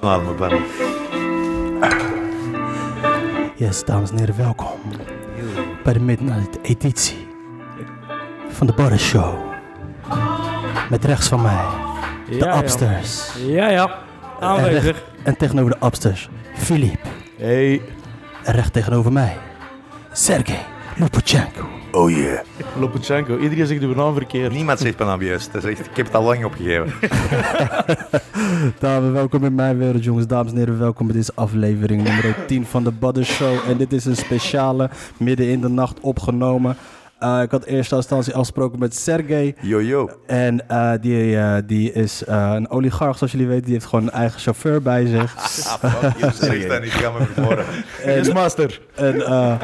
Laat me bellen. Yes, dames en heren, welkom bij de Midnight editie van de Boris Show. Met rechts van mij, de ja, Upstairs. Ja, ja. Aanwezig. En tegenover de Upstairs, Filip. Hey. En recht tegenover mij, Sergei Lupachenko. Oh yeah. Lopachenko. Iedereen zegt uw naam verkeerd. Niemand zegt mijn naam juist. Dat is echt- ik heb het al lang opgegeven. Dames, welkom in mijn wereld, jongens. Dames en heren, welkom bij deze aflevering nummer 10 van de Badder Show. En dit is een speciale, midden in de nacht opgenomen. Eh, ik had in eerste instantie afgesproken met Sergey. Jojo. En eh, die, eh, die is eh, een oligarch, zoals jullie weten. Die heeft gewoon een eigen chauffeur bij zich. Zeg dat niet, ik ga me vermoorden. Yes, master. En, eh,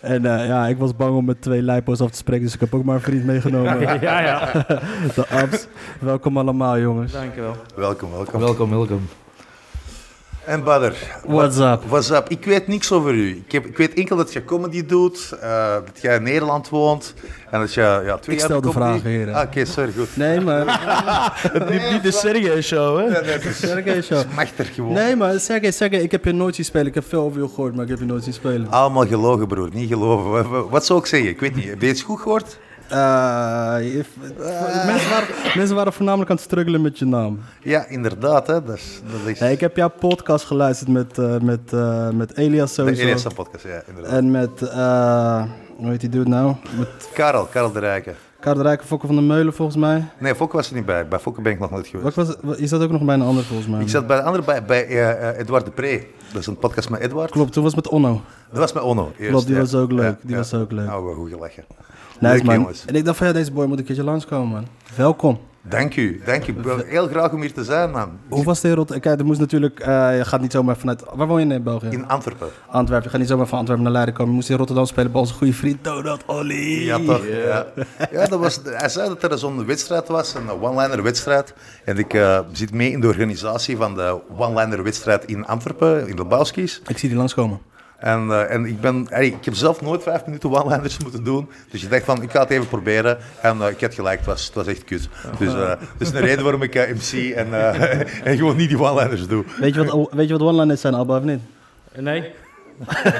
en eh, ja, ik was bang om met twee lijpo's af te spreken, dus ik heb ook maar een vriend meegenomen. Ja, ja. De abs. Welkom allemaal, jongens. Dankjewel. Welkom, welkom. Welkom, welkom. En Badder. What's wa- up? What's up? Ik weet niks over u. Ik, heb, ik weet enkel dat je comedy doet, eh, dat jij in Nederland woont en dat je ja, twee Ik jaar stel de comedy- vragen, heren. Ah, Oké, sorry, goed. Nee, maar Niet de Sergej show, hè? Sergej show. Machtig gewoon. Nee, maar Sergej, Sergej, ik heb je nooit zien spelen. Ik heb veel over je gehoord, maar ik heb je nooit zien spelen. Allemaal gelogen, broer. Niet geloven. Wat- Wat, wat zou ik zeggen? Ik weet niet. Heb je het goed gehoord? Eh, je- eh. mensen, waren, mensen waren voornamelijk aan het struggelen met je naam. Ja, inderdaad. Hè. Dat is, dat is Hey, ik heb jouw podcast geluisterd met, eh, met, eh, met Elias de sowieso. NSA-podcast. Ja, inderdaad. En met, eh, hoe heet die dude nou? Met Karel, Karel de Rijken. Karel de Rijke, Fokke van der Meulen volgens mij. Nee, Fokke was er niet bij. Bij Fokke ben ik nog nooit geweest. Wat was, wat- je zat ook nog bij een ander volgens mij. Ik zat bij de andere, bij, bij eh, eh, Edouard de Pre. Dat is een podcast met Edouard. Klopt, toen was het met Onno. Dat was met Onno. Eerst, Klopt, die ja. was ook leuk, die was ook leuk. Nou, we goed gelachen. Nice Leuk, man. jongens. En ik dacht van ja, deze boy moet een keertje langskomen man. Welkom. Dank u, dank u. Ik ben Heel graag om hier te zijn, man. Hoe was de wereld? Kijk, er moest natuurlijk, eh, je gaat niet zomaar vanuit, waar woon je in eh, België? In Antwerpen. Antwerpen. Je gaat niet zomaar van Antwerpen naar Leiden komen. Je moest in Rotterdam spelen bij onze goede vriend Donald Olly. Ja, toch? Ja. ja, dat was, hij zei dat er zo'n wedstrijd was, een one-liner wedstrijd. En ik eh, zit mee in de organisatie van de one-liner wedstrijd in Antwerpen, in de Bouwskis. Ik zie die langskomen. En, eh, en ik, ben, ey, ik heb zelf nooit vijf minuten one-liners moeten doen. Dus je dacht van, ik ga het even proberen. En eh, ik had gelijk, het was, het was echt kut. Dus eh, dat is een reden waarom ik eh, MC en, eh, en gewoon niet die one-liners doe. Weet je wat, weet je wat one-liners zijn, Alba, of niet? Nee.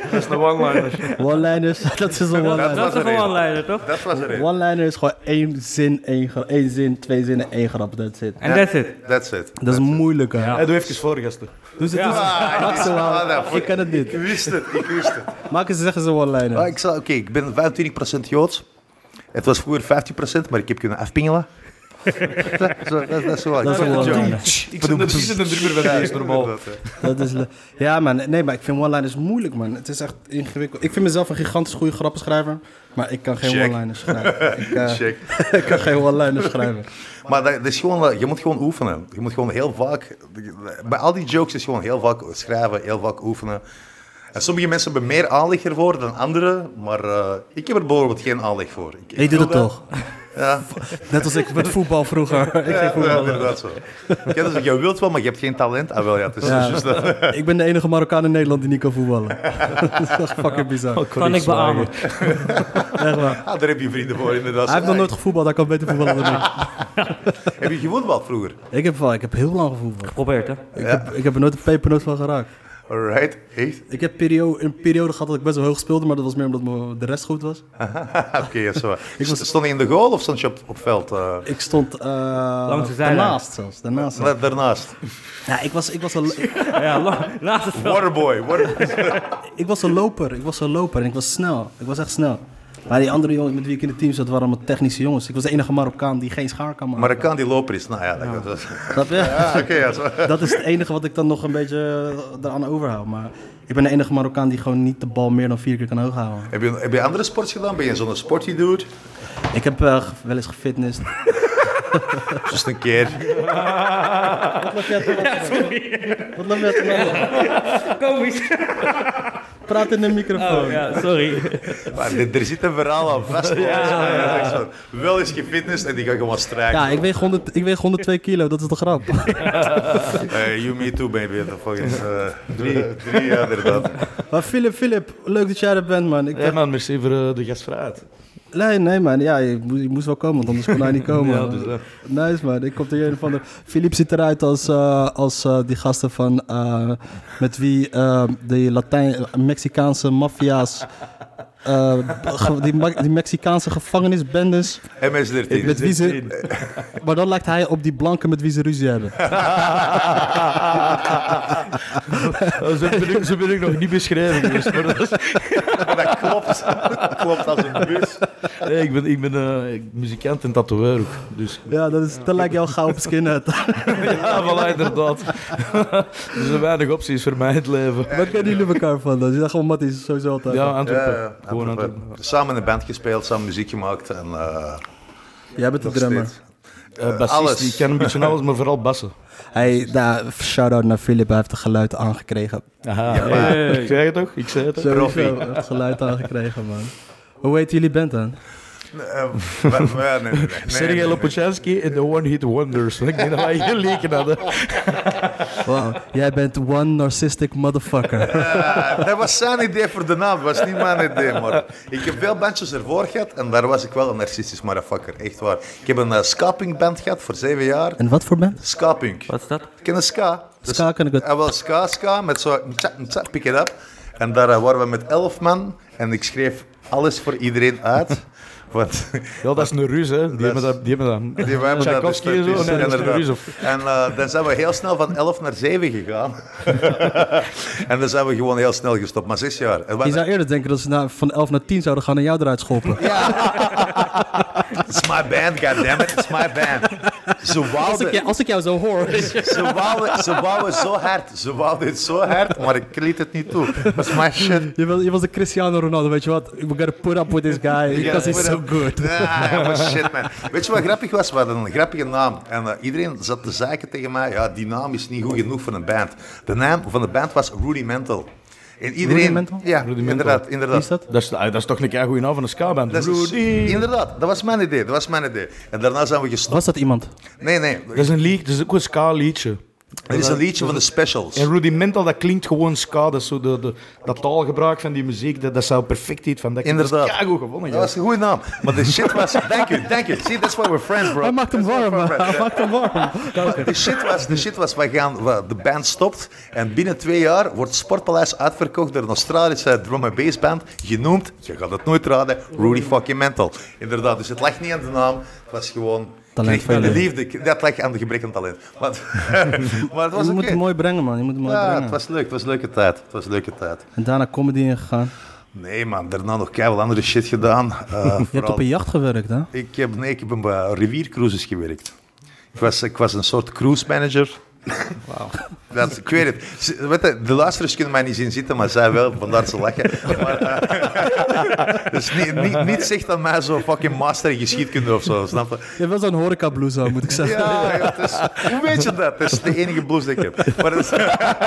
dat is de one-liner. One-liners, dat is een one-liner. Dat is een een reden. one-liner, toch? Dat was de reden. One-liner is gewoon één zin, één, gra- één zin, twee zinnen, één grap, that's it. En that's it. That's it. Dat is moeilijk, hè? Hey, doe even voor, gasten. Dus het Ja. is... Maak ze Ah, wel. dat vond- Ik kan het Ik niet. wist het, ik wist het. Maak eens zeggen ze one-liner. Ah, ik zal- Oké, ik ben 25% Joods. Het was vroeger 50%, maar ik heb kunnen afpingelen. dat, is wel- dat, dat is wel Dat is een one-liner. Ik zit precies in een drummer bij mij, is normaal. Inderdaad, hè. Dat is le- ja, man. Nee, maar ik vind one-liners moeilijk, man. Het is echt ingewikkeld. Ik vind mezelf een gigantisch goede grappenschrijver, maar ik kan geen Check. one-liners schrijven. Ik, eh, Check. ik kan geen one-liners schrijven. Maar dat, dat is gewoon, eh, je moet gewoon oefenen. Je moet gewoon heel vaak... Bij al die jokes is gewoon heel vaak schrijven, heel vaak oefenen. En sommige mensen hebben meer aanleg ervoor dan anderen, maar eh, ik heb er bijvoorbeeld geen aanleg voor. Ik, ik Ik doe wil dat toch. Ja, Net als ik met voetbal vroeger. Ik, ja, ging ja, voetballen. inderdaad zo. Ik ken dat, je wilt wel, maar je hebt geen talent. Ah wel, ja, het is Ja. dus dat. ik ben de enige Marokkaan in Nederland die niet kan voetballen. dat is echt fucking bizar. Kan ik beamen. Echt waar. Ah, daar heb je vrienden voor, inderdaad. Hij heeft nog Ah, nooit gevoetbald, hij kan beter voetballen dan ik. Heb je gevoetbald vroeger? Ik heb, wel- ik heb heel lang gevoetbald. Probeert, hè? Ik, heb, ik heb er nooit een pepernoot van geraakt. Alright, echt? Ik heb perio- een periode gehad dat ik best wel hoog speelde, maar dat was meer omdat me- de rest goed was. Ah, Oké, ja, zo. Ik was- Stond je in de goal of stond je op, op veld? eh, Ik stond eh, Langs de zijlijn. daarnaast zelfs. Daarnaast zelfs. da- daarnaast. Ja, ik, was, ik, was een, ik, Ja, la- laat het wel. Waterboy, waterboy. ik was een loper. Ik was een loper en ik was snel. Ik was echt snel. Maar die andere jongens met wie ik in het team zat waren allemaal technische jongens. Ik was de enige Marokkaan die geen schaar kan maken. Marokkaan die loper is. Nou ja, dat dat- Snap je? Ah, Oké, ja, zo. Dat is het enige wat ik dan nog een beetje eh, eraan overhoud. Maar ik ben de enige Marokkaan die gewoon niet de bal meer dan vier keer kan hooghouden. Heb je, heb je andere sports gedaan? Ben je zo'n sporty dude? Ik heb eh, ge- wel eens gefitnessd. Just een keer. Wat loop jij te lachen? Wat loop jij te lachen? Komisch. Praat in de microfoon. Oh, ja, sorry. Maar er, er zit een verhaal aan vast. Ja, zo. Wel eens gefitnessd en die gaat gewoon strijken. Ja, ik weeg, 100, ik weeg 102 kilo, dat is de grap. Eh, you me too, baby. Dat volgens eh, drie, drie jaar inderdaad. Maar Philip, Philip, leuk dat jij er bent, man. Ik Ja, dacht, man, merci voor eh, de gastvrijheid. Nee, nee man. Ja, je, mo- je moest wel komen, want anders kon hij niet komen. Ja, dus dat. Nice man. Ik kom er een van de... Philippe ziet eruit als, eh, als eh, die gasten van... eh, met wie eh, de Latijn-Mexicaanse maffia's... eh, ge- die, Ma- die Mexicaanse gevangenisbendes... MS-13. Met wie ze, maar dan lijkt hij op die blanken met wie ze ruzie hebben. Ze ben ik, Oh, zo ben ik nog niet beschreven geweest. Maar dat is- Dat klopt. Dat klopt als een bus. nee, ik ben, ik ben eh, muzikant en tatoeëur ook. Dus Ja, dat, is, dat lijkt jou gauw op skinhead. ja, voilà, inderdaad. er zijn weinig opties voor mij in het leven. Waar kennen jullie elkaar van dan? Je dacht gewoon, Matty is sowieso altijd... Ja, Ja, Antwerpen. ja, Gewoon Antwerpen. Antwerpen. Eh, Samen in een band gespeeld, samen muziek gemaakt en eh, Jij bent de nog drummer. steeds. Eh, bassist, alles. ik ken een beetje alles, maar vooral bassen. Hey, daar, shout-out naar Philip, hij heeft de geluid aangekregen. Aha, Ja, hey. maar- Ik zei het toch? Ik zei het toch? Sowieso, Profi. hij heeft het geluid aangekregen, man. Hoe heet jullie band dan? Eh, maar- maar nee, nee, nee, nee, Sergej nee. Lopochanski en de One Hit Wonders. Ik denk dat wij hier leken hadden. Wow, jij bent one narcissistic motherfucker. Eh, dat was zijn idee voor de naam, dat was niet mijn idee, maar ik heb veel bandjes ervoor gehad en daar was ik wel een narcistisch motherfucker, echt waar. Ik heb een uh, band gehad voor zeven jaar. En wat voor band? Skapunk. Wat is dat? Ken je ska? Dus- Ska ken ik wel. Ja, wel ska, ska, met zo tja, tja, pick it up. En daar eh, waren we met elf man en ik schreef alles voor iedereen uit. Want Ja, dat is een Rus, hè. Die hebben dat. Die hebben dat. die wij hebben dat Tchaikovsky en zo? oh, dus- Nee, Oh, dat is inderdaad. een Rus. Of... En eh, dan zijn we heel snel van 11 naar 7 gegaan. en dan zijn we gewoon heel snel gestopt, maar zes jaar. En Je wat- zou eerder denken dat ze na- van 11 naar 10 zouden gaan en jou eruit schoppen. It's my band, goddammit, it's my band. Ze Als ik, wouden, jou- als ik jou zo hoor. ze, wouden, ze wouden zo hard, ze wouden het zo hard, maar ik liet het niet toe. Dat is my shit. Je, wil- je was de Cristiano Ronaldo, weet je wat? We gotta put up with this guy, because he's so good. Ja, ja, maar shit, man. Weet je wat grappig was? We hadden een grappige naam. En eh, iedereen zat te zaken tegen mij. Ja, die naam is niet goed genoeg voor een band. De naam van de band was Rudimental. En iedereen... Rudimental? Ja, Rudimental. inderdaad. Wie inderdaad. is dat? Dat is, ah, dat is toch een keer goede naam van een ska-band. Dat is- Rudy. Inderdaad, dat was mijn idee. Dat was mijn idee. En daarna zijn we gestopt. Was dat iemand? Nee, nee. Dat is een lied, dat is ook een ska-liedje. Er is een liedje van de specials. En rudimental, dat klinkt gewoon ska. Dat, is zo de, de, dat taalgebruik van die muziek, dat, dat zou perfect iets van dat. Inderdaad. Dat is keigoed gewonnen, Dat ja. was een goede naam. Maar de shit was... Thank you, thank you. See, that's why we're friends, bro. Hij maakt hem warm, man. hij maakt hem warm. De shit was, de shit was, we gaan, we- de band stopt en binnen twee jaar wordt Sportpaleis uitverkocht door een Australische drum and bass band, genoemd, je gaat het nooit raden, Rudy fucking Mental. Inderdaad, dus het lag niet aan de naam, het was gewoon... Talent kreeg van de je. liefde, dat lag aan de gebrek aan talent. Maar, maar het was Je moet oké. hem mooi brengen, man. Je moet hem mooi Ja, brengen. het was leuk, het was leuke tijd, het was leuke tijd. En daarna comedy ingegaan. Nee man, daarna nog keihard andere shit gedaan. eh, Je hebt vooral- op een jacht gewerkt, hè? Ik heb, nee, ik heb op eh, riviercruises gewerkt. Ik was, ik was een soort cruise manager. Wauw. Ik weet het. Ze- Weet je, de luisteraars kunnen mij niet zien zitten, maar zij wel, vandaar ze lachen. Maar, eh, dus niet, niet, niet zegt aan mij zo'n fucking master in geschiedkunde of zo, snap je? Je hebt wel zo'n horeca-blouse aan, moet ik zeggen. Ja, ja, het is- hoe weet je dat? Dat is de enige blouse die ik heb. Maar, dat is-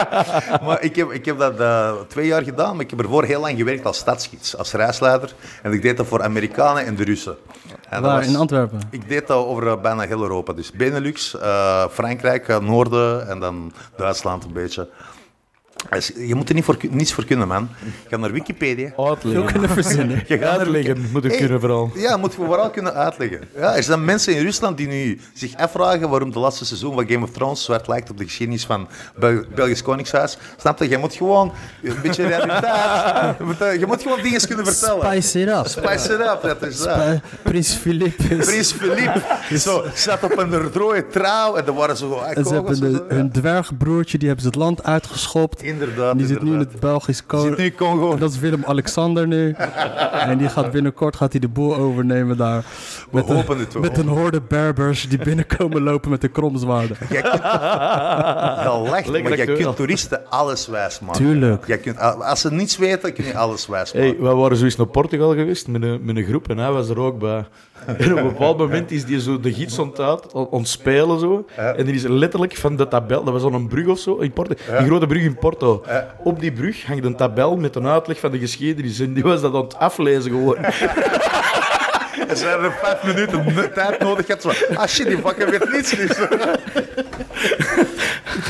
maar ik heb, ik heb dat eh, twee jaar gedaan, maar ik heb ervoor heel lang gewerkt als stadsgids, als reisleider. En ik deed dat voor Amerikanen en de Russen. En dat Waar, was- in Antwerpen? ik deed dat over eh, bijna heel Europa. Dus Benelux, eh, Frankrijk, eh, Noorden en dan Duitsland een beetje. Dus je moet er niet voor, kun- niets voor kunnen, man. Ga naar Wikipedia. Veel Uitleggen. kunnen verzinnen. Je gaat naar- Uitleggen moet ik Hey, kunnen vooral. Ja, moet je vooral kunnen uitleggen. Ja, er zijn mensen in Rusland die nu zich afvragen waarom de laatste seizoen van Game of Thrones zwart lijkt op de geschiedenis van Bel Belgisch Koningshuis. Snap je? Je moet gewoon een beetje realiteit... je moet, eh, Je moet gewoon dingen kunnen vertellen. Spice it up. Spice it up, dat is dat. Pri- Eh, Prins Philippus. Prins Philippe zo, zat op een rode trouw en er waren zo ah, En ze hebben de- zo, ja. hun dwergbroertje, die hebben ze het land uitgeschopt. Inderdaad, Die zit nu in inderdaad. het Belgisch koning. Zit nu in Congo. Dat is Willem-Alexander nu. en die gaat binnenkort gaat hij de boel overnemen daar. Met hopen een, het, we Met hopen een horde Berbers die binnenkomen lopen met de kromzwaarden. Jij kunt, dat lacht, maar Lekker jij acteur. kunt toeristen alles wijs maken. Tuurlijk. Jij kunt, als ze niets weten, kun je alles wijs maken. Hey, we waren zoiets naar Portugal geweest met een, met een groep en hij was er ook bij. En op een bepaald moment is die zo de gids ontuit, ontspelen zo. En die is letterlijk van de tabel, dat was al een brug of zo in Porto, die grote brug in Porto. Op die brug hangt een tabel met een uitleg van de geschiedenis en die was dat aan het aflezen gewoon. En ze hebben vijf minuten n- tijd nodig. gehad, zo, ah shit, die bakken weet niets. Dus.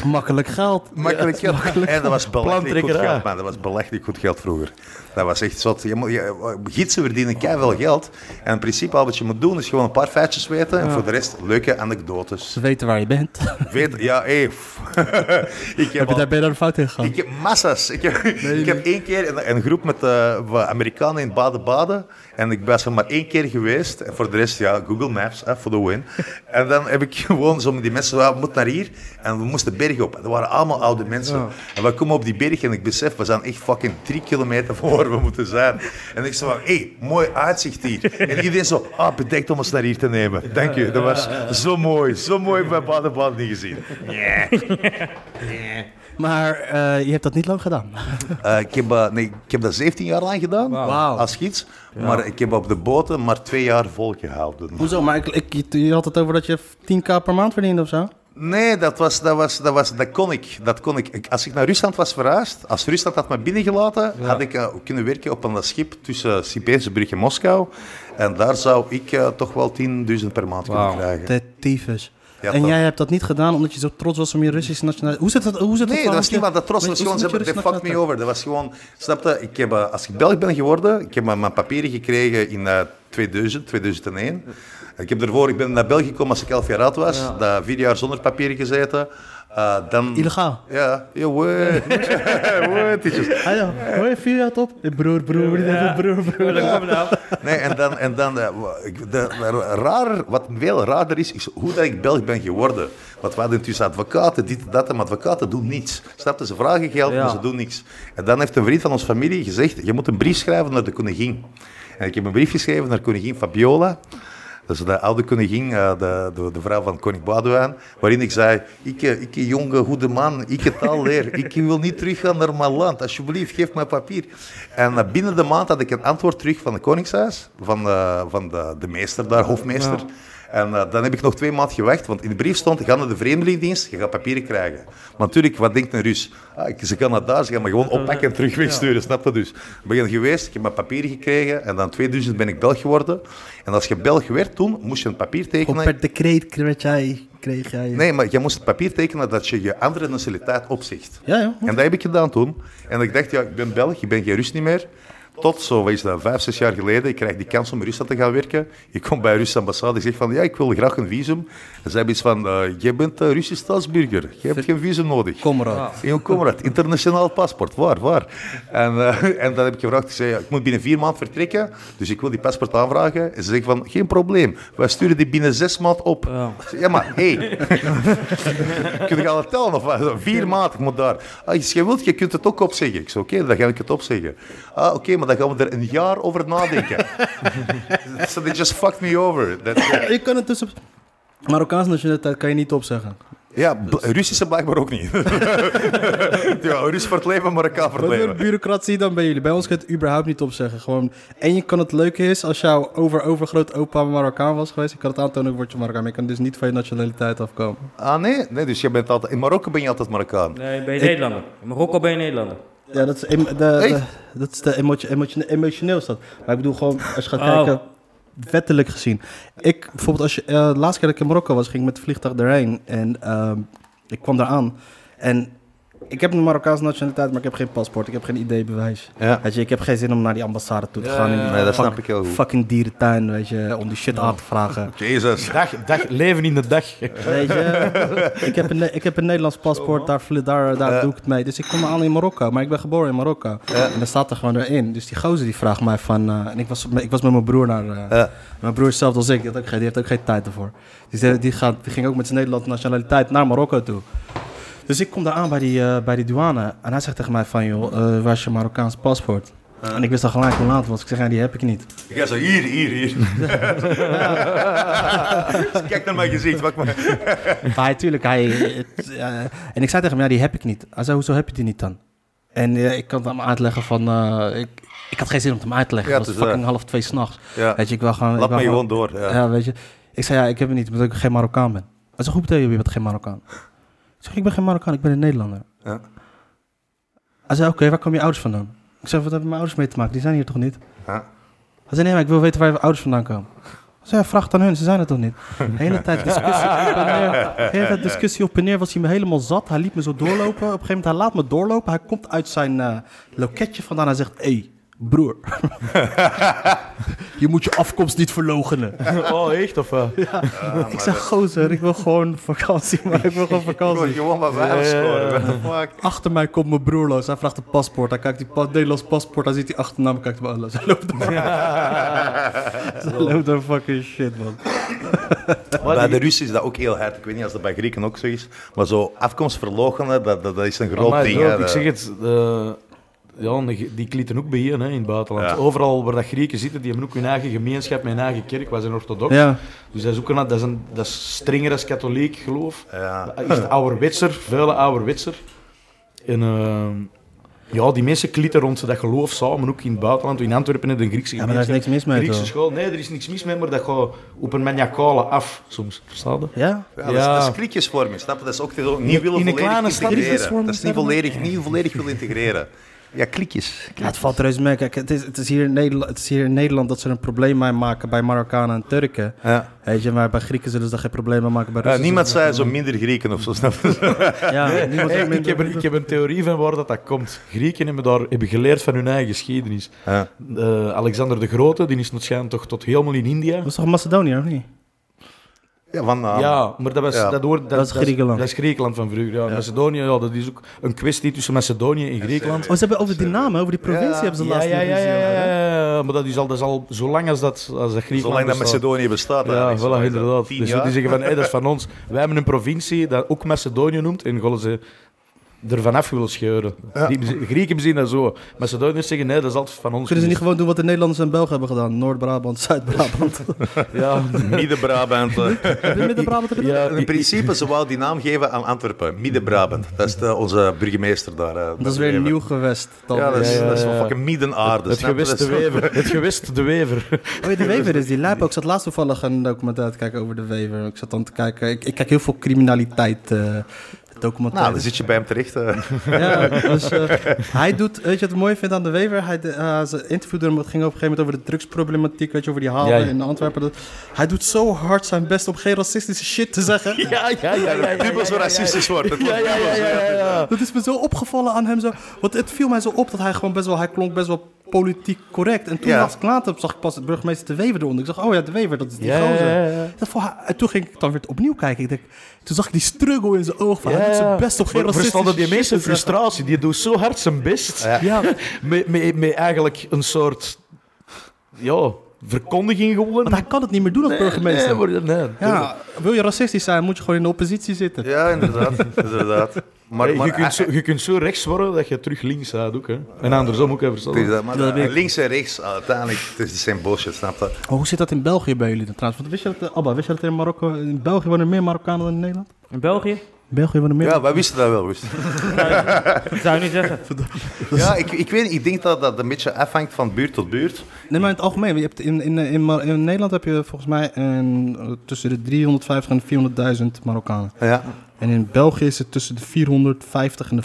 Makkelijk geld. Makkelijk geld. En dat was belachelijk goed Plantrekkerij. geld, man. Dat was belachelijk goed geld vroeger. Dat was echt zot. Je moet, je, gidsen verdienen keiveel geld. En in principe al wat je moet doen is gewoon een paar feitjes weten. En voor de rest leuke anekdotes. Ze weten waar je bent. Heb Weet, ja, hé. pff. ik heb, je al- daar bijna de fout in gegaan? ik heb massa's. Ik heb, ik heb één keer een, een groep met eh, wat Amerikanen in Baden-Baden. En ik was er maar één keer geweest. En voor de rest, ja, Google Maps, hè, voor de win. En dan heb ik gewoon zo met die mensen, "Ja, we moeten naar hier. En we moesten berg op. En dat waren allemaal oude mensen. En we komen op die berg en ik besef, we zijn echt fucking drie kilometer van waar we moeten zijn. En ik zo van, hé, mooi uitzicht hier. En iedereen zo, ah, bedenkt om ons naar hier te nemen. Dank u. Dat was zo mooi. Zo mooi bij Baden-Baden niet gezien. Yeah. Maar eh, je hebt dat niet lang gedaan. Eh, ik, heb, eh, nee, ik heb dat 17 jaar lang gedaan Wauw. als gids. Maar ik heb op de boten maar twee jaar volgehouden. Hoezo? Maar ik, ik, je- je had het over dat je 10k per maand verdiende of zo? Nee, dat, was, dat, was, dat, was, dat kon ik. Dat kon ik. ik. Als ik naar Rusland was verhuisd, als Rusland had me binnengelaten, had ik eh, kunnen werken op een schip tussen Sint-Petersburg en Moskou. En daar zou ik eh, toch wel 10.000 per maand Wauw. kunnen krijgen. De tyfus. Ja, en toch. jij hebt dat niet gedaan omdat je zo trots was om je Russische nationaliteit... Hoe zit dat? Hoe zit Nee, dat was niet niemand dat trots. Dat was gewoon, ze hebben, they fucked me over. Dat was gewoon, snap je, ik heb, eh, als ik Belg ben geworden, ik heb mijn mijn papieren gekregen in eh, 2000, 2001. Ik heb daarvoor, ik ben naar België gekomen als ik 11 jaar oud was, daar vier jaar zonder papieren gezeten. Eh, dan... Illegaal. Ja, ja, wee. Wee, teachers. Ah ja, hoor je vier jaar op? Eh, Broer, broer, broer, broer. Tuurlijk, kom nou. Nee, en dan, en dan eh, wa- ik- de, de- raar, wat veel raarder is, is hoe dat ik Belg ben geworden. Want we hadden tussen advocaten, dit, dat, en advocaten doen niets. Snap je? Ze vragen geld, maar ze doen niks. En dan heeft een vriend van onze familie gezegd, je moet een brief schrijven naar de koningin. En ik heb een brief geschreven naar koningin Fabiola. Dat is de oude koningin, eh, de, de, de vrouw van koning Baudouin, waarin ik zei, ik, eh, ik een jonge, goede man, ik het al leer, ik wil niet teruggaan naar mijn land, alsjeblieft, geef mij papier. En eh, binnen de maand had ik een antwoord terug van het koningshuis, van, eh, van de, de meester daar, hofmeester. En eh, dan heb ik nog twee maanden gewacht, want in de brief stond, ga naar de vreemdelingendienst, je gaat papieren krijgen. Maar natuurlijk, wat denkt een Rus? Ah, ik- ze kan naar daar, ze gaan me gewoon eh, oppakken en terug wegsturen, snap je dus? Ik ben geweest, ik heb mijn papieren gekregen en dan 2000 ben ik Belg geworden. En als je Belg werd toen, moest je een papier Op tekenen. per decreet kreeg jij... Kreeg jij Nee, maar je moest het papier tekenen dat je je andere nationaliteit opzegt. Ja, ja. En dat heb ik gedaan toen. En ik dacht, ja, ik ben Belg, ik ben geen Rus niet meer. Tot zo, wat is dat, vijf, zes jaar geleden, ik krijg die kans om in Rusland te gaan werken. Ik kom bij een Russische ambassade, ik zeg van, ja, ik wil graag een visum. En ze hebben iets van, eh, jij bent eh, Russisch staatsburger, je hebt geen visum nodig. Comrade. Jong comrade, internationaal paspoort, waar, waar? En, eh, en dan heb ik gevraagd, ik zei, ja, ik moet binnen vier maanden vertrekken, dus ik wil die paspoort aanvragen. En ze zeggen van, geen probleem, wij sturen die binnen zes maanden op. Ik zei, Ja, maar hey, kun je al tellen of wat? Vier maanden, ik moet daar. Ah, je, je wilt, je kunt het ook opzeggen. Ik zei, oké, dan ga ik het opzeggen. Ah, oké, maar dan gaan we er een jaar over nadenken. so they just fucked me over. That, Ik kan het dus op... Marokkaans nationaliteit kan je niet opzeggen. ja, bl- Russische blijkbaar ook niet. ja, Rus voor het leven, Marokkaan voor het Wat een leven. bureaucratie dan bij jullie. Bij ons kan je het überhaupt niet opzeggen. Gewoon, en je kan het leuke is, als jouw over-overgroot opa Marokkaan was geweest, ik kan het aantonen, word je Marokkaan. Maar je kan dus niet van je nationaliteit afkomen. Ah nee, nee dus je bent altijd, in Marokko ben je altijd Marokkaan. Nee, ben je Nederlander. In Marokko ben je Nederlander. Ja, dat is em- de, de, Echt? dat is de emotio- emotio- emotioneel is dat. Maar ik bedoel gewoon, als je gaat Oh. kijken, wettelijk gezien. Ik, bijvoorbeeld, als je, eh, de laatste keer dat ik in Marokko was, ging ik met het vliegtuig erheen. En ehm, ik kwam daar aan. En ik heb een Marokkaanse nationaliteit, maar ik heb geen paspoort. Ik heb geen ID-bewijs. Ja. Weet je, ik heb geen zin om naar die ambassade toe te gaan. in die Nee, dat fuck- snap ik heel goed. Fucking dierentuin, weet je, om die shit aan te vragen. Jezus. Dag, dag, leven in de dag. Weet je, ik heb een, Ne- ik heb een Nederlands paspoort, daar, vlie- daar, daar doe ik het mee. Dus ik kom aan in Marokko, maar ik ben geboren in Marokko. En dat staat er gewoon erin. Dus die gozer die vraagt mij van... eh, en ik was, met- ik was met mijn broer naar... eh, Ja. Mijn broer is zelf als ik, die, had ook geen, die heeft ook geen tijd ervoor. Dus die, die, gaat, die ging ook met zijn Nederlandse nationaliteit naar Marokko toe. Dus ik kom daar aan bij die, eh, bij die douane. En hij zegt tegen mij van, joh, eh, waar is je Marokkaans paspoort? En ik wist al gelijk hoe laat het was. Ik zeg, ja, die heb ik niet. Ik ga zo hier, hier, hier. Kijk naar mijn gezicht. Wat ik maar... Maar hij, tuurlijk, hij... het, eh, en ik zei tegen hem, ja, die heb ik niet. Hij zei, hoezo heb je die niet dan? En eh, ik kan het hem uitleggen van... eh, ik, ik had geen zin om het hem uit te leggen. Ja, het was het is, fucking half twee s'nachts. Ja. Weet je, ik wil gewoon... ik Laat wil me gewoon door. Ja. Ja. weet je. Ik zei, ja, ik heb het niet, omdat ik geen Marokkaan ben. Hij zei, hoe betekent je, je bent geen Marokkaan? Ik zeg, ik ben geen Marokkaan, ik ben een Nederlander. Ja. Hij zei, oké, waar komen je ouders vandaan? Ik zei, wat hebben mijn ouders mee te maken? Die zijn hier toch niet? Ja. Hij zei, nee, maar ik wil weten waar je ouders vandaan komen. Zij vraagt aan hun, ze zijn het toch niet? De hele tijd discussie op en neer. De hele tijd discussie op en neer was hij me helemaal zat. Hij liet me zo doorlopen. Op een gegeven moment, hij laat me doorlopen. Hij komt uit zijn eh, loketje vandaan. Hij zegt, hé, hey, broer. je moet je afkomst niet verlogenen. Oh, echt? Of, eh? ik zeg, gozer, ik wil gewoon vakantie, maar ik wil gewoon Ik wil vakantie. gewoon wat Eh, weinig scoren. What the fuck? Achter mij komt mijn broer los. Hij vraagt een paspoort. Hij kijkt die pas, Nederlands paspoort. Hij ziet die achternaam. Kijkt hem aan. Hij loopt door. Hij loopt door fucking shit, man. Bij de Russen is dat ook heel hard. Ik weet niet of dat bij Grieken ook zo is. Maar zo afkomst verloochenen, dat, dat, dat is een groot Amai, ding. zo, hè. ik zeg het, eh, ja, die- die klieten ook bijeen hè, in het buitenland. Ja. Overal waar dat Grieken zitten, die hebben ook hun eigen gemeenschap, hun eigen kerk. Wij zijn orthodox. Ja. Dus dat is ook een, dat is een dat is strenger als katholiek geloof. Ja. Dat is de ouderwetser, vuile ouderwetser. En eh, ja, die mensen klieten rond dat geloof samen, ook in het buitenland. In Antwerpen in de Griekse Ja, maar daar is gemeenschap. niks mis mee, Griekse toch? school, nee, er is niks mis mee, maar dat gaat op een maniacale af soms. Verstaan je? Ja? Ja, dat, is, Ja. dat is kriekjesvorming, snap je? Dat is ook te- niet willen in een volledig kleine stad is dat integreren. vorming, Dat is niet zeg maar. volledig, niet volledig willen integreren. Ja, kliekjes. Ja, het valt reuze mee. Kijk, het is, het, is hier in Nederland, het is hier in Nederland dat ze er een probleem mee maken bij Marokkanen en Turken. Ja. Weet je, maar bij Grieken zullen ze daar geen probleem mee maken. Bij Ja, Russen niemand zullen zei zo minder Grieken of zo, snap je? ze- Ja, niemand Hey, zei ik, heb, minder- een- ik heb een theorie van waar dat, dat komt. Grieken hebben, daar, hebben geleerd van hun eigen geschiedenis. Ja. Eh, Alexander de Grote, die is waarschijnlijk toch tot helemaal in India. Dat is toch Macedonië, of niet? Ja, van, ah, Ja, maar dat, was, Ja. dat, hoort, Dat is Griekenland. Dat is Griekenland van vroeger. Ja. Macedonië, ja, dat is ook een kwestie tussen Macedonië en Griekenland. Oh, ze hebben over die namen, over die provincie Ja. hebben ze Ja, laatst ja, in de ja, ruzie ja, over, hè? ja, ja, maar dat is al, dat is al zo lang als dat, als dat Griekenland Zolang dat bestaat. Macedonië bestaat. Ja, eigenlijk, zo is voilà, dat. inderdaad. Tien Dus jaar. die zeggen van, hey, dat is van ons. Wij hebben een provincie dat ook Macedonië noemt en gaan ze er vanaf willen scheuren. Die, Grieken zien dat zo. Macedoniërs zeggen, nee, dat is altijd van ons. Kunnen ze niet gewoon doen wat de Nederlanders en Belgen hebben gedaan? Noord-Brabant, Zuid-Brabant. Ja, Midden-Brabant. eh. Heb je Midden-Brabant? heb je dat? ja. In principe, ze wou die naam geven aan Antwerpen. Midden-Brabant. Dat is de- onze burgemeester daar. eh, Dat is weer een nieuw gewest. Dan. Ja, dat is, Ja, ja, dat is ja. wel fucking midden-aarde. Het snap je? gewest Dat is- de wever. Het gewest de wever. Oh ja, de Wever is die lijp ook. Ik zat laatst toevallig een documentaire te kijken over de Wever. Ik zat dan te kijken... Ik, ik kijk heel veel criminaliteit eh documentaire. Nou, dan zit je bij hem terecht. eh. Ja, dus eh, hij doet... Weet je wat ik mooi vind aan de Wever? Hij, de- eh, ze interviewde hem, het ging op een gegeven moment over de drugsproblematiek. Weet je, over die halen Ja, ja. in Antwerpen. Dat- hij doet zo hard zijn best om geen racistische shit te zeggen. Ja, ja, ja. ja, ja, Dubbel zo ja, ja, racistisch wordt. het. Ja, ja, ja, ja, ja, ja. Dat is me zo opgevallen aan hem. Zo. Want het viel mij zo op dat hij gewoon best wel... Hij klonk best wel politiek correct. En toen Ja. las ik later, zag ik pas de burgemeester De Wever eronder. Ik zag, oh ja, De Wever, dat is die Ja, ja, gozer. ja, ja. Dat vond hij- en toen ging ik dan weer opnieuw kijken. Ik denk, toen zag ik die struggle in zijn oog. Van, hij Ja, doet ja. zijn best op geen Maar racistische verstanden die shit mensen te zeggen. frustratie. Die doet zo hard zijn best. Ja, Met, met, met eigenlijk een soort... Ja, verkondiging gewoon. want hij kan het niet meer doen als burgemeester. Nee, maar, nee. ja, wil je racistisch zijn, moet je gewoon in de oppositie zitten. Ja, inderdaad. inderdaad. Maar, Hey, maar- je, kunt zo, je kunt zo rechts worden dat je terug links gaat ook. Hè. En andersom ook, even Het is verstandig. dat, maar, Dat eh, weet ik. links en rechts, ah, uiteindelijk, het is de same bullshit, snap je? Maar Oh, hoe zit dat in België bij jullie dan trouwens? Want wist je dat, eh, Abba, wist je dat in, Marokko, in België wonen meer Marokkanen dan in Nederland? In België? In België wonen meer... Ja, wij wisten dat wel, wisten. Dat zou je niet zeggen. Ja, ik, ik weet niet, ik denk dat dat een beetje afhangt van buurt tot buurt. Nee, maar in het algemeen. Je hebt in, in, in, Mar- in Nederland heb je volgens mij een, eh, tussen de 350 en 400.000 Marokkanen. Ja. En in België is het tussen de 450 en de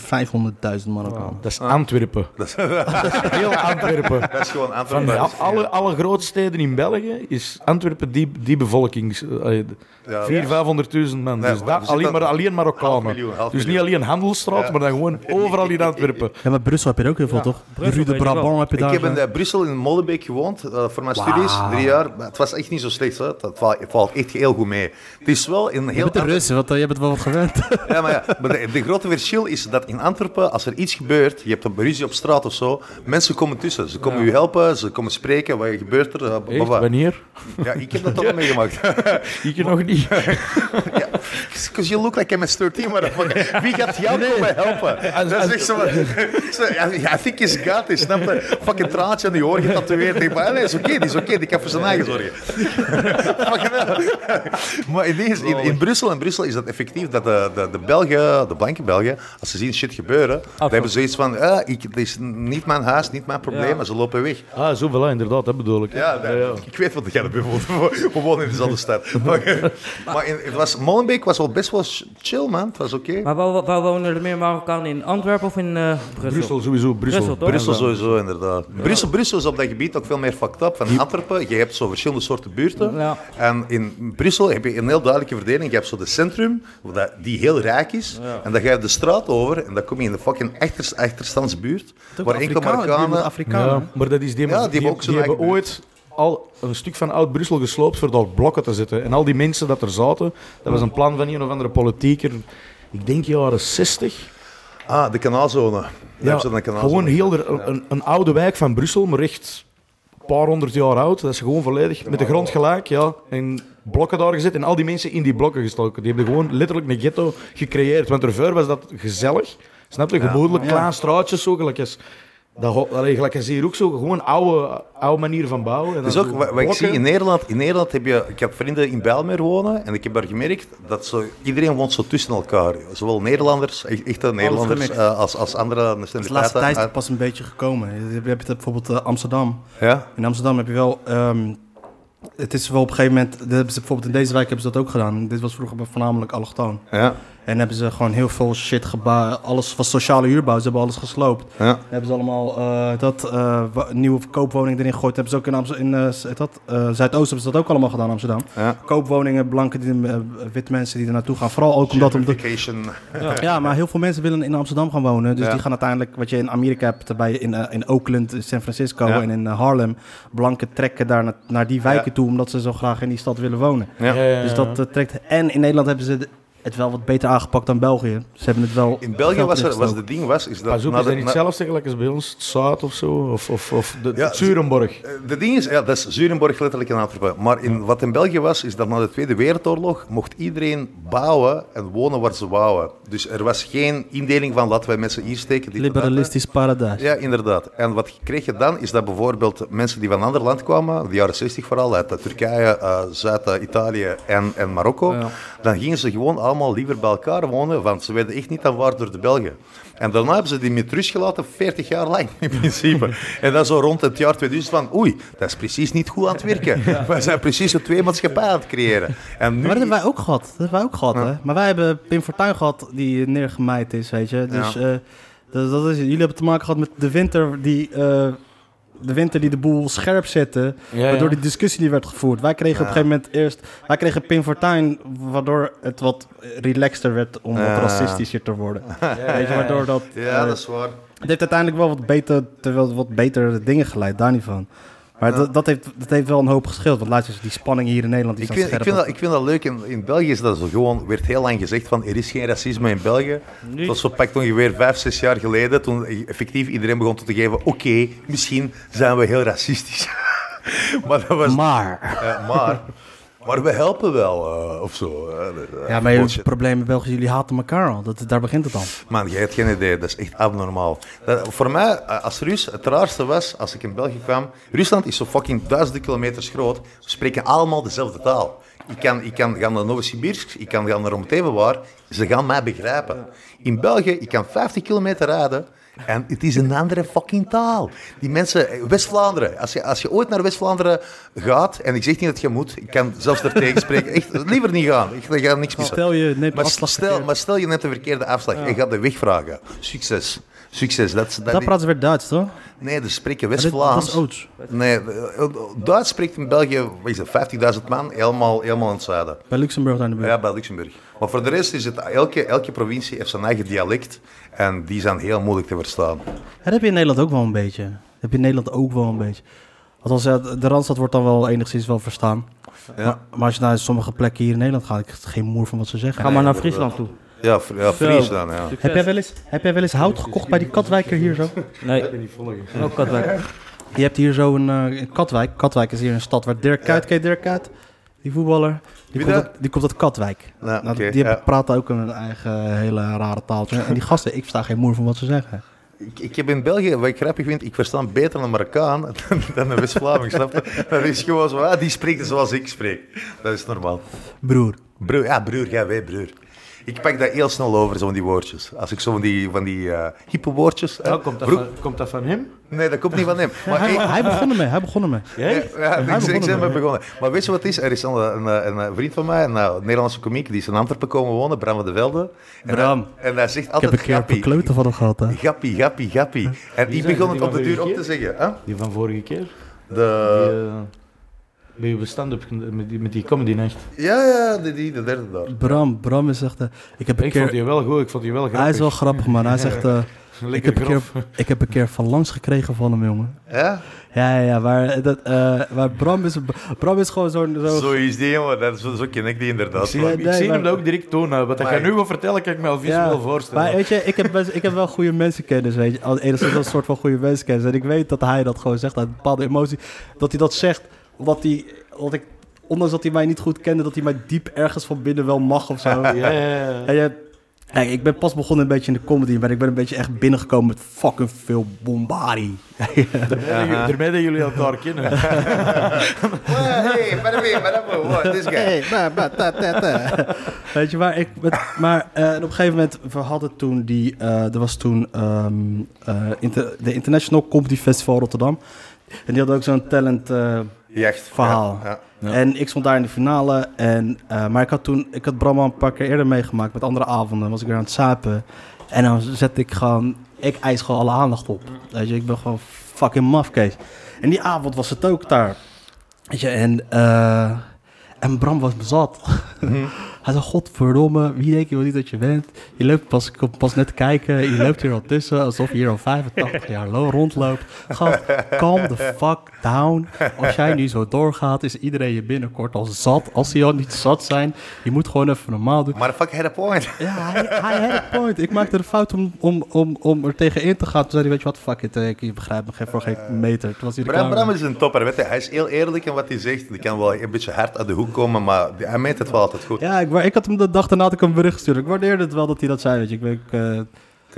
500.000 Marokkanen. Ah, Dat is Antwerpen. Ah. Dat is, Heel Antwerpen. dat is gewoon Van Antwerpen. de, alle, alle grootsteden in België is Antwerpen die, die bevolkings... eh, Ja. 400.000, 500.000 man. Nee, dus maar dat, we alleen, zitten maar aan- alleen half Marokkanen. miljoen, half dus niet miljoen. alleen Handelstraat, maar dan gewoon overal in Antwerpen. Ja, maar Brussel heb je er ook heel veel, toch? Brussel Rue de weet ik wel. Brabant heb je Ik daar. heb in zo. eh, Brussel in Molenbeek gewoond eh, voor mijn studies, drie jaar. Maar het was echt niet zo slecht, hè. Het, valt, het valt echt heel goed mee. Het is wel een Je heel... bent een ander- Russen, want eh, je bent wel wat gewend. Ja, maar, ja, maar de, de grote verschil is dat in Antwerpen, als er iets gebeurt, je hebt een ruzie op straat of zo, mensen komen tussen. Ze komen u helpen, ze komen spreken, wat gebeurt er? eh, bla, bla, Echt? bla. Wanneer? Ja, ik heb dat toch meegemaakt. Ik je nog niet. Because you look like MS-13, motherfucker. Wie gaat jou komen helpen? Dat is echt zo... zo, I- I think he's got it, snap je? Fucking traantje aan die oor getatoeëerd. Ik denk, Maar nee, is oké, die is oké. die kan voor zijn eigen zorgen. Fucking hell. maar in, deze- in, in Brussel, in Brussel is dat effectief dat de, de, de, de Belgen, de blanke Belgen, als ze zien shit gebeuren, dan zo. hebben ze zoiets van, eh, ik, dit is niet mijn huis, niet mijn probleem, Ja. en ze lopen weg. Ah, zoveel, hè, inderdaad, dat bedoel ik. Ja, dat- ik weet wat jij erbij voelt. We wonen in dezelfde stad. Maar, maar in, het was, Molenbeek was wel best wel chill, man. Het was oké. Maar waar, waar wonen er meer Marokkanen in? Antwerpen of in eh, Brussel? Brussel sowieso, Brussel. Brussel, toch? Brussel sowieso, inderdaad. Brussel, Brussel is op dat gebied ook veel meer fucked up. Van Antwerpen, je hebt zo verschillende soorten buurten. Ja. En in Brussel heb je een heel duidelijke verdeling. Je hebt zo de centrum, waar dat- die heel rijk is. En dan ga je de straat over en dan kom je in de fucking achterst, achterstandsbuurt. Waar enkel Marokkanen... Dus Ja, maar dat is die, Ja, die die, hebben ook zo'n die hebben eigen ooit al een stuk van oud-Brussel gesloopt voor daar blokken te zetten. En al die mensen dat er zaten, dat was een plan van een of andere politieker, ik denk jaren 60. Ah, de kanaalzone. Daar hebben ze dan een kanaalzone. gewoon heel er- een, een, een oude wijk van Brussel, maar echt een paar honderd jaar oud. Dat is gewoon volledig met de grond gelijk, ja. En blokken daar gezet en al die mensen in die blokken gestoken. Die hebben gewoon letterlijk een ghetto gecreëerd. Want ervoor was dat gezellig, snap je? Gemoedelijk, klein straatjes, zo gelijk als... Dat, ho- allee, gelijk als hier ook zo, gewoon oude, oude manier van bouwen. En Dus dan ook Nou, wat, zo wat ik zie blokken. in Nederland, in Nederland heb je, ik heb vrienden in Bijlmer wonen en ik heb daar gemerkt dat zo, iedereen woont zo tussen elkaar. Zowel Nederlanders, e- echte Nederlanders, gemixt. eh, als, als andere De laatste nationaliteiten. tijd is het pas een beetje gekomen. Je hebt- je hebt het bijvoorbeeld eh, Amsterdam. Ja? In Amsterdam heb je wel... ehm, het is wel op een gegeven moment... dat hebben ze bijvoorbeeld in deze wijk hebben ze dat ook gedaan. Dit was vroeger voornamelijk allochtoon. Ja, En hebben ze gewoon heel veel shit gebouwd. Alles was sociale huurbouw. Ze hebben alles gesloopt. ja. Dan hebben ze allemaal eh, dat eh, wa- nieuwe koopwoning erin gegooid. hebben ze ook in, Amst- in eh, Z- dat, eh, Zuidoost hebben ze dat ook allemaal gedaan in Amsterdam. Ja. Koopwoningen, blanke, die, eh, wit mensen die er naartoe gaan. Vooral ook omdat... omdat Gentrification. ja, maar heel veel mensen willen in Amsterdam gaan wonen. Dus Ja. die gaan uiteindelijk, wat je in Amerika hebt, bij, in, eh, in Oakland, in San Francisco Ja. en in eh, Harlem. Blanken trekken daar na- naar die wijken Ja. toe, omdat ze zo graag in die stad willen wonen. Ja. Ja, ja, ja. Dus dat eh, trekt... En in Nederland hebben ze de- het wel wat beter aangepakt dan België. Ze hebben het wel... In België geld was er, was ingestoken. de ding was, is dat... Pas op, na is de- dat niet na- hetzelfde gelijk als bij ons? Het Zuid of zo? Of, of, of de, Ja, het Zurenborg? Eh, De ding is, ja, dat is Zurenborg letterlijk in Antwerpen. Maar in, wat in België was, is dat na de Tweede Wereldoorlog mocht iedereen bouwen en wonen waar ze wouden. Dus er was geen indeling van laten wij mensen hier steken. dit en dat, hè. Liberalistisch paradijs. Ja, inderdaad. En wat kreeg je dan, is dat bijvoorbeeld mensen die van een ander land kwamen, de jaren 60 vooral, uit eh, Turkije, eh, Zuid-Italië en, en Marokko, dan gingen ze gewoon allemaal liever bij elkaar wonen, want ze werden echt niet aanvaard door de Belgen. En daarna hebben ze die met rust gelaten, 40 jaar lang in principe. En dan zo rond het jaar 2000 van, oei, dat is precies niet goed aan het werken. Wij zijn precies een twee maatschappij aan het creëren. En nu... Maar dat hebben wij ook gehad. Dat hebben wij ook gehad, hè. Maar wij hebben Pim Fortuyn gehad die neergemaaid is, weet je. Dus eh, dat, dat is, jullie hebben te maken gehad met de winter die... eh, de winter die de boel scherp zette, Ja, waardoor ja. die discussie die werd gevoerd. Wij kregen op een gegeven moment eerst... Wij kregen Pim Fortuyn, waardoor het wat relaxter werd om Ja. wat racistischer te worden. Weet je, waardoor dat... Ja, eh, dat is waar. het heeft uiteindelijk wel wat, beter, te wel wat betere dingen geleid, daar niet van. Maar dat, dat, heeft, dat heeft wel een hoop geschild. Want laatst is die spanning hier in Nederland... Die Ik is aan vind, ik, het vind dat, scherpen. ik vind dat leuk. In, in België is dat zo gewoon, werd heel lang gezegd van er is geen racisme in België. Dat was zo pakt ongeveer vijf, zes jaar geleden toen effectief iedereen begon toe te geven oké, misschien zijn we heel racistisch. maar dat was... Maar... eh, maar, maar we helpen wel, eh, of zo. eh, eh, Ja, maar het bullshit. probleem in België, jullie haten elkaar al. Dat, daar begint het al. Man, jij hebt geen idee. Dat is echt abnormaal. Dat- voor mij, eh, als Rus, het raarste was, als ik in België kwam... Rusland is zo fucking duizenden kilometers groot. We spreken allemaal dezelfde taal. Ik kan, ik kan gaan naar Novosibirsk, ik kan gaan naar Omteven waar. Ze gaan mij begrijpen. In België, ik kan 50 kilometer rijden... En het is een andere fucking taal. Die mensen, eh, West-Vlaanderen. Als je, als je ooit naar West-Vlaanderen gaat, en ik zeg niet dat je moet, ik kan zelfs er tegen spreken. Echt, liever niet gaan. Ik ga niks missen. Stel je neemt Maar afslag stel, verkeerd. maar stel je neemt de verkeerde afslag en gaat de weg vragen. Succes. Succes. Dat, is- dat, Daar praten ze weer Duits, toch? Nee, dus spreken Dat West-Vlaams. is Oots. Nee, eh, Duits spreekt in België wat is dat, 50.000 man, helemaal, helemaal in het zuiden. Bij Luxemburg daar in de buurt. Ja, bij Luxemburg. Maar voor de rest is het, elke, elke provincie heeft zijn eigen dialect en die zijn heel moeilijk te verstaan. Dat heb je in Nederland ook wel een beetje. Dat heb je in Nederland ook wel een beetje. Althans, ja, de Randstad wordt dan wel enigszins wel verstaan. Maar, maar als je naar sommige plekken hier in Nederland gaat, ik heb geen moer van wat ze zeggen. Ga maar naar Friesland toe. Ja, Fr- ja Fries dan, ja. Heb jij, wel eens, heb jij wel eens hout gekocht bij die Katwijker hier zo? Nee. Dat Ook Katwijk. Je hebt hier zo een eh, in Katwijk. Katwijk is hier een stad waar Dirk Kuyt, ken je Dirk Kuyt? Die voetballer. Wie Die komt, dat? uit, die komt uit Katwijk. Ja, Nou, oké, die hebben, ja. praten ook een eigen eh, hele rare taaltje. En die gasten, ik versta geen moer van wat ze zeggen. Ik, ik heb in België, wat ik grappig vind, ik verstaan beter een Marokkaan dan, dan een West-Vlaming, snap je? Dat is gewoon zo, ah, die spreekt zoals ik spreek. Dat is normaal. Broer, Broer, ja, broer, jij weet, broer. Ik pak dat heel snel over, zo van die woordjes. Als ik zo van die, van die eh hippe woordjes... hè. Nou, komt, dat Broer- van, komt dat van hem? Nee, dat komt niet van hem. Maar Hij, ik- hij begon ermee, hij begon ermee. Jij? Ja, Hij ik, ik begon ben ermee. begonnen. Maar weet je wat het is? Er is een, een, een, een vriend van mij, een, eh, Nederlandse komiek, die is in Antwerpen komen wonen, Bram van de Velde. En, Bram. hij- en hij zegt Ik heb altijd een keer een gappie. paar kloten van hem gehad, hè. Gappie, gappie, gappie. En Wie ik zijn begon die het op van de duur vorige op te zeggen. Hè? Die van vorige keer? De, Die, eh, met je stand-up, met die, met die comedy nacht. ja, ja, die, die, de derde daar. Bram, Bram is echt... eh, ik heb een Ik vond keer... die wel goed, ik vond die wel grappig. Hij is wel grappig, man. Hij zegt... eh, ik, Lekker heb een keer, grof. ik heb een keer van langs gekregen van hem, jongen. Ja? Ja, ja, ja, maar, dat, eh, maar Bram, is, Bram is gewoon zo'n... Zo, Zo is die, jongen. Dat is, zo ken ik die Ik inderdaad. zie, wel. ik nee, zie hem maar- dat ook direct doen. hè. Wat dat Maar- jij nu wil vertellen, kan ik me al visueel voorstellen. Maar eh, weet je, ik heb, best- ik heb wel goede mensenkennis, weet je. Als enigszins wel een soort van goede mensenkennis. En ik weet dat hij dat gewoon zegt uit een bepaalde emotie. Dat hij dat zegt, omdat hij... Omdat ik, ondanks dat hij mij niet goed kende, dat hij mij diep ergens van binnen wel mag of zo. ja, ja, ja. En je- kijk, ik ben pas begonnen een beetje in de comedy, maar ik ben een beetje echt binnengekomen met fucking veel bombardie. Daarmee dat- daarmee dat jullie elkaar kennen. Wow, hey, by the way, by the way, wow, this guy. Weet je, maar, ik, met- maar eh, en op een gegeven moment, we hadden toen die, eh, er was toen ehm, eh, inter- de International Comedy Festival Rotterdam. En die hadden ook zo'n talent eh, Jacht. verhaal. Ja, ja. En ik stond daar in de finale. En, eh, maar ik had toen, ik had Bram al een paar keer eerder meegemaakt met andere avonden. Was ik weer aan het sapen. En dan zet ik gewoon, ik eis gewoon alle aandacht op. Weet je, ik ben gewoon fucking mafkees. En die avond was het ook daar. Weet je, en, eh, en Bram was me zat. Mhm. Hij zei, godverdomme, wie denk je wel niet dat je bent? Je loopt pas, ik kom pas net te kijken, je loopt hier al tussen, alsof je hier al 85 jaar lo- rondloopt. Gast, calm the fuck down. Als jij nu zo doorgaat, is iedereen je binnenkort al zat. Als die al niet zat zijn, je moet gewoon even normaal doen. Maar fuck had a point. Ja, hij, hij had een point. Ik maakte de fout om, om, om, om er tegen in te gaan. Toen zei hij, weet je wat, fuck it, eh, ik ik begrijp me geen- voor geen meter. Toen was hij de Bram, camera- Bram is een topper, weet je. Hij is heel eerlijk in wat hij zegt. Die kan wel een beetje hard uit de hoek komen, maar hij meent het wel altijd goed. Ja, ik, wa- ik had hem de dag daarna had ik hem een bericht gestuurd. Ik waardeerde het wel dat hij dat zei, weet je. Ik, ben- ik, eh, Het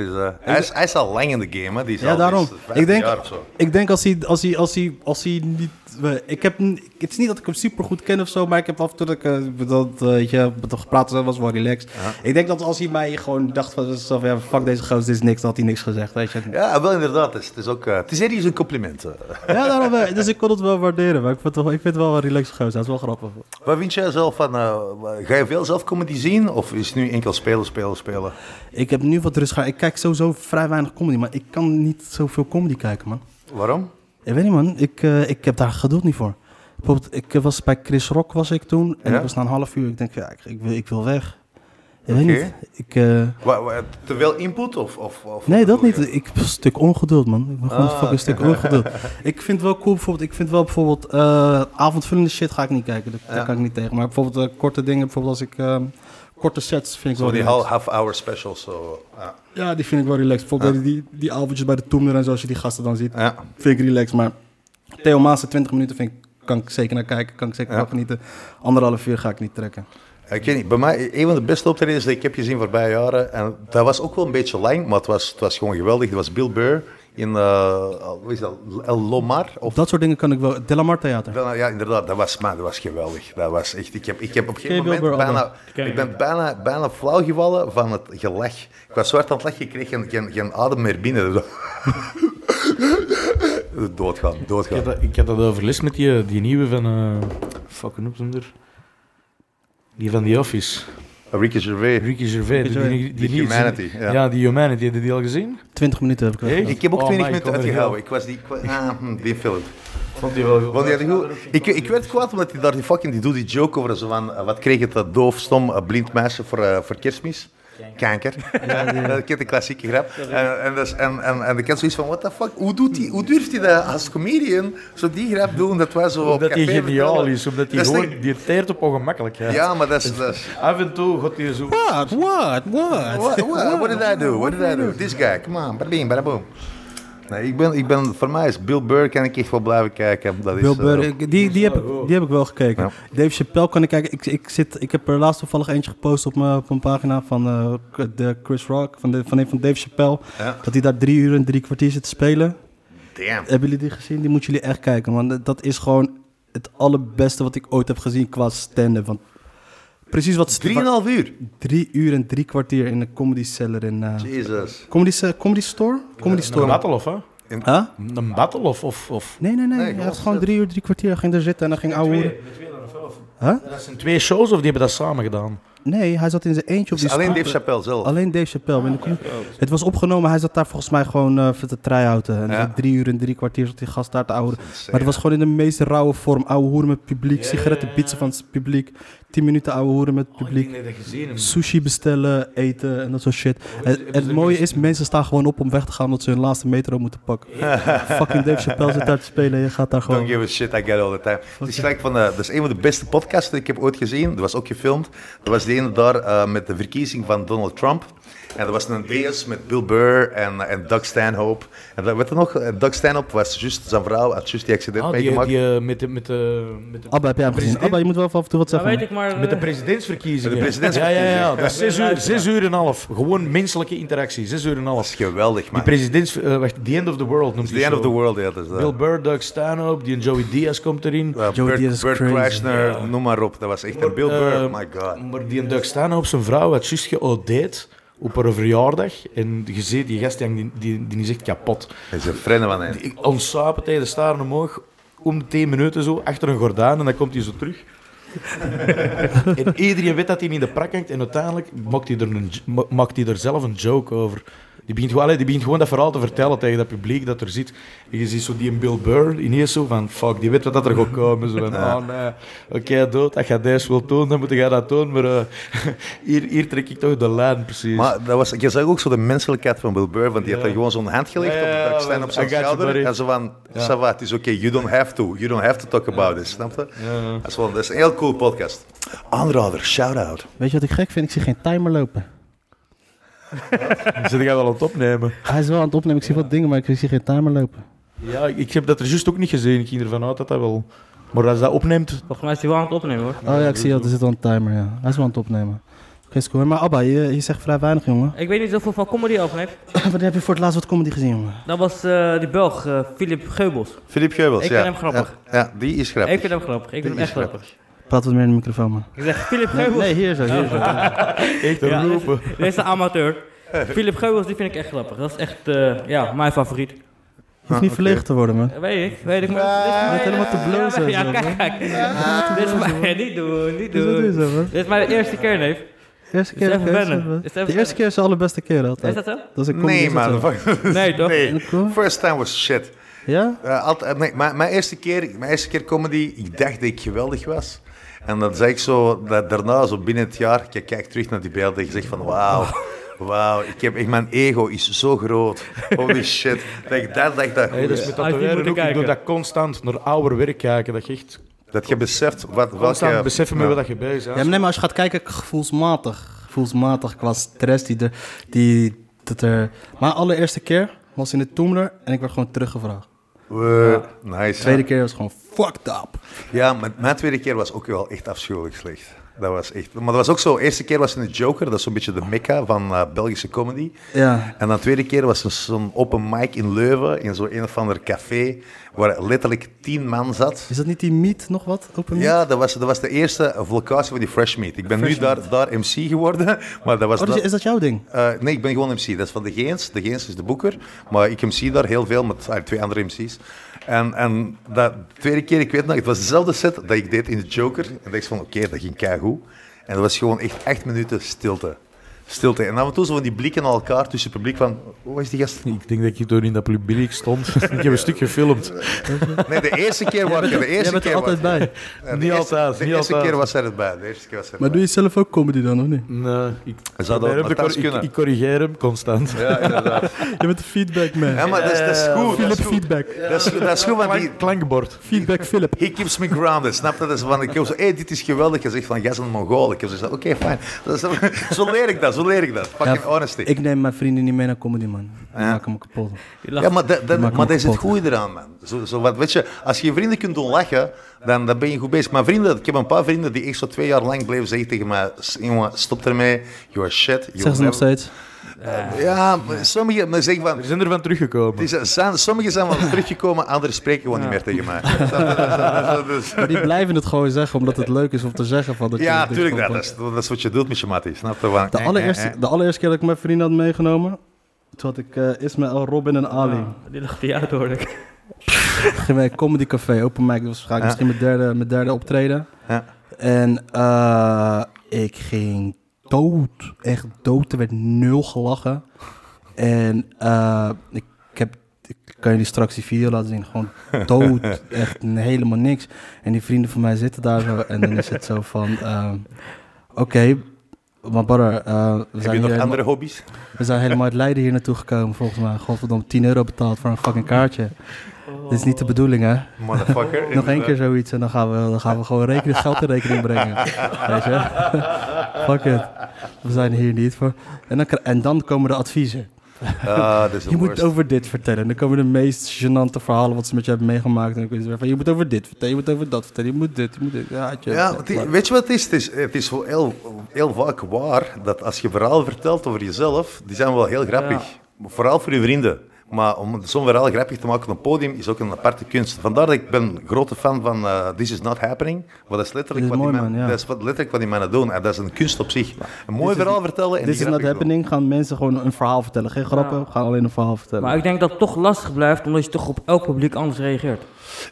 is, eh, hij, is, hij is al lang in de game, hè. Die is Ja, al daarom. die is 15 Ik denk, jaar of zo. ik denk als hij, als hij, als hij, als hij niet... we- Ik heb, n- het is niet dat ik hem super goed ken of zo, maar ik heb af en toe dat ik, eh, dat, eh, weet je, met hem gepraat en zo, was wel relaxed. Ik denk dat als hij mij gewoon dacht van zichzelf, ja, fuck deze gozer, dit is niks, dan had hij niks gezegd, weet je. Ja, Ja, wel inderdaad. Het is, het is ook... eh, het is ergens een compliment. eh. daarom, wel. dus ik kon het wel waarderen, maar ik vind het wel, ik vind het wel een relaxed gozer, dat is wel grappig. Wat vind jij zelf van... eh, ga je veel zelf comedy zien? Of is het nu enkel spelen, spelen, spelen? Ik heb nu wat rust gaan, ik kijk sowieso vrij weinig comedy, maar ik kan niet zoveel comedy kijken, man. Waarom? Ik weet niet, man. Ik, eh, ik heb daar geduld niet voor. Bijvoorbeeld, ik eh, was bij Chris Rock was ik toen. En Ja? ik was na een half uur. Ik denk, ja, ik, ik wil, ik wil weg. Ik Oké. weet niet. Ik, eh, Wa- wa- te veel input? Of, of, of nee, dat niet. Ik een stuk ongeduld, man. Ik ben gewoon Ah, een fucking stuk ongeduld. Ik vind wel cool, bijvoorbeeld. Ik vind wel bijvoorbeeld eh, avondvullende shit ga ik niet kijken. Dat, daar Ja. kan ik niet tegen. Maar bijvoorbeeld eh, korte dingen. Bijvoorbeeld als ik eh, korte sets vind ik Zo wel. die relaxed. half-hour specials. Zo. Ja. Ja, die vind ik wel relaxed. Bijvoorbeeld die, die avondjes bij de Toemler en zo, als je die gasten dan ziet. Ja. vind ik relaxed. Maar Theo Maas, 20 minuten vind ik, kan ik zeker naar kijken, kan ik zeker Ja. van genieten. Anderhalf uur ga ik niet trekken. Ik weet niet, bij mij, een van de beste optredens die ik heb gezien voorbij jaren, en dat was ook wel een beetje lang, maar het was, het was gewoon geweldig. Dat was Bill Burr in, eh, hoe is dat, El Lomar? Of, Dat soort dingen kan ik wel. Delamar Theater. ja, inderdaad, dat was, man, dat was geweldig. Dat was echt, ik heb, ik heb op een gegeven Bill moment Burr al bijna, wel. ken ik hem. ben bijna, bijna flauw gevallen van het gelach. Ik was zwart aan het lachen, ik kreeg geen, geen, geen adem meer binnen. doodgaan, Ik doodgaan. had, dat, ik had dat overlist met die, die nieuwe van... eh fuck, hoe noemt hem er? Die van The Office. Ricky Gervais. Ricky Gervais. Ricky Gervais. Die nieuwe- Humanity, ja. Ja, die Humanity. Heb je die al gezien? 20 minuten heb ik wel. Echt? gedaan. Ik heb ook Oh, 20 Mike, minuten wat een uitgehouden. Ik was die, ik was- ah, hm, die film. Vond die wel goed. Want die hadden goed. Ik, ik werd kwaad omdat hij daar die fucking die doet die joke over zo van eh, wat kreeg het dat doof stom eh, blind meisje voor, eh, voor kerstmis. Kanker. Dat kent de klassieke grap. En, en, dus, en, en, en ik had zoiets van, what the fuck, hoe, doet die, hoe durft hij dat als comedian, zo die grap doen, dat wij zo op Omdat die café geniaal vertellen? is. Omdat die Dat is gewoon... niet- Die teert op ongemakkelijkheid. Ja, maar dat is... Dat is Af en toe gaat hij zo... What, what, what? what, what, what did I do? What did I do? This guy, come on, bada bing, bada boom. Nee, ik ben, ik ben, voor mij is Bill Burr, kan ik echt wel blijven kijken. Dat is, Bill eh, Burr, ik- die, die, heb ik, die heb ik wel gekeken. Oh. Ja. Dave Chappelle kan ik kijken. Ik, ik, zit, ik heb er laatst toevallig eentje gepost op mijn, op mijn pagina van eh, de Chris Rock, van, de, van, een van Dave Chappelle. Ja. Dat hij daar drie uur en drie kwartier zit te spelen. damn. Hebben jullie die gezien? Die moeten jullie echt kijken. Want dat is gewoon het allerbeste wat ik ooit heb gezien qua stand-up. Want precies wat... Drieënhalf uur. Drie uur en drie kwartier in een comedy cellar in... eh, Jezus. comedy, ce- comedy store? Comedy Een store. battle of, hè? Huh? Een battle of... of, of. Nee, nee, nee. Nee, hij gewoon heeft gewoon zit. drie uur, drie kwartier. Hij ging er zitten en hij ging ouwe. Huh? Dat zijn twee shows of die hebben dat samen gedaan? Nee, hij zat in zijn eentje op Dus die Dus Alleen ah, stoel. Dave Chappelle zelf. Alleen Dave Chappelle. in de comedy- Het was opgenomen, hij zat daar volgens mij gewoon eh, even te try-outen. En Ja. zat drie uur en drie kwartier zat die gast daar te ouwen. Maar het was gewoon in de meest rauwe vorm. Ouwe hoeren met publiek, sigaretten bietsen van het publiek. Tien minuten ouwe hoeren met publiek. dat gezien heb. Sushi bestellen, eten en Oh, dat soort shit. En, en het mooie is, mensen staan gewoon op om weg te gaan omdat ze hun laatste metro moeten pakken. Fucking Dave Chappelle zit daar te spelen en je gaat daar Don't gewoon... give a shit, I get all the time. Het is gelijk van, eh, dat is een van de beste podcasts die ik heb ooit gezien. Dat was ook gefilmd. Er was de ene daar eh, met de verkiezing van Donald Trump. En er was een DS met Bill Burr en, en Doug Stanhope. En dat, weet je nog, Eh, Doug Stanhope was juist zijn vrouw, had juist die accident Ah, die, meegemaakt. die, eh, met, de, met, de, met, de, Abba, heb jij hem gezien? Abba, je moet wel af en toe wat Dat zeggen. weet man. ik maar. met de eh, presidentsverkiezingen. Met de presidentsverkiezingen. Ja, ja, ja. Dat is zes uur, zes uur en een half. Gewoon menselijke interactie. Zes uur en een Dat is half. geweldig, Die man. presidents... eh, wacht, The End of the World noemt It's the end of the world, ja. Dat is, eh, Bill Burr, Doug Stanhope, die en Joey Diaz komt erin. eh, Joe Diaz Bert, is Bert crazy. Kreisner, noem maar op. Dat was echt een Bill Burr, Eh, my god. Maar die en Doug Stanhope, zijn vrouw, had juist geodeed op haar verjaardag. En je ziet, die gast die, hangt- die, die is echt kapot. Hij is een vrienden van hem. Ik ontsapen tegen de staren omhoog. Om de 10 minuten zo, achter een gordijn. En dan komt hij zo terug. en iedereen weet dat hij hem in de prak hangt. En uiteindelijk maakt hij er, een, j- ma- maakt hij er zelf een joke over. Die begint, gewoon, allee, die begint gewoon dat verhaal te vertellen tegen dat publiek dat er zit. En je ziet zo die en Bill Burr ineens zo van... Fuck, die weet wat dat er gaat komen. Zo van, oh nee, oké, dood. Als je deze wilt doen, dan moet je dat doen. Maar eh, hier, hier trek ik toch de lijn, precies. Maar dat was, je zag ook zo de menselijkheid van Bill Burr, want die had Ja. er gewoon zo'n hand gelegd Ja, ja, ja, op, de staan op I zijn got you, buddy. schouder. En zo van, ça va, het is oké, you don't have to. You don't have to talk about this, snap je? Dat, is wel, dat is een heel cool podcast. Aanrader, shout-out. Weet je wat ik gek vind? Ik zie geen timer lopen. Dan zit jij wel aan het opnemen. Hij is wel aan het opnemen. Ik zie wat dingen, maar ik zie geen timer lopen. Ja, ik ik heb dat er juist ook niet gezien. Ik ging ervan uit dat dat wel... Maar als dat opneemt... Volgens mij is hij wel aan het opnemen hoor. Oh ja, ik zie al. Er zit al een timer, ja. Hij is wel aan het opnemen. Oké, is cool. Maar Abba, je, je zegt vrij weinig, jongen. Ik weet niet zoveel van comedy afneemt. Wanneer heb je voor het laatst wat comedy gezien, jongen? Dat was eh, die Belg, eh, Philip Geubels. Filip Geubels, Ik ja. vind hem grappig. Ja, ja, die is grappig. Ik vind hem grappig. Ik vind hem is echt grappig. Praat wat meer in de microfoon, man. Ik zeg Philip Nee, Geubels. Oh, nee, hier zo, hier zo. Echt een Ja. roepen. Deze amateur. Philip Geubels, die vind ik echt grappig. Dat is echt eh, ja, mijn favoriet. Eh, hoeft niet verlegen te worden, man. Weet ik, weet ik. Maar dit is mijn- Je bent helemaal te blozen, Ja, zo, kijk, kijk. Dit is mijn... Niet doen, niet Dus dat doen. is zo, man. Dit is mijn eerste keer, neef. De eerste keer, Is even oké, is wennen. goed, man. Is even de eerste keer is de allerbeste keer Is altijd. dat zo? Dat is een comedy. Nee, is dat man. zo. fuck. Nee, toch? Nee. Cool. First time was shit. Ja? Eh, altijd, nee, mijn, mijn, eerste keer, mijn eerste keer comedy, ik dacht dat ik geweldig was. En dan zei ik zo, dat daarna, zo binnen het jaar, ik kijk terug naar die beelden en ik zeg van, wauw, wauw, ik heb, echt, mijn ego is zo groot. Holy shit. Dat ik dat dacht, dat, Nee, dat is dus met Als je moet tatoeëren ook. Ik doe kijken. dat constant naar ouder werk kijken. Dat je echt dat je beseft wat, constant welke... beseffen met wat je bezig Ja, maar bent. nee, maar als je gaat kijken, gevoelsmatig. Gevoelsmatig qua stress die er... Die, dat er... Mijn allereerste keer was in de Toemler en ik werd gewoon teruggevraagd. Eh, nice. Tweede keer was gewoon fucked up. Ja, maar mijn tweede keer was ook wel echt afschuwelijk slecht. Dat was echt... Maar dat was ook zo, eerste keer was in de Joker, dat is zo'n beetje de mecca van eh, Belgische comedy. Ja. En dan de tweede keer was er zo'n open mic in Leuven, in zo'n een of ander café, waar letterlijk tien man zat. Is dat niet die meet nog wat? Open meet? Ja, dat was, dat was de eerste locatie van die Fresh Meat. Ik ben nu daar, daar MC geworden, maar dat was... Oh, dus dat- is dat jouw ding? eh, nee, ik ben gewoon MC. Dat is van de Geens. De Geens is de boeker. Maar ik MC daar heel veel met ah, twee andere MC's. En, en dat tweede keer, ik weet nog, het was dezelfde set dat ik deed in de Joker. En dacht ik van, oké, dat ging keigoed. En dat was gewoon echt acht minuten stilte. Stilte. En af en toe zo van die blikken naar elkaar tussen het publiek van, hoe is die gast? Ik denk dat ik toen in dat publiek stond. ik heb een stuk gefilmd. Nee, de eerste keer was er. De Jij eerste bent er keer altijd was bij. eh, de Niet eerste- altijd, De niet eerste altijd. keer was er het bij. De eerste keer was er Maar het doe je zelf ook comedy dan, of niet? Nee, ik, Zou dat ik- wat thuis ik, kunnen? ik corrigeer hem constant. bij. Ja, inderdaad. Je bent een feedback man. Ja, maar dat is, dat is goed. Dat Philip is goed. feedback. Dat is, dat is goed, want die, Klank- klankbord. Feedback Philip. He keeps me grounded, snap je? Dat is van, ik heb zo, hey, dit is geweldig. Je zegt van, jij is een Mongool. Ik heb zo oké, fijn. Dat is- Zo leer ik dat, zo leer ik dat. Fucking Ja, honesty. Ik neem mijn vrienden niet mee naar comedy, man. Ik maak hem kapot. Die ja, lacht. maar, dat, dat, maak maar hem dat is het kapot. goede eraan, man. Zo, zo wat, weet je, als je je vrienden kunt doen lachen, dan, dan ben je goed bezig. Maar vrienden, ik heb een paar vrienden die echt zo twee jaar lang bleven zeggen tegen mij, "S- jongen, stop ermee, you are shit. you Zeg ze nog never-" steeds. Ja, maar sommigen maar zeggen van... We zijn ervan teruggekomen. die zijn- zijn- Sommigen zijn wel teruggekomen, anderen spreken gewoon niet meer tegen mij. Snap je? Dus- dus- Maar die blijven het gewoon zeggen, omdat het leuk is om te zeggen. Van dat je Ja, het tuurlijk. doet. Dat, dat, is, dat is wat je doet met je mattie. Snap je? Van, De eh, eh, allereerste, eh. de allereerste keer dat ik mijn vrienden had meegenomen, toen had ik eh, Ismaël, Robin en Ali. Oh, Die lag die uit, hoor ik. Gingen wij Comedy Café, open mic, dat was waarschijnlijk Ja. misschien mijn derde, mijn derde optreden. Ja. En eh, ik ging dood, echt dood. Er werd nul gelachen. En eh, ik, heb, ik kan jullie straks die video laten zien, gewoon dood, echt n- helemaal niks. En die vrienden van mij zitten daar zo en dan is het zo van, ehm, oké, maar brother, eh, we zijn Heb je hier nog helemaal- andere hobby's? we zijn helemaal uit Leiden hier naartoe gekomen, volgens mij. Godverdomme, 10 euro betaald voor een fucking kaartje. Dit is niet de bedoeling, hè? Motherfucker. Nog één keer zoiets en dan gaan we, dan gaan we gewoon rekening, geld in rekening brengen. Weet je? Fuck it. We zijn hier niet voor. En dan, kri- en dan komen de adviezen. Ah, dat is de Je moet worst. over dit vertellen. Dan komen de meest gênante verhalen wat ze met je hebben meegemaakt. En dan kun je zeggen van, je moet over dit vertellen, je moet over dat vertellen, je moet dit, je moet dit. Ja, tje- Ja, want die- weet je wat het is? Het is, het is wel heel, heel vaak waar dat als je verhaal vertelt over jezelf, die zijn wel heel grappig. Vooral voor je vrienden. Maar om zo'n verhaal grappig te maken op een podium is ook een aparte kunst. Vandaar dat ik ben een grote fan van eh, This Is Not Happening. Want dat is letterlijk, Dit is wat, die mooi, men- man, ja. dat is wat, letterlijk wat die mannen doen. En dat is een kunst op zich. Een mooi verhaal vertellen en Dit die is not grappig doen. happening. Gaan mensen gewoon een verhaal vertellen. Geen grappen, gaan alleen een verhaal vertellen. Maar ik denk dat het toch lastig blijft, omdat je toch op elk publiek anders reageert.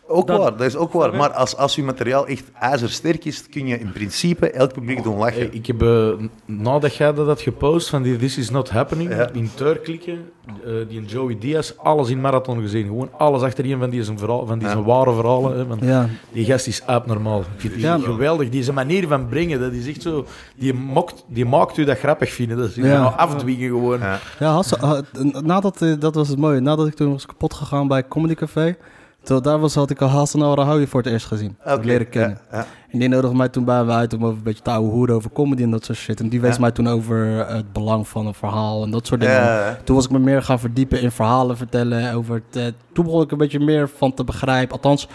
Ook Dat- waar, dat is ook waar. Maar als, als je materiaal echt ijzersterk is, kun je in principe elk publiek doen lachen. Hey, ik heb eh, nadat jij dat had gepost van die This Is Not Happening, Ja. in Teur klikken, eh, die Joey Diaz, alles in marathon gezien. Gewoon alles achterin van die zijn, verhaal, van die zijn ware verhalen. Hè, want Ja, Die gast is abnormaal. Ik vind die Ja. geweldig. Die zijn manier van brengen, dat is echt zo... Die, mokt, die maakt u dat grappig vinden. Dat is Ja. nou afdwingen gewoon. Ja. Ja, Hasse, eh, nadat, eh, dat was het mooie. Nadat ik toen was kapot gegaan bij Comedy Café. Toen, daar was, had ik al Hassan Al-Rahoui voor het eerst gezien. Had ik Oké, Leren kennen. ja, ja. En die nodigde mij toen bij me uit om over een beetje te ouwe hoeren over comedy en dat soort shit. En die wees Ja. mij toen over eh, het belang van een verhaal en dat soort dingen. Ja, ja. Toen was ik me meer gaan verdiepen in verhalen vertellen. Over het, eh, toen begon ik een beetje meer van te begrijpen. Althans,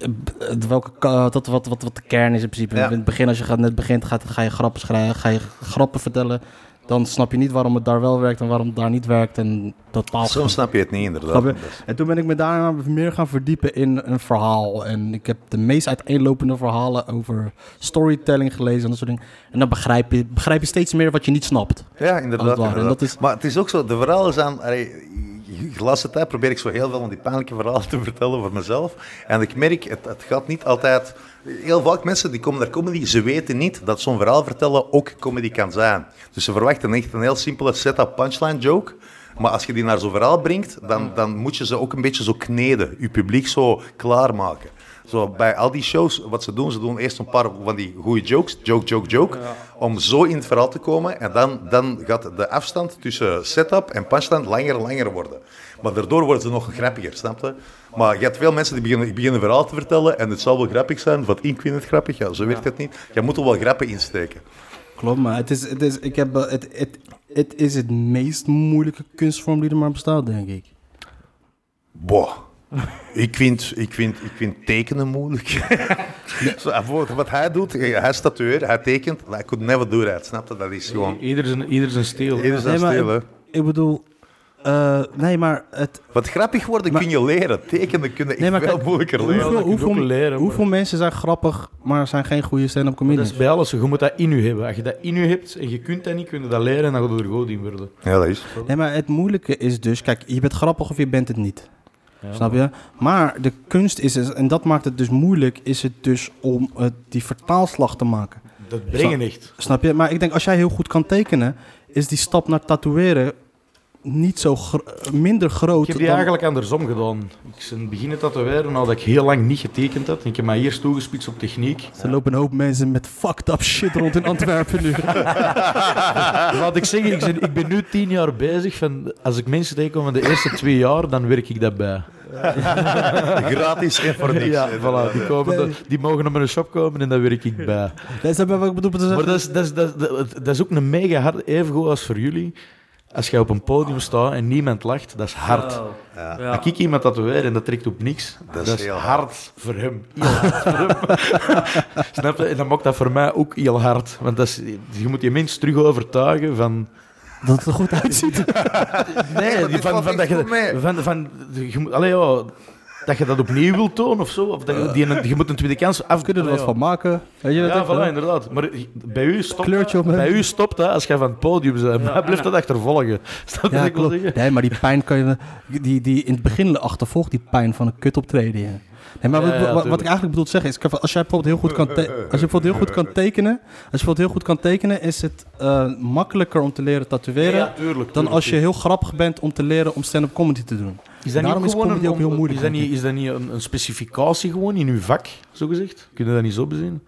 eh, b- welke, ka- eh, dat, wat, wat, wat de kern is in principe. Ja. In het begin, als je gaat, net begint, gaat, ga je grappen schrijven, ga je grappen vertellen. Dan snap je niet waarom het daar wel werkt en waarom het daar niet werkt. En totaal Soms snap je het niet, inderdaad. Dus, Snap je? En toen ben ik me daarna meer gaan verdiepen in een verhaal. En ik heb de meest uiteenlopende verhalen over storytelling gelezen en dat soort dingen. En dan begrijp je, begrijp je steeds meer wat je niet snapt. Ja, inderdaad. Als het ware. En inderdaad. dat is- Maar het is ook zo, de verhalen zijn... allee, De laatste tijd probeer ik zo heel veel van die pijnlijke verhalen te vertellen voor mezelf. En ik merk, het, het gaat niet altijd... Heel vaak mensen die komen naar comedy, ze weten niet dat zo'n verhaal vertellen ook comedy kan zijn. Dus ze verwachten echt een heel simpele setup punchline joke. Maar als je die naar zo'n verhaal brengt, dan, dan moet je ze ook een beetje zo kneden. Je publiek zo klaarmaken. Zo, bij al die shows, wat ze doen, ze doen eerst een paar van die goede jokes, joke, joke, joke, om zo in het verhaal te komen. En dan, dan gaat de afstand tussen setup en punchline langer en langer worden. Maar daardoor worden ze nog grappiger, snap je? Maar je hebt veel mensen die beginnen, beginnen een verhaal te vertellen en het zal wel grappig zijn, wat ik vind het grappig, ja, zo werkt het niet. Je moet er wel grappen insteken. Klopt, maar het is, het is, ik heb, wel- het, het, het is het meest moeilijke kunstvorm die er maar bestaat, denk ik. Boah. Ik vind, ik, vind, ik vind tekenen moeilijk. Zo, bijvoorbeeld wat hij doet, hij is tatoeëer, hij tekent. I could never do that, snap je? Dat is gewoon... Ieder zijn, ieder zijn stijl. Ieder zijn maar stijl, hè. ik, ik bedoel, eh, nee, maar het, Wat grappig worden kun je leren. Tekenen kunnen echt Nee, maar veel kijk, moeilijker leren. hoeveel, dat kun je hoeveel, ook leren, maar- hoeveel mensen zijn grappig, maar zijn geen goede stand-up Dat comedians? is bij alles. zo. Je moet dat in u hebben. Als je dat in u hebt en je kunt dat niet, kun je dat leren en dan gaat je er goed in worden. Ja, dat is. Nee, maar het moeilijke is dus, kijk, je bent grappig of je bent het niet. Snap je? Maar de kunst is, dus- en dat maakt het dus moeilijk, is het dus om het, die vertaalslag te maken. Dat brengen echt. Snap je? Maar ik denk, als jij heel goed kan tekenen, is die stap naar tatoeëren niet zo gro- minder groot. Ik heb die dan- eigenlijk andersom gedaan. Ik ben beginnen tatoeëren nadat ik heel lang niet getekend had. Ik heb mij eerst toegespitst op techniek. Er lopen een hoop mensen met fucked up shit rond in Antwerpen nu. Laat ik zeggen, ik ben, ik ben nu tien jaar bezig. Van, als ik mensen tegenkom van de eerste twee jaar, dan werk ik daarbij. Gratis en voor niks. Ja, voilà, die, komen dan- die mogen naar mijn shop komen en dan werk ik bij. Dat is wat ik bedoel. Maar dat is, dat is, dat is, dat is ook een mega hard evengoed als voor jullie. Als jij op een podium staat en niemand lacht, dat is hard. Oh. Ja. Als ik iemand tatoeëer en dat trekt op niks, Dat dat, is is heel hard, voor hem. Heel hard voor hem. Snap je? En dan maakt dat voor mij ook heel hard. Want dat is, je moet je mens terug overtuigen van... dat het er goed uitziet. Nee, maar die dit van, valt van dat echt je... goed mee. Van, van, je moet- allee, ja, dat je dat opnieuw wilt tonen of zo. Of dat je, die, een- je moet een tweede kans af Kunnen er wat van maken. Weet je dat Ja, echt, hè? voilà, inderdaad. Maar bij u stopt, Kleurtje op, hè? bij u stopt dat als je van het podium bent. Maar blijft dat achtervolgen. Is dat wat Ja, ik wil klopt. zeggen? Nee, maar die pijn kan je... Die, die in het begin achtervolgt die pijn van een kut optreden. ja. Nee, maar Ja, wat, ja, wat- wat, ik tuurlijk. eigenlijk bedoel te zeggen is... kijk, Als jij bijvoorbeeld heel goed kan, te- als je bijvoorbeeld heel goed kan tekenen... Als je bijvoorbeeld heel goed kan tekenen... Is het eh, makkelijker om te leren tatoeëren... tuurlijk, tuurlijk, dan als je heel grappig bent om te leren om stand-up comedy te doen. Is dat Daarom niet is gewoon comedy een- ook heel moeilijk, Is dat denk niet, is dat niet een, een specificatie gewoon in uw vak, zogezegd? Kun je dat niet zo bezien?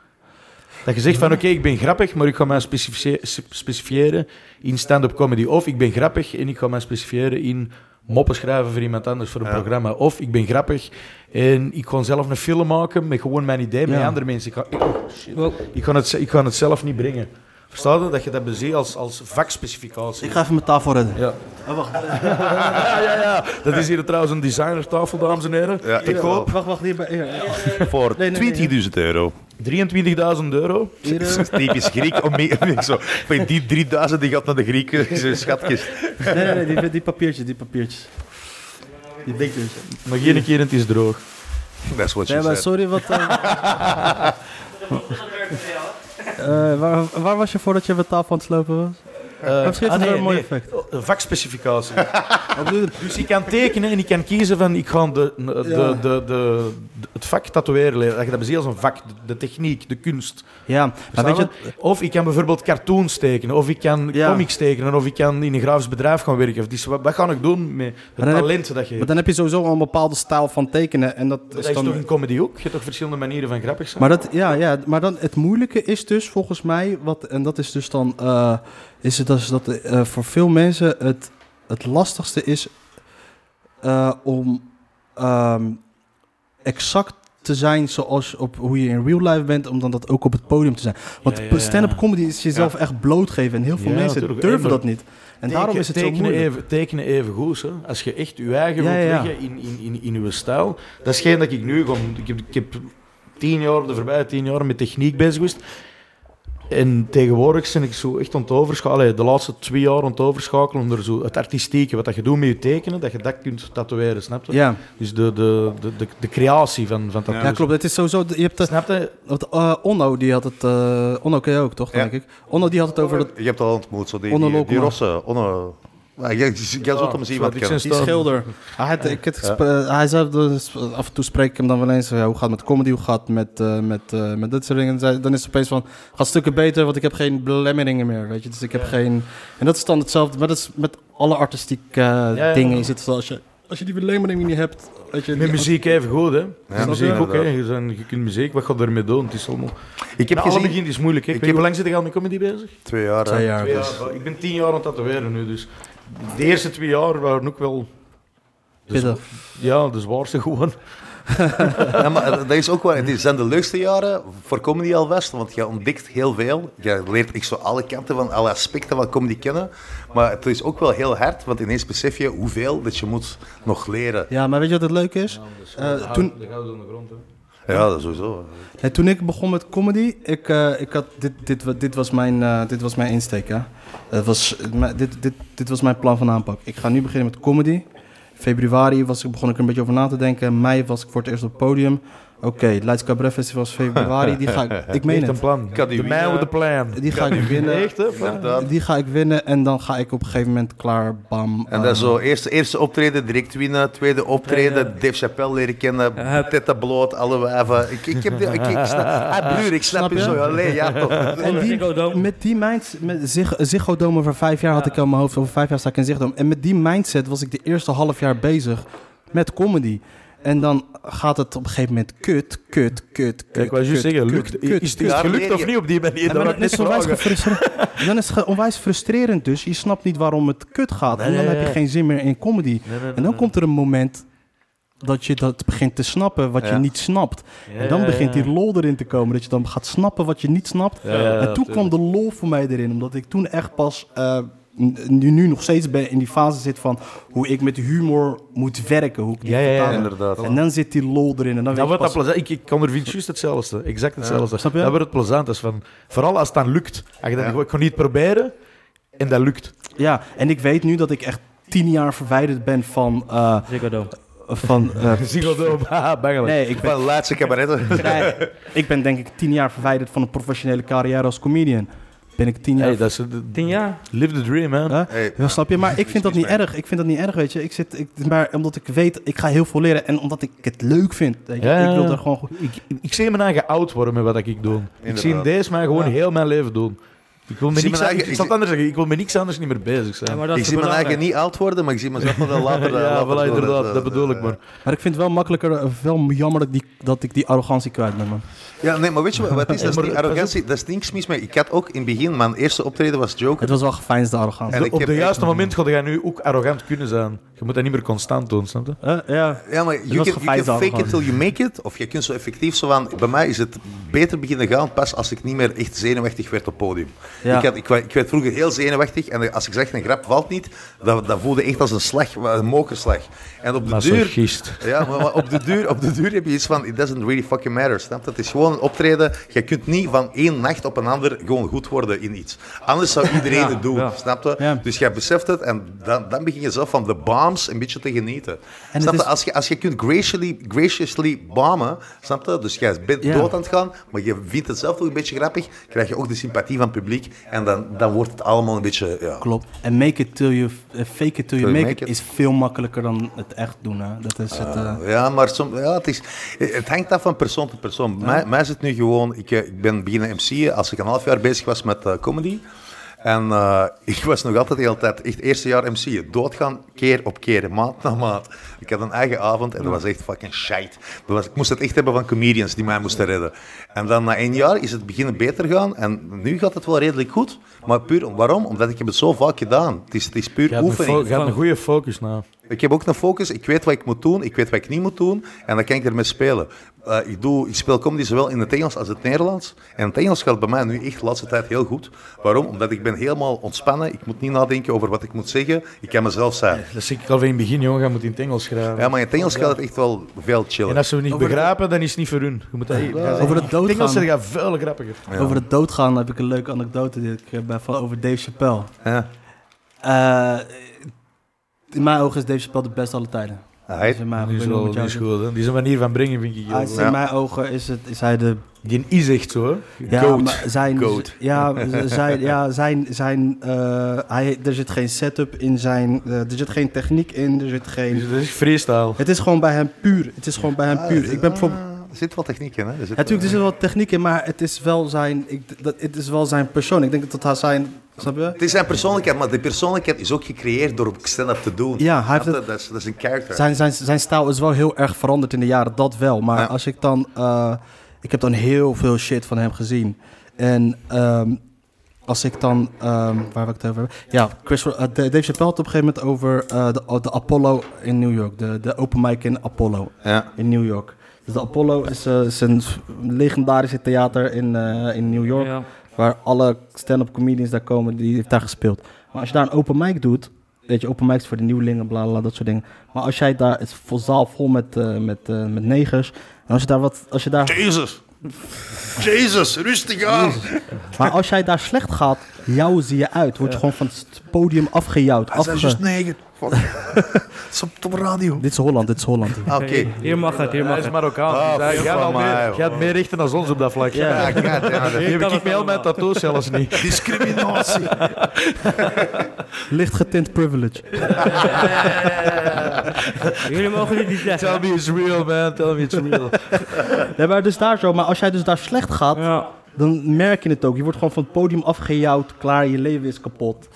Dat je zegt van, oké, ik ben grappig, maar ik ga mij specifice- sp- specifieren in stand-up comedy. Of ik ben grappig en ik ga mij specifieren in moppen schrijven voor iemand anders, voor een programma. Of ik ben grappig en ik ga zelf een film maken met gewoon mijn idee, met Ja. andere mensen. Ik ga, ik- oh, shit. Ik, ga het, ze- ik ga het zelf niet brengen. Verstaan je? Dat je dat beziet als, als vakspecificatie. Ik ga even mijn tafel redden. Ja. ja, ja, ja. Dat is hier trouwens een designertafel, dames en heren. Ja, Te ik koop. Wacht, wacht, hierbij. Ja, ja. Voor Nee, nee, nee, 20.000 euro. 23.000 euro. Hier, eh, Dat is typisch Griek. Om mee, om zo, van die 3000 die gaat naar de Grieken, zijn schatkist. Nee, nee, nee, die, die papiertjes, die papiertjes. Die dingetjes. Nog één keer en het is droog. Dat is wat Nee, je maar zegt. sorry, wat... eh, eh, waar, waar was je voordat je met tafel aan het slopen was? Uh, Misschien heeft het wel een mooi effect. Oh, Vakspecificatie. Wat bedoel je? dus ik kan tekenen en ik kan kiezen van ik ga de, de, de, de, de- het vak tatoeëren leren. Dat je dat beziet als een vak. De, de techniek, de kunst. Ja, maar weet je... Verstaan we? Of ik kan bijvoorbeeld cartoons tekenen. Of ik kan Ja. comics tekenen. Of ik kan in een grafisch bedrijf gaan werken. Of die, wat, wat ga ik doen met dan het heb- talent dat je Maar hebt? dan heb je sowieso al een bepaalde stijl van tekenen en dat Dat is is toch dan... in comedy ook? Je hebt toch verschillende manieren van grappig zijn? Maar, dat, ja, ja, maar dan het moeilijke is dus volgens mij, wat, en dat is dus dan, eh, is het dus dat eh, voor veel mensen het, het lastigste is eh, om ehm, exact te zijn zoals op hoe je in real life bent, om dan dat ook op het podium te zijn. Want Ja, ja, ja. stand-up comedy is jezelf echt blootgeven en heel veel Ja, mensen natuurlijk. durven En dat niet. En daarom is het zo tekenen moeilijk. even, tekenen even goed. Hè. Als je echt je eigen Ja, wilt ja. leggen in, in, in, in je stijl. Dat is geen dat ik nu gewoon... Ik heb, ik heb tien jaar, de voorbije tien jaar met techniek bezig geweest. En tegenwoordig ben ik zo echt aan het overschakelen. Allee, De laatste twee jaar aan het overschakelen. Onder zo het artistieke, wat dat je doet met je tekenen. Dat je dat kunt tatoeëren, snap je? Ja. Dus de, de, de, de, de creatie van, van tattoos. ja, klopt. Het is sowieso, je hebt, eh, Snap je? want, eh, Onno die had het, eh, Onno ken je ook toch, Ja. denk ik. Onno die had het over dat Eh, Je hebt al ontmoet, zo die, Onder die, die Lokman. rossen. Onder... Ja, je, je Ah, zult hem zien wat ik kan. zijn Die staan. schilder. Hij, had- ik had gesp- eh, hij zei, dus, af en toe spreek ik hem dan wel eens, ja, hoe gaat het met comedy, hoe gaat het met, eh, met, eh, met dit soort dingen. En zei- Dan is het opeens van, gaat stukken beter, want ik heb geen belemmeringen meer, weet je. Dus ik heb geen... En dat is dan hetzelfde, maar dat is met alle artistieke eh, ja. dingen is het zo. Als je, als je die belemmeringen niet hebt, weet je... Met die- muziek even goed, hè? Ja, muziek ook, hè? inderdaad. Je, zijn- je kunt muziek, wat ga je ermee doen? Het is allemaal... Ik heb Nou, alle gezien... begin is moeilijk. Hè? Ik Ik weet niet, heb- Hoe lang zit ik al met comedy bezig? Twee jaar. hè. Twee jaar. Twee dus. jaar. Ik ben tien jaar aan het tatoeëren nu, dus de eerste twee jaar waren ook wel... de Pittig. zwa- Ja, de zwaarste gewoon. Ja, maar dat is ook waar. Het zijn de leukste jaren voor comedy alvast, want je ontdekt heel veel. Je leert echt zo alle kanten van, alle aspecten van comedy kennen. Maar het is ook wel heel hard, want ineens besef je hoeveel dat je moet nog leren. Ja, maar weet je wat het leuke is? Eh, toen, De gouden aan de grond, hè. Ja, dat is sowieso. Hey, toen ik begon met comedy, ik, eh, ik had, dit, dit, wa- dit, was mijn, eh, dit was mijn insteek. Hè? Het was, eh, mijn- dit, dit, dit was mijn plan van aanpak. Ik ga nu beginnen met comedy. Februari was, ik- begon ik er een beetje over na te denken. Mei was ik voor het eerst op het podium. Oké, het Leids Cabaret Festival is februari. Die ga ik, ik meen het. Echt een eh, plan. Kan die De man winnen. with the plan. Die ga ik winnen. Echt, hè? Plan. Inderdaad. Die ga ik winnen en dan ga ik op een gegeven moment klaar, bam. En dat is eh, zo, eerste, eerste optreden, direct winnen. Tweede optreden, Dave Chappelle leren kennen. Ja. Tetta bloot, alle wijven. Ik, ik heb die, ik, ik snap, ah, broer, ik snap, Snap je je? zo. Allee, ja toch. En Ziggo Dome. die, met die mindset, met Zig- Ziggo Dome over vijf jaar had ik al in mijn hoofd, over vijf jaar sta ik in Ziggo Dome. En met die mindset was ik de eerste half jaar bezig met comedy. En dan gaat het op een gegeven moment kut, kut, kut, kut, Kijk, wat je kut, zeggen, kut, lukt, kut, is, is het Ja, gelukt leer of je. niet op die manier? En Dat dan, wou ik is net het onwijs vragen. gefrustreerd. dan is het ge- onwijs frustrerend dus. Je snapt niet waarom het kut gaat. en dan nee, heb je nee. geen zin meer in comedy. Nee, nee, nee, En dan nee. komt er een moment dat je dat begint te snappen wat Ja. je niet snapt. Ja, en dan ja, begint ja. die lol erin te komen. Dat je dan gaat snappen wat je niet snapt. Ja, ja, en toen tuurlijk. kwam de lol voor mij erin. Omdat ik toen echt pas... eh, n- nu, nu nog steeds ben, in die fase zit van hoe ik met humor moet werken. Hoe ik die Ja, ja, ja, vertaal. inderdaad. En dan zit die lol erin. En dan weet je Dat wordt Nou, dat pas, plezant. Ik, ik ondervind juist hetzelfde. Exact hetzelfde. snap je? Dat wordt het plezant. is van, vooral als het dan lukt. Als je dan gewoon, ik ga niet proberen. En dat lukt. Ja, en ik weet nu dat ik echt tien jaar verwijderd ben van... eh, Ziggo Dome. van eh, Ziggo Dome, haha, Ah, bangelijk. nee, ik ben, Van de laatste cabaretten. nee, ik ben denk ik tien jaar verwijderd van een professionele carrière als comedian. Ben ik tien jaar... Hey, dat is, de- Tien jaar. live the dream, man. Huh? Hey, Ja, snap je? Maar ik vind dat niet Precies, erg. Ik vind dat niet erg, weet je. Ik zit, ik, maar omdat ik weet, ik ga heel veel leren. En omdat ik het leuk vind. Weet je. Ja, ja, Ik wil ja. daar gewoon... goed- Ik, ik zie mijn eigen oud worden met wat ik doe. Ik Inderdaad. zie deze mij gewoon heel mijn leven doen. Ik wil me Zie nou niks mijn eigen- anders- ik ik zie- zal het anders zeggen, ik wil met niks anders niet meer bezig zijn. Ja, Ja, maar dat ik is zie mijn belangrijk. eigen niet oud worden, maar ik zie mezelf wel later. eh, later voilà, doen. inderdaad, dat bedoel eh, ik maar. Maar ik vind het wel makkelijker, eh, wel jammer dat, ik die, dat ik die arrogantie kwijt ben, man. Ja, nee, maar weet je wat wat is? Dat is Maar niet pas op. arrogantie, dat is niks mis mee. Ik had ook in het begin, mijn eerste optreden was Joker. Het was wel geveinsde arrogantie. En De- ik op heb de echt- juiste moment ga je nu ook arrogant kunnen zijn. Je moet dat niet meer constant doen, snap je? Eh, ja. Ja, maar was you can, you geveinsd can fake arrogant. it till you make it. Of je kunt zo effectief zo van... Bij mij is het beter beginnen gaan pas als ik niet meer echt zenuwachtig werd op podium. Ja. Ik, had, ik, wa- ik werd vroeger heel zenuwachtig. En als ik zeg, een grap valt niet, dat, dat voelde echt als een slag, een mokerslag. En op de duur... Masochist. Ja, maar, maar op, de duur, op de duur heb je iets van, it doesn't really fucking matter, snap je? Het is gewoon een optreden. Je kunt niet van één nacht op een ander gewoon goed worden in iets. Anders zou iedereen Ja, het doen, ja. snap je? Ja. Dus jij beseft het en dan, dan begin je zelf van de bombs een beetje te genieten. het snap je? is- Als, je, als je kunt graciously, graciously bomben, snap je? Dus jij bent Ja. dood aan het gaan, maar je vindt het zelf ook een beetje grappig, krijg je ook de sympathie van het publiek en dan, dan wordt het allemaal een beetje... Ja. Klopt. En make it till you, eh, fake it till you make, it, is veel makkelijker dan het echt doen, hè. Dat is het... eh, Ja, maar som, ja, het, is, het hangt af van persoon tot persoon. Mij, mij is het nu gewoon, ik, eh, ik ben beginnen MC'en als ik een half jaar bezig was met eh, comedy. En eh, ik was nog altijd de hele tijd, echt eerste jaar MC'en, doodgaan, keer op keer, maand na maand. Ik had een eigen avond en dat was echt fucking shite. Dat was, ik moest het echt hebben van comedians die mij moesten redden. En dan na één jaar is het beginnen beter gaan en nu gaat het wel redelijk goed. Maar puur, waarom? Omdat ik heb het zo vaak gedaan. Het is, het is puur Je hebt een, oefening. fo- je hebt een goede focus nou. Ik heb ook een focus. Ik weet wat ik moet doen. Ik weet wat ik niet moet doen. En dan kan ik ermee spelen. Eh, ik, doe, ik speel comedy zowel in het Engels als het Nederlands. En het Engels gaat bij mij nu echt de laatste tijd heel goed. Waarom? Omdat ik ben helemaal ontspannen. Ik moet niet nadenken over wat ik moet zeggen. Ik kan mezelf zijn. Dat zie ik al van in het begin, jongen. Je moet in het Engels schrijven. Ja, maar in het Engels gaat het echt wel veel En chillen. als ze het niet begrijpen, dan is het niet voor hun. Je moet dat hier. Over het In het Engels doodgaan, zijn dat veel grappiger. over het doodgaan heb ik een leuke anekdote die ik, eh, bij- van, over Dave Chappelle. Ja. Eh, in mijn ogen is Dave Chappelle de beste alle tijden. Alright. Dus in mijn ogen, Die ik Ah, weet niet wat is wel die jou is zegt. goed, hè. Die is een manier van brengen, vind ik. Hij heel is goed. in Ja. mijn ogen is, het, is hij de... Die is echt zo, hè. Ja, Goat. maar Zijn, Goat. Ja, z- zijn, ja, zijn, zijn eh, hij, er zit geen setup in zijn... eh, er zit geen techniek in, er zit geen... Dus Dat is freestyle. Het is gewoon bij hem puur. Het is gewoon bij hem puur. Ik ben bijvoorbeeld... Ah, Er zit wel techniek in, hè? Er zit, Ja, natuurlijk, eh, er zit wel techniek in, maar het is wel zijn, ik, dat, het is wel zijn persoon. Ik denk dat dat zijn... Snap je? het is zijn persoonlijkheid, maar die persoonlijkheid is ook gecreëerd door stand-up te doen. Ja, hij heeft Snap je? het- dat, is, dat is een character. Zijn, zijn, zijn stijl is wel heel erg veranderd in de jaren, dat wel. Maar Ja. als ik dan... eh, ik heb dan heel veel shit van hem gezien. En ehm, als ik dan... ehm, waar wil ik het over hebben? Ja, Chris, eh, Dave Chappelle had op een gegeven moment over eh, de, de Apollo in New York. De, de open mic in Apollo Ja. in New York. Dus de Apollo is, eh, is een legendarische theater in, eh, in New York. Ja. Waar alle stand-up comedians daar komen, die heeft daar gespeeld. Maar als je daar een open mic doet, weet je, open mics voor de nieuwelingen, bla bla, bla, dat soort dingen. Maar als jij daar, het is vol zaal vol met, eh, met, eh, met negers. En als je daar wat, als je daar, Jezus. Jezus, rustig aan. maar als jij daar slecht gaat, jou zie je uit. Word je gewoon van het podium afgejouwd. Hij is Afge... negen. Stop op radio. Ah, Dit is Holland, dit is Holland. Oké. Hier mag het, hier Hij mag is het. Marokkaan. Ah, dus hij fuck gaat al van mij, meer, joh. gaat meer richten dan ons op dat vlak. Ja. Ja, ik weet het, ja, Hier dat- heb kan ik het me al allemaal. mijn tattoos zelfs niet. Discriminatie. Licht getint privilege. Jullie mogen dit niet zeggen. Tell me it's real, man. Tell me it's real. Nee, maar dus daar zo. Maar als jij dus daar slecht gaat, Ja. dan merk je het ook. Je wordt gewoon van het podium afgejouwd, klaar, je leven is kapot.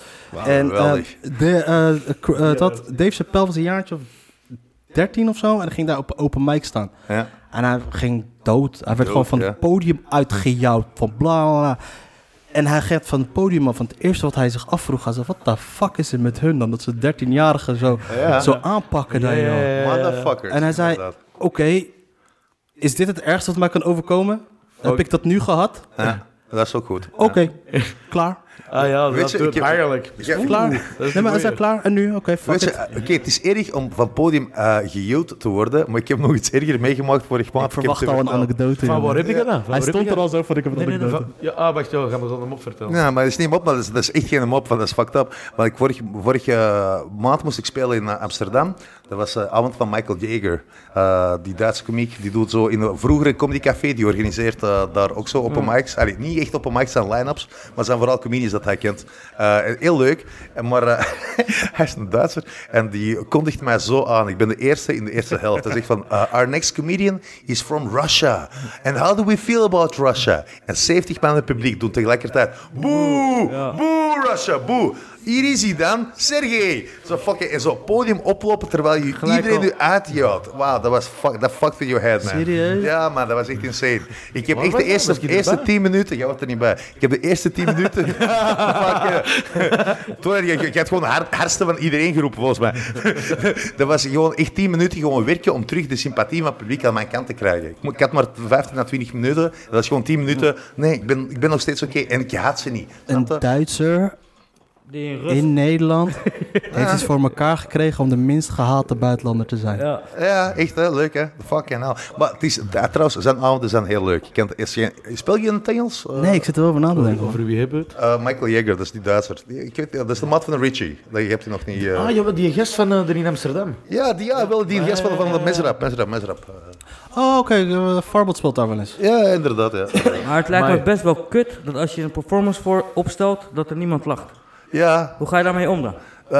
en geweldig. eh, de, eh, cr- eh, dat, Dave Chappelle was een jaartje of 13 of zo en hij ging daar op een open mic staan. Ja. En hij ging dood. Hij werd gewoon van ja. het podium uitgejouwd, van bla bla bla. En hij gaat van het podium af. Van het eerste wat hij zich afvroeg, hij zei: Wat de fuck is er met hun dan? Dat ze 13-jarigen zo, Ja. zo aanpakken. dan, joh. Motherfucker. Eh, En hij zei: Oké, is dit het ergste wat mij kan overkomen? Heb ik dat nu gehad? Oh, Ja, dat is ook goed. Oké, klaar. Ah ja, Weet dat je, doet ik heb- eigenlijk. Ja, Is oeh. klaar? dat is nee, maar de is dat mooie. klaar? En nu? Oké, fuck Weet je, it. eh, oké, het is erg om van podium eh gejuwd te worden, maar ik heb nog iets erger meegemaakt vorig maand. Ik verwacht al een anekdote. Van jongen. waar heb ik dat dan? Van Hij waar heb stond ik er dat? al zo voor ik heb een Nee, nee, nee, anekdote. van- Ja, ah, wacht, ja, gaan we zo hem op vertellen. Ja, maar dat is niet mop, maar dat is, dat is echt geen mop, van, dat is fucked up. Maar ik, vorige, vorige eh, maand moest ik spelen in eh, Amsterdam. Dat was de avond van Michael Jager. Eh, die Duitse komiek, die doet zo in een vroegere comedy café, die organiseert eh, daar ook zo open mics. Allee, niet echt open mics, zijn line-ups, maar zijn vooral comedies dat hij kent. Eh, heel leuk, En maar eh, hij is een Duitser en die kondigt mij zo aan. Ik ben de eerste in de eerste helft. Hij zegt van, eh, our next comedian is from Russia. And how do we feel about Russia? En 70 man in het publiek doen tegelijkertijd, boe, boe Russia, boe. Hier is hij dan, Sergej. Zo fucking, en zo podium oplopen terwijl je Gelijk iedereen al. nu uitjouwt. Wauw, dat was fuck, dat fucked in your head, man. Serieus? Ja, man, dat was echt insane. Ik heb Waar echt was de jij? Was eerste, ik erbij? eerste 10 minuten, jij was er niet bij. Ik heb de eerste 10 minuten. fucking- Toen had je, je had gewoon het hardste van iedereen geroepen, volgens mij. dat was gewoon echt 10 minuten gewoon werken om terug de sympathie van het publiek aan mijn kant te krijgen. Ik, mo- ik had maar 15 à 20 minuten. Dat was gewoon 10 minuten. Nee, ik ben, ik ben nog steeds oké. En ik haat ze niet. Een Snap je? Duitser Die in Rus. in Nederland heeft iets voor elkaar gekregen om de minst gehate buitenlander te zijn. Ja. Ja, echt hè? leuk hè. Fucking hell. Maar het is, ja, trouwens, zijn avonden zijn heel leuk. Je kent, is geen, speel je in het Engels? Eh, Nee, ik zit er wel over na te denken. hoor. Over wie hebben we het? eh, Michael Jager, dat is die Duitser. Die- Ik weet, ja, dat is de mat van de Richie. Dat heb je nog niet. eh. Ah, ja, maar die gast van eh, er in Amsterdam. Ja, die, ja, wel die gast van, van de Mesrap. Mesrap, Mesrap. Eh, Oh, oké, eh, Farbot speelt daar wel eens. ja, inderdaad. Ja, Maar het lijkt me Maar- best wel kut dat als je een performance voor opstelt, dat er niemand lacht. ja Hoe ga je daarmee om dan? eh,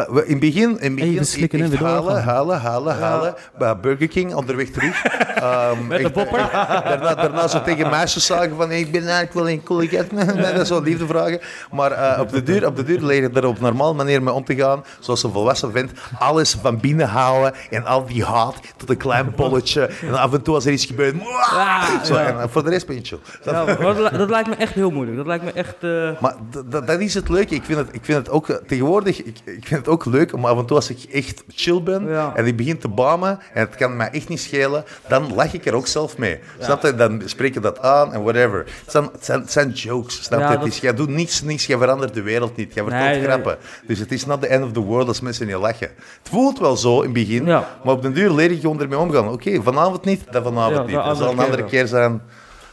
we- in het begin, in Even begin slikken en echt weer doorgaan. halen, halen, halen, halen. Bij Burger King, onderweg terug. Ehm, Met de echt, bopper? eh, daarna, daarna zo tegen meisjes zagen van, ik ben eigenlijk wel een coole cat. Nee, dat is wel liefde vragen. Maar eh, op, de duur, op de duur leer je er op een normale manier mee om te gaan. Zoals een volwassen vent. Alles van binnen halen en al die haat tot een klein bolletje. En af en toe als er iets gebeurt, Ah, zo, en, eh, voor de rest ben je chill. Ja, maar Oh, dat, li- dat lijkt me echt heel moeilijk. Dat lijkt me echt... eh, Maar d- d- dat is het leuke. Ik vind het, ik vind het ook eh, tegenwoordig ik, ik vind het ook leuk om af en toe als ik echt chill ben Ja. en ik begin te bamen en het kan mij echt niet schelen, dan lach ik er ook zelf mee. Snap je? Dan spreek je dat aan en whatever. Het zijn, het zijn, het zijn jokes. Snap je? Ja, Het dat- is, jij doet niets, niets, jij verandert de wereld niet. Jij vertelt Nee, nee. grappen. Dus het is not the end of the world als mensen niet lachen. Het voelt wel zo in het begin, Ja. maar op den duur leer je gewoon ermee omgaan. Oké, vanavond niet, dan Ja, vanavond de niet. Het zal een andere andere keer keer zijn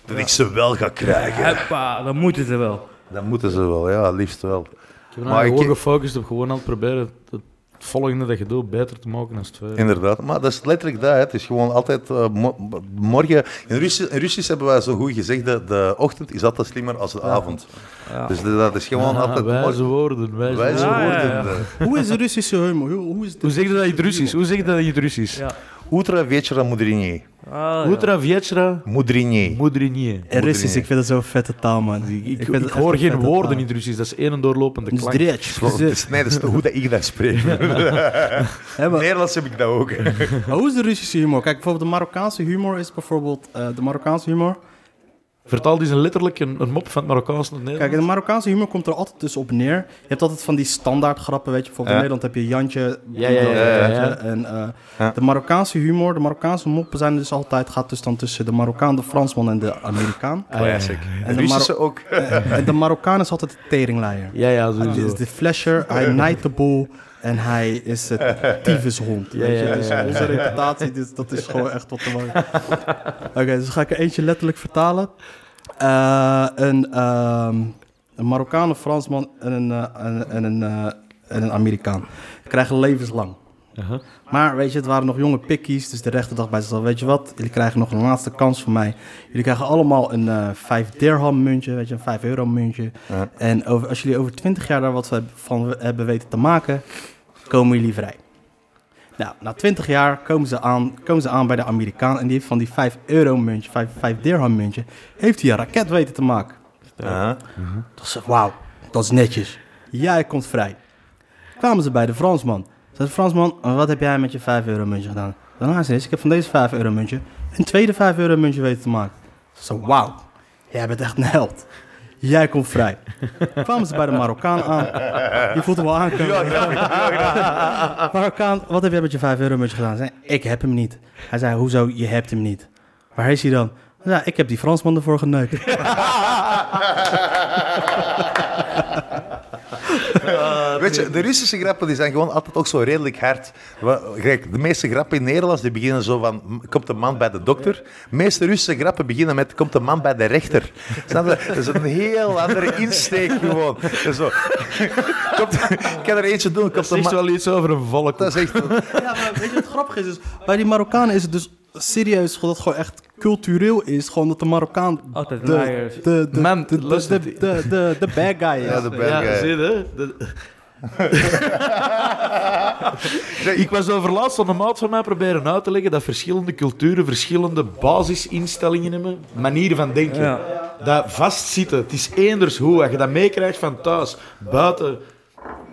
dat ik ze wel ga krijgen. huppa, dan moeten ze wel. Dan moeten ze wel, ja, liefst wel. Ik heb Maar nou ik- gewoon gefocust op gewoon aan het proberen het volgende dat je doet beter te maken dan het tweede. Inderdaad, maar dat is letterlijk dat. Hè. Het is gewoon altijd eh, mo- mo- morgen. In Russisch, in Russisch hebben wij zo'n goed gezegd: de, de ochtend is altijd slimmer als de avond. Ja. Dus de- dat is gewoon altijd Ah, wijze morgen. woorden, wijze Wijze woorden. Ja, ja, ja. woorden. Hoe is de Russische humor? Hoe, hoe is de... Eh, Hoe zeg je dat in het Russisch? Hoe zeg je dat in het Russisch? Ja. Utra вечера мудренее. Ah, ja. Utra vječra Мудренее. mudrinje. En Russisch, ik vind dat zo'n vette taal, man. Ik, Ik, vind ik het echt hoor een geen vette woorden taal. in het Russisch, dat is één doorlopende Dus klank. dretsch. Klopt, Dus, het is- Nee, dat is hoe dat ik dat spreek. hè, maar- Nederlands heb ik dat Ah, ook. hè. Maar eh, hoe is de Russische humor? Kijk, bijvoorbeeld de Marokkaanse humor is bijvoorbeeld... eh, de Marokkaanse humor... Vertaal die eens letterlijk een, een mop van het Marokkaans naar het Kijk, Nederlands. de Marokkaanse humor komt er altijd dus op neer. Je hebt altijd van die standaard grappen, weet je. Bijvoorbeeld Ja. in Nederland heb je Jantje. Ja, ja, ja, ja, ja. En, eh, Ja. De Marokkaanse humor, de Marokkaanse moppen zijn dus altijd... gaat dus dan tussen de Marokkaan, de Fransman en de Amerikaan. Classic. En de Russische ook. en de Marokkaan is altijd de teringleier. Ja, ja, Hij sowieso. is de flasher, hij naait de boel en hij is het tyfushond. weet je. ja, ja, Dus ja. onze reputatie, dus dat is gewoon echt wat te mooi. Oké, dus ga ik er eentje letterlijk vertalen. Eh, een, ehm, een Marokkaan, een Fransman en een, eh, en, en een, eh, en een Amerikaan krijgen levenslang. Aha. Maar weet je, het waren nog jonge pikkies, dus de rechter dacht bij zichzelf, weet je wat, jullie krijgen nog een laatste kans van mij. Jullie krijgen allemaal een eh 5 dirham muntje, weet je, een 5 euro muntje. Ja. En over, als jullie over 20 jaar daar wat we- van hebben weten te maken, komen jullie vrij. Nou, na 20 jaar komen ze aan, komen ze aan bij de Amerikaan en die heeft van die 5 euro muntje, 5, 5 dirham muntje, heeft hij een raket weten te maken. Ja. Toen zei ik, wauw, dat is netjes. Jij komt vrij. Kwamen ze bij de Fransman. Zei de Fransman, "Eh, wat heb jij met je 5 euro muntje gedaan? Dan luister eens, ik heb van deze 5 euro muntje een tweede 5 euro muntje weten te maken. Ze zei, wauw, jij bent echt een held. Jij komt vrij. Kwamen ze bij de Marokkaan aan. Je voelt hem wel aankomen. Marokkaan, wat heb jij met je 5 euro muntje gedaan? Zei, ik heb hem niet. Hij zei, hoezo, je hebt hem niet? Waar is hij dan? Ja, ik heb die Fransman ervoor geneukt. Weet je, de Russische grappen die zijn gewoon altijd ook zo redelijk hard. Wa- Kijk, de meeste grappen in Nederlands die beginnen zo van... "M- Komt een man bij de dokter? De meeste Russische grappen beginnen met... Komt een man bij de rechter? Snap je? Dat is een heel andere insteek gewoon. Dat is Zo. Komt, ik kan er eentje doen. Komt Dat een zegt man... wel iets over een volk. Dat is echt... Ja, maar weet je wat grappig is? Dus bij die Marokkanen is het dus serieus dat het gewoon echt cultureel is. Gewoon Oh, dat de Marokkaan Altijd de, de, liars. de, de, Man, de, de, luister. de, de, de bad guy is. Ja, de bad guy. Ja, zie je? dat- Ik was overlaatst aan de maat van mij proberen uit te leggen dat verschillende culturen verschillende basisinstellingen hebben, manieren van denken. Ja. Dat vastzitten, het is eenders hoe, als je dat meekrijgt van thuis, buiten.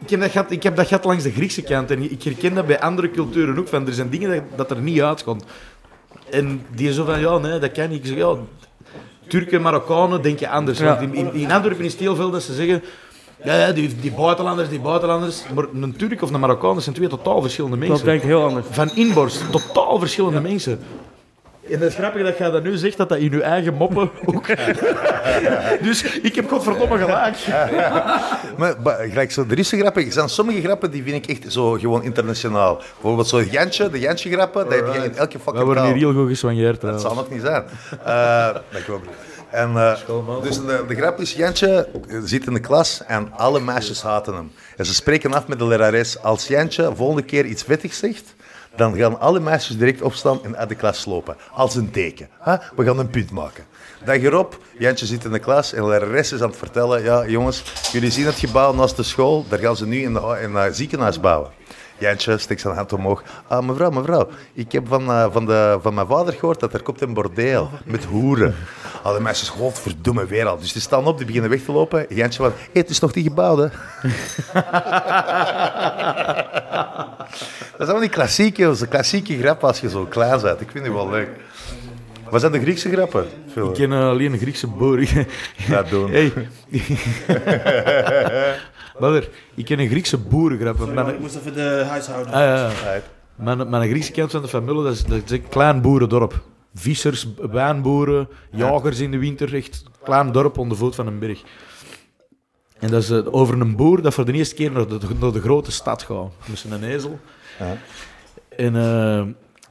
Ik heb, dat gehad, ik heb dat gehad langs de Griekse kant en ik herken dat bij andere culturen ook. Van, er zijn dingen dat, dat er niet uitkomt. En die zo van, ja, nee, dat kan niet. Ik zeg, ja, Turken, Marokkanen denken anders. Ja. Want in, in, in Antwerpen is het heel veel dat ze zeggen... Ja, ja, die, die buitenlanders, die buitenlanders. Maar een Turk of een Marokkaan dat zijn twee totaal verschillende Dat mensen. denkt heel anders. Van inborst, totaal verschillende mensen. En dat is grappig dat jij dat nu zegt, dat dat in je eigen moppen ook... dus ik heb godverdomme gelijk. Maar, maar gelijk zo, de Russische grappen, er zijn sommige grappen die vind ik echt zo gewoon internationaal. Bijvoorbeeld zo'n Jantje, de Jantje grappen, dat heb je in elke We fucking worden taal. hier heel goed geswanjeerd. Dat zal nog niet zijn. Eh, dat ik wel bedoel. En, eh, dus de, de grap is, Jantje zit in de klas en alle meisjes haten hem. En ze spreken af met de lerares, als Jantje volgende keer iets wettigs zegt, dan gaan alle meisjes direct opstaan en uit de klas lopen. Als een teken. Huh? We gaan een punt maken. Dag erop, Jantje zit in de klas en de lerares is aan het vertellen, ja jongens, jullie zien het gebouw naast de school, daar gaan ze nu in een in een ziekenhuis bouwen. Jantje steekt zijn hand omhoog. Ah, mevrouw, mevrouw, ik heb van, eh, van, de, van mijn vader gehoord dat er komt een bordeel met hoeren. Al de meisjes, godverdomme, weer al. Dus die staan op, die beginnen weg te lopen. Jantje van, hey, het is nog niet gebouwd, hè. dat zijn wel die klassieke, dat is een klassieke grap als je zo klaar bent. Ik vind die wel leuk. Wat zijn de Griekse grappen? Phil? Ik ken eh, alleen een Griekse boer. Dat doen. Hey. Brother, ik ken een Griekse boerengrap. Mijn, moest even de huishouden. ah, ja, ja. mijn, mijn Griekse kant van de familie, dat is, dat is een klein boerendorp. Vissers, wijnboeren, jagers in de winter. Echt een klein dorp onder de voet van een berg. En dat is eh, over een boer dat voor de eerste keer naar de, naar de grote stad gaat. Met zijn ezel. En eh,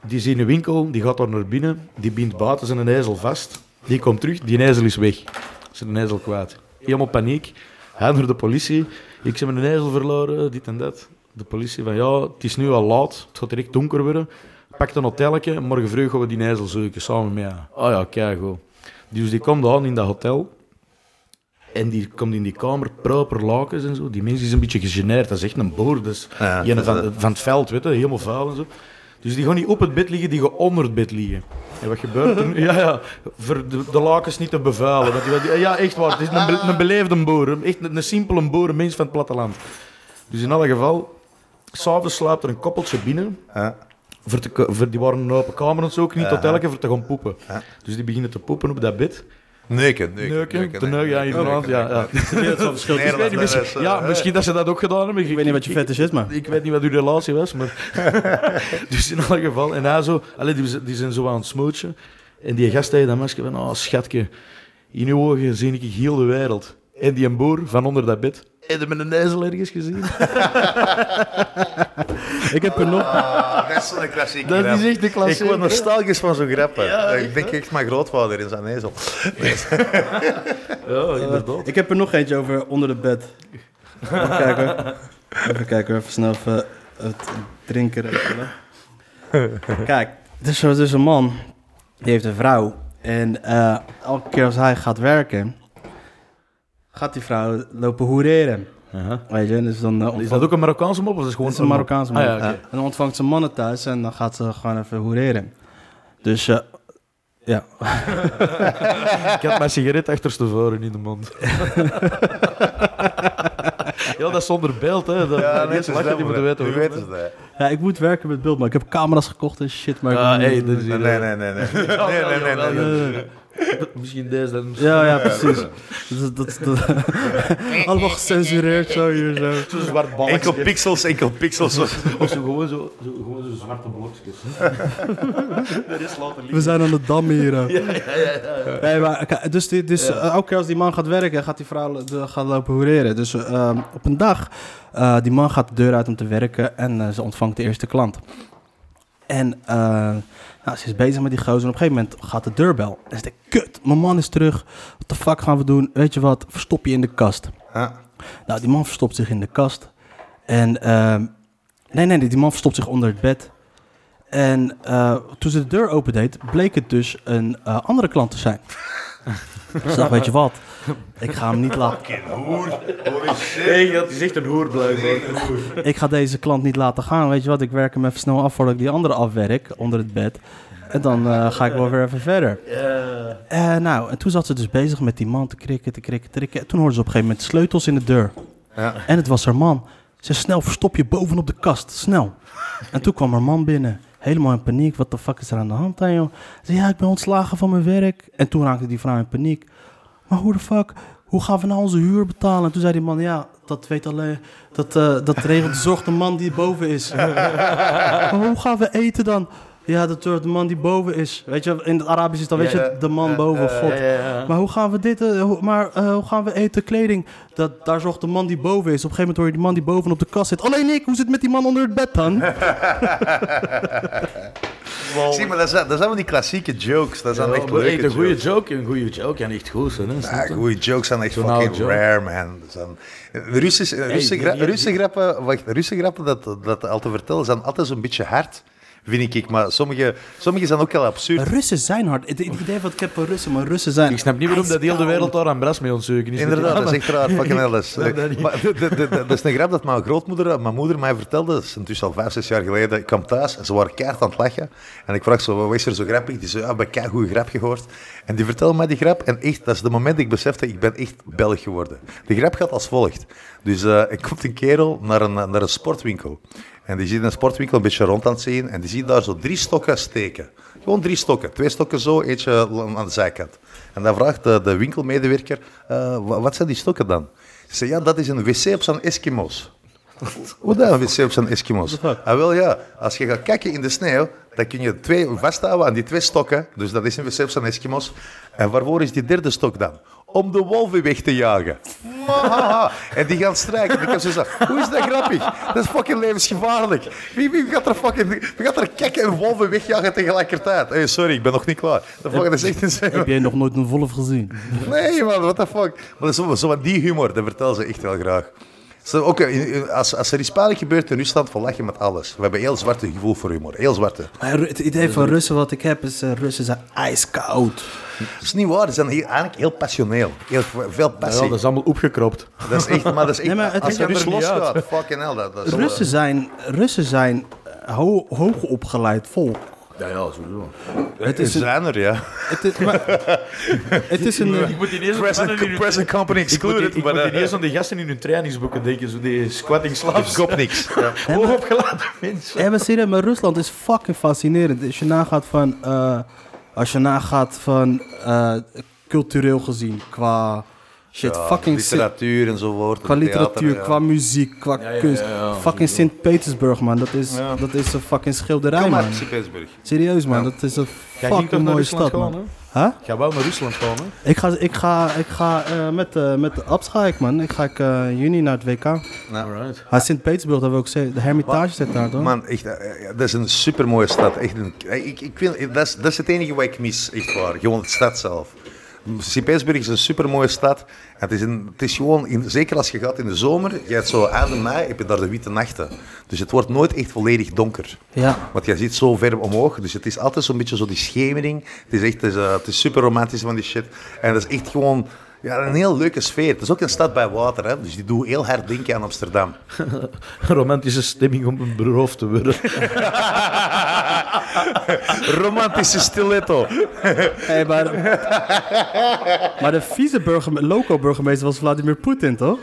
die is in een winkel, die gaat daar naar binnen, die bindt buiten zijn ezel vast. Die komt terug, die ezel is weg. Zijn ezel kwijt. Helemaal paniek. Hij naar de politie. Ik zeg mijn ezel verloren, dit en dat. De politie van ja, het is nu al laat, het gaat direct donker worden. Pak een hotelletje, morgen vroeg gaan we die ezel zoeken, samen met haar. Oh ja, kijk goed. Dus die komt aan in dat hotel. En die komt in die kamer, proper lakens en zo. Die mens is een beetje gegeneerd. Dat is echt een boer. Dus Ja, die ene dat- van, van het veld, weet je, helemaal vuil en zo. Dus die gaan niet op het bed liggen, die gaan onder het bed liggen. En wat gebeurt er nu? Ja, ja, voor de, de lakens niet te bevuilen. Want die- die- ja, echt waar. Het is een, be- een beleefde boer. Echt een, een simpele boer, een mens van het platteland. Dus in alle geval, s'avonds slaapt er een koppeltje binnen. Ja. Voor te, ko- voor, die waren in een open kamer en zo ook niet tot elke voor te gaan poepen. Dus die beginnen te poepen op dat bed. Neuken, neuken. Neuken, te neuken, ja, inderdaad. Ja, ja. Ik weet niet, Nederlanders, misschien, ja, eh, misschien dat ze dat ook gedaan hebben. Ik weet niet wat je fetish is, maar... Ik weet niet wat uw relatie was, maar... dus in alle geval. En hij zo... Allee, die, z- die zijn zo aan het smootje. En die gast tegen dat masker van... Oh, schatje. In uw ogen zie ik heel de wereld. En die een boer van onder dat bed. En met een ijzel ergens gezien. Ik heb er nog... Ah, dat is zo'n klassieke Dat grap. is echt de klassieker, Ik word hè? nostalgisch van zo'n grappen. ik denk echt mijn grootvader in zijn ezel. Ja, inderdaad. Ik heb er nog eentje over onder de bed. Even kijken. Even kijken, even snel even het drinken regelen. Kijk, dus er is dus een man, die heeft een vrouw. En eh, elke keer als hij gaat werken, gaat die vrouw lopen hoereren. Aha. Weet je, en dus dan eh, Is ontvangt- dat ook een Marokkaanse mop? Of is het gewoon het is een Marokkaanse man. Ah, ja, oké. En dan ontvangt ze mannen thuis en dan gaat ze gewoon even hoereren. Dus eh, ja, Ik had mijn sigaret achterstevoren in de mond. ja, dat is zonder beeld, hè. Dat, ja, net mensen lachen, die moeten weten Nu hoe weten ze dat. ja, ik moet werken met beeld, maar ik heb camera's gekocht en shit. Maar ik- Ah, hey, dat is Nee, nee, hier- nee. nee, nee. nee, nee, nee, nee. Eh, Misschien deze dan. Ja, ja, precies. Dus dat, dat, allemaal gecensureerd zo hier zo. Zo'n zwart balkje. Enkel pixels, enkel pixels. Of zo gewoon zo, zo, gewoon zo zwarte blokjes. dat is later We lief. zijn aan de dam hier. ook. Nee, maar, oké, dus die, dus eh, elke keer als die man gaat werken, gaat die vrouw de, gaat lopen hoereren. Dus ehm, op een dag, eh, die man gaat de deur uit om te werken en eh, ze ontvangt de eerste klant. En eh, nou, ze is bezig met die gozer en op een gegeven moment gaat de deurbel. En ze denkt, kut, mijn man is terug. Wat de fuck gaan we doen? Weet je wat, verstop je in de kast. Nou, die man verstopt zich in de kast. En, ehm, nee, nee, nee, die man verstopt zich onder het bed. En eh, toen ze de deur opendeed, bleek het dus een eh, andere klant te zijn. Ze dacht, weet je wat, ik ga hem niet laten... Nee, dat is echt een hoer blijkbaar. ik ga deze klant niet laten gaan. Weet je wat, ik werk hem even snel af voordat ik die andere afwerk onder het bed. En dan eh, ga ik wel weer even verder. Eh, nou, en toen zat ze dus bezig met die man te krikken, te krikken, te krikken. En toen hoorde ze op een gegeven moment sleutels in de deur. Ja. En het was haar man. Ze zei, snel, verstop je bovenop de kast, snel. En toen kwam haar man binnen. Helemaal in paniek. Wat de fuck is er aan de hand aan, joh? Ze zei, ja, ik ben ontslagen van mijn werk. En toen raakte die vrouw in paniek. Maar hoe de fuck? Hoe gaan we nou onze huur betalen? En toen zei die man, ja, dat weet alleen... Dat, eh, dat regelt de zorg de man die boven is. maar hoe gaan we eten dan? Ja, dat zorgt de man die boven is. Weet je, in het Arabisch is dan, weet Ja, je, ja. de man boven, god. Maar hoe gaan we dit, eh, hoe- maar eh, hoe gaan we eten, kleding? Dat, daar zorgt de man die boven is. Op een gegeven moment hoor je die man die boven op de kast zit. Alleen ik, hoe zit het met die man onder het bed dan? Zie, maar dat zijn, dat zijn wel die klassieke jokes. Dat zijn echt leuke een goede jokes. joke, een goede joke. En echt goed, hè? Ja, goeie jokes zijn echt Zo'n fucking oude joke. rare, man. Dat Zijn, Russische, Russische, die- gra- die- Russische grappen, wacht, Russische grappen dat, dat al te vertellen, zijn altijd zo'n beetje hard, vind ik. Maar sommige, sommige zijn ook wel absurd. Russen zijn hard. Het, het idee van ik heb van Russen, maar Russen zijn... Ik snap niet waarom dat heel de wereld daar aan bras mee ontzoeken is. Inderdaad, dat is Maar- echt raar. Fucking hell. Dat is- snap dus dat niet. maar dat- dat- dat- dat is een grap dat mijn grootmoeder, mijn moeder mij vertelde. Dat is intussen al vijf, zes jaar geleden. Ik kwam thuis en ze waren keihard aan het lachen. En ik vraag ze, wat is er zo grappig? Die zei, ja, ik heb een goede grap gehoord. En die vertelde mij die grap. En echt, dat is het moment dat ik besefte, ik ben echt Belg geworden. De grap gaat als volgt. Dus eh er komt een kerel naar een, naar een sportwinkel. En die ziet een sportwinkel een beetje rond aan het zien. En die ziet daar zo drie stokken steken. Gewoon drie stokken. Twee stokken zo, eentje aan de zijkant. En dan vraagt de, de winkelmedewerker, eh, wa- wat zijn die stokken dan? Ze zei, ja, dat is een wc op zijn Eskimo's. Hoe dan een wc op zijn Eskimo's? Ah, wel ja, als je gaat kijken in de sneeuw, dan kun je twee vasthouden aan die twee stokken. Dus dat is een wc op zijn Eskimo's. En waarvoor is die derde stok dan? Om de wolven weg te jagen. Mwahaha. En die gaan strijken. En ik heb zo gezegd, hoe is dat grappig? Dat is fucking levensgevaarlijk. Wie, wie gaat er fucking... Wie gaat er kekken en wolven wegjagen tegelijkertijd? Hey, sorry, ik ben nog niet klaar. Dat fucking is echt insane. Heb jij nog nooit een wolf gezien? Nee, man, what the fuck. Maar zo, zo van die humor, dat vertellen ze echt wel graag. Zo, ook, eh, in- in- als, als er iets pijnlijk gebeurt in Rusland, verlachen je met alles. We hebben heel zwarte gevoel voor humor. Heel zwarte. Maar Ru- het idee van Russen wat ik heb is, eh, Russen zijn ijskoud. Dat is niet waar. Ze zijn heel, eigenlijk heel passioneel. Heel, veel Ja, passie. dat is allemaal opgekropt. dat is echt, maar dat is echt, Nee, maar het als is je er dus niet losgaat, fucking hell. Dat, dat is wel- Russen zijn, Russen zijn ho hoogopgeleid volk. Ja, ja, sowieso. Het Er is, een, zijn er, ja. het is, maar- het is een... Ik moet ineens Present, present company Ik moet, excluded, ik moet maar eh, ineens aan die gasten in hun trainingsboeken denken, zo die squatting slaps. kop niks. Ja. Hoogopgeladen mensen. Ja, maar serieus, maar Rusland is fucking fascinerend. Als je nagaat van, eh, als je nagaat van eh, cultureel gezien, qua shit, Ja, fucking Sint- literatuur enzovoort. qua theater, literatuur, ja. qua muziek, qua Ja, ja, ja, kunst. ja, fucking Sint-Petersburg, man. Dat is, Ja. dat is een fucking schilderij, Kom maar, man. Sint-Petersburg. Serieus, man. Ja. Dat is een Jij ging toch fucking naar mooie Rusland stad, gaan, man. hè? Huh? Ga wel naar Rusland gaan, hè? Ik ga, ik ga, ik ga eh, met, eh met de Abs ga ik, man. Ik ga ik, eh, in juni naar het WK. Alright. Ah, Sint-Petersburg, dat wil ik zeggen. De Hermitage zit daar, toch? Man, echt, eh, eh, dat is een supermooie stad. Echt een, eh, ik, ik vind, dat, is, dat is het enige wat ik mis, echt waar. Gewoon de stad zelf. Sint-Petersburg is een supermooie stad. Het is, een, het is gewoon, in, zeker als je gaat in de zomer, je hebt zo eind mei, heb je daar de witte nachten. Dus het wordt nooit echt volledig donker. Ja. Want jij ziet zo ver omhoog, dus het is altijd zo'n beetje zo die schemering. Het is echt, het is, eh, het is super romantisch van die shit. En dat is echt gewoon... Ja, een heel leuke sfeer. Het is ook een stad bij water, hè? dus die doet heel hard denken aan Amsterdam. Romantische stemming om een beroofd te worden. Romantische stiletto. Hey, maar, maar de vieze burgeme- loco-burgemeester was Vladimir Poetin, toch?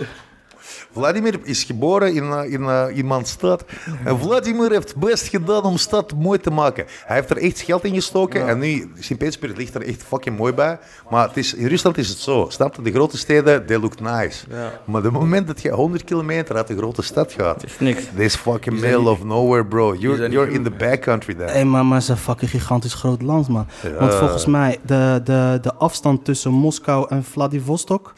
Vladimir is geboren in, eh, in, eh, in Manstad. En Vladimir heeft best gedaan om stad mooi te maken. Hij heeft er echt geld in gestoken. En nu, Sint-Petersburg ligt er echt fucking mooi bij. Maar het is, in Rusland is het zo. Snap je? De grote steden, they look nice. Maar de moment dat je 100 kilometer uit de grote stad gaat... Het is niks. This fucking middle of nowhere, bro. You're, niet you're in the backcountry there. Eh. Hé, maar, maar het is een fucking gigantisch groot land, man. Want volgens mij, de, de, de afstand tussen Moskou en Vladivostok...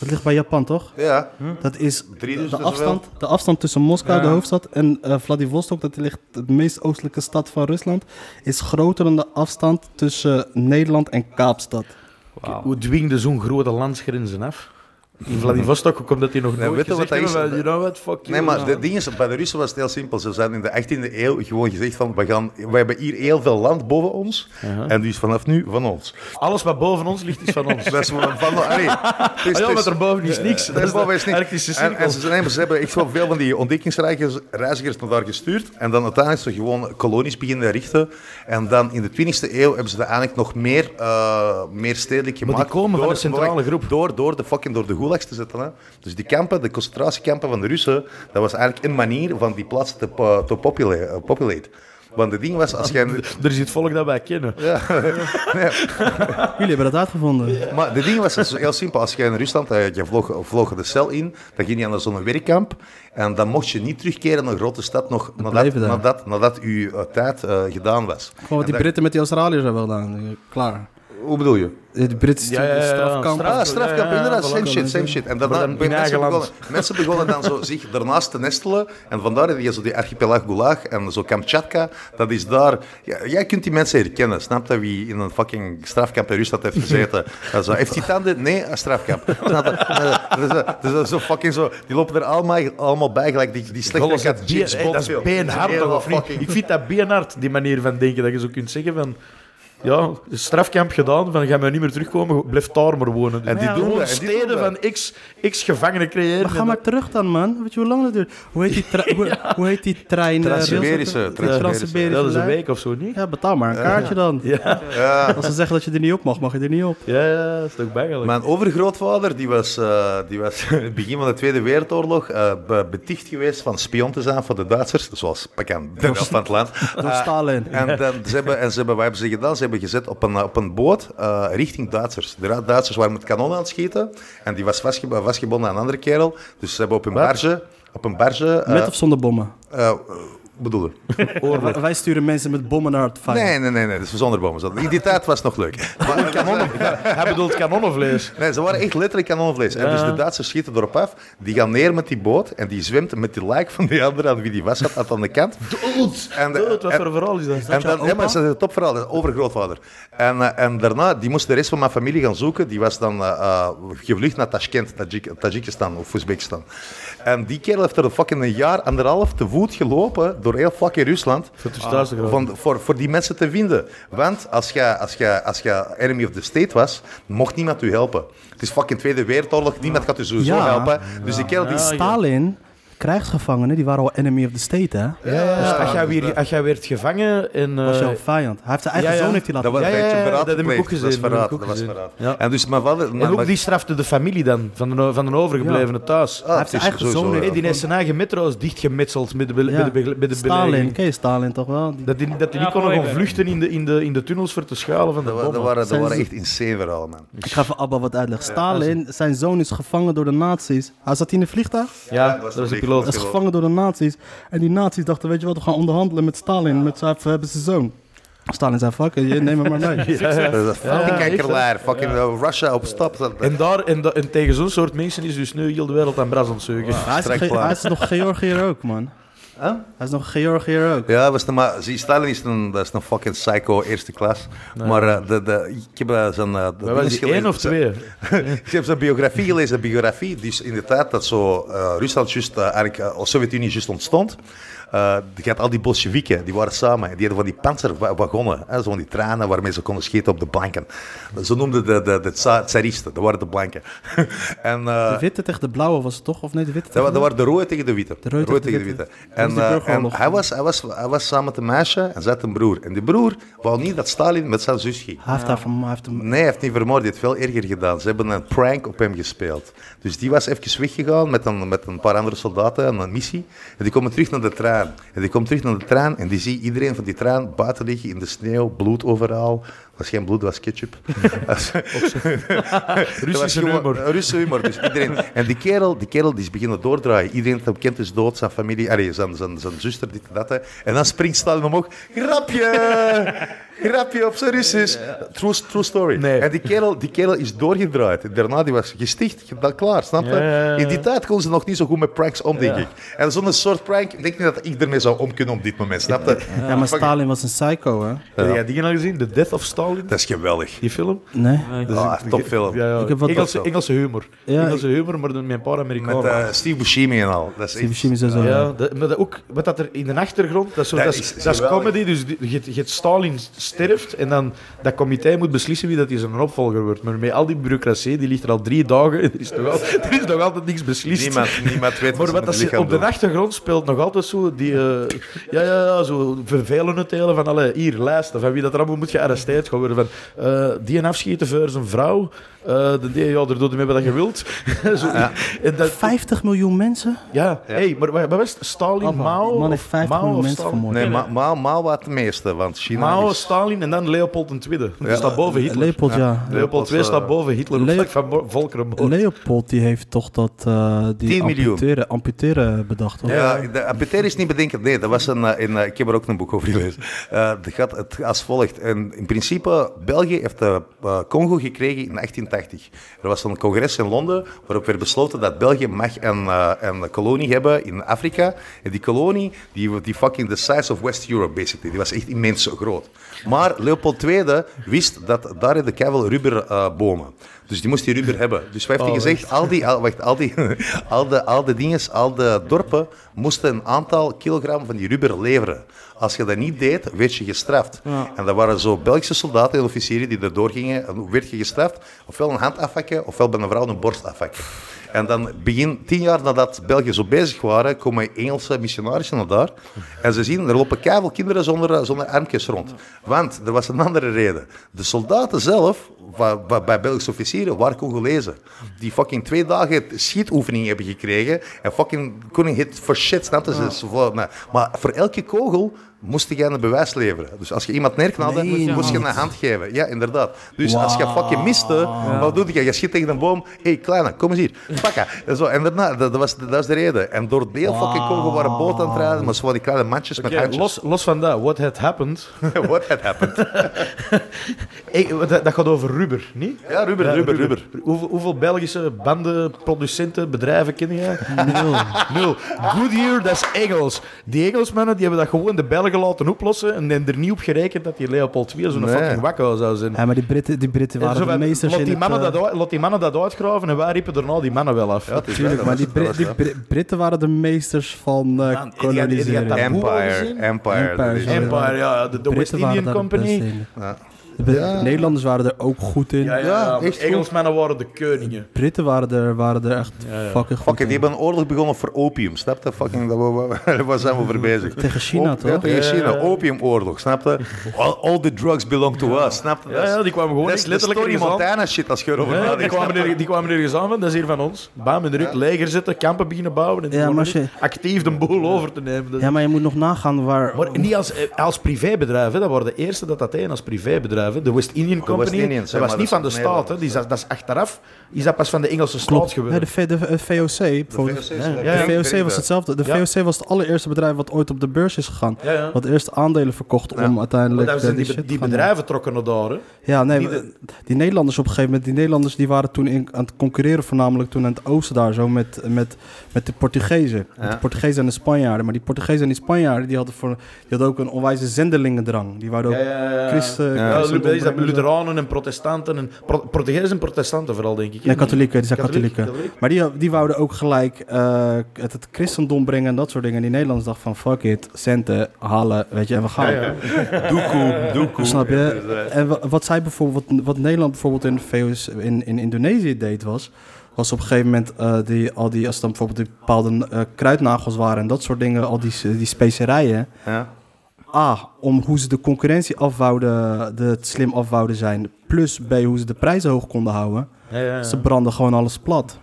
Dat ligt bij Japan, toch? Ja. Hm? Dat is Drie dus de, dus afstand, de afstand tussen Moskou, de hoofdstad, en eh, Vladivostok, dat ligt de meest oostelijke stad van Rusland, is groter dan de afstand tussen Nederland en Kaapstad. Hoe dwing je zo'n grote landsgrenzen af? In Vladivostok, hoe komt dat hier nog nooit weet je wat gezegd dat is? hebben? You know what, fuck Nee, you. maar de ding is, bij de Russen was het heel simpel. Ze zijn in de 18e eeuw gewoon gezegd van, we, gaan, we hebben hier heel veel land boven ons. En dus vanaf nu van ons. Alles wat boven ons ligt, is van ons. Dus Dat is van, van allee, het is- Ah ja, het maar is- erboven is niks. dat is wel weer sneak. Arktische En, cirkel. en ze, zijn, ze hebben echt wel veel van die ontdekkingsreizigers naar daar gestuurd. En dan uiteindelijk ze gewoon kolonies beginnen richten. En dan in de 20e eeuw hebben ze dat eigenlijk nog meer, eh, meer stedelijk gemaakt. komen van een centrale groep. Door, door de fucking door de gulags te zetten. Hè. Dus die kampen, de concentratiekampen van de Russen, dat was eigenlijk een manier van die plaatsen te, po- te popula- eh, populate. Want het ding was, als jij... Er is het volk dat wij kennen. Jullie hebben dat uitgevonden. Maar de ding was dus heel simpel. Als je in Rusland, eh, je vlog, vlog de cel in, dan ging je naar zo'n werkkamp. En dan mocht je niet terugkeren naar een grote stad nog nadat, blijven daar. nadat, nadat je eh, tijd eh, gedaan was. Gewoon wat En die Britten met die Australiërs hebben gedaan. Klaar. dat- Hoe bedoel je? De Britse Ja, ja, ja, ja. strafkamp. Straf- Ah, strafkamp, Ja, ja, inderdaad, voilà. same shit, same shit. En daarna, Maar dan in mensen, eigen land. begonnen, mensen begonnen dan zo zich daarnaast te nestelen. En vandaar heb je zo die archipelag Gulag en zo Kamchatka. Dat is daar... Ja, jij kunt die mensen herkennen, snap je? Wie in een fucking strafkamp in Rusland heeft gezeten. Dat is zo, heeft hij tanden? Nee, een strafkamp. Snap je? Eh, Dat is, eh, dat is zo fucking zo... Die lopen er allemaal, allemaal bij, gelijk die, die slechte Alles kat dat James been- Bond dat is film. beenhard, toch, Helemaal of niet? fucking- Ik vind dat beenhard, die manier van denken. Dat je zo kunt zeggen van... Ja, strafkamp gedaan, van ga maar niet meer terugkomen, blijf daar maar wonen. Dus En die ja, doen gewoon dat, en die steden doen van x, x gevangenen creëren. Maar ga maar terug dan, man. Weet je hoe lang dat duurt? Hoe heet die, tre- hoe, hoe heet die trein? eh, Trans-Siberische, rails- Trans-Siberische. En Trans-Siberische dat is een lijn? week of zo, niet? Ja, betaal maar een kaartje dan. Ja, Ja. Als ze zeggen dat je er niet op mag, mag je er niet op. Ah. ja, ja, dat is toch bangelijk. Mijn overgrootvader die was, eh, die was in het begin van de Tweede Wereldoorlog eh, be- beticht geweest van spion te zijn voor de Duitsers, zoals pakkan de rest van het land. Door Eh, Stalin. en, dan, ze hebben, en ze hebben, wat hebben ze gedaan? Ze hebben gezet op een, eh, op een boot eh, richting Duitsers. De Ra- Duitsers waren met kanonnen aan het schieten en die was vastge- vastgebonden aan een andere kerel. Dus ze hebben op een barge... Op een barge eh, Met of zonder bommen? eh, eh, bedoel je? Wij- Wij sturen mensen met bommen naar het fijn. Nee, nee, nee, nee, dat is zonder bommen. In die tijd was het nog leuk. Maar- Hij bedoelt kanonnenvlees. Nee, ze waren echt letterlijk kanonvlees. En dus de Duitsers schieten erop af. Die gaan neer met die boot. En die zwemt met die lijk van die andere aan wie die was had aan de kant. Dood! En de- Dood, wat en- voor verhaal is dat? En dan, ja, maar dat is een topverhaal, dat is overgrootvader. En, eh, en daarna, die moest de rest van mijn familie gaan zoeken. Die was dan eh, eh, gevlucht naar Tashkent, Tajik, Tajikistan of Oezbekistan. En die kerel heeft er een fucking een jaar, anderhalf te voet gelopen door heel fucking Rusland. Ah. Dat is thuis te Van, voor, voor die mensen te vinden. Want als jij als jij- als jij enemy of the state was, mocht niemand u helpen. Het is fucking Tweede Wereldoorlog, niemand gaat u sowieso Ja. helpen. Dus die kerel Ah, die... Stalin, krijgsgevangenen, die waren al enemy of the state, hè? Ja, Dus Als dus jij weer, als jij werd gevangen en... Dat was jouw eh, vijand. Hij heeft zijn eigen ja, ja. zoon heeft hij Dat laten was een Ja, ja, beetje ja, verraad dat heb ik gepleegd. ook gezien, Dat is dat heb verraad, ik ook dat was gezien. verraad. Ja. En dus mijn vader... En mijn- ook mijn- die strafte de familie dan, van de, van de overgeblevenen thuis. Ah, Hij heeft zijn het is eigen zoon sowieso, Nee, ja. die heeft zijn eigen metro's dichtgemetseld met de, be- Ja. met de, be- met de Stalin, belegering. ken je Stalin toch wel? Die- Dat die, dat die Ja, niet konden gaan mooi, vluchten in de, in, de, in de tunnels voor te schalen van de Dat, wa- dat bommen. waren, dat Zijn waren ze- echt insane verhalen, man. Ik ga even Abba wat uitleggen. Stalin, zijn zoon is gevangen door de nazi's. Hij zat in een vliegtuig, Ja, dat was dat de was de vlieg. piloot. hij is wel. gevangen door de nazi's. En die nazi's dachten, weet je wat, we gaan onderhandelen met Stalin. Met zijn, we hebben zijn zoon. Stalin zei, fuck it, je- neem hem maar mee. Dat is een fucking ja, echt, kankerlaar. Fucking eh, Russia op stap. Dat- En, daar, en, da- en tegen zo'n soort mensen is dus nu heel de wereld aan bras ontzeugen. Hij is, Strak ge- plan. hij is nog Georgiër ook, man. Huh? Hij is nog Georgiër ook. Ja, was de ma- zie, Stalin is een, dat is een fucking psycho eerste klas. Maar eh, de, de, ik heb eh, zijn... eh, dat Maar was ding die één of zijn- twee? Ik heb zijn biografie gelezen, de biografie. Dus inderdaad, dat zo eh, Rusland juist, eh, eigenlijk, eh, als Sovjet-Unie juist ontstond. eh, die had al die Bolsjewieken, die waren samen. Die hadden van die panzerwagonnen, hè, zo van die tranen waarmee ze konden schieten op de blanken. Ze noemden de, de, de tsa- tsaristen, dat waren de blanken. en, eh, De witte tegen de blauwe was het toch? Of nee, de witte dat, wa- tegen dat waren de rode tegen de witte. rode tegen de En En, die eh, burgeroorlog. en hij, was, hij, was, hij was samen met een meisje en zij had een broer. En die broer wou niet dat Stalin met zijn zus ging. Hij heeft daar van hij heeft hem... Nee, hij heeft niet vermoord. Hij heeft veel erger gedaan. Ze hebben een prank op hem gespeeld. Dus die was even weggegaan met een, met een paar andere soldaten en een missie. En die komen terug naar de trein. En die komt terug naar de trein en die ziet iedereen van die trein buiten liggen in de sneeuw, bloed overal. Dat was geen bloed, dat was ketchup. Russische Dat was gewoon humor. een Russische humor. Dus iedereen. En die kerel, die kerel die is beginnen doordraaien. Iedereen dat hem kent is dood, zijn familie, allee, zijn, zijn, zijn zuster, dit en dat. hè. En dan springt Stalin omhoog. Grapje! Grapje op zijn Russisch. True, true story. Nee. En die kerel, die kerel is doorgedraaid. Daarna die was gesticht, gedaan, klaar, snap je? Ja, ja, ja. In die tijd kon ze nog niet zo goed met pranks om, denk ik. En zo'n soort prank, ik denk niet dat ik ermee zou om kunnen op dit moment, snap je? Ja, maar Stalin was een psycho, hè? Heb jij die al gezien? The Death of Stalin? Dat is geweldig. Die film? Nee. Nee. Ah, topfilm. Ja, ja. Ik heb wat- Engelse, Engelse humor. Ja, Engelse humor, maar dan met een paar Amerikanen. Met eh, Steve Buscemi en al. Dat is Steve echt- Buscemi is zo. ja, dat, maar dat ook, wat dat er in de achtergrond, dat is, zo, Dat dat is, is dat is geweldig. comedy, dus die- je, je Stalin sterft en dan dat comité moet beslissen wie dat die zijn opvolger wordt. Maar met al die bureaucratie, die ligt er al drie dagen en er is nog, al, er is nog altijd niks beslist. Niemand, niemand weet maar wat ze wat met dat het ze- lichaam op de doen. achtergrond speelt nog altijd zo, die, eh, ja, ja, ja, zo vervelende telen van alle hier lijsten, van wie dat er allemaal moet gearresteerd gaan worden. Van, eh, die een afschieten voor zijn vrouw, eh, de die, ja, daar doet hij mee wat je wilt. Zo, en dat, 50 miljoen mensen? ja, hey, maar wat wat was het? Stalin, Allemaal. Mao? Die man of heeft 50 Mao miljoen of mensen Stalin? vermoord. Nee, Ma Mao, Mao had het meeste, want China Mao, is... Stalin en dan Leopold II. Die Ja. staat boven Hitler. Leopold, ja. Leopold II Leopold, eh, staat boven Hitler op Leo- vlak van Mo- Volkerenmoord. Leopold die heeft toch dat eh die 10 miljoen. amputeren, amputeren bedacht, hoor. Ja, de amputair is niet bedenken. Nee, dat was een, eh, in, eh, ik heb er ook een boek over gelezen. Eh, dat gaat het als volgt. En in principe, België heeft eh, eh, Congo gekregen in 1880. Er was een congres in Londen waarop werd besloten dat België mag een, eh, een kolonie hebben in Afrika. En die kolonie, die, die fucking the size of West Europe, basically. Die was echt immens zo groot. Maar Leopold II wist dat daar in de keivel rubberbomen. dus die moest die rubber hebben. Dus wij heeft hij gezegd, al die, al, wacht, al die, al de, al de dinges, al de dorpen moesten een aantal kilogram van die rubber leveren. Als je dat niet deed, werd je gestraft. En dat waren zo Belgische soldaten en officieren die erdoor gingen. En hoe werd je gestraft? Ofwel een hand afhakken, ofwel bij een vrouw een borst afhakken. En dan begin tien jaar nadat België zo bezig waren, komen Engelse missionarissen naar daar. En ze zien, er lopen keivel kinderen zonder, eh, zonder armpjes rond. Want er was een andere reden. De soldaten zelf, wa- wa- bij Belgische officieren, waren Congolezen. Die fucking twee dagen schietoefening hebben gekregen. En fucking koning hit for shit, snap je? Ze- ze- voor- nou, Maar voor elke kogel moest jij een bewijs leveren. Dus als je iemand neerknalde, Nee, moest je man. een hand geven. Ja, inderdaad. Dus als je fucking miste, wat doe je? Je schiet tegen een boom. Hé, hey, kleine, kom eens hier. Pakka. En, zo. en daarna, dat, dat was, dat is de reden. En door deel fucking kogel waren boot aan het rijden, maar ze waren die kleine mandjes met Ja, handjes. los, los van dat, what had happened. What had happened? Hey, dat, dat gaat over rubber, niet? Ja, rubber, Ja, rubber, rubber. Hoeveel, hoeveel Belgische banden, producenten, bedrijven kennen jij? Nul. Nul. Goodyear, dat is Engels. Die Engelsmannen die hebben dat gewoon de Belgen laten oplossen en hebben er niet op gerekend dat die Leopold II zo'n Nee. fucking wakko zou zijn. Ja, maar die Britten, die Britten En waren zo de van, meesters laat in die, het... mannen eh, dat, uit- laat die mannen dat uitgraven en wij riepen daarna die mannen wel af. Ja, het is Tuurlijk, waar, maar Dus dat die, was- dat Brit- was die dat. Brit- Britten waren de meesters van eh Ja, die- die- die- die- die- koloniseren. die- die- Empire, Boeren Empire. dus- Empire, dat is- sorry. Empire, ja, de, de West Britten waren Indian daar de beste Company. in. Ja. De Br- Ja. Nederlanders waren er ook goed in. Ja, Ja, ja, ja, maar echt Engelsmannen waren de koningen. Britten waren er, waren er echt fucking goed Fucking, die in. hebben een oorlog begonnen voor opium, snap je? Fucking, daar wa- wa- waar zijn we voor bezig? Tegen China, Op- Mm. ja, toch? tegen China, Ja. opiumoorlog, snap je? All, all the drugs belong to us, snap je? Ja, ja, die kwamen gewoon Dat echt is letterlijk letterlijk Tony ergens aan. Montana shit als je erover Ja, die, nadenkt. kwamen er, die kwamen ergens aan van, dat is hier van ons. Bam, in de ruk, leger zetten, kampen beginnen bouwen. En die Ja, maar begonnen als actief de boel over te nemen. Dat- Ja, maar je moet nog nagaan waar... Maar niet als, eh, als privébedrijf, hè. dat waren de eerste dat dat deden als privébedrijf. hè. De West Indian Company, Indians, hè, dat was maar niet dat van is de staat. Hè. Nederland. Die is, dat is achteraf is dat pas van de Engelse staat Klopt. Nee, geworden. de, V- de, eh, VOC, bijvoorbeeld. VOC is de- Ja, ja. de VOC was Breda. hetzelfde. De Ja. VOC was het allereerste bedrijf wat ooit op de beurs is gegaan. Ja, ja. Wat eerst aandelen verkocht Ja. om Maar uiteindelijk daar eh, zijn die, die, be- shit die te gaan doen. bedrijven trokken naar daar. hè. Ja, nee, Die- we- die Nederlanders op een gegeven moment, die Nederlanders die waren toen in, aan het concurreren voornamelijk toen aan het oosten daar zo met, met, met de Portugezen. Met de Portugezen en de Spanjaarden. Maar die Portugezen en die Spanjaarden die hadden, voor, die hadden ook een onwijze zendelingendrang. Die waren ook Ja, ja, ja. christen. Ja, Oh, christen Lu- is dat opbrengen. Lutheranen en protestanten. En pro Portugezen en protestanten vooral, denk ik. hè. Nee, katholieken, die zijn Katholiek, katholieken. katholiek. Maar die, die wouden ook gelijk eh, het, het christendom brengen en dat soort dingen. En die Nederlanders dachten van fuck it, centen halen, weet je, en we gaan. Doekoe, doekoe. Dus, eh, Snap je? En wa- wat, zij bijvoorbeeld, wat Nederland bijvoorbeeld in, VOC in, in Indonesië deed was... was op een gegeven moment eh, die, al die, als het dan bijvoorbeeld die bepaalde eh, kruidnagels waren en dat soort dingen, al die, die specerijen. Ja. A, om hoe ze de concurrentie afwouden, de, het slim afwouden zijn. Plus B, hoe ze de prijzen hoog konden houden. Ja, ja, ja. Ze branden gewoon alles plat.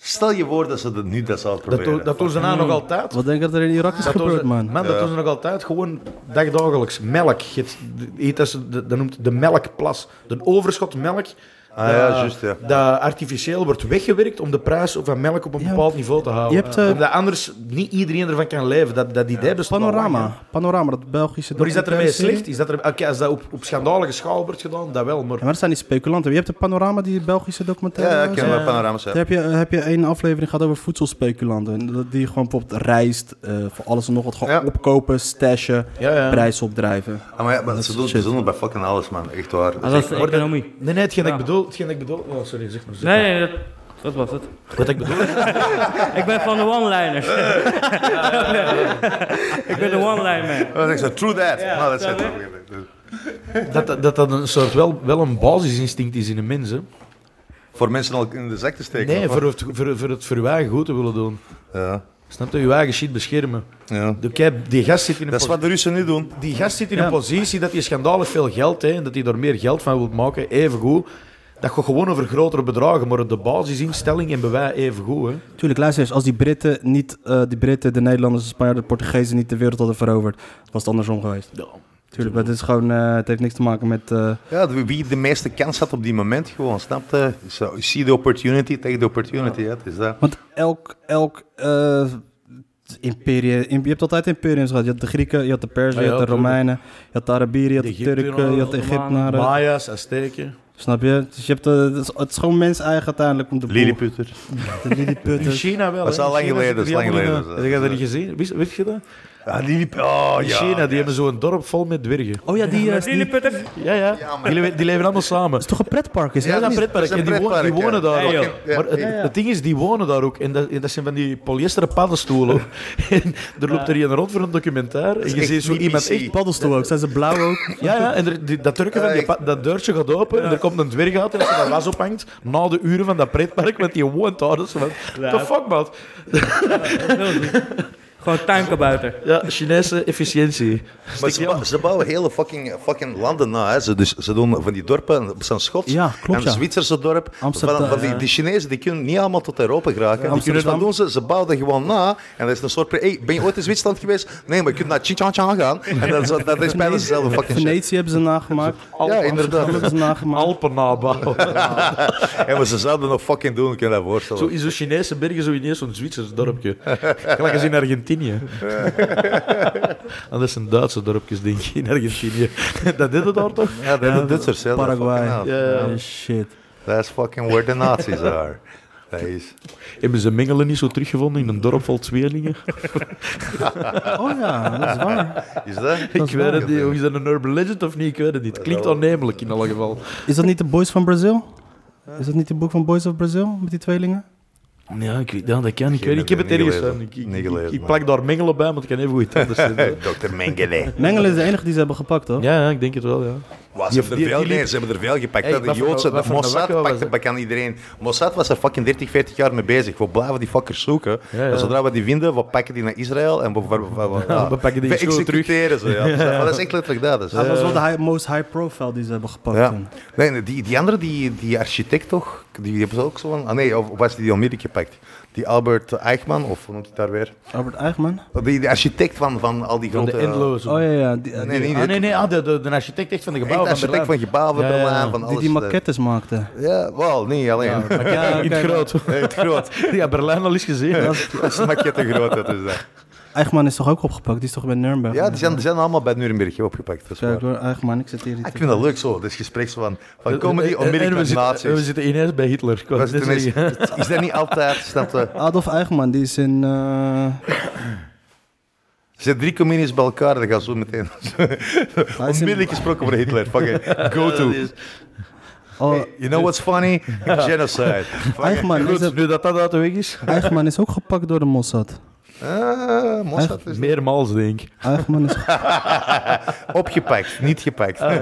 Stel je voor dat ze dat nu dat zouden Dat, proberen. doen- dat doen ze nou nog altijd. Wat denk je dat er in Irak is Dat doen gebeurd, ze- man? dat doen ze nog altijd gewoon dagdagelijks. Melk. Je hebt- je eet dat, ze- dat noemt de melkplas. De overschot melk. eh, Ah ja, juist, ja. Dat artificieel wordt weggewerkt om de prijs van melk op een Ja. bepaald niveau te houden. Je hebt, eh, Omdat anders niet iedereen ervan kan leven. Dat, dat idee bestaat al lang, Panorama. hè. Panorama, dat Belgische... Maar is dat ermee documentaire slecht? Is dat er, oké, als dat op, op schandalige schaal wordt gedaan, dat wel. Maar Ja, maar dat zijn die speculanten. Je hebt de panorama, die Belgische documentaire. Ja, ik ken zo. wel panorama's. Daar Ja. heb je, heb je één aflevering gehad over voedselspeculanten. En dat Die gewoon bijvoorbeeld rijst, eh, voor alles en nog wat gewoon Ja. opkopen, stashen, Ja, ja. prijs opdrijven. Ah, maar ja, maar ze doen shit. ze doen het bij fucking alles, man. Echt waar. Dus Ah, dat is de Wordt het- economie. Nee, nee, hetgeen dat Ja. ik bedoel... Hetgeen dat ik bedoel oh, sorry, zeg maar. Zeg Nee, nee, dat, dat was het. maar. Wat ik bedoel? Ik ben van de one-liners. ik ben de one-liner man. Oh, dan denk ik zo, true that. Ja, nou, dat dat is wel, het. dat, dat, dat dat een soort wel, wel een basisinstinct is in een mens, hè. Voor mensen al in de zak te steken. Nee, of voor wat? het, voor, voor het voor uw eigen goed te willen doen. Ja, Snap je? Je eigen shit beschermen. ja. De- Kijk, die gast zit in een, Dat is posi- wat de Russen nu doen. die gast zit in Ja. een positie dat hij schandalig veel geld heeft en dat hij daar meer geld van wil maken, evengoed. Dat gaat gewoon over grotere bedragen, maar de basisinstelling en bewijs evengoed. Hè. Tuurlijk, luister eens, als die Britten, niet, eh die Britten, de Nederlanders, de Spanjaarden, de Portugezen niet de wereld hadden veroverd, was het andersom geweest. Tuurlijk, maar het, is gewoon, eh, het heeft niks te maken met... eh, Ja, de- wie de meeste kans had op die moment, gewoon, snap je? Zo, you see the opportunity, take the opportunity. Ja, het is dat. Want elk, elk eh, imperie, im- je hebt altijd imperiums gehad. Je had de Grieken, je had de Perzen, Ah, je ja, had de tuurlijk. Romeinen, je had de Arabieren, je had de De Egyptenaren, Turken, je had de Ottomanen, Egyptenaren. Maya's, Azteken. Snap je? Dus je hebt, eh, het is- het is gewoon mens eigen uiteindelijk om de boel- Lilliputter. de In Lilliputters. China wel. Dat is hè. al In lang China geleden, zit dat is er lang helemaal geleden, in, eh, Heb je dat dat niet gezien? Wist, weet je dat? Ah, Lillip... Oh, In ja. China, nou, die ja. hebben zo'n dorp vol met dwergen. Oh ja, die, eh, die- Jullie het putter. Ja, ja. die, leven, die leven allemaal samen. is toch een pretpark? Is Ja, het Ja, dat is- is een pretpark. dat is een en die, wonen, die pretpark, wonen ja. daar Ja, ook. joh. Ja, maar het, ja, ja. het ding is, die wonen daar ook. En dat, en dat zijn van die polyesteren paddenstoelen. en er loopt er hier rond voor een documentaire. En je echt ziet zo BBC. iemand echt... paddelstoel ook. Zijn ze blauw ook? Ja, ja, en er, die- dat Turken van die, pa- dat deurtje gaat open en er komt een dwerg uit en als je dat was ophangt, na de uren van dat pretpark, want die woont daar. Dus van, the fuck, man? Dat wil ik niet. Gewoon tuinkabuiter. Ja, Chinese efficiëntie. Maar ze, bou- ze bouwen hele fucking, fucking landen na. Hè. Ze, dus, ze doen van die dorpen, op zijn Schots Ja, klopt, en een ja. Zwitserse dorp. Amsterdam, van, van die, ja. die Chinezen die kunnen niet allemaal tot Europa geraken. Die kunnen, Amsterdam. wat doen ze? Ze bouwen dat gewoon na. En dat is een soort... pre- Hey, ben je ooit in Zwitserland geweest? Nee, maar je kunt naar Chichanchang gaan. En dat, is- dat is bijna dezelfde fucking shit. Venetië hebben ze nagemaakt. Ja, inderdaad. Hebben ze nagemaakt. Alpennabouw. En maar ze zouden nog fucking doen, ik kan je dat voorstellen. Zo in zo'n Chinese bergen, zo ineens zo'n Zwitsers dorpje. Gelijk als in Argentinië. En dat zijn Duitse dorpjes, denk ik, in Argentinië. dat deed het daar toch? Ja, dat is Duitsers. hè, dat Paraguay. fucking hell. Ja. Eh, shit. Dat is fucking where the Nazis are. Dat is... Hebben ze Mengelen niet zo teruggevonden in een dorp vol tweelingen? Oh ja, dat is waar. Is dat? ik weet het niet. Of is dat een urban legend of niet? Ik weet het niet. Het klinkt aannemelijk in alle geval. Is dat niet de Boys van Brazil? Is dat niet het boek van Boys of Brazil met die tweelingen? Ja, ik weet, ja, dat kan. Ik, weet, ik heb het Niet ergens gelezen. van. Ik, ik, Niet gelezen, ik- ik man. plak daar Mengelen bij, want ik kan even goed anders zijn. Dr. Eh, Mengele. Mengelen is de enige die ze hebben gepakt, toch? Ja, ja, ik denk het wel, ja. Was Die- er die- veel, die nee, liep- ze hebben er veel gepakt. Hey, hè, de wat voor- Joodse, wat de voor een Mossad wakko was pakte het? bij kan iedereen. Mossad was er fucking 30, 40 jaar mee bezig. We blijven die fuckers zoeken. Ja, ja. En zodra we die vinden, we pakken die naar Israël en we, we, we, we- ja, we pakken die schoenen terug. Ah, executeren ze. Ja. Maar dat is echt letterlijk dat. Dus. Dat was wel de high- most high profile die ze hebben gepakt Ja. toen. Nee, nee, die, die andere, die, die architect toch? Die hebben ze ook zo'n... Ah nee, of was die die onmiddellijk gepakt? Die Albert Eichmann, of hoe noemt hij daar weer? Albert Eichmann? Die, die architect van, van al die Van grote... de endloze. Oh ja, ja. Die, eh, Nee, nee, die, Ah, nee. nee, nee, ah, de, de, de architect echt van de Echt gebouwen van architect Berlijn. van gebouwen, van Ja, ja, ja. Berlijn, van die alles. eh, die maquettes maakte. Ja, wel, niet alleen. Maar ja, in het groot. Nee, het groot. Ja, Berlijn al eens gezien. hè. Dat is maquette groot, dat is dat. Eichmann is toch ook opgepakt? Die is toch bij Nuremberg? Ja, die zijn, die zijn allemaal bij Nuremberg opgepakt. Dat is Kijk waar. Ah, hoor, Eichmann, ik zit hier. Ik vind dat leuk zo, dit gesprek zo van, Eh, van comedy En- en we onmiddellijk met zitten- en We nazi's. zitten ineens bij Hitler. Ik wou Dat is, net het ineens- zeggen. is dat niet altijd, snap je? Adolf Eichmann, die is in... eh, Er zijn drie comedians bij elkaar, dat gaan zo Ah, meteen. in- Onmiddellijk gesproken over Hitler. Fuck it. Go to. oh, You know what's funny? Genocide. Eichmann, is Goed, het- nu dat dat uit de weg is. Eichmann is ook gepakt door de Mossad. Ah, Mossad is Meermaals, denk ik. Eichmann is... opgepakt, niet gepakt. Ah,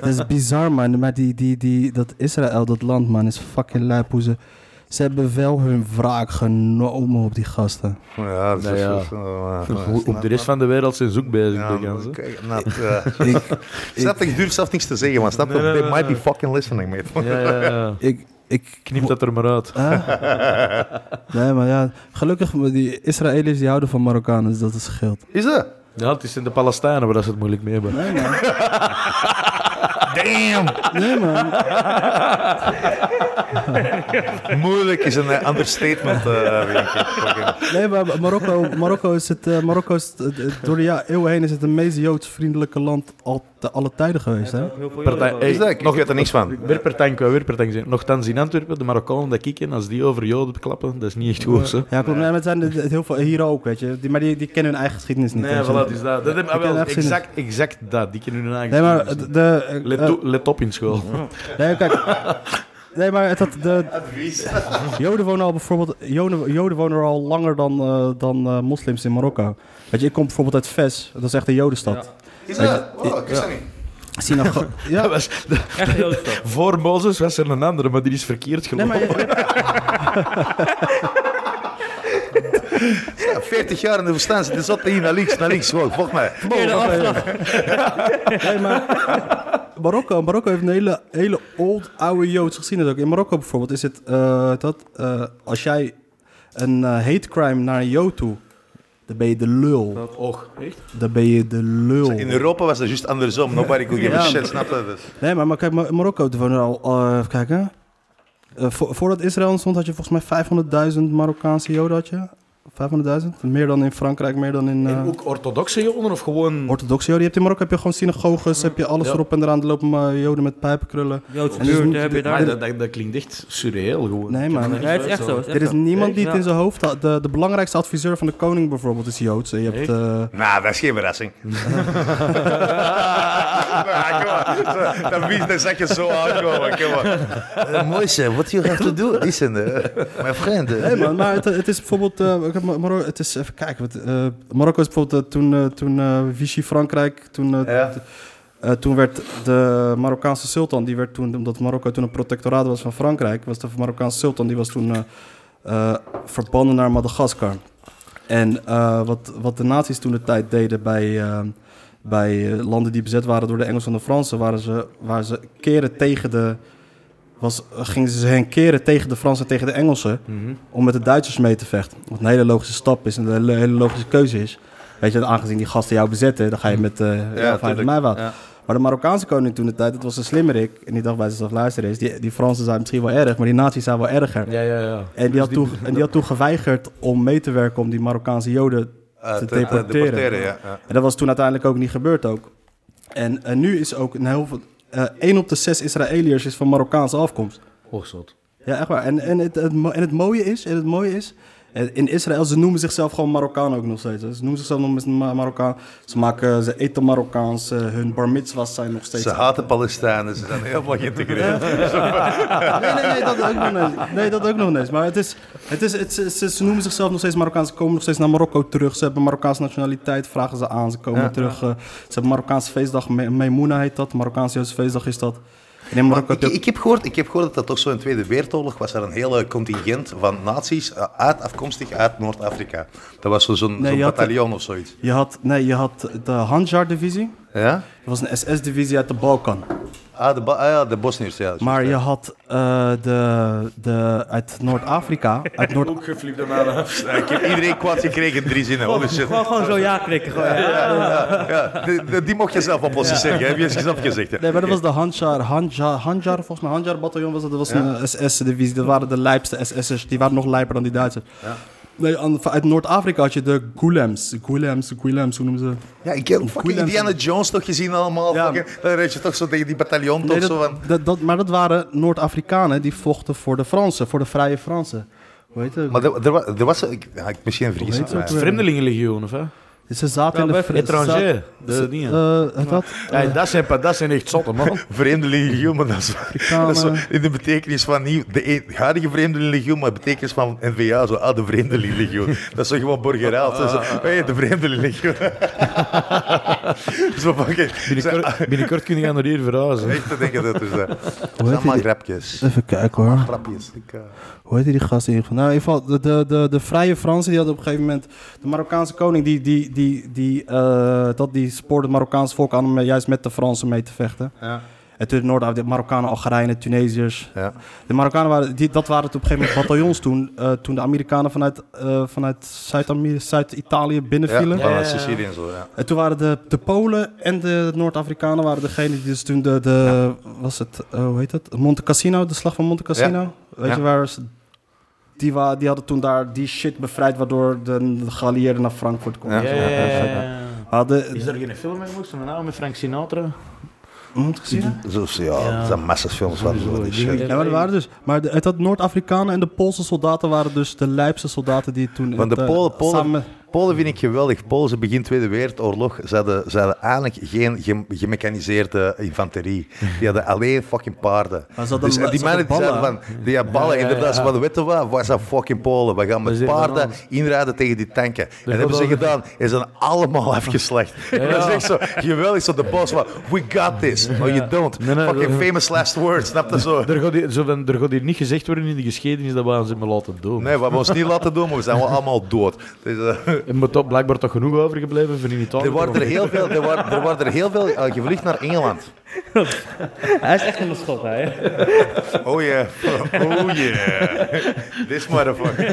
Dat is bizar, man. Maar die, die, die, dat Israël, dat land, man, is fucking lijp hoe ze... Ze hebben wel hun wraak genomen op die gasten. Ja, dat is- Nou ja. is- eh, Hoe- Op de rest van de wereld zijn ze ook bezig. Ja, de ganzen. kijk, nou, eh, Snap, ik durf zelf niks te zeggen, man. Snap, Nee, nee, they might nee. be fucking listening, mate. Ja, ja, ja. Ik, ik Knip dat er maar uit. Huh? Nee, maar ja, gelukkig, die Israëli's die houden van Marokkanen, dus dat is geld. Is dat? Ja, het is in de Palestijnen waar ze het moeilijk mee hebben. Nee, man. Damn! Nee, man. Moeilijk is een eh, understatement, eh, denk ik. Fucking- Nee, maar Marokko, Marokko is het, eh, Marokko is het, het- het- door de ja, eeuwen heen is het de meest joodsvriendelijke land al te alle tijden geweest, hè? Heel veel Partij- joden. Hey, Is dat? Ik nog- weet er niks van. Weer per tank, weer per tank. zijn. Nochtans in Antwerpen, de Marokkanen dat kikken, als die over Joden klappen, dat is niet echt goed. Zo. Ja, klopt. Nee, maar het zijn het- het heel veel hier ook, weet je. Die, maar die, die kennen hun eigen geschiedenis niet. Nee, weet je. voilà, dus dat. dat heb, ah, Ik ken wel, echt zin in. exact, exact dat. Die kunnen hun eigen Nee, maar de... geschiedenis de- eh, niet. let, toe- let op in school. eh, nee, kijk. Nee, maar het had de, Joden wonen al bijvoorbeeld, Joden, Joden wonen er al langer dan, eh, dan eh, moslims in Marokko. Weet je, ik kom bijvoorbeeld uit Fes, dat is echt een Jodenstad. Is dat? Wow, ik wist dat niet. Synago- Dat ja. was, dat- Echt heel stap. voor Mozes was er een andere, maar die is verkeerd Nee, maar gelopen. je- Ja, 40 jaar in de verstand, dit zat hier naar links, naar links. Wow, volg mij. Eerder afslag. nee, maar Marokko, Marokko heeft een hele, hele old, oude Joods geschiedenis ook. In Marokko bijvoorbeeld is het eh, dat eh, als jij een eh, hate crime naar een Jood toe, dan ben je de lul. Och, echt? Dan ben je de lul. In Europa was dat juist andersom. Nobody could give a Ja. shit, snap je? Dus. Nee, maar, maar kijk, Mar- Marokko er wonen al, eh, even kijken. Eh, vo- voordat Israël ontstond had je volgens mij 500.000 Marokkaanse Joden. Had je. 500.000? Meer dan in Frankrijk, meer dan in... eh, En ook orthodoxe Joden of Hm. gewoon... Orthodoxe Joden. Je hebt in Marokko heb je gewoon synagoges, heb je alles Ja. erop en eraan. Er lopen maar Joden met pijpenkrullen. Joodse En dus buurt moet- heb je maar daar. dat, dat, dat klinkt echt surreëel gewoon. Nee, Ik kan man. dat Ja, niet het is echt zo. voorstellen. Er het echt is zo. niemand die het Ja. in zijn hoofd had. De, de belangrijkste adviseur van de koning bijvoorbeeld is Joods. En Je hebt, Echt? eh, Nou, dat is geen verrassing. Ja, kom maar. Zo, Dat wies, dat zag je zo aankomen. Kom maar. Uh, Moishe, what you have to do? Listen, uh, my friend. eh. Nee, man, maar het, het is bijvoorbeeld. eh, ik heb Mar- Marokko- het is even kijken. Wat, eh, Marokko is bijvoorbeeld eh, toen, eh, toen eh, Vichy Frankrijk. Toen, eh, Ja. t- eh, toen werd de Marokkaanse sultan. Die werd toen, omdat Marokko toen een protectoraat was van Frankrijk. Was de Marokkaanse sultan. Die was toen eh, eh, verbannen naar Madagaskar. En eh, wat, wat de nazi's toen de tijd deden bij. eh, bij eh, landen die bezet waren door de Engelsen en de Fransen, waren ze, waren ze keren tegen de. Was, gingen ze hen keren tegen de Fransen en tegen de Engelsen Mhm. om met de Duitsers mee te vechten. Wat een hele logische stap is en een hele- hele logische keuze is. Weet je, aangezien die gasten jou bezetten, dan ga je met eh ja, tuurlijk. mij wat. Ja. Maar de Marokkaanse koning toen de tijd, dat was een slimmerik. En die dacht bij zichzelf, luister eens, die, die Fransen zijn misschien wel erg, maar die nazi's zijn wel erger. Ja, ja, ja. En, die had toen, en die had toen geweigerd om mee te werken om die Marokkaanse joden Eh, te te- te deporteren. deporteren, ja, ja. En dat was toen uiteindelijk ook niet gebeurd ook. En eh, nu is ook een heel veel... eh, één op de zes Israëliërs is van Marokkaanse afkomst. Och, Oh, zot. Ja, echt waar. En, en, het, het, mo- en het mooie is, en het mooie is eh, in Israël, ze noemen zichzelf gewoon Marokkaan ook nog steeds. hè. Ze noemen zichzelf nog eens Ma- Marokkaan. Ze, maken, ze eten Marokkaans, eh, hun bar mitzvahs zijn nog steeds... Ze haten Palestijnen, ze zijn helemaal geïntegreerd. Nee, nee, nee, dat ook nog niet. Nee, dat ook nog niet. Maar het is, het is, het, ze- ze, ze noemen zichzelf nog steeds Marokkaans. Ze komen nog steeds naar Marokko terug. Ze hebben Marokkaanse nationaliteit, vragen ze aan. Ze komen terug. eh, ze hebben Marokkaanse feestdag. Me- Meimouna heet dat. Marokkaanse Joodse feestdag is dat. En in Marokko... Ik, ik, heb gehoord, ik heb gehoord dat dat toch zo in de Tweede Wereldoorlog was er een hele contingent van nazi's eh, uit, afkomstig uit Noord-Afrika. Dat was zo- zo'n Nee, zo'n je had- bataljon of zoiets. Je had, nee, je had de Hanjar-divisie. Ja? Dat was een SS-divisie uit de Balkan. Ah, de, Ba- ah, ja, de Bosniërs, ja. dat is Maar juist, je had eh, de, de, uit Noord-Afrika. Uit Noord Ook geflipt aan mij. ja. Ik heb iedereen kwaad gekregen in drie zinnen. Holy shit. Gewoon, gewoon zo ja klikken. Gewoon, ja. Ja, de- de- die mocht je zelf oplossen, zeg. Heb je zelf gezegd. hè. Nee, maar dat was de Hanjar, Hanjar, Hanjar volgens mij Hanjar bataljon was dat. Dat was een SS-divisie. Dat waren de lijpste SS'ers. Die waren nog lijper dan die Duitsers. Nee, aan- uit Noord-Afrika had je de Gulems. Gulems, Gulems, hoe noemen ze? Ja, ik heb fucking Goeie Indiana lente. Jones toch gezien allemaal. Ja. Fucking, dan reed je toch zo tegen die bataljon toch Nee, zo dat, van... dat, dat- maar dat waren Noord-Afrikanen die vochten voor de Fransen, voor de Vrije Fransen. Hoe heet het? Maar er, er, wa- er was... Ik, ja, ik- misschien vergis Hoe ik heet het mij. ook weer? Vreemdelingenlegioen, of hè? Ze zaten in de... bij fr- Étranger. ze- De dingen. eh, eh, wat? Hey, dat, zijn, pa- dat zijn echt zotten, man. Vreemdelingenlegioen, maar dat is, Afrikanen. dat is zo in de betekenis van niet de e- huidige vreemdelingenlegioen, maar de betekenis van NVA, zo, ah, de vreemdelingenlegioen. Dat is zo gewoon borgeraal. Zo, zo, hey, de vreemdelingenlegioen. zo van, oké, zo, ah, Binnenkort, binnenkort kun je naar hier verhuizen. echt te denken dat er zijn. Hoe Dat heet zijn allemaal die- Eh. grapjes. Even kijken hoor. Grapjes. Ik, eh, Hoe heet die gast in ieder geval? Nou, in ieder geval, de, de, de, de Vrije Fransen, die had op een gegeven moment... De Marokkaanse koning, die, die, die, die, eh, dat, die spoorde het Marokkaanse volk aan om eh, juist met de Fransen mee te vechten. Ja. En toen in Noord-Afrika, de Marokkanen, Algerijnen, Tunesiërs. Ja. De Marokkanen waren, die, dat waren het op een gegeven moment bataljons toen. eh, toen de Amerikanen vanuit, eh, vanuit Zuid-Ameri- Zuid-Italië Ja, binnenvielen. ja, Ja, ja, ja. Sicilië en zo, ja. En toen waren de, de Polen en de Noord-Afrikanen waren degene die dus toen de, de was het, eh, hoe heet het? Monte Cassino, de slag van Monte Cassino. Weet Ja. je waar ze, die, wa, die hadden toen daar die shit bevrijd waardoor de geallieerden naar Frankfurt Ja, kwamen. ja, We hadden, Is er geen film mee gemaakt? Zo'n naam met Frank Sinatra? Monte Cassino? Zo, zo, ja, Ja. dat zijn massas films van zo, die shit. Ja, maar dat waren dus. Maar de, het had Noord-Afrikanen en de Poolse soldaten waren dus de lijpste soldaten die toen. in Dus Want de het, eh, Polen, Polen, samen- Polen vind ik geweldig. Polen, ze begin Tweede Wereldoorlog, ze hadden, ze hadden eigenlijk geen gem- gemechaniseerde infanterie. Die hadden alleen fucking paarden. Maar ze hadden- en die ze mannen die hadden zeiden van, die hadden ballen, Ja, ja, inderdaad. Ze ja. hadden, weten we wat, waar zijn fucking Polen? We gaan Dat is met hier paarden anders. inrijden tegen die tanken. en dat hebben ze gaat gedaan. En ze zijn allemaal afgeslacht. En dat is echt zo geweldig, zo de boss van, we got this. No, you don't. Nee, nee, fucking dat- famous last words, snap je zo? Er gaat, hier, zo van- er gaat hier niet gezegd worden in de geschiedenis dat we aan ze maar laten doen. Nee, we hebben ons niet laten doen, maar we zijn wel allemaal dood. Dus, eh, Er moet toch blijkbaar toch genoeg overgebleven voor in Italië. Er waren er heel veel, er waren, er waren er heel veel eh, gevlucht naar Engeland. Hij is echt een schot, hè? Oh yeah. Oh yeah. This motherfucker.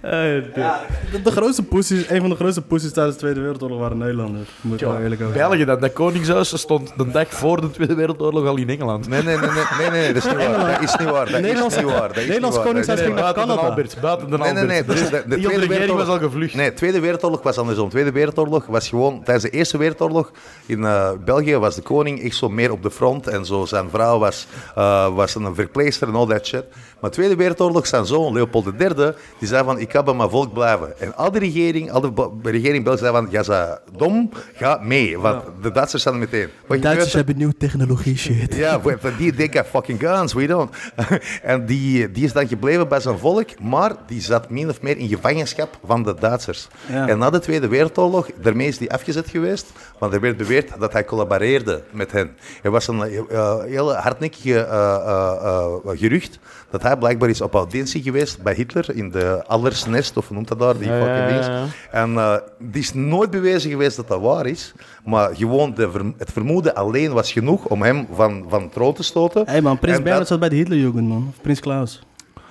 de, de grootste poesies, een van de grootste poesies tijdens de Tweede Wereldoorlog waren Nederlanders. Moet ik wel eerlijk over zijn. België, dat, dat koningshuis dat stond de dag voor de Tweede Wereldoorlog al in Engeland. Nee, nee, nee, nee, nee, nee, dat is niet waar. Dat is niet waar. Dat Nederlands- is niet waar. Dat is Nederlands niet waar. koningshuis Dat is ging niet waar. naar Buiten de Canada. Albert, buiten de Nee, nee, Albert. nee. dat is- de- De de Tweede regering was al Wereldoorlog... gevlucht. Nee, de Tweede Wereldoorlog was andersom. De Tweede Wereldoorlog was gewoon... Tijdens de Eerste Wereldoorlog in eh, België was de koning echt zo meer op de front. En zo zijn vrouw was, eh, was een verpleegster en al dat shit. Maar de Tweede Wereldoorlog zijn zoon, Leopold III, die zei van, ik kan bij mijn volk blijven. En al die regering, al de bo- regering in België zei van, ja, ze dom, ga mee. Want de Duitsers zijn er meteen. Wat gebeurt Duitsers er? hebben nieuwe technologie shit. Ja, we- we- die denken fucking guns, we don't. En die, die is dan gebleven bij zijn volk, maar die zat min of meer in gevangenschap van de Duitsers. Ja. En na de Tweede Wereldoorlog, daarmee is die afgezet geweest, want er werd beweerd dat hij collaboreerde met hen. Er was een eh, hele hardnekkige eh, eh, eh, gerucht dat hij blijkbaar is op audiëntie geweest bij Hitler in de Allersnest, of hoe noemt dat daar, die Ja, fucking ja, ja, dings. ja. En eh, die is nooit bewezen geweest dat dat waar is. Maar gewoon de ver- het vermoeden alleen was genoeg om hem van, van troon te stoten. Hé hey man, Prins En Bernhard dat- zat bij de Hitlerjugend man. Of Prins Klaus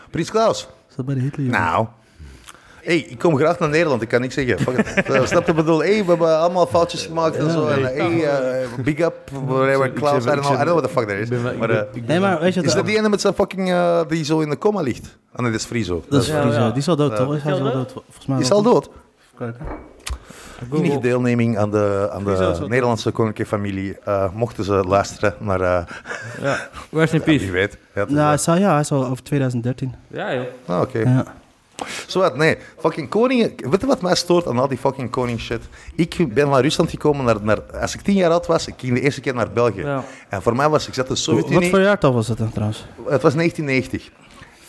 Prins Klaus. zat bij de Hitlerjugend. Nou. hey, ik kom graag naar Nederland, ik kan niks zeggen. Fuck it. Eh, Snap je wat ik bedoel? hey, we hebben allemaal foutjes gemaakt en zo. En, hey, eh, big up, whatever, ik Klaus. I zeg- don't know, I ik zeg- don't know what the fuck that is. Ik ben- ik Maar, ben- eh, ik ben- nee, maar weet je is wat- dat die ene met zijn fucking, eh, die zo in de coma ligt? Ah, nee, dat is Frizo. Dat is Ja, Frizo. ja. Die is al dood, toch? Is hij Is al hij dood? Volgens mij Die is wel. al dood. Even kijken. Enige deelneming aan de, aan Frizo is de wel- Nederlandse koninklijke familie. eh, mochten ze luisteren naar eh, Ja. Rest in Wie peace. weet. Ja, het is Nou, hij dat. is al, ja, hij is al over 2013. Ja, joh. Ah, oké. Ja. Zowat, nee. Fucking koningen. Weet je wat mij stoort aan al die fucking koning shit? Ik ben naar Rusland gekomen. Naar, naar, als ik tien jaar oud was, ik ging de eerste keer naar België. Ja. En voor mij was, ik zat in de Wat Sovjet-Unie. voor jaartal was het dan trouwens? Het was 1990.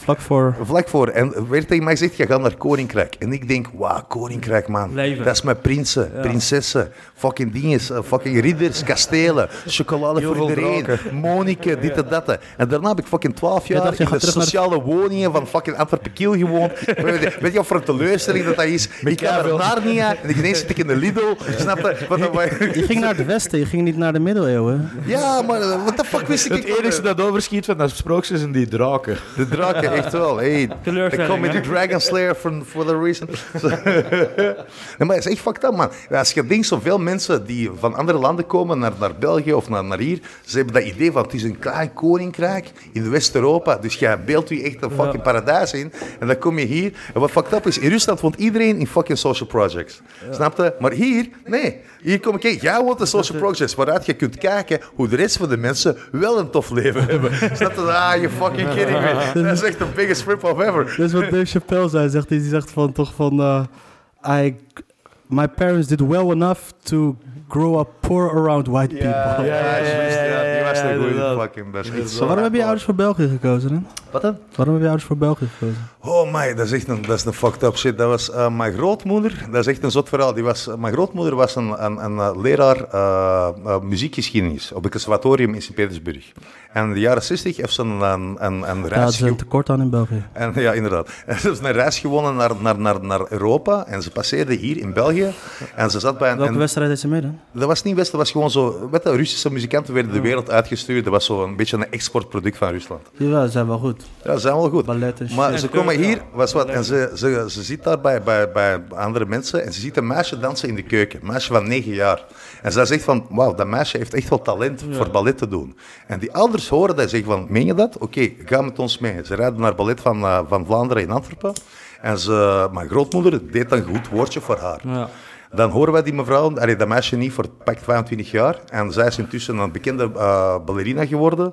Vlak voor... Vlak voor. En werd tegen mij gezegd, je gaat naar Koninkrijk. En ik denk, wauw, Koninkrijk, man. Leven. Dat is mijn prinsen, prinsessen, fucking dinges, eh, fucking ridders, kastelen, chocolade Heel veel voor iedereen, draken. Monike, dit en dat. En daarna heb ik fucking 12 jaar dacht, je in de gaat terug naar- sociale woningen van fucking Antwerpen-Kiel gewoond. weet, je- weet je wat voor een teleurstelling dat dat is? ik ga naar kabel. Narnia en ineens zit ik in de Lidl. Snap je? Wat een- Je ging naar het westen, je ging niet naar de middeleeuwen. Ja, maar eh, wat de fuck wist ik Het niet? enige dat overschiet van dat sprookjes zijn die draken. De draken, echt wel. Hey, de Teleurstelling, comedy hè? Dragon Slayer for, for the reason. nee, maar het is echt fucked up, man. Als je denkt, zoveel mensen die van andere landen komen naar, naar België of naar, naar hier, ze hebben dat idee van, het is een klein koninkrijk in West-Europa. Dus jij beeldt je echt een fucking paradijs in. En dan kom je hier. En wat fucked up is, in Rusland woont iedereen in fucking social projects. Snap je? Maar hier, nee. Hier kom ik, hey, jij woont in social projects, waaruit je kunt kijken hoe de rest van de mensen wel een tof leven hebben. Snap je? Ah, je fucking kidding me. Dat is echt de biggest rip-off ever. Dat is wat Dave Chappelle zei, zegt hij. Die zegt van toch van... eh, I, My parents did well enough to grow up poor around white Ja, people. ja, juist, ja, die was de ja, goede inderdaad. fucking best. Zo, waarom heb je ouders voor België gekozen dan? Wat dan? Waarom heb je ouders voor België gekozen? Oh my, dat is echt een, dat is een fucked up shit. Dat was eh, mijn grootmoeder, dat is echt een zot verhaal. Die was, eh, mijn grootmoeder was een, een, een eh, leraar eh, eh, muziekgeschiedenis op het conservatorium in Sint-Petersburg. En in de jaren 60 heeft ze een, een, een, een Daar hadden reis ze een ge- tekort aan in België. en, ja, inderdaad. En ze heeft een reis gewonnen naar, naar, naar, naar Europa en ze passeerde hier in België. En ze zat bij een... Welke een- wedstrijd deed ze mee dan? dat was niet West, dat was gewoon zo... Weet je, Russische muzikanten werden de wereld uitgestuurd. Dat was zo een beetje een exportproduct van Rusland. Jawel, ze zijn wel goed. Ja, ze zijn wel goed. Ballet en shit. Maar Ja, ze komen tuurlijk, hier, ja. was wat, en ze, ze, ze zit daar bij, bij, bij andere mensen en ze ziet een meisje dansen in de keuken. Een meisje van negen jaar. En zij zegt van, wauw, dat meisje heeft echt wel talent voor ballet te doen. En die ouders horen dat en zeggen van, meen je dat? Oké, ga met ons mee. Ze rijden naar ballet van, eh, van Vlaanderen in Antwerpen. En ze, mijn grootmoeder deed een goed woordje voor haar. Ja. Dan horen wij die mevrouw, allee, dat meisje niet, voor pak 22 jaar. En zij is intussen een bekende eh, ballerina geworden.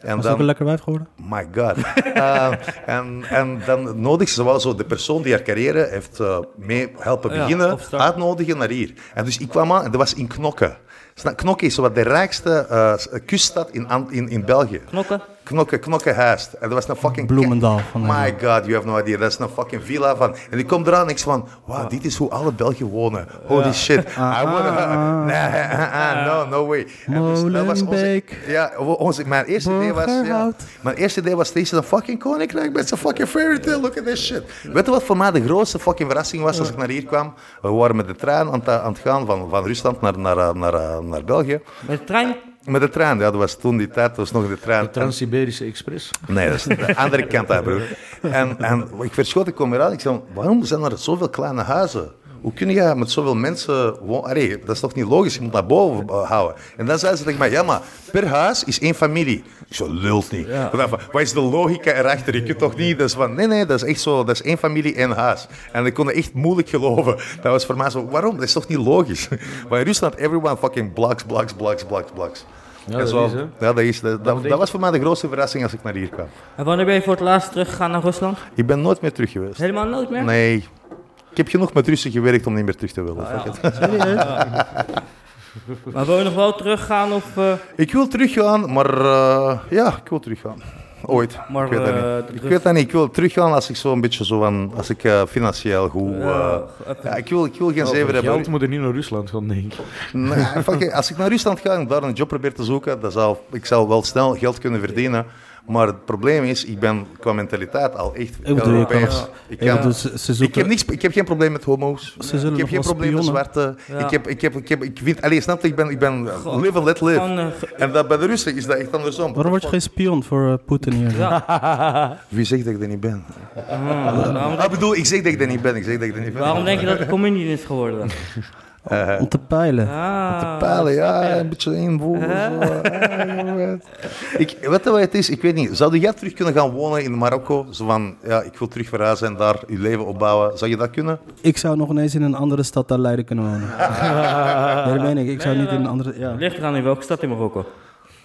En Was dan, ook een lekker wijf geworden? My god. Eh, en, en dan nodig ze wel zo de persoon die haar carrière heeft eh, mee helpen Ja, beginnen, opstarten. uitnodigen naar hier. En dus ik kwam aan en dat was in Knokke. Snap- Knokke is zo wat de rijkste eh, s- kuststad in, Ant- in, in België. Knokken. Knokke, Knokke Heist. En dat was een fucking... Bloemendaal van My god, you have no idea. Dat is een fucking villa van... En ik kom eraan en ik zeg van... Wauw, dit is hoe alle Belgen wonen. Holy shit. I wanna... Nee, ah, ah, no, no way. En dus dat was onze- Molenbeek. Ja, onze, mijn eerste eerste idee was... Ja, Burgerhout. mijn eerste idee was, dit is een fucking koninkrijk met zijn fucking fairy tale. Look at this shit. Weet je wat voor mij de grootste fucking verrassing was als ik naar hier kwam? We waren met de trein aan het, aan het gaan van, van Rusland naar, naar, eh, naar, eh, naar België. Met de trein. Met de trein, ja, dat was toen die tijd, dat was nog de trein. De Trans-Siberische Express. Nee, dat is de andere kant daar, broer. En, en ik verschot, ik kwam eraan. Ik zei, waarom zijn er zoveel kleine huizen? Hoe kun je met zoveel mensen wonen? Allee, dat is toch niet logisch? Je moet naar boven eh, houden. En dan zei ze tegen mij, ja, maar per huis is één familie. Ik zo, lult niet. Ik dacht van, Wat is de logica erachter? Je kunt toch niet... Dat is van, nee, nee, dat is echt zo. Dat is één familie, één huis. En ik kon het echt moeilijk geloven. Dat was voor mij zo, waarom? Dat is toch niet logisch? Maar in Rusland, everyone fucking blocks, blocks, blocks, blocks, blocks. Ja, En dat zo- is, hè. ja, dat, is, dat, dat, denk dat je? was voor mij de grootste verrassing als ik naar hier kwam. En wanneer ben je voor het laatst teruggegaan naar Rusland? Ik ben nooit meer terug geweest. Helemaal nooit meer? Nee. Ik heb genoeg met Russen gewerkt om niet meer terug te willen. Ah, ja. Maar wil je nog wel teruggaan of... eh, Ik wil teruggaan, maar eh, ja, ik wil teruggaan. Ooit. Maar, ik weet dat eh, niet. de Ik rust- weet dat niet. Ik wil teruggaan als ik zo een beetje zo van, als ik eh, financieel goed. eh, Ja, ja, ik wil, ik wil geen zeven Over hebben. geld moet er niet naar Rusland gaan, denk ik. Nee, fuck, als ik naar Rusland ga en daar een job probeer te zoeken, dan zou, ik zou wel snel geld kunnen verdienen. Maar het probleem is, ik ben qua mentaliteit al echt Ik bedoel, je kan... Europees. Ik Ik kan- bedoel, ze, ze Ik zoeken... heb, niks, ik heb geen probleem met homo's. Ze zullen ik heb nog geen wel probleem met spionnen. zwarte. Ja. Ik, heb, ik, heb, ik, heb, ik vind... Allee, snap je? Ik ben, ik ben live and let live. Gewoon, eh, ge- En dat bij de Russen is dat echt andersom. Waarom word je geen spion voor eh, Poetin hier? Wie zegt dat ik er niet ben? ah, waarom, Ah, ik bedoel, ik zeg dat ik er niet ben. Ik zeg dat ik er niet ben. waarom denk je dat het comedian is geworden? Om te peilen. Ah, Palen, ja, een beetje invoeren. zo. Ah, je weet. ik, weet je wat het is? Ik weet niet. Zou jij terug kunnen gaan wonen in Marokko? Zo van, ja, ik wil terug verhuizen en daar je leven opbouwen. Zou je dat kunnen? Ik zou nog ineens in een andere stad dan Leiden kunnen wonen. Nee, dat meen ik. Ik zou niet in een andere... Ja. Ligt eraan in welke stad in Marokko?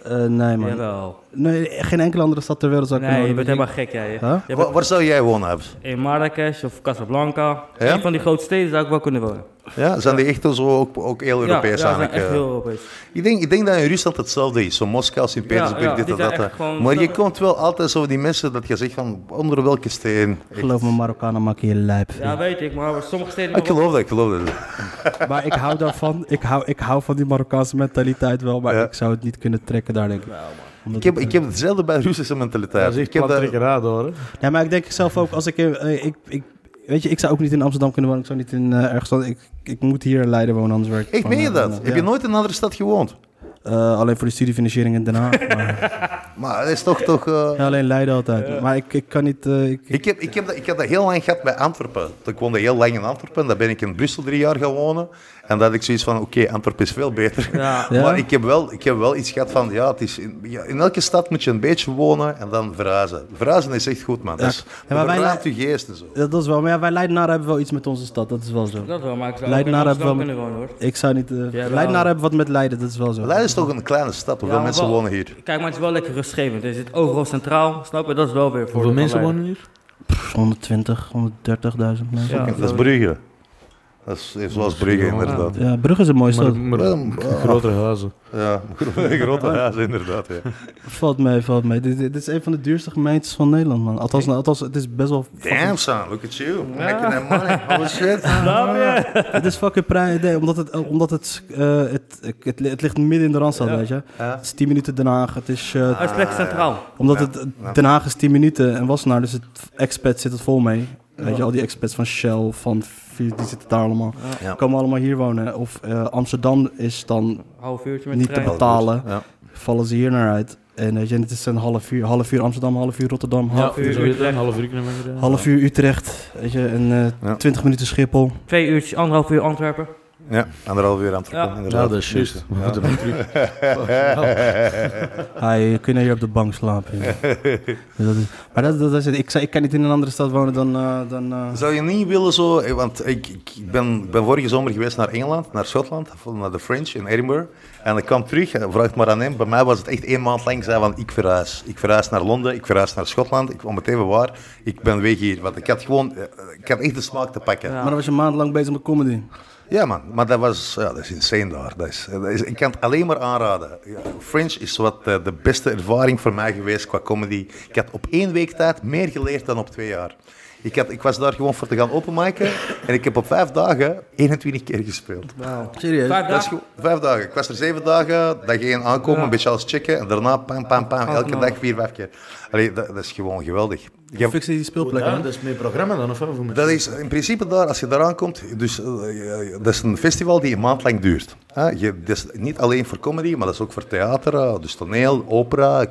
Eh, nee, man. Jawel. Nee, geen enkele andere stad ter wereld zou ik Nee, je kunnen bent wonen. helemaal gek, jij. Huh? Je Waar, bent waar zou jij wonen, Abs? in Marrakesh of Casablanca. Ja? Een van die grote steden zou ik wel kunnen wonen. Ja, zijn die echt zo ook, ook heel Europees ja, ja, zijn eigenlijk? echt eh? heel Europees. Ik denk, ik denk dat in Rusland hetzelfde is. Zo Moskou, Sint-Petersburg, Ja, ja, dit die en zijn dat. echt gewoon- Maar je komt wel altijd zo die mensen dat je zegt van onder welke steen. Echt. Geloof me, Marokkanen maken je lijp. Ja, weet ik, maar sommige steden... Ik geloof dat, ik geloof dat. Maar ik hou daarvan. Ik hou, ik hou van die Marokkaanse mentaliteit wel. Maar Ja. ik zou het niet kunnen trekken daar, denk ik. Omdat Ik heb, het, ik heb hetzelfde bij Russische mentaliteit. Dat is echt ik heb dat- plantrekkerij, hoor. hè. eh, Ja, maar ik denk zelf ook, als ik, eh, ik, ik... Weet je, ik zou ook niet in Amsterdam kunnen wonen. Ik zou niet in eh, ergens... anders- Ik, ik moet hier in Leiden wonen, anders werk ik Echt, gewoon, meen je eh, dat? dan, Heb ja. je nooit in een andere stad gewoond? Eh, alleen voor de studiefinanciering in Den Haag. maar- Maar dat is toch... toch eh, ja, alleen Leiden altijd. Maar ik, ik kan niet... eh, ik, Ik heb, ik, heb dat, ik heb dat heel lang gehad bij Antwerpen. Ik woonde heel lang in Antwerpen. Dan ben ik in Brussel drie jaar gaan wonen. En dat ik zoiets van, oké, Antwerpen is veel beter. Ja. Ja. Maar ik heb, wel, ik heb wel iets gehad van, ja, het is in, ja, in elke stad moet je een beetje wonen en dan verhuizen. Verhuizen is echt goed, man. Dat is, Ja, maar wij- verruimt je geest en zo. dat is wel... Maar ja, wij Leidenaren hebben wel iets met onze stad. Dat is wel zo. Dat wel, maar ik zou ook in Leidenaren hebben Amsterdam wel... kunnen wonen, hoor. Ik zou niet... eh, wel. Leidenaren hebben wat met Leiden. Dat is wel zo. Leiden is toch een kleine stad. Hoeveel Ja, maar mensen wel- wonen hier? Kijk, maar het is wel lekker rustgevend. Er zit overal centraal, snap je? Dat is wel weer voor Hoeveel mensen wonen hier? 120, 130.000 mensen. Ja. Dat is Brugge. Dat is even zoals Brugge, inderdaad. Ja, Brugge is een mooie stad. Maar, maar grotere huizen. Ja, grote huizen, inderdaad. Ja. Valt mee, valt mee. Dit, dit is een van de duurste gemeentes van Nederland, man. Althans, nou, althans het is best wel... Damn, son, look at you. Making that money. Holy shit. Het is fucking prij... Nee, omdat het, eh, omdat het, eh, het, het, het ligt midden in de Randstad, weet je. Ja. Het is 10 minuten Den Haag. Het is... eh, Hij is plek centraal. Omdat het eh, Den Haag is 10 minuten en Wassenaar, dus het expat zit het vol mee. Weet je, al die expats van Shell, van Fiat, die zitten daar allemaal. Ja. Komen allemaal hier wonen. Of eh, Amsterdam is dan Half uurtje met de niet te trein. betalen. Ja. Vallen ze hier naar uit. En weet je, en het is een half uur, half uur Amsterdam, half uur Rotterdam, half, Ja, dus weet je, een half uur kunnen we gedaan. half uur Utrecht. Weet je, en eh Ja. 20 minuten Schiphol. Twee uurtjes, anderhalf uur Antwerpen. ja, anderhalf uur aan het komen, Ja. inderdaad. Ja, dat is juist. We moeten weer terug. Hij kunnen hier op de bank slapen. joh. Dus dat is, maar dat, dat is het. Ik, zou- ik kan niet in een andere stad wonen dan... eh, dan eh, Zou je niet willen zo, eh, want ik, ik ik ben, ik ben vorige zomer geweest naar Engeland, naar Schotland, of naar de French in Edinburgh. En ik kwam terug, en vraag het maar aan hem, bij mij was het echt één maand lang, ik zei van ik verhuis. Ik verhuis naar Londen, ik verhuis naar Schotland, ik kwam meteen waar, ik ben weg hier. Want ik had gewoon, eh, ik had echt de smaak te pakken. Ja, Maar dan was je maandenlang bezig met comedy. man, maar dat was, ja, dat is insane daar. Dat is, dat is- ik kan het alleen maar aanraden. Ja, French is wat eh, de beste ervaring voor mij geweest qua comedy. Ik had op één week tijd meer geleerd dan op twee jaar. Ik, had, ik was daar gewoon voor te gaan openmaken en ik heb op vijf dagen 21 keer gespeeld. Serieus? Vijf Dat is dagen. goed. Vijf dagen. Ik was er zeven dagen, dag één aankomen, een beetje alles checken en daarna pam, pam, pam, elke dag vier, vijf keer. Allee, dat, dat is gewoon geweldig. Je hebt- Fixen die speelplek aan. dat is mijn programma dan, of wat? Voor mij? dat is in principe daar, als je daaraan komt, dus, eh, eh, dat is een festival die een maand lang duurt. hè. je, dat is niet alleen voor comedy, maar dat is ook voor theater, eh, dus toneel, opera,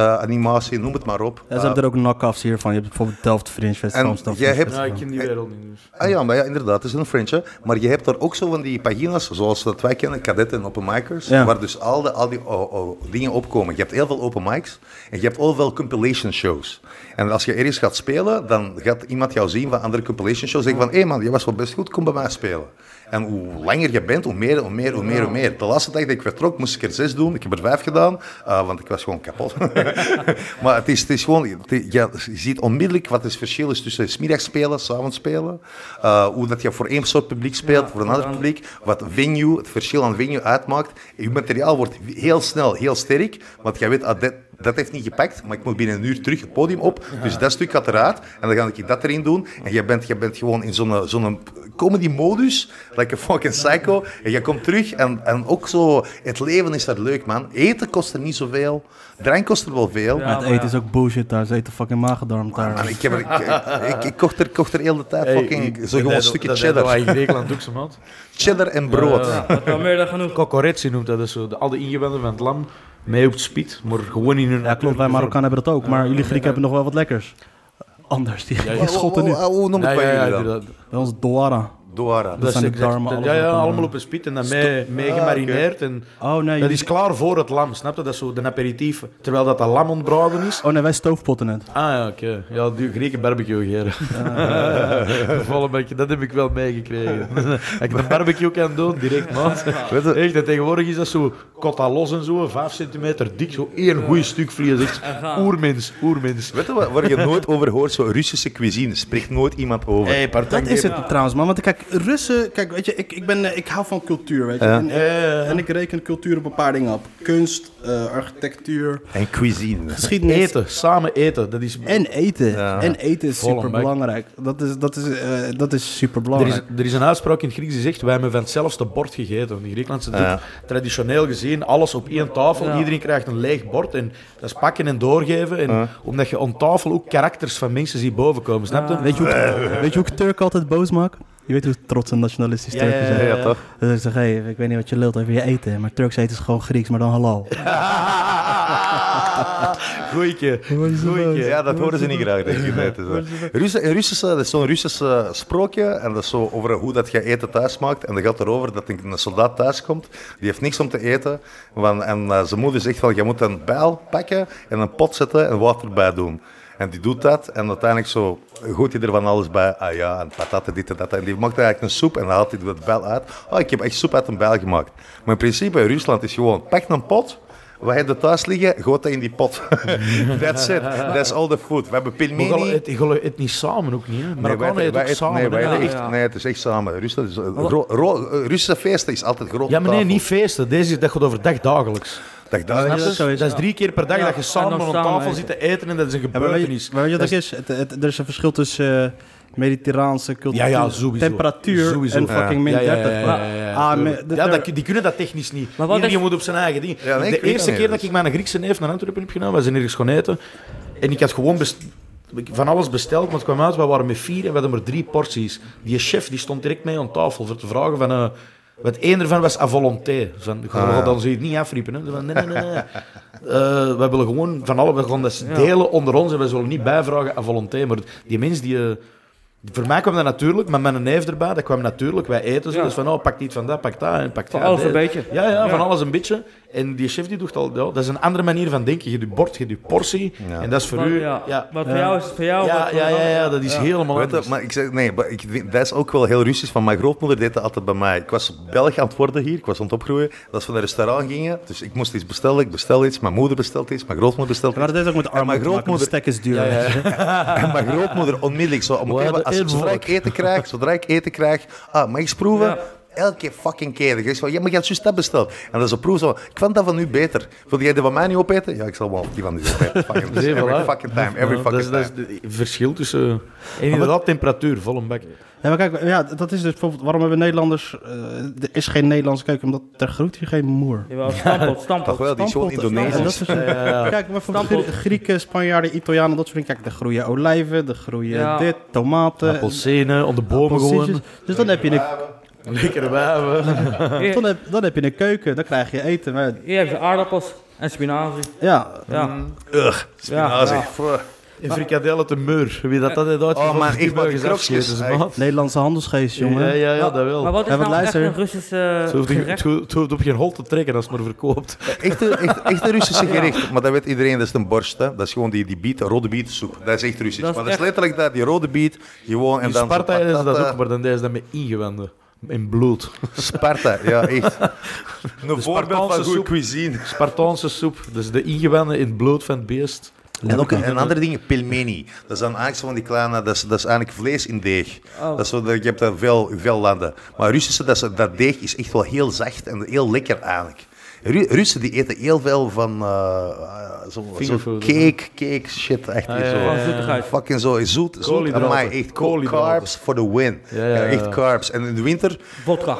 kinderanimatie, noem het maar op. Eh, Ja, ze hebben er ook knock-offs hiervan. Je hebt bijvoorbeeld Delft Fringe Festival. En Amsterdam jij Fringe hebt- Ja, Festival. ik ken die wereld niet. Dus. Ah ja, maar ja, inderdaad, het is een French, hè. Maar je hebt daar ook zo van die pagina's, zoals dat wij kennen, kadetten en open micers, Ja. waar dus al, de, al die oh, oh, dingen opkomen. Je hebt heel veel open mics en je hebt ook wel compilation shows. En als je ergens gaat spelen, dan gaat iemand jou zien van andere compilation shows, zeggen van, hé man, je was wel best goed, kom bij mij spelen. En hoe langer je bent, hoe meer, hoe meer, hoe meer, hoe meer. De laatste dag dat ik vertrok, moest ik er zes doen. Ik heb er vijf gedaan, eh, want ik was gewoon kapot. maar het is, het is gewoon, het is- ja, je ziet onmiddellijk wat het verschil is tussen 's middags spelen, 's avonds spelen. Eh, hoe dat je voor één soort publiek speelt, voor een ander publiek. Wat venue, het verschil aan venue uitmaakt. Je materiaal wordt heel snel heel sterk, want jij weet, ah, dat, dat heeft niet gepakt, maar ik moet binnen een uur terug het podium op. Dus dat stuk gaat eruit en dan ga ik dat erin doen. En jij bent, jij bent gewoon in zo'n zo'n comedy-modus, like a fucking psycho. En je komt terug en, en ook zo, het leven is daar leuk, man. Eten kost er niet zoveel, drank kost er wel veel. Maar het Ja, maar eten is ook bullshit daar. Ze eten fucking magendarm Man, daar. ik, heb er, ik, ik, ik kocht er, kocht er heel de tijd fucking zo gewoon een stukje cheddar. Dat in Griekenland ook zo, man. Cheddar en brood. Ja. Dat is wel meer dan genoeg. Kokoretsi noemt dat, dus zo. De, al die ingewanden van het lam, mee op het spiet, maar gewoon in hun... Ja, klopt. Wij Marokkanen hebben dat ook. Maar jullie Grieken hebben nog wel wat lekkers. Anders. Die ja. die schotten nu. Hoe- hoe- Hoe noem Ja, het ja, bij ja, jullie dan? dat, Bij ons doara. Douara. dat zijn is de exact- darmen, dat- alles Ja, ja, wat dan- allemaal op een spiet en dan mee, mee gemarineerd. En Oh nee. dat jullie- is klaar voor het lam, snap je? Dat is zo de aperitief, terwijl dat dat lam ontbraden is. Oh nee, wij stoofpotten het. Ah ja, oké. Ja, die Grieken barbecue geren. Volle beetje, dat heb ik wel meegekregen. dat ik een barbecue kan doen, direct maat. Weet je- Echt, en tegenwoordig is dat zo kotta los en zo, 5 centimeter dik, zo één goed stuk vlees. Echt oermens, oermens. Weet je wat- waar je nooit over hoort? Zo Russische cuisine. Spreekt nooit iemand over. hey, Dat partij. is het trouwens, man. Want kijk, Russen... Kijk, weet je, ik, ik, ben, eh, ik hou van cultuur, weet je. En, ik- en ik reken cultuur op een paar dingen op. Kunst, eh, architectuur, En cuisine. geschiedenis. Eten, samen eten, dat is... En eten. En eten is Volle super belangrijk. Dat is, dat is, eh, dat is super Er is, belangrijk. er is een uitspraak in het Grieks die zegt, wij hebben van hetzelfde bord gegeten. In Griekenland ze Ja. traditioneel gezien alles op één tafel. Iedereen krijgt een leeg bord en dat is pakken en doorgeven. En Omdat je aan tafel ook karakters van mensen ziet bovenkomen, snap je? Weet je, hoe ik, weet je hoe ik Turk altijd boos maak? Je weet hoe trots en nationalistisch Ja, Turken ja, ja, zijn. ja, Ja, toch? Dus ik zeg, hey, ik weet niet wat je lult over je eten, maar Turks eten is gewoon Grieks, maar dan halal. Goeie. Goeie. Ja, dat horen ze niet graag, denk ik. Nee, het is, eh, Russen- een Russische, dat is zo'n Russische sprookje. En dat is zo over hoe dat je eten thuis maakt. En dat gaat erover dat een soldaat thuis komt. Die heeft niks om te eten. Want, en eh, zijn moeder zegt van, je moet een bijl pakken en een pot zetten en water bij doen. En die doet dat. En uiteindelijk zo gooit hij er van alles bij. Ah ja, en patatten, dit en dat. En die maakt eigenlijk een soep en dan haalt hij Ah, de bijl uit. Oh, ik heb echt soep uit een bijl gemaakt. Maar in principe, in Rusland is gewoon, pak een pot... Wat heb je thuis liggen? Gooi dat in die pot. That's it. That's all the food. We hebben Maar pilmeni. je gaat het, je gaat het niet samen ook niet, hè? Maar Nee, wij- kan het wij ook eten- samen. Nee, hè? wij Ja, eten echt, ja. nee, het is echt samen. Rusland is, eh, gro- ro- eh, Russische feesten is altijd groot. Ja, maar nee, tafel. niet feesten. Deze, dat gaat overdag dagelijks. Dag, dag. Snap je? dat zo is, dat is ja. drie keer per dag Ja, dat je en samen dan aan samen tafel eten. zit te eten en dat is een Ja, maar weet je, gebeurtenis. maar weet je wat Dat dat is? Het, het- er is een verschil tussen eh, mediterraanse cultuur, Ja, ja, sowieso. temperatuur Sowieso. en Ja. fucking min Ja, ja, 30. ja, ja, ja, ja, ja, Ah, tuurlijk. me- Ja, daar- dat- die kunnen dat technisch niet. Maar wat Iedereen is- moet op zijn eigen ding. Ja, nee, ik de weet het eerste niet, keer dus. dat ik mijn Griekse neef naar Antwerpen heb genomen, we zijn ergens gaan eten. En ik had gewoon best- van alles besteld, maar het kwam uit, we waren met vier en we hadden maar drie porties. Die chef die stond direct mee aan tafel voor te vragen van... eh want één ervan was à volonté. Van, we gaan dan zoiets niet afriepen. Hè. Zo van, Nee, nee, nee. nee. Eh, we willen gewoon van alle... We gaan dat delen onder ons en we zullen niet bijvragen à volonté. Maar die mensen die... eh, voor mij kwam dat natuurlijk, maar met een neef erbij, dat kwam natuurlijk. Wij eten zo, Ja. dus van, oh, pak niet van dat, pak dat en pak Van dat. alles een dit. beetje. Ja, ja, van Ja. alles een beetje. En die chef die doet al, ja, dat is een andere manier van denken. Je hebt je bord, je hebt je portie, en dat is voor Wat- u. ja. Ja. Wat Ja. voor jou is het voor jou. wat Ja, voor ja, een ja, ander- ja, dat is helemaal Weet je, anders. maar ik zeg, nee, maar ik, vind- dat is ook wel heel Russisch. Van mijn grootmoeder deed dat altijd bij mij. Ik was Belg aan het worden hier, ik was aan het opgroeien. Dat ze naar een restaurant gingen, dus ik moest iets bestellen. Ik bestel iets, mijn moeder bestelt iets, mijn grootmoeder bestelt Maar iets. dat heeft ook met de mijn armen te maken, de grootmoeder- stek is duur. En mijn grootmoeder onmiddellijk zo, om Waar even, de als, invalk. zodra ik eten krijg, zodra ik eten krijg, ah, mag ik eens proeven? Ja. Elke fucking keer. Dus Ik zeg van, ja, maar je hebt juist dat besteld. En dan is een proef zo, ik vond dat van u beter. Wil jij die van mij niet opeten? Ja, ik zal wel die van u opeten. Fucking, Zie je, every voilà. fucking time, every Ja, fucking dat is, dat time. is de- het verschil tussen... En inderdaad, temperatuur, vol een bak. Ja, maar kijk, ja, dat is dus bijvoorbeeld waarom hebben Nederlanders. eh, er is geen Nederlandse keuken, omdat er groeit hier geen moer. Jawel, stampot, stampot. Toch wel, die is gewoon Stamppot- en dat Indonesisch. is dus- Kijk, maar voor Grie- Grieken, Spanjaarden, Italianen, dat soort dingen. Kijk, er groeien olijven, er groeien Ja. dit, tomaten. Appelsenen, onder bomen appelsientjes. gewoon. Dus dan heb, je een, Lekkere wijven. dan, heb, dan heb je een keuken, dan krijg je eten. Maar, Hier hebben ze aardappels en spinazie. ja, Ja. Mm, Ugh, spinazie. Ja. Fuh. En frikadellen te meur. Wie dat dat heeft uitgevonden, man, die Oh, ik maak die mogen eens krokjes. afscheten, ze, maat. Nederlandse handelsgeest, jongen. Ja, ja, ja, dat Maar wel. wat is Ja, want nou echt luister. een Russisch eh, Het hoeft, niet- het gerecht? hoeft- het hoeft op geen hol te trekken als het maar verkoopt. Echt, een- echt, echt een Russische gerecht. Maar dat weet iedereen, dat is een borst. Hè. Dat is gewoon die, die biet, rode bietensoep. Dat is echt Russisch. Dat is maar dat is echt- letterlijk dat, die rode biet. Gewoon, en In dan zo Sparta is dat patata. ook, maar dan is dat met ingewanden. In bloed. Sparta, ja, echt. Een voorbeeld Spartaanse van goede soep. cuisine. Spartaanse soep, dus de ingewanden in het bloed van het beest. En ook een andere ding, pelmeni. Dat is dan eigenlijk zo van die kleine, dat is, dat is eigenlijk vlees in deeg. Oh. Dat is zo, dat- je hebt dat veel, veel landen. Maar Russische, dat, is- dat deeg is echt wel heel zacht en heel lekker eigenlijk. Ru- Russen die eten heel veel van eh, eh, zo, zo Fingerfood, cake, cake shit, echt Ah, hier ja, zo. ja, ja. Van zoetigheid. Fucking zo, zoet, zoet, Koolhydraten. amai, echt co- Koolhydraten. carbs for the win. Ja, ja, ja. Echt carbs. En in de winter, Vodka.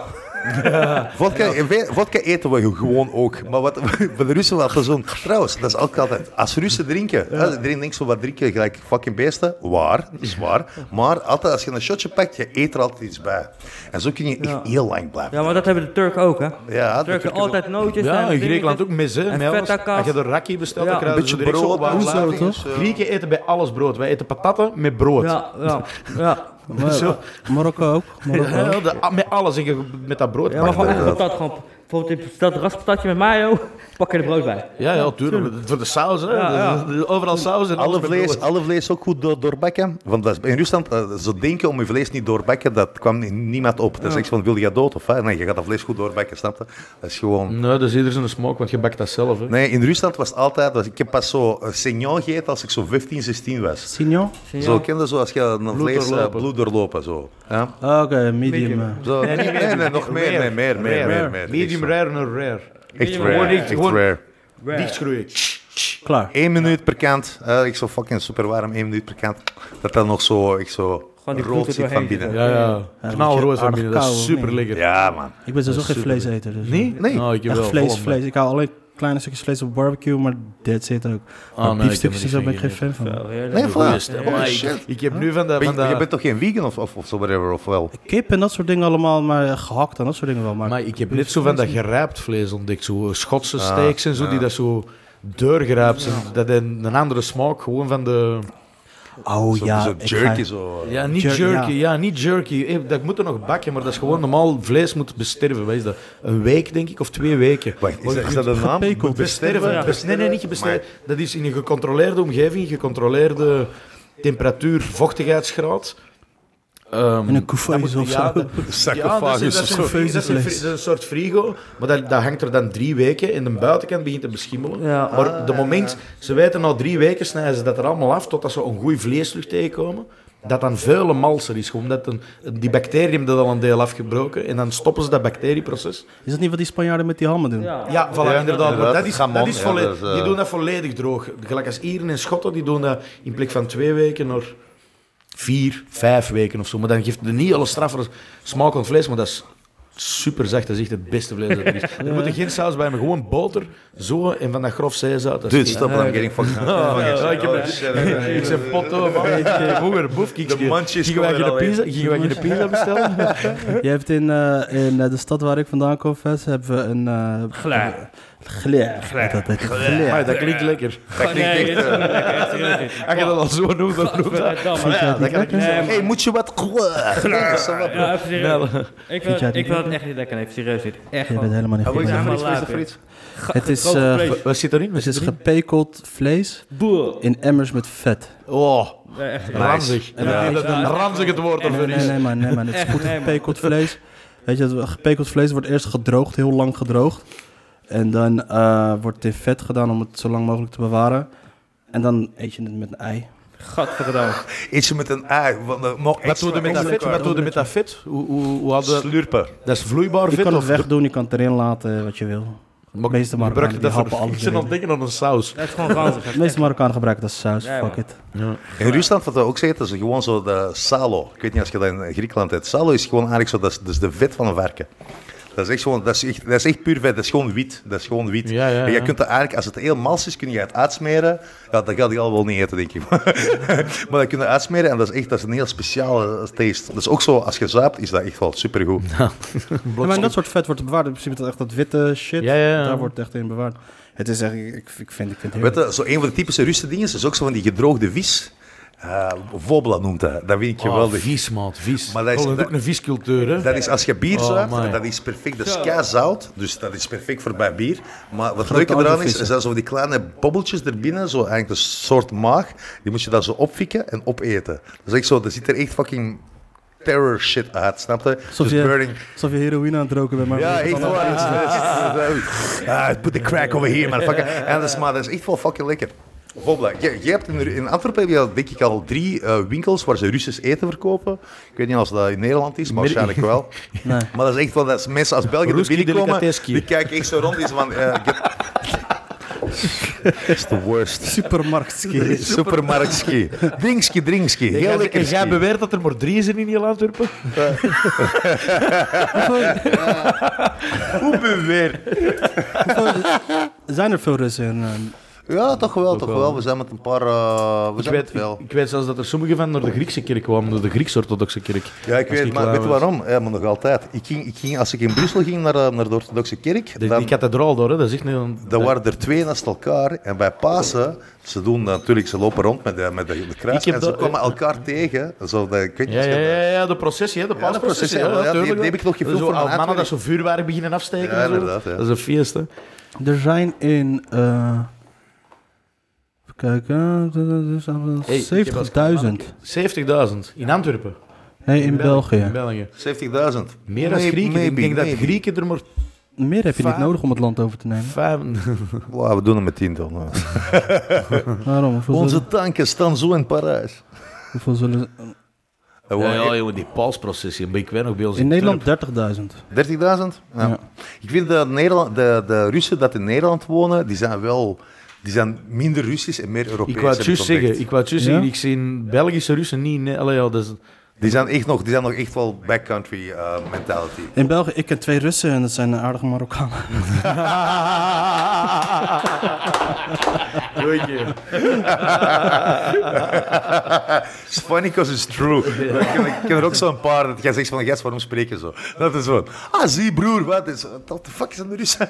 Vodka, we- vodka eten we gewoon ook. Maar wat, bij de Russen wel gezond. Trouwens, dat is ook altijd. Als Russen drinken, hè, iedereen denkt zo wat drinken gelijk fucking beesten. Waar, is waar. Maar altijd als je een shotje pakt, je eet er altijd iets bij. En zo kun je echt heel lang blijven. Ja, maar dat hebben de Turken ook, hè? Ja, de de Turken Turken altijd nootjes. Ja, en in Griekenland ook mis, hè. En met alles. feta kaas. Als je de rakkie bestelt, Ja. dan krijg je Een zo beetje direct zo brood, wat hoezo, laagjes. toch? Grieken eten bij alles brood. Wij eten patatten met brood. Ja, ja, ja. Maar- Zo. Eh, Marokko ook. Marokko ook. Ja, de- a- met alles, en je- met dat brood. Ja, maar gewoon echt inderdaad. patat. Gewoon, bijvoorbeeld dat raspatatje met mayo, pak je er brood bij. ja, ja, tuurlijk. Voor de saus, hè. Dus Ja, Overal saus en alles Alle met vlees, brood. alle vlees ook goed door, doorbakken. Want dat is, in Rusland, eh, ze denken om je vlees niet doorbakken, dat kwam in niemand op. Dat is echt van, wil je dood of wat? Nee, je gaat dat vlees goed doorbakken, snap je? Dat is gewoon... Nee, dat is ieder zijn smaak, want je bakt dat zelf, hè. Nee, in Rusland was het altijd... was- ik heb pas zo eh, signon gegeten als ik zo 15, 16 was. Signon? Zie je? Zo kende zoals je een vlees eh, doorlopen. bloed doorlopen zo. Ja? Ah, Oké, medium. Medium. eh. zo nee, nee, nee, nog meer, nee, meer, meer, meer, meer. Medium Echt rare en rare. zo. Echt Medium rare. rare, echt Gewoon- rare. Dichtschroeien. Klaar. Eén minuut per kant, eh, ik zo fucking super warm, één minuut per kant. Dat dan nog zo, ik zo Gewoon die rood zit bloed van doorheen. binnen. Ja, Ja, ja. Knalrood van binnen, dat is Aardig koud, super lekker. man. Ik ben dus ook geen super. vleeseter. Dus Nee? Nee. Nou, ik heb Echt wel vlees, Holland. vlees. Ik hou alleen kleine stukjes vlees op barbecue, maar dit zit ook. Ah, Maar nee, biefstukjes en ik zo heb ben er ik geen fan van. Nee, voilà. Goeie stem. Holy Maar ik- shit. Ik heb nu van de... Ben je, Van de je bent toch geen vegan of, of, of zo, whatever, of wel? Kip en dat soort dingen allemaal, maar eh, gehakt en dat soort dingen wel. Maar, maar ik heb net zo van dat gerijpt vlees Ah, ontdekt. Zo Schotse steaks en zo, die dat zo deurgerijpt zijn. Dat een, een andere smaak gewoon van de... oh Zo, ja, zo ik ga- jerky zo. Ja, niet Jer- jerky. ja. Ja, niet jerky. Eh, Dat moet er nog bakken, maar dat is gewoon normaal vlees moet besterven. Wat is dat? Een week, denk ik, of twee weken. Wacht, is dat, is dat een naam? Gepekeld. Besterven. Ja. Bes- nee, nee, niet besterven. Dat is in een gecontroleerde omgeving, gecontroleerde temperatuur, vochtigheidsgraad. ehm, En een couveuse dat moet- of ja, zo. dat- Sarcophagus dat is- dat of is een zo. fri- dat is een fri- dat is een soort frigo, maar dat, dat hangt er dan drie weken. En de buitenkant begint te beschimmelen. Ja. Maar de moment, ze weten na drie weken snijden ze dat er allemaal af, totdat ze een goede vleeslucht tegenkomen. Dat dan vuile malser is, gewoon omdat een, die bacteriën hebben dat al een deel afgebroken. En dan stoppen ze dat bacterieproces. Is dat niet wat die Spanjaarden met die hammen doen? Ja. Ja, voilà, inderdaad. inderdaad. Dat is, Gamon, dat is ja, volle- dat is, eh, Die doen dat volledig droog. Gelijk als Ieren en Schotten, die doen dat in plek van twee weken naar vier, vijf weken of zo. Maar dan geeft de niet alle straffer smaak aan vlees, maar dat is super zacht. Dat is echt het beste vlees dat er is. Er moet er geen saus bij, maar gewoon boter, zo en van dat grof zeezout. Dat is Dude, echt- Dus, stop, I'm getting fucking... ja, ik heb- Oh, shit. Ik zeg potto, man. Hoger, boef, kijk. De mandjes Gingen wij komen er geen al in. pizza- gingen wij geen pizza bestellen? Je hebt in, eh, in eh, de stad waar ik vandaan kom, Ves, hebben we een... eh Glaar. Glare. Dat heet het, glare. Amai, Dat klinkt lekker. Dat klinkt Nee, echt... dat is eh, niet lekker, dat is niet lekker. Als je dat al zo noemt, dan noemt dat. Gadverdamme. ja, dat kan ik niet Nee, zeggen. maar- Hey, moet je wat... Ja, even serieus. Ik jij vind het ik niet vind het echt niet lekker, nee, serieus niet. Echt Je bent man. helemaal niet Wil goed. je daar man. maar iets voor laat de weer. friet? Ga- Het is, gekookte eh, vlees. Wat zit erin? Wat Het zit is erin? gepekeld vlees Boer. in emmers met vet. Oh, Nee, echt niet. ranzig. En dan- Ja. Ranzig het woord Nee, ervoor nee, is. nee, maar, nee, maar het is Echt, goed nee, man. gepekeld vlees. Weet je, het gepekeld vlees wordt eerst gedroogd, heel lang gedroogd. En dan eh, wordt het in vet gedaan om het zo lang mogelijk te bewaren. En dan eet je het met een ei. Gadverdamme. Eet je met een ei. want, eh, nog Wat extra doe je met dat vet? extra. Wat doe je met dat vet? Hoe, hoe, hoe hadden... Slurpen. Dat is vloeibaar Je vet kan het of... wegdoen, je kan het erin laten, wat je wil. de meeste Marokkanen gebruik je die dat voor happen alles Ik zit aan het denken aan een saus. Dat is gewoon ranzig. De meeste Marokkanen gebruiken dat als saus, Ja, fuck man. it. In Rusland, wat we ook zeggen, dat is gewoon zo de salo. Ik weet niet als je dat in Griekenland hebt. Salo is gewoon eigenlijk zo, dat is, dat is de vet van een varken. Dat is, echt gewoon, dat, is echt, dat is echt puur vet, dat is gewoon wit. Dat is gewoon wit. Ja, ja, En je ja. kunt dat eigenlijk, als het heel mals is, kun je het uitsmeren. Ja, dat gaat hij al wel niet eten, denk ik. maar dat kun je uitsmeren en dat is echt dat is een heel speciale taste. Dat is ook zo, als je zuipt, is dat echt wel supergoed. Ja, maar in dat soort vet wordt bewaard. In principe dat echt dat witte shit, Ja, ja, ja. daar wordt het echt in bewaard. Het is echt, ik, ik vind, ik vind het heerlijk. Weet je, zo een van de typische Russische dingen is ook zo van die gedroogde vis. Eh vobla noemt dat. Dat vind ik Geweldig. Ah, geweldig. Oh, vies, maat. Vies. Maar Maar dat dat is- is dat- ook een viscultuur, hè? Dat is als je bier Oh, zuipt, my. dat is perfect. Dat is Zo. keizout, dus dat is perfect voor bij bier. Maar wat leuk aantal eraan is, vissen. is dat zo die kleine bobbeltjes erbinnen, zo eigenlijk een soort maag, die moet je dan zo opfikken en opeten. Dus ik zo, er ziet er echt fucking terror shit uit, snap je? Alsof Dus burning. je, alsof je heroïne aan het roken bent, maar Ja, met echt andere- waar. Ah, put the crack over here, man. Fucking. En dat is, maar dat is echt wel fucking lekker. Bijvoorbeeld, je, je hebt in, in Antwerpen heb je al, denk ik al drie eh, winkels waar ze Russisch eten verkopen. Ik weet niet of dat in Nederland is, maar waarschijnlijk wel. Maar dat is echt wel, dat is mensen als Belgen er Ruski binnenkomen, delicateski. die kijken echt zo rond is van... eh, get- It's the worst. Supermarktski. Supermarktski. Drinkski, drinkski. Heel lekker. jij ski. beweert dat er maar drie zijn in heel Antwerpen? Hoe beweer? Zijn er veel Russen in? ehm, Ja, toch wel, toch wel. wel. We zijn met een paar... eh, we Ik zijn met weet, veel. ik, ik weet zelfs dat er sommigen van naar de Griekse kerk kwamen, door de Grieks-orthodoxe kerk. Ja, ik Als weet, maar klaar weet je was. waarom? Ja, maar nog altijd. Ik ging, ik ging, als ik in Brussel ging naar, eh, naar de orthodoxe kerk, Die, dan, die kathedraal daar, hè? Dat is echt niet een... dan waren er twee naast elkaar. En bij Pasen, ze doen natuurlijk, ze lopen rond met de, met de, de kruis Ik heb en ze dat- komen elkaar tegen. Zo, dat, ik weet niet Ja, of je ja, dat- ja, ja, de processie, hè, de Ja, de processie, paasprocessie. ja, ja, die- tuurlijk, die heb ik nog gefilmd Zo, voor mijn oude mannen dat uitwerking. zo vuurwerk beginnen afsteken Ja, en zo. inderdaad, ja. Dat is een feest, hè. Er zijn in. eh even kijken. Hey, ik heb als- eh, 70.000. 70.000 in Antwerpen. Nee, in In België. België. 70.000. Meer dan Maybe, Grieken. ik denk maybe. dat Grieken er maar Meer heb je niet Vaak. nodig om het land over te nemen. vijf... Wow, we doen het met tientallen. Waarom? Hoeveel, zullen, Onze tanken staan zo in Parijs. hoeveel zullen- Dat waren echt Oh, jongen, die paasprocessie. Maar ik weet nog bij ons In Nederland 30.000. 30.000? Ja. Ja. Ik vind de, Nederland, de, de Russen dat in Nederland wonen, die zijn wel... Die zijn minder Russisch en meer Europees. Ik wou het heb ik juist ontdekt. zeggen. Ik wou het juist Ja? zeggen. Ik zie Belgische Russen niet... Nee, allee, ja, dat is... Die zijn echt nog, die zijn nog echt wel backcountry eh, mentality. In België, ik ken twee Russen en dat zijn aardige Marokkanen. Goeie. It's funny because it's true. Ik ken- Ik ken er ook zo'n paar dat jij zegt van, gast, waarom spreek je zo? Dat is zo. Ah, zie broer, wat is, what the fuck is een Russen?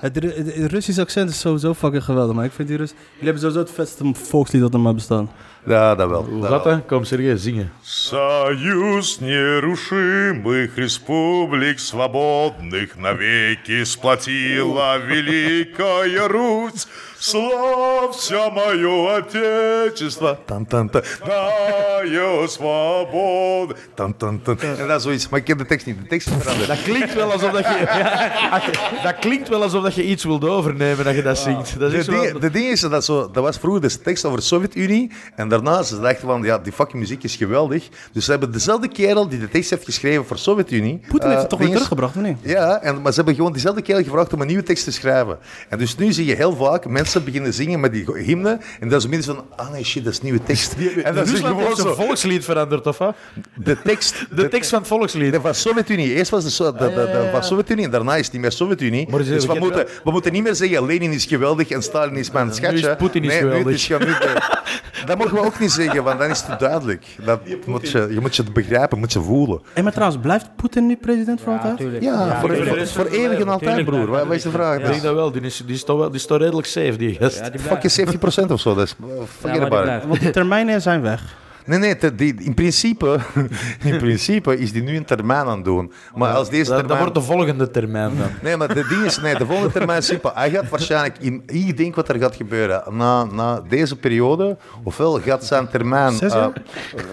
Het, Ru- het Russisch accent is sowieso fucking geweldig, maar ik vind die Russen... Jullie hebben sowieso het vetste volkslied dat er maar bestaat. Ja, dat wel. Hoe dat gaat wel. dat? Kom, Sergej, zingen. Союз нерушимых республик свободных навеки сплотила Великая Русь. Слав все мое отечество. Тан-тан-тан. Даю свободу. Тан-тан-тан. En dat is zoiets, maar ik ken de tekst niet. De tekst is veranderd. Dat klinkt wel alsof dat je, dat klinkt wel alsof dat je iets wilt overnemen dat je dat zingt. Dat Ah. De is wel- ding, de ding is dat zo, dat was vroeger dus de tekst over de Sovjet-Unie. En daarna ze dachten van, ja, die fucking muziek is geweldig. Dus ze hebben dezelfde kerel die de tekst heeft geschreven voor Sovjet-Unie. Poetin heeft eh, het toch weer dinges- teruggebracht, of niet? Ja, en, maar ze hebben gewoon diezelfde kerel gevraagd om een nieuwe tekst te schrijven. En dus nu zie je heel vaak mensen beginnen zingen met die go- hymne. En dat is minstens van, ah nee, shit, dat is nieuwe tekst. en dat is Rusland gewoon heeft zijn zo. volkslied veranderd, of wat? De tekst. De tekst van het volkslied. De van Sovjet-Unie. Eerst was de, so de, de, de van Sovjet-Unie en daarna is het niet meer Sovjet-Unie. Maar ze- Dus we we kennen moeten, we moeten niet meer zeggen Lenin is geweldig en Stalin is mijn nu is schatje. Poetin is nee, nu geweldig. het is gewoon- nu de- dat mogen we ook niet zeggen, want dan is het te duidelijk. Dat moet je, je moet je het begrijpen, moet je voelen. Hé, maar trouwens, blijft Poetin nu president voor altijd? tuurlijk. Ja, voor, tuurlijk. voor, voor eeuwig en altijd, Tuurlijk, broer. ja, Wat wat is de vraag? Ik Dat denk dat wel. Die is, die is toch wel, die is toch redelijk safe, die gast. Ja, die is blijft. fucking 70% of zo. Dat is Ja, forget maar die about it. blijft. Want die termijnen zijn weg. Nee, nee, te- die, in, principe, in principe is die nu een termijn aan het doen. Maar als deze dat, dat termijn... wordt de volgende termijn dan. Nee, maar de ding is, nee, de volgende termijn is simpel. Hij gaat waarschijnlijk, in, ik denk wat er gaat gebeuren na, na deze periode, ofwel gaat zijn termijn, Zes eh, jaar?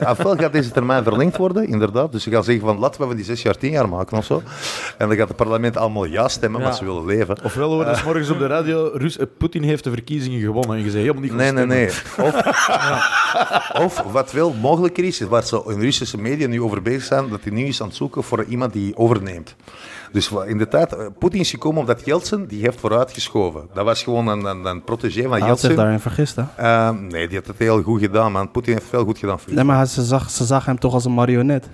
ofwel gaat deze termijn verlengd worden, inderdaad. Dus ze gaan zeggen van, laten we van die zes jaar tien jaar maken of zo. En dan gaat het parlement allemaal ja stemmen, Ja. want ze willen leven. Ofwel hoor, Eh. dat is morgens op de radio. Rus, eh, Poetin heeft de verkiezingen gewonnen. En je zegt helemaal niet goed Nee, nee, nee. stemmen. Of, of wat wel mogelijker is, is waar ze in Russische media nu over bezig zijn, dat hij nu is aan het zoeken voor iemand die overneemt. Dus wa- in de tijd, eh, Poetin is gekomen omdat Yeltsin, die heeft vooruitgeschoven. Dat was gewoon een, een, een protégé van Hij had zich Yeltsin. daarin vergist, hè? Eh, nee, die had het heel goed gedaan, man. Poetin heeft veel goed gedaan. voor Nee, maar hij- ze zag, ze zag hem toch als een marionet.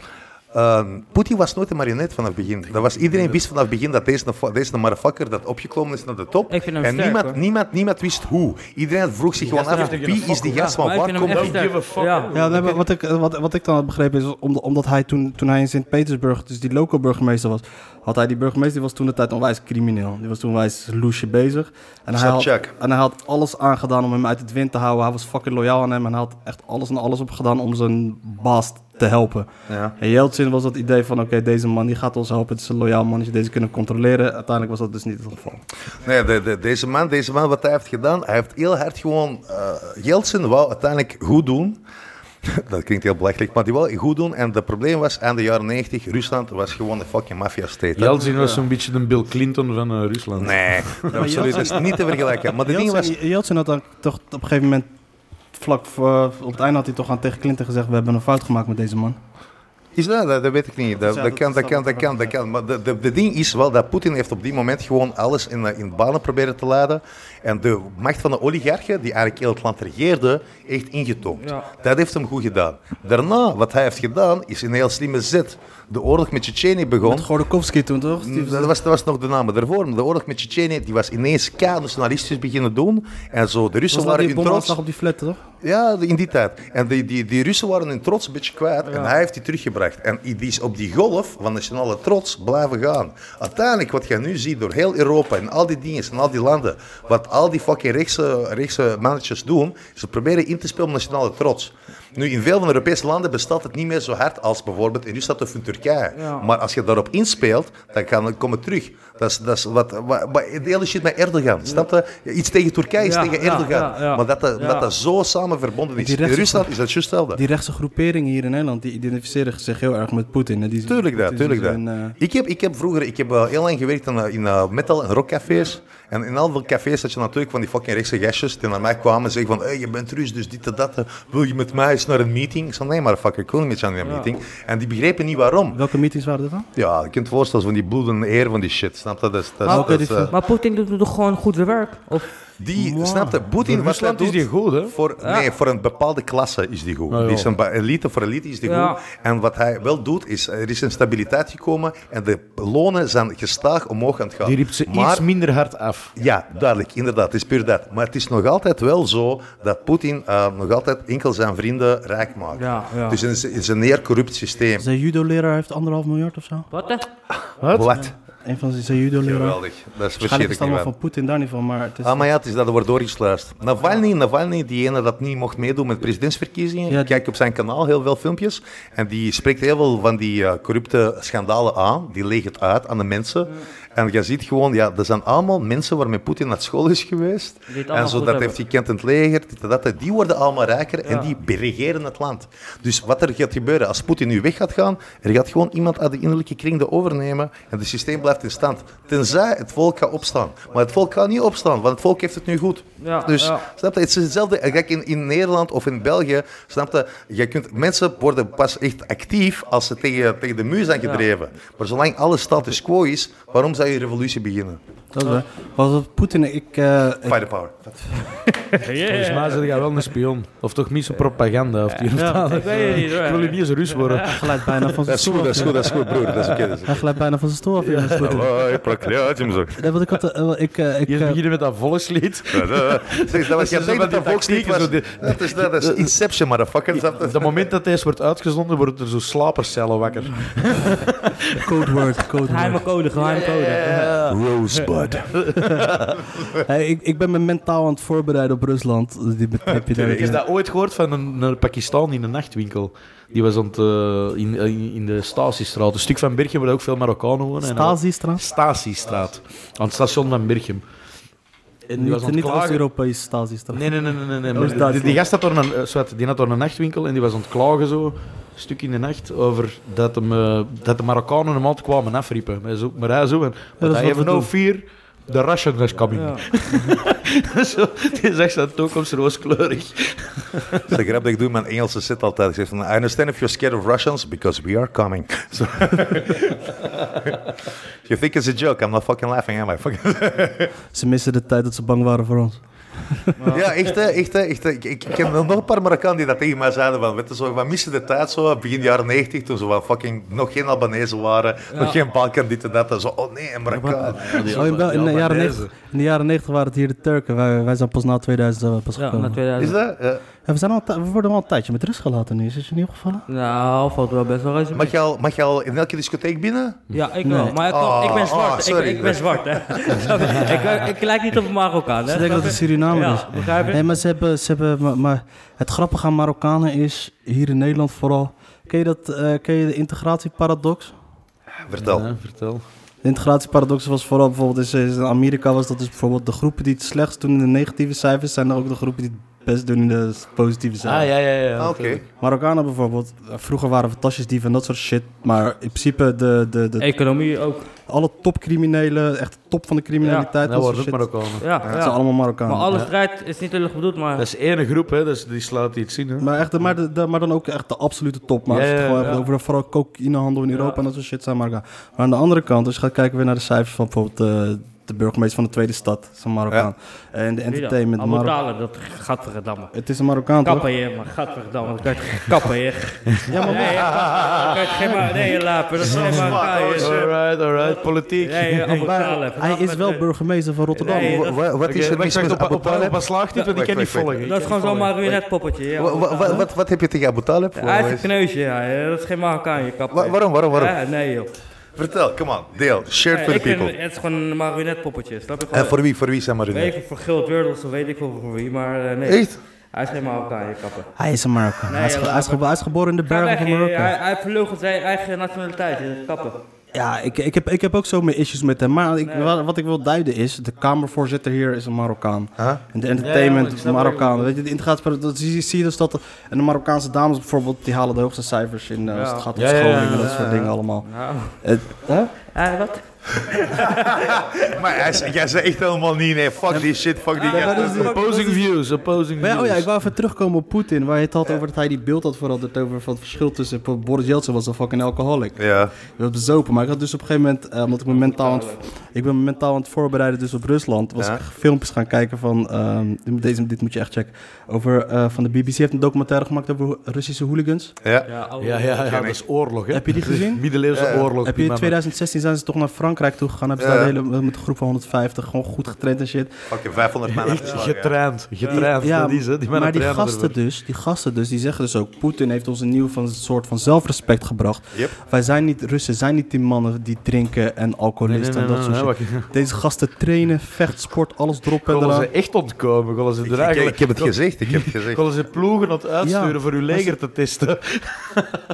Eh, Poetin was nooit een marionet vanaf het begin. Dat was, iedereen wist vanaf het begin dat deze, deze motherfucker dat opgeklommen is naar de top. Ik vind hem en sterk, niemand, hoor. niemand, niemand wist hoe. Iedereen vroeg zich gewoon af, heeft er geen wie is die gast van Maar ik waar vind hem komt echt die? sterk. give a fuck, Ja. hoor. Ja, nee, maar wat, ik, wat, wat ik dan had begrepen is, omdat, omdat hij toen, toen hij in Sint-Petersburg, dus die lokale burgemeester was, had hij die burgemeester, die was toen de tijd onwijs crimineel. Die was toen onwijs loesje bezig. En hij, had, Sobchak. en hij had alles aangedaan om hem uit het wind te houden. Hij was fucking loyaal aan hem en hij had echt alles en alles op gedaan om zijn baas te helpen. Ja. En Yeltsin was dat idee van, oké, deze man die gaat ons helpen, het is een loyaal mannetje, deze kunnen we controleren. Uiteindelijk was dat dus niet het geval. Nee, de, de- deze, man, deze man, wat hij heeft gedaan, hij heeft heel hard gewoon... eh Jeltsin wou uiteindelijk goed doen. Dat klinkt heel belachelijk, maar die wou goed doen. En het probleem was, aan de jaren 90, Rusland was gewoon een fucking maffia-state. hè. Jeltsin was zo'n beetje de Bill Clinton van eh, Rusland. Nee, absoluut, dat is niet te vergelijken. Maar de ding was... Jeltsin, Jeltsin had dan toch op een gegeven moment, vlak voor, eh, op het einde had hij toch aan tegen Clinton gezegd, we hebben een fout gemaakt met deze man. Is dat, dat, dat weet ik niet. Dat, Ja, dat dat kan, is dat wel kan, dat kan, dat kan. Maar de, de, de ding is wel dat Poetin heeft op die moment gewoon alles in, eh, in banen proberen te leiden. En de macht van de oligarchen, die eigenlijk heel het land regeerde, echt ingetoomd. Ja. Dat heeft hem goed gedaan. Daarna, wat hij heeft gedaan, is een heel slimme zet. De oorlog met Tsjetsjenië begon. Met Gordokovsky toen, toch? Die- Mm, Dat was, dat was nog de naam daarvoor. Maar de oorlog met Tsjetsjenië, die was ineens k-nationalistisch beginnen doen. En zo, de Russen was dat waren die hun trots. bomaanslag op die flat, toch? Ja, in die tijd. En die, die, die Russen waren hun trots een beetje kwijt. En hij heeft die teruggebracht. En die is op die golf van nationale trots blijven gaan. Uiteindelijk, wat je nu ziet door heel Europa en al die dingen en al die landen. Wat al die fucking rechtse, rechtse mannetjes doen. Ze proberen in te spelen op nationale trots. Nu, in veel van de Europese landen bestaat het niet meer zo hard als bijvoorbeeld in Rusland of in Turkije. Maar als je daarop inspeelt, dan kan het komen terug. Dat is, dat is wat, wat, wat- de hele shit met Erdogan. Snap je? Iets tegen Turkije is Ja, tegen ja, Erdogan. ja, ja. Maar dat, dat, Ja. dat dat zo samen verbonden is. Die In rechts- Rusland is dat juist hetzelfde. Die rechtse groeperingen hier in Nederland, die identificeren zich heel erg met Poetin. hè. Die zien- Tuurlijk dat, Poetin tuurlijk dat. zien ze in, eh, Ik heb, ik heb vroeger ik heb eh, heel lang gewerkt in, eh, in eh, metal- en rockcafés. En in al veel cafés had je natuurlijk van die fucking rechtse gastjes die naar mij kwamen en zeggen van hey, je bent Rus, dus dit en dat. eh, Wil je met mij eens naar een meeting? Ik zei nee, maar fuck, ik wil niet met jou naar een meeting. En die begrepen niet waarom. Welke meetings waren dat dan? Ja, je kunt je voorstellen, van die bloedende eer van die shit. Snap je? Dat is, dat is- Ah, oké, dat is, die- eh, Maar Poetin doet toch gewoon goed zijn werk? Of, Die, snap je, Poetin, In wat hij Rusland is doet- die goed, hè? Voor, Nee, voor een bepaalde klasse is die goed. ja. die is een ba- elite, voor elite is die Ja. goed. En wat hij wel doet, is er is een stabiliteit gekomen en de lonen zijn gestaag omhoog aan het gaan. Die riep ze maar, iets minder hard af. Ja, duidelijk, inderdaad, het is puur dat. Maar het is nog altijd wel zo dat Poetin eh, nog altijd enkel zijn vrienden rijk maakt. Ja, ja. Dus het is, het is een neer corrupt systeem. Zijn judo-leraar heeft anderhalf miljard of zo. wat? hè? Wat? Een van zijn judo-leraar. Geweldig. Dat is Waarschijnlijk is verschrikkelijk. het allemaal niet waar. van Poetin, daar niet van. Maar het is, Ah, maar ja, het is dat er wordt doorgesluist. Navalny, Navalny, die ene dat niet mocht meedoen met presidentsverkiezingen, Ja, die- kijk op zijn kanaal heel veel filmpjes. En die spreekt heel veel van die eh, corrupte schandalen aan. Die legt het uit aan de mensen. En je ziet gewoon, ja, dat zijn allemaal mensen waarmee Poetin naar school is geweest. Die het allemaal En zo goed dat hebben. heeft hij kent in het leger. dit en dat. Die worden allemaal rijker en Ja. die beregeren het land. Dus wat er gaat gebeuren, als Poetin nu weg gaat gaan, er gaat gewoon iemand uit de innerlijke kring de overnemen en het systeem blijft in stand. Tenzij het volk gaat opstaan. Maar het volk gaat niet opstaan, want het volk heeft het nu goed. Ja, dus ja. snap je, het is hetzelfde. Kijk, in, in Nederland of in België, snap je, je kunt, mensen worden pas echt actief als ze tegen, tegen de muur zijn gedreven. Maar zolang alles status quo is, waarom zou je een revolutie beginnen? dat is waar. Was het Poetin? Ik, eh, ik- Firepower. Volgens mij zit jij wel een spion. Of toch minstens propaganda. Of die, Ja, ik weet het niet, hoor. Ik wil je niet eens Rus worden. hij glijdt bijna van zijn Dat is stoel goed, dat is af. goed, dat is goed, broer. Dat is oké. dat is oké. Hij glijdt bijna van zijn stoel af. jongens, Poetin. Давай, проклятим за... Nee, want ik had... eh, wel, ik, eh, ik, Eerst eh, beginnen met dat volkslied. Zeg, dat was zo je denkt dat van dat die volkslied tactieken, was. zo die- Dat is, dat is Inception, motherfucker. Dat Op het moment dat deze wordt uitgezonden, worden er zo slapercellen wakker. code word, code word. Geheime code, geheime code. Rosebud. Hey, ik, ik ben me mentaal aan het voorbereiden op Rusland. Dus Die bet- heb je daar Is dat ooit gehoord van een, een Pakistan in een nachtwinkel? Die was aan het, eh, in, in, in de Statiestraat. Een stuk van Berchem waar ook veel Marokkanen wonen. En- Stasi-straat? Statiestraat. Aan het station van Berchem. En die was Niet, aan het niet als klagen. Europees Stasi-straat. Nee, nee, nee, nee. nee, nee. Oh, is Die- dat die, zo? gast had door een, eh, zwart, die had door een nachtwinkel en die was aan het klagen zo, een stuk in de nacht, over dat, hem, eh, dat de Marokkanen hem altijd kwamen afriepen. Maar, zo, maar hij zo, en, dat is wat I have we no doen. fear, the Russian is coming. Ja. zo, die zegt zijn toekomst rooskleurig. Dat is de grap dat ik doe in mijn Engelse zit altijd. Ik zeg van, I understand if you're scared of Russians, because we are coming. So- you think it's a joke, I'm not fucking laughing, am I? Fucking- Ze missen de tijd dat ze bang waren voor ons. Ja, echt, hè, echt, hè, echt. hè. Ik, ik, ik ken nog een paar Marokkanen die dat tegen mij zeiden van, weet je, zo, we missen de tijd zo, begin jaren 90, toen ze van fucking nog geen Albanese waren, nog geen Balkan, dit en dat. En zo, oh nee, een Marokkaan. Oh, in, Bel- in, de jaren 90, in de jaren 90 waren het hier de Turken. Wij, wij zijn pas na 2000 zijn we pas Ja, na gekomen. 2000. Is dat? Ja. Ja, we, zijn al een tij- we worden al een tijdje met rust gelaten nu. Is het je niet opgevallen? Nou, valt wel best wel reuze mee. Mag je, al, mag je al in elke discotheek binnen? Ja, ik wel. Maar ik, Oh, ik ben zwart. oh, Ik- sorry. ik, ben zwart, hè. ik, eh, ik, lijk niet op een Marokkaan, hè. Ze denken dat het Suriname is. Ja, begrijp je? Nee, maar ze hebben... Ze hebben maar, maar het grappige aan Marokkanen is, hier in Nederland vooral... Ken je, dat, eh, ken je de integratieparadox? Vertel. vertel. De integratieparadox was vooral bijvoorbeeld in- in Amerika was dat dus bijvoorbeeld de groepen die het slechtst doen in de negatieve cijfers zijn er ook de groepen die het best doen in de positieve Ah, ja, cijfers. ja, ja. ja, Ah, Oké. Marokkanen bijvoorbeeld, eh, vroeger waren we tasjesdieven en dat soort shit, maar in principe de, de, de, Economie ook. alle topcriminelen, echt de top van de criminaliteit, Nou dat wordt soort het shit, Marokkanen. Ja, dat zijn ja. allemaal Maar Marokkanen. alle strijd is niet lullig bedoeld, maar... Dat is één groep, hè, dus die slaat iets in. Hè. Maar, echt, de- maar, de, de- maar dan ook echt de absolute top. Maar Ja, als je het ja, gewoon ja. hebt over vooral cocaïnehandel in Europa en dat soort shit zijn Marokkaan. Maar aan de andere kant, als je gaat kijken weer naar de cijfers van bijvoorbeeld eh, de burgemeester van de tweede stad, dat is een Marokkaan. En de entertainment, Abu Marok- Talib, dat gaat verdamme. Het is een Marokkaan toch? Kappen je, maar gaat verdamme. Dan kan je het kappen je. Ja, maar Nee, dan kan je het geen maar... Nee, lapen. Dat is alleen Oh, maar... Marokkaan, shit. je. Alright, alright, politiek. Nee, eh, je, Abu maar Talib. hij is eh, wel burgemeester van Rotterdam. Nee, Wa- dat- wa- Wat Oké, is er wacht, mis wacht, met op, Abu op, op, Talib? op slaagt niet, want ik Wacht, kan niet wacht, wacht. volgen. Dat is gewoon zo'n marionetpoppetje. Ja. Wa- wa- wa- Wat wat heb je tegen Abu Talib? Hij heeft een kneusje, ja. ja, Dat is geen Marokkaan, je kappen. Wa- Waarom, waarom, waarom? Ja, nee, joh. Vertel, come on, deel. Share it for the Eh, Ik vind- people. het is gewoon een marionetpoppetje, snap je? En Gewoon- voor wie, voor wie zijn Weet marionetten? ik voor Gild Wurdels of weet ik veel voor wie, maar eh, nee. Echt? Hij is geen Marokkaan, je kappen. Hij is een Marokkaan. hij, is, ge- ja, hij, is ge- hij is geboren in de Ga bergen weg, van je- hij, Marokko. hij verloochent zijn eigen nationaliteit, je kappen. Ja, ik, ik, heb, ik heb ook zo mijn issues met hem. Maar ik, wa- wat ik wil duiden is, de kamervoorzitter hier is een Marokkaan. Huh? En de Ja, ja, entertainment ik snap Marokkaan. Weet je, de integratie, dat zie, zie je dus dat... En de Marokkaanse dames bijvoorbeeld, die halen de hoogste cijfers in... eh, Als het gaat om Ja, ja, ja, scholing en ja, dat soort dingen allemaal. Het- hè? Ja, Eh, wat? Maar hij is- jij zei echt helemaal niet, nee, fuck die shit, fuck die... maar dat is- Opposing views, opposing Maar ja, views. oh ja, ik wou even terugkomen op Poetin. Waar je het had over dat hij die beeld had veranderd over van het verschil tussen... Boris Yeltsin was een fucking alcoholic. Ja, Ik was bezopen, maar ik had dus op een gegeven moment, eh, omdat ik me mentaal aan het, ik ben me mentaal aan het voorbereiden dus op Rusland, was Ja. ik filmpjes gaan kijken van, ehm, deze, dit moet je echt checken, over, eh, van de BBC heeft een documentaire gemaakt over ho- Russische hooligans. ja. Ja, oh. Ja, ja, ja, dat is oorlog. Hè? Heb je die gezien? Middeleeuwse Heb oorlog. je in die mannen. 2016 zijn ze toch naar Frankrijk toegegaan. Hebben ze Ja. daar de hele, eh, met een groep van 150 gewoon goed getraind en shit. Fucking 500 man afgeslagen. ja. Getraind, getraind. Ja, dat is, hè. Die mannen maar die trainen gasten, ervoor. dus, die gasten dus, die zeggen dus ook... Poetin heeft ons een nieuw van, soort van zelfrespect gebracht. Yep. Wij zijn niet Russen, zijn niet die mannen die drinken en Nee, alcoholisten nee, nee, en dat nee, soort nee, shit. wacht. Deze gasten trainen, vechtsport, alles erop en Konden eraan. ze echt ontkomen? Konden ze Ik, er ik- eigenlijk... ik heb het gezegd, ik heb het gezegd. Konden ze ploegen aan het uitsturen Ja, voor hun leger te testen?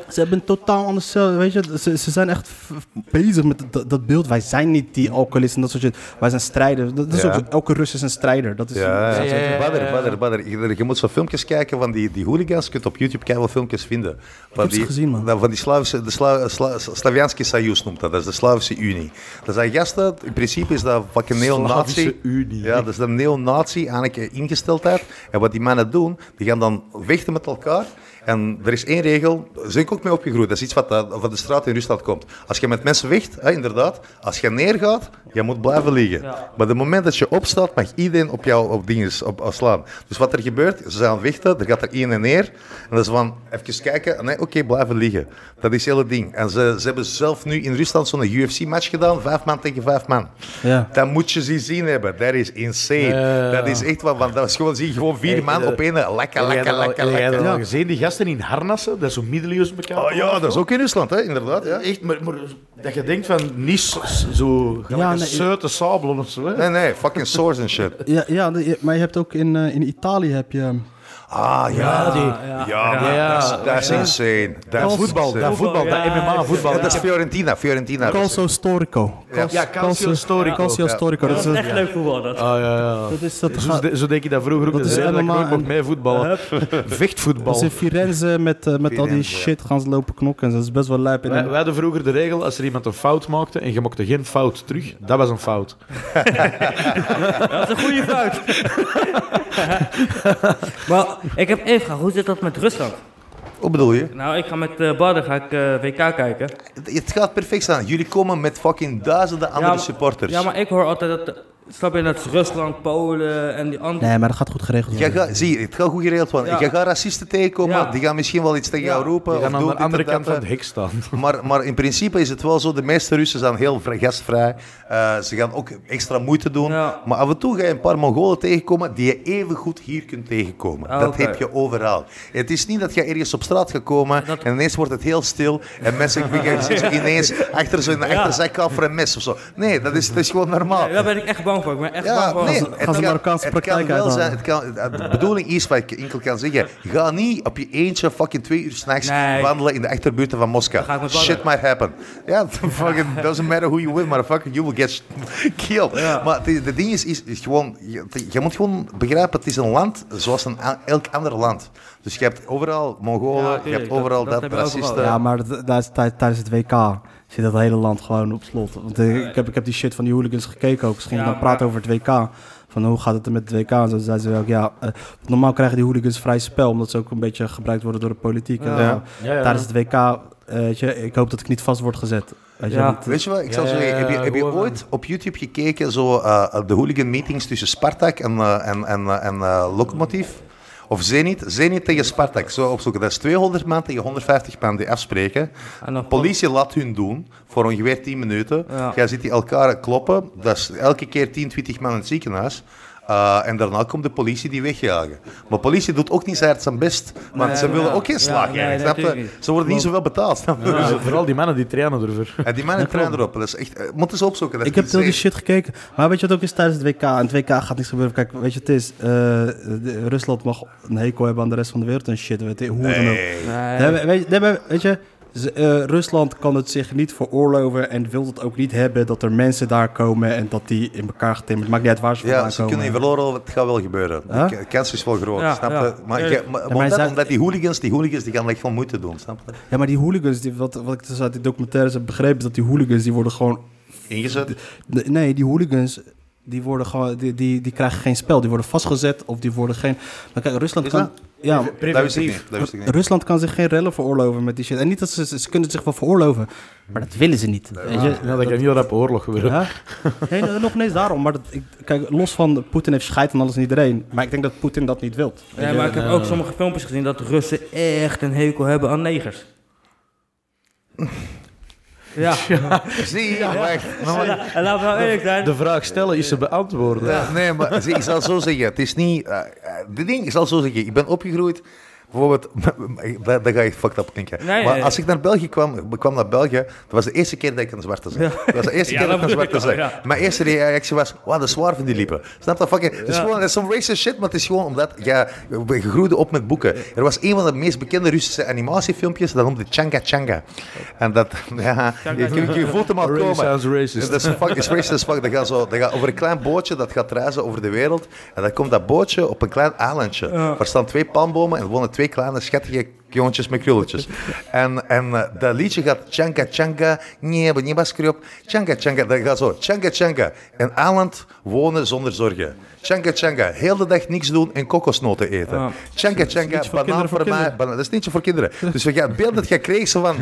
Ze hebben een totaal anders zelf. Weet je, ze, ze zijn echt f- f- bezig met dat, dat beeld. Wij zijn niet die alcoholisten en dat soort shit. Wij zijn strijders. Dat, dat is Ja. ook, zo. elke Rus is een strijder. Dat is, Ja, dat ja, is- ja, ja. Dus Badder, badder, badder. Je, je moet zo filmpjes kijken van die, die hooligans. Je kunt op YouTube keihard filmpjes vinden. Van heb ze die, nou, gezien, man. van- Van die Slavische, de Sla, Sla, Slavianski Sajus noemt dat. Dat is de Slavische Unie. Dat zijn gasten, in principe is dat fucking Slavische neonazi. Unie. Ja, dat is de neonazi, eigenlijk eh, ingesteldheid. En wat die mannen doen, die gaan dan vechten met elkaar. En er is één regel, daar ben ik ook mee opgegroeid. Dat is iets wat eh, van de straat in Rusland komt. Als je met mensen vecht, hè, inderdaad, als je neergaat, je moet blijven liggen. Ja. Maar het moment dat je opstaat, mag iedereen op jou op dingen op, op slaan. Dus wat er gebeurt, ze zijn aan het vechten, er gaat er één en neer. En dat is van, even kijken, nee, oké, blijven liggen. Dat is het hele ding. En ze, ze hebben zelf nu in Rusland zo'n UFC-match gedaan, vijf man tegen vijf man. Ja. Dat moet je zien zien hebben. Dat is insane. Ja. Dat is echt wat, want dat is gewoon, zie je gewoon vier Hey, man eh, op één. Lekker, lekker, lekker, Heb jij lekker. dat al Ja. gezien? Die gasten in harnassen, dat is zo'n middeleeuws bekend. Ah, Oh ja, dat is ook in Rusland, hè, inderdaad. Ja. Echt, maar, maar dat je denkt van niet zo, zo ja, nee, zeute sabelen of zo. Hè? Nee, nee, fucking swords en shit. Ja, ja, de- je- maar je hebt ook in, eh, in Italië heb je... eh, Ah, ja. die- Ja, ja. maar Ja. dat is- dat is Ja. insane. Dat Dat is voetbal, insane. dat voetbal, dat Ja, MMA voetbal. Ja, dat is Fiorentina, Fiorentina. Calcio Storico. Cal- Ja, Calcio Storico. Calcio Ja. Storico. Dat Dat is, is dat echt leuk voetbal, dat. Oh. Ah, ja, ja. is, dat Zo, gaat- de- zo denk ik dat vroeger ook. Dat Dat, Dus is dat ik MMA nooit mocht en- mee voetballen. Vechtvoetbal. dat is in Firenze met, eh, met al die Firenze, ja. shit gaan ze lopen knokken. en zo. Dat is best wel lijp. En Wij, dan- wij hadden vroeger de regel, als er iemand een fout maakte en je mocht geen fout terug, dat was een fout. Dat is een goede fout. maar ik heb één vraag. Hoe zit dat met Rusland? Wat bedoel je? Nou, ik ga met eh Bader ga ik, eh, WK kijken. Het gaat perfect staan. Jullie komen met fucking duizenden andere maar- supporters. Ja, maar ik hoor altijd dat... Snap je, dat is Rusland, Polen en die andere... Nee, maar dat gaat goed geregeld Jij worden. gaat, zie, het gaat goed geregeld worden. Ja. Je gaat racisten tegenkomen, Ja. die gaan misschien wel iets tegen jou roepen. We of gaan aan doen de dit en andere dat, kant van hè. het hek staan. Maar, maar in principe is het wel zo, de meeste Russen zijn heel vri- gastvrij. Eh, ze gaan ook extra moeite doen. Ja. Maar af en toe ga je een paar Mongolen tegenkomen die je even goed hier kunt tegenkomen. Ah, dat oké. heb je overal. Het is niet dat je ergens op straat gaat komen en ineens wordt het heel stil en mensen beginnen zich zo ineens achter zo'n achterzak af voor een mes of zo. Nee, dat is, dat is gewoon normaal. Nee, daar ben ik echt bang voor. Ik ben echt Ja, bang voor... nee, Gaan ze- gaan ze Marokkaanse het kan praktijk wel zijn. Het uithalen? kan, de bedoeling is, wat ik enkel kan zeggen, ga niet op je eentje fucking twee uur s'nachts Nee. wandelen in de achterbuurten van Dan ga Moskou. ik met Badr. Shit might happen. Ja, fucking doesn't matter who you with, motherfucker, you will get killed. Maar het is- de ding is, is, is gewoon, je, je moet gewoon begrijpen, het is een land zoals een, a- elk ander land. Dus je hebt overal Mongolen, Ja, je tuurlijk, hebt overal dat- dat dat, hebben we racisten. overal, Ja, maar dat- daar is tijd- tijdens het WK zit dat hele land gewoon op slot. Want eh, ik, heb, ik heb die shit van die hooligans gekeken ook. Ze gingen Ja, dan praten maar- over het WK. Van hoe gaat het er met het WK? En zo zeiden ze ook, ja, eh, normaal krijgen die hooligans vrij spel. Omdat ze ook een beetje gebruikt worden door de politiek. En, Ja. zo. Ja, ja. Tijdens het WK, eh, weet je, ik hoop dat ik niet vast word gezet. Weet je, Ja. want- Weet je wat, ik zal Ja, zeggen, ja, heb je, ja, heb je gewoon, eh, ooit op YouTube gekeken, zo, eh, de hooligan meetings tussen Spartak en, eh, en, en, eh, en eh, Lokomotief? Of Zenit? Zenit tegen Spartak, zo opzoeken. Dat is 200 man tegen 150 man die afspreken. En dan- Politie laat hun doen, voor ongeveer 10 minuten. Ja. Jij zit die elkaar kloppen, dat is elke keer 10, 20 man in het ziekenhuis. Eh, en daarna komt de politie die wegjagen. Maar politie doet ook niet zo hard zijn best, want Nee, ze willen ja. ook geen Ja, slaag. nee, eigenlijk, snap je? natuurlijk niet. Ze worden niet zoveel betaald. snap je? Dus- Dus vooral die mannen die trainen ervoor. en die mannen trainen erop. Dat is echt, eh, moet eens opzoeken. Dat Ik is heb heel die insane. shit gekeken. Maar weet je wat ook is tijdens het WK? En het WK gaat niks gebeuren. Kijk, weet je wat het is? Eh, de- Rusland mag een hekel hebben aan de rest van de wereld en shit. Weet je, hoe dan ook. Nee. Nee. Nee, maar weet, nee, maar weet je, ze- eh, Rusland kan het zich niet veroorloven en wil het ook niet hebben dat er mensen daar komen en dat die in elkaar getimmerd. Maakt niet uit waar ze Ja, vandaan ze komen. kunnen niet verloren, het gaat wel gebeuren. Huh? De k- kans is wel groot, Ja, snap je? ja. Maar, Ja, je- maar- maar maar omdat, zij- omdat die hooligans, die hooligans, die gaan echt veel moeite doen, snap je? Ja, maar die hooligans, die, wat, wat ik dus uit die documentaires heb begrepen, is dat die hooligans die worden gewoon. Ingezet. Nee, die hooligans. Die, worden gewoon, die, die, die krijgen geen spel. Die worden vastgezet of die worden geen... Maar kijk, Rusland Is kan... dat? Ja, Dat wist ik niet. Dat wist ik niet. Rusland kan zich geen rellen veroorloven met die shit. En niet dat ze... Ze kunnen het zich wel veroorloven. Maar dat willen ze niet. Weet je? Ja, dat kan heel rap oorlog gebeuren. Ja? Nee, nee, nog ineens daarom. Maar dat, ik, kijk, los van Poetin heeft scheid aan alles en iedereen. Maar ik denk dat Poetin dat niet wilt. Nee, maar ik heb ook sommige filmpjes gezien dat Russen echt een hekel hebben aan negers. Ja. Zie, wacht. nog maar- En laten we nou eerlijk zijn. De vraag stellen is ze beantwoorden. Ja, nee, maar zie, ik zal het zo zeggen. Het is niet... eh, eh, de ding, ik zal het zo zeggen. Ik ben opgegroeid... Bijvoorbeeld, daar, daar ga je fucked up denken. Nee, maar nee. als ik naar België kwam, ik kwam naar België, dat was de eerste keer dat ik een zwarte zag. Dat was de eerste Ja, keer dat ik dat een bedoel zwarte ik zag. al, ja. Mijn eerste reactie was, wauw, dat is zwaar van die liepen. Snap dat fucking? Het is Ja. gewoon, dat is some racist shit, maar het is gewoon omdat, ja, we groeiden op met boeken. Er was een van de meest bekende Russische animatiefilmpjes, dat noemde Changa Changa. En dat, ja, je, je- je voelt hem al Already komen. sounds racist. Dat is dus fuck, dat is racist as fuck. Dat gaat, zo, dat gaat over een klein bootje, dat gaat reizen over de wereld. En dan komt dat bootje op een klein eilandje. Waar staan twee palmbomen en er wonen twee kleine schattige jongetjes met krulletjes. En, en eh, dat liedje gaat Changa Changa, nee, we niet op. Changa Changa, dat gaat zo. Changa Changa, een eiland wonen zonder zorgen. Changa Changa, heel de dag niks doen en kokosnoten eten. Ja. Changa Changa, voor banaan kinderen, voor voor mij. kinderen. banaan- Dat is niet voor kinderen. Dus we gaan het beeld dat je kreeg, zo van,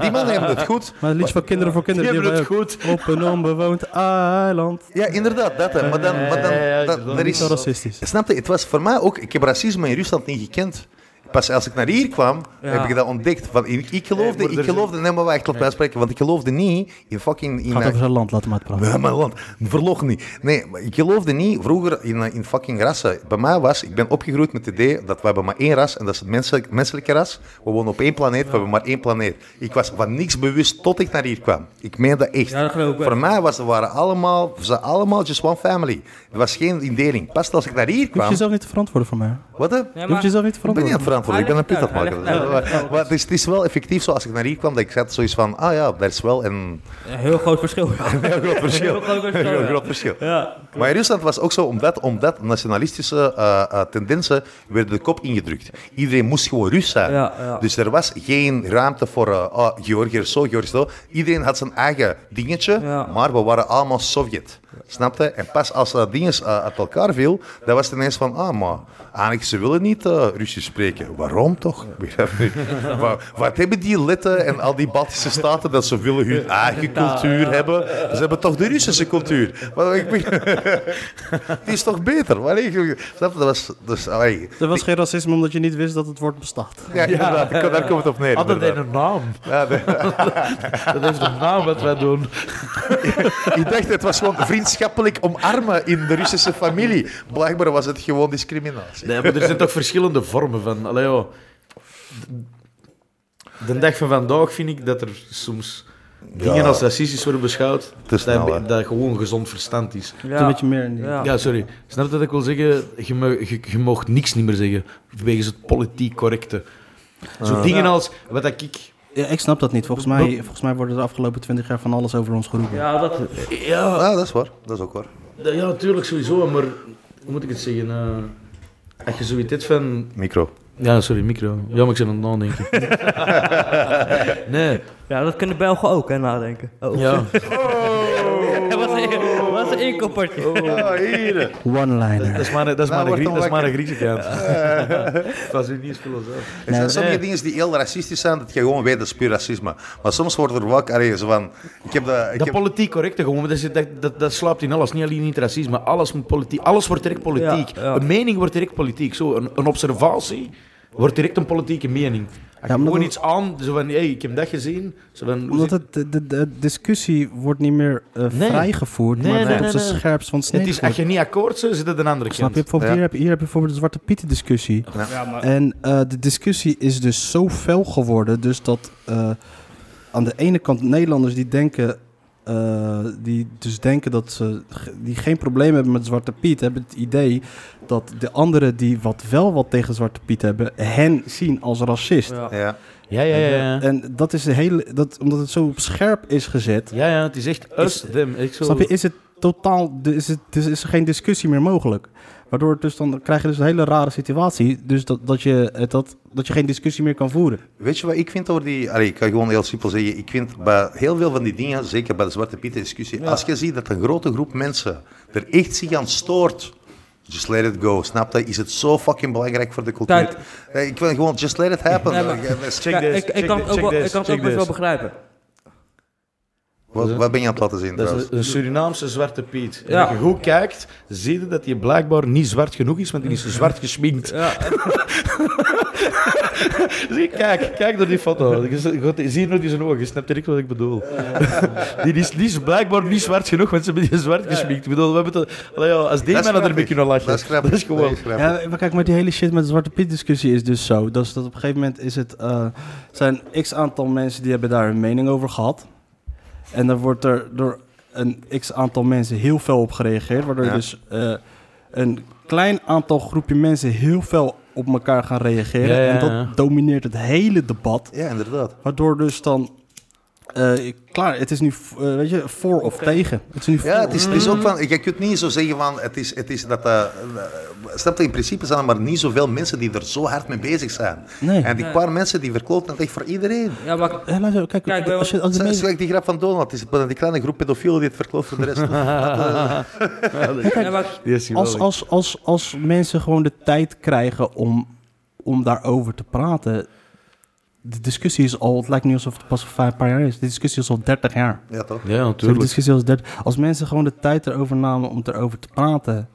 die man hebben het goed. Maar het liedje van Kinderen voor Kinderen. Die hebben hebben het ook Op een onbewoond eiland. Ja, inderdaad, dat. Hè. Maar dan, maar dan, Ja, ja, ja, dat, dat dat is Niet is... zo racistisch. Snap je? Het was voor mij ook... Ik heb racisme in Rusland niet gekend. Pas als ik naar hier kwam, Ja. heb ik dat ontdekt. Van, ik, ik geloofde... Nee, maar er ik zijn- geloofde... Nee, maar wacht, laat mij spreken. Want ik geloofde niet in fucking... In, Gaat over zijn land, laat hem maar praten. ja, mijn land. Verlog niet. Nee, maar ik geloofde niet vroeger in, eh, in fucking rassen. Bij mij was, ik ben opgegroeid met het idee dat we hebben maar één ras en dat is het menselijk, menselijke ras. We wonen op één planeet, we hebben maar één planeet. Ik was van niks bewust tot ik naar hier kwam. Ik meen dat echt. Ja, dat geloof ik wel. Voor mij was, waren allemaal, ze allemaal just one family. Er was geen indeling. Pas als ik naar hier Je hoeft kwam. jezelf niet te verantwoorden voor mij. Wat hè? Ja, Je hoeft maar- jezelf niet te Ik ben niet aan verantwoorden. het verantwoorden, ik ben een pit aan het maken. Hij legt het uit, hij legt het uit. Maar het is, het is wel effectief zo als ik naar hier kwam, dat ik zat zoiets van, ah ja, daar is wel een Een heel groot verschil. ja. heel groot verschil. Heel groot verschil, Een heel ja. groot verschil. Ja. Maar in Rusland was ook zo, omdat, omdat nationalistische eh, eh, tendensen werden de kop ingedrukt. Iedereen moest gewoon Rus zijn. Ja, ja. Dus er was geen ruimte voor eh oh, Georgiër zo, Georgiër zo. Iedereen had zijn eigen dingetje, Ja. maar we waren allemaal Sovjet. Snap je? En pas als dat ding eh, uit elkaar viel, dan was het ineens van, ah, maar eigenlijk, ze willen niet eh, Russisch spreken. Waarom toch? Ik begrijp het niet. Wa- Wat hebben die Letten en al die Baltische staten, dat ze willen hun eigen cultuur hebben? Ze hebben toch de Russische cultuur? Maar ik begrijp- die is toch beter? Maar ik, snap je, dat was... Dus, allee. Er was geen racisme omdat je niet wist dat het woord bestaat. ja, inderdaad, ik- daar komt het op neer. Had dat inderdaad. een naam? Ja, de- Dat heeft een naam wat wij doen. ik dacht, het was gewoon vriendschappelijk omarmen in de Russische familie. Blijkbaar was het gewoon discriminatie. Nee, maar er zijn toch verschillende vormen van. Allee, joh. De- De dag van vandaag vind ik dat er soms dingen als racistisch worden beschouwd, dat, snel, hè. dat gewoon gezond verstand is. Het is een beetje meer in die- Ja. Ja, sorry. Snap je dat ik wil zeggen? Je, mo- je, je mag niks niet meer zeggen, wegens het politiek correcte. Zo dingen Ja. als, wat dat ik... Ja, ik snap dat niet. Volgens mij, volgens mij worden de afgelopen 20 jaar van alles over ons geroepen. Ja, dat Ja, Ja, Ah, dat is waar. Dat is ook waar. dat- ja natuurlijk sowieso, maar hoe moet ik het zeggen? Eh, als je zoiets hebt van, Micro. Ja, sorry, micro. Ja, maar ik zit aan het nadenken. nee. Ja, dat kunnen Belgen ook, hè, nadenken. Oh. Ja. Dat was een, was een inkoppertje. Oh. Ah, hier. Dat One-liner. is maar, dat is Nou, maar, een, wordt Grie- dan dat is maar een wakker. Griekse kant. Dat is u niet filosoof. Er zijn sommige nee. dingen die heel racistisch zijn, dat je gewoon weet, dat is puur racisme. Maar soms wordt er wel allee, zo van... Ik heb dat... Ik Dat heb, politiek correcte gewoon, maar dat, is- dat, dat, dat slaapt in alles. Niet alleen in het racisme, alles, moet politiek, alles wordt direct politiek. Ja, ja. Een mening wordt direct politiek. Zo, een, een observatie wordt direct een politieke mening. Als je maar gewoon dat- iets aan, zo van, hey, ik heb dat gezien. Zo van, Eh, hoe Omdat zit- het, de, de- de discussie wordt niet meer eh, Nee. vrijgevoerd, Nee, maar het nee, wordt op nee, zijn nee. scherpst van het snee is, als je niet akkoord bent, zit het een andere Snap kant. je? Bijvoorbeeld Ja. Hier, heb, hier heb je bijvoorbeeld de Zwarte Pieten discussie. Ja, maar... En eh, de discussie is dus zo fel geworden. Dus dat eh, aan de ene kant Nederlanders die denken. eh, die dus denken dat ze ge- die geen probleem hebben met Zwarte Piet, hebben het idee dat de anderen die wat wel wat tegen Zwarte Piet hebben, hen zien als racist. Ja. ja. Ja, ja, ja. ja. En dat is de hele, dat, omdat het zo op scherp is gezet, Ja, ja, het is echt us, Is- them. Ik zo... snap je, is het totaal, de- is, het, dus is er geen discussie meer mogelijk. Waardoor het dus dan, dan krijg je dus een hele rare situatie, dus dat, dat, je, het- dat, dat je geen discussie meer kan voeren. Weet je wat ik vind over die... Allee, ik kan gewoon heel simpel zeggen. Ik vind bij heel veel van die dingen, zeker bij de Zwarte Piet discussie, als je ziet dat een grote groep mensen er echt zich aan stoort, just let it go. Snap je? Is het zo fucking belangrijk voor de cultuur? Kijk. Eh, Ik wil gewoon just let it happen. Nee, maar- Eh, eh, Check Ja, this, ik, ik check kan this, het ook check wel- ik this, kan het ook check best wel this. begrijpen. Wat, wat ben je aan het laten zien Dat trouwens? is een Surinaamse zwarte Piet. En Ja. als je goed kijkt, zie je dat hij blijkbaar niet zwart genoeg is, want hij is zwart geschminkt. Ja, Zie, kijk, kijk naar die foto. Je z- God, Zie je nog die zijn ogen? Je snapt direct wat ik bedoel. Die is niet, blijkbaar niet zwart genoeg, want ze hebben die zwart gesminkt. Ik bedoel, we hebben het, allee, joh, als die Dat is mannen grappig. ermee kunnen lachen. Dat is grappig. gewoon... grappig. Ja, maar kijk, maar die hele shit met de Zwarte Piet discussie is dus zo. Dat, is dat op een gegeven moment is het, eh, zijn x aantal mensen die hebben daar hun mening over gehad. En dan wordt er door een x aantal mensen heel veel op gereageerd. Waardoor Ja. dus eh, een klein aantal groepje mensen heel veel op elkaar gaan reageren. Ja, ja, En ja. dat domineert het hele debat. Ja, inderdaad. Waardoor dus dan... eh, ik- klaar, het is nu v- eh, weet je, voor of tegen. Het is nu voor Ja, het is, het is ook van, je kunt niet zo zeggen van, het is, het is dat, eh, eh, snap je, in principe zijn er maar niet zoveel mensen die er zo hard mee bezig zijn. Nee. Eh, En die paar mensen die verkloten het echt voor iedereen. ja, maar Ja, luister, kijk, Kijk, wij- als je, als de Het is mensen- gelijk die grap van Donald, het is maar die kleine groep pedofielen die het verkloot voor de rest. ja, maar- Die is als, geweldig. als, als, als mensen gewoon de tijd krijgen om, om daarover te praten. De discussie is al, het lijkt niet alsof het pas een paar paar jaar is. De discussie is al 30 jaar. Ja, toch? Ja, De natuurlijk. discussie is al 30. Als mensen gewoon de tijd erover namen om erover te praten,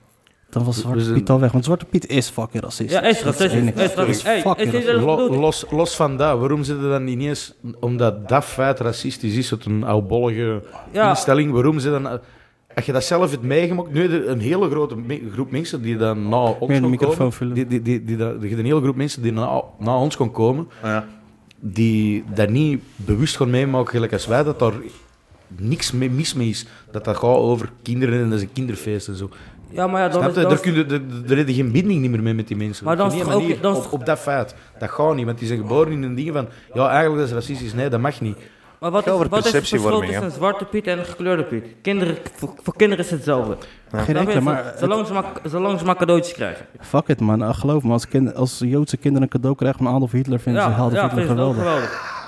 dan was We Zwarte zijn- Piet al weg. Want Zwarte Piet is fucking racist. Ja, is Dat het racistisch. enige. Is racistisch. Dat is Hey, fucking is dit- racistisch. Lo- los, los van dat, waarom zitten dan niet eens... Omdat dat feit racistisch is, het een oudbollige Ja. instelling, waarom ze dan... Als je dat zelf hebt meegemaakt, nu de- een hele grote me- groep mensen die dan na ons Meer de kon microfoon komen, vullen. Die, die, die, die, dat- die- een hele groep mensen die na, na ons kon komen, Ja. die daar niet bewust gaan meemaken, gelijk als wij, dat daar niks mee, mis mee is. Dat dat gaat over kinderen en dat is een kinderfeest en zo. ja, maar ja, dan Snap is je? dat Daar, kun je, daar, daar heb je geen binding niet meer mee met die mensen. Maar Op dan geen is toch ook- manier, dan is op, toch- op dat feit. Dat gaat niet, want die zijn geboren in een ding van... Ja, eigenlijk dat is racistisch. Nee, dat mag niet. Maar wat, Ga is, over wat is het verschil perceptievorming, tussen een zwarte Piet en een gekleurde Piet? Kinderen, voor, voor kinderen is hetzelfde. Geen Snap je? enkele, maar eh, het- Zolang ze maar, zolang ze maar cadeautjes krijgen. Fuck it man, Eh, geloof me, als, kind, als Joodse kinderen een cadeau krijgen van Adolf Hitler, vinden ze Adolf ja, Hitler vind ik het ook geweldig.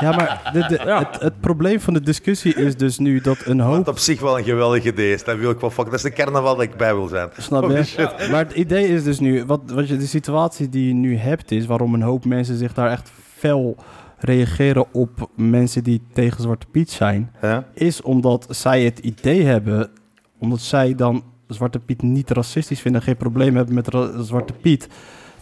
Ja, maar de, de- Ja. Het, het probleem van de discussie is dus nu dat een hoop... Dat op zich wel een geweldige idee is. Dat wil ik wel fuck. Dat is de carnaval dat ik bij wil zijn. Snap je? Maar het idee is dus nu, wat, wat je, de situatie die je nu hebt is, waarom een hoop mensen zich daar echt fel reageren op mensen die tegen Zwarte Piet zijn, Ja? is omdat zij het idee hebben, omdat zij dan Zwarte Piet niet racistisch vinden, geen probleem hebben met ra- Zwarte Piet,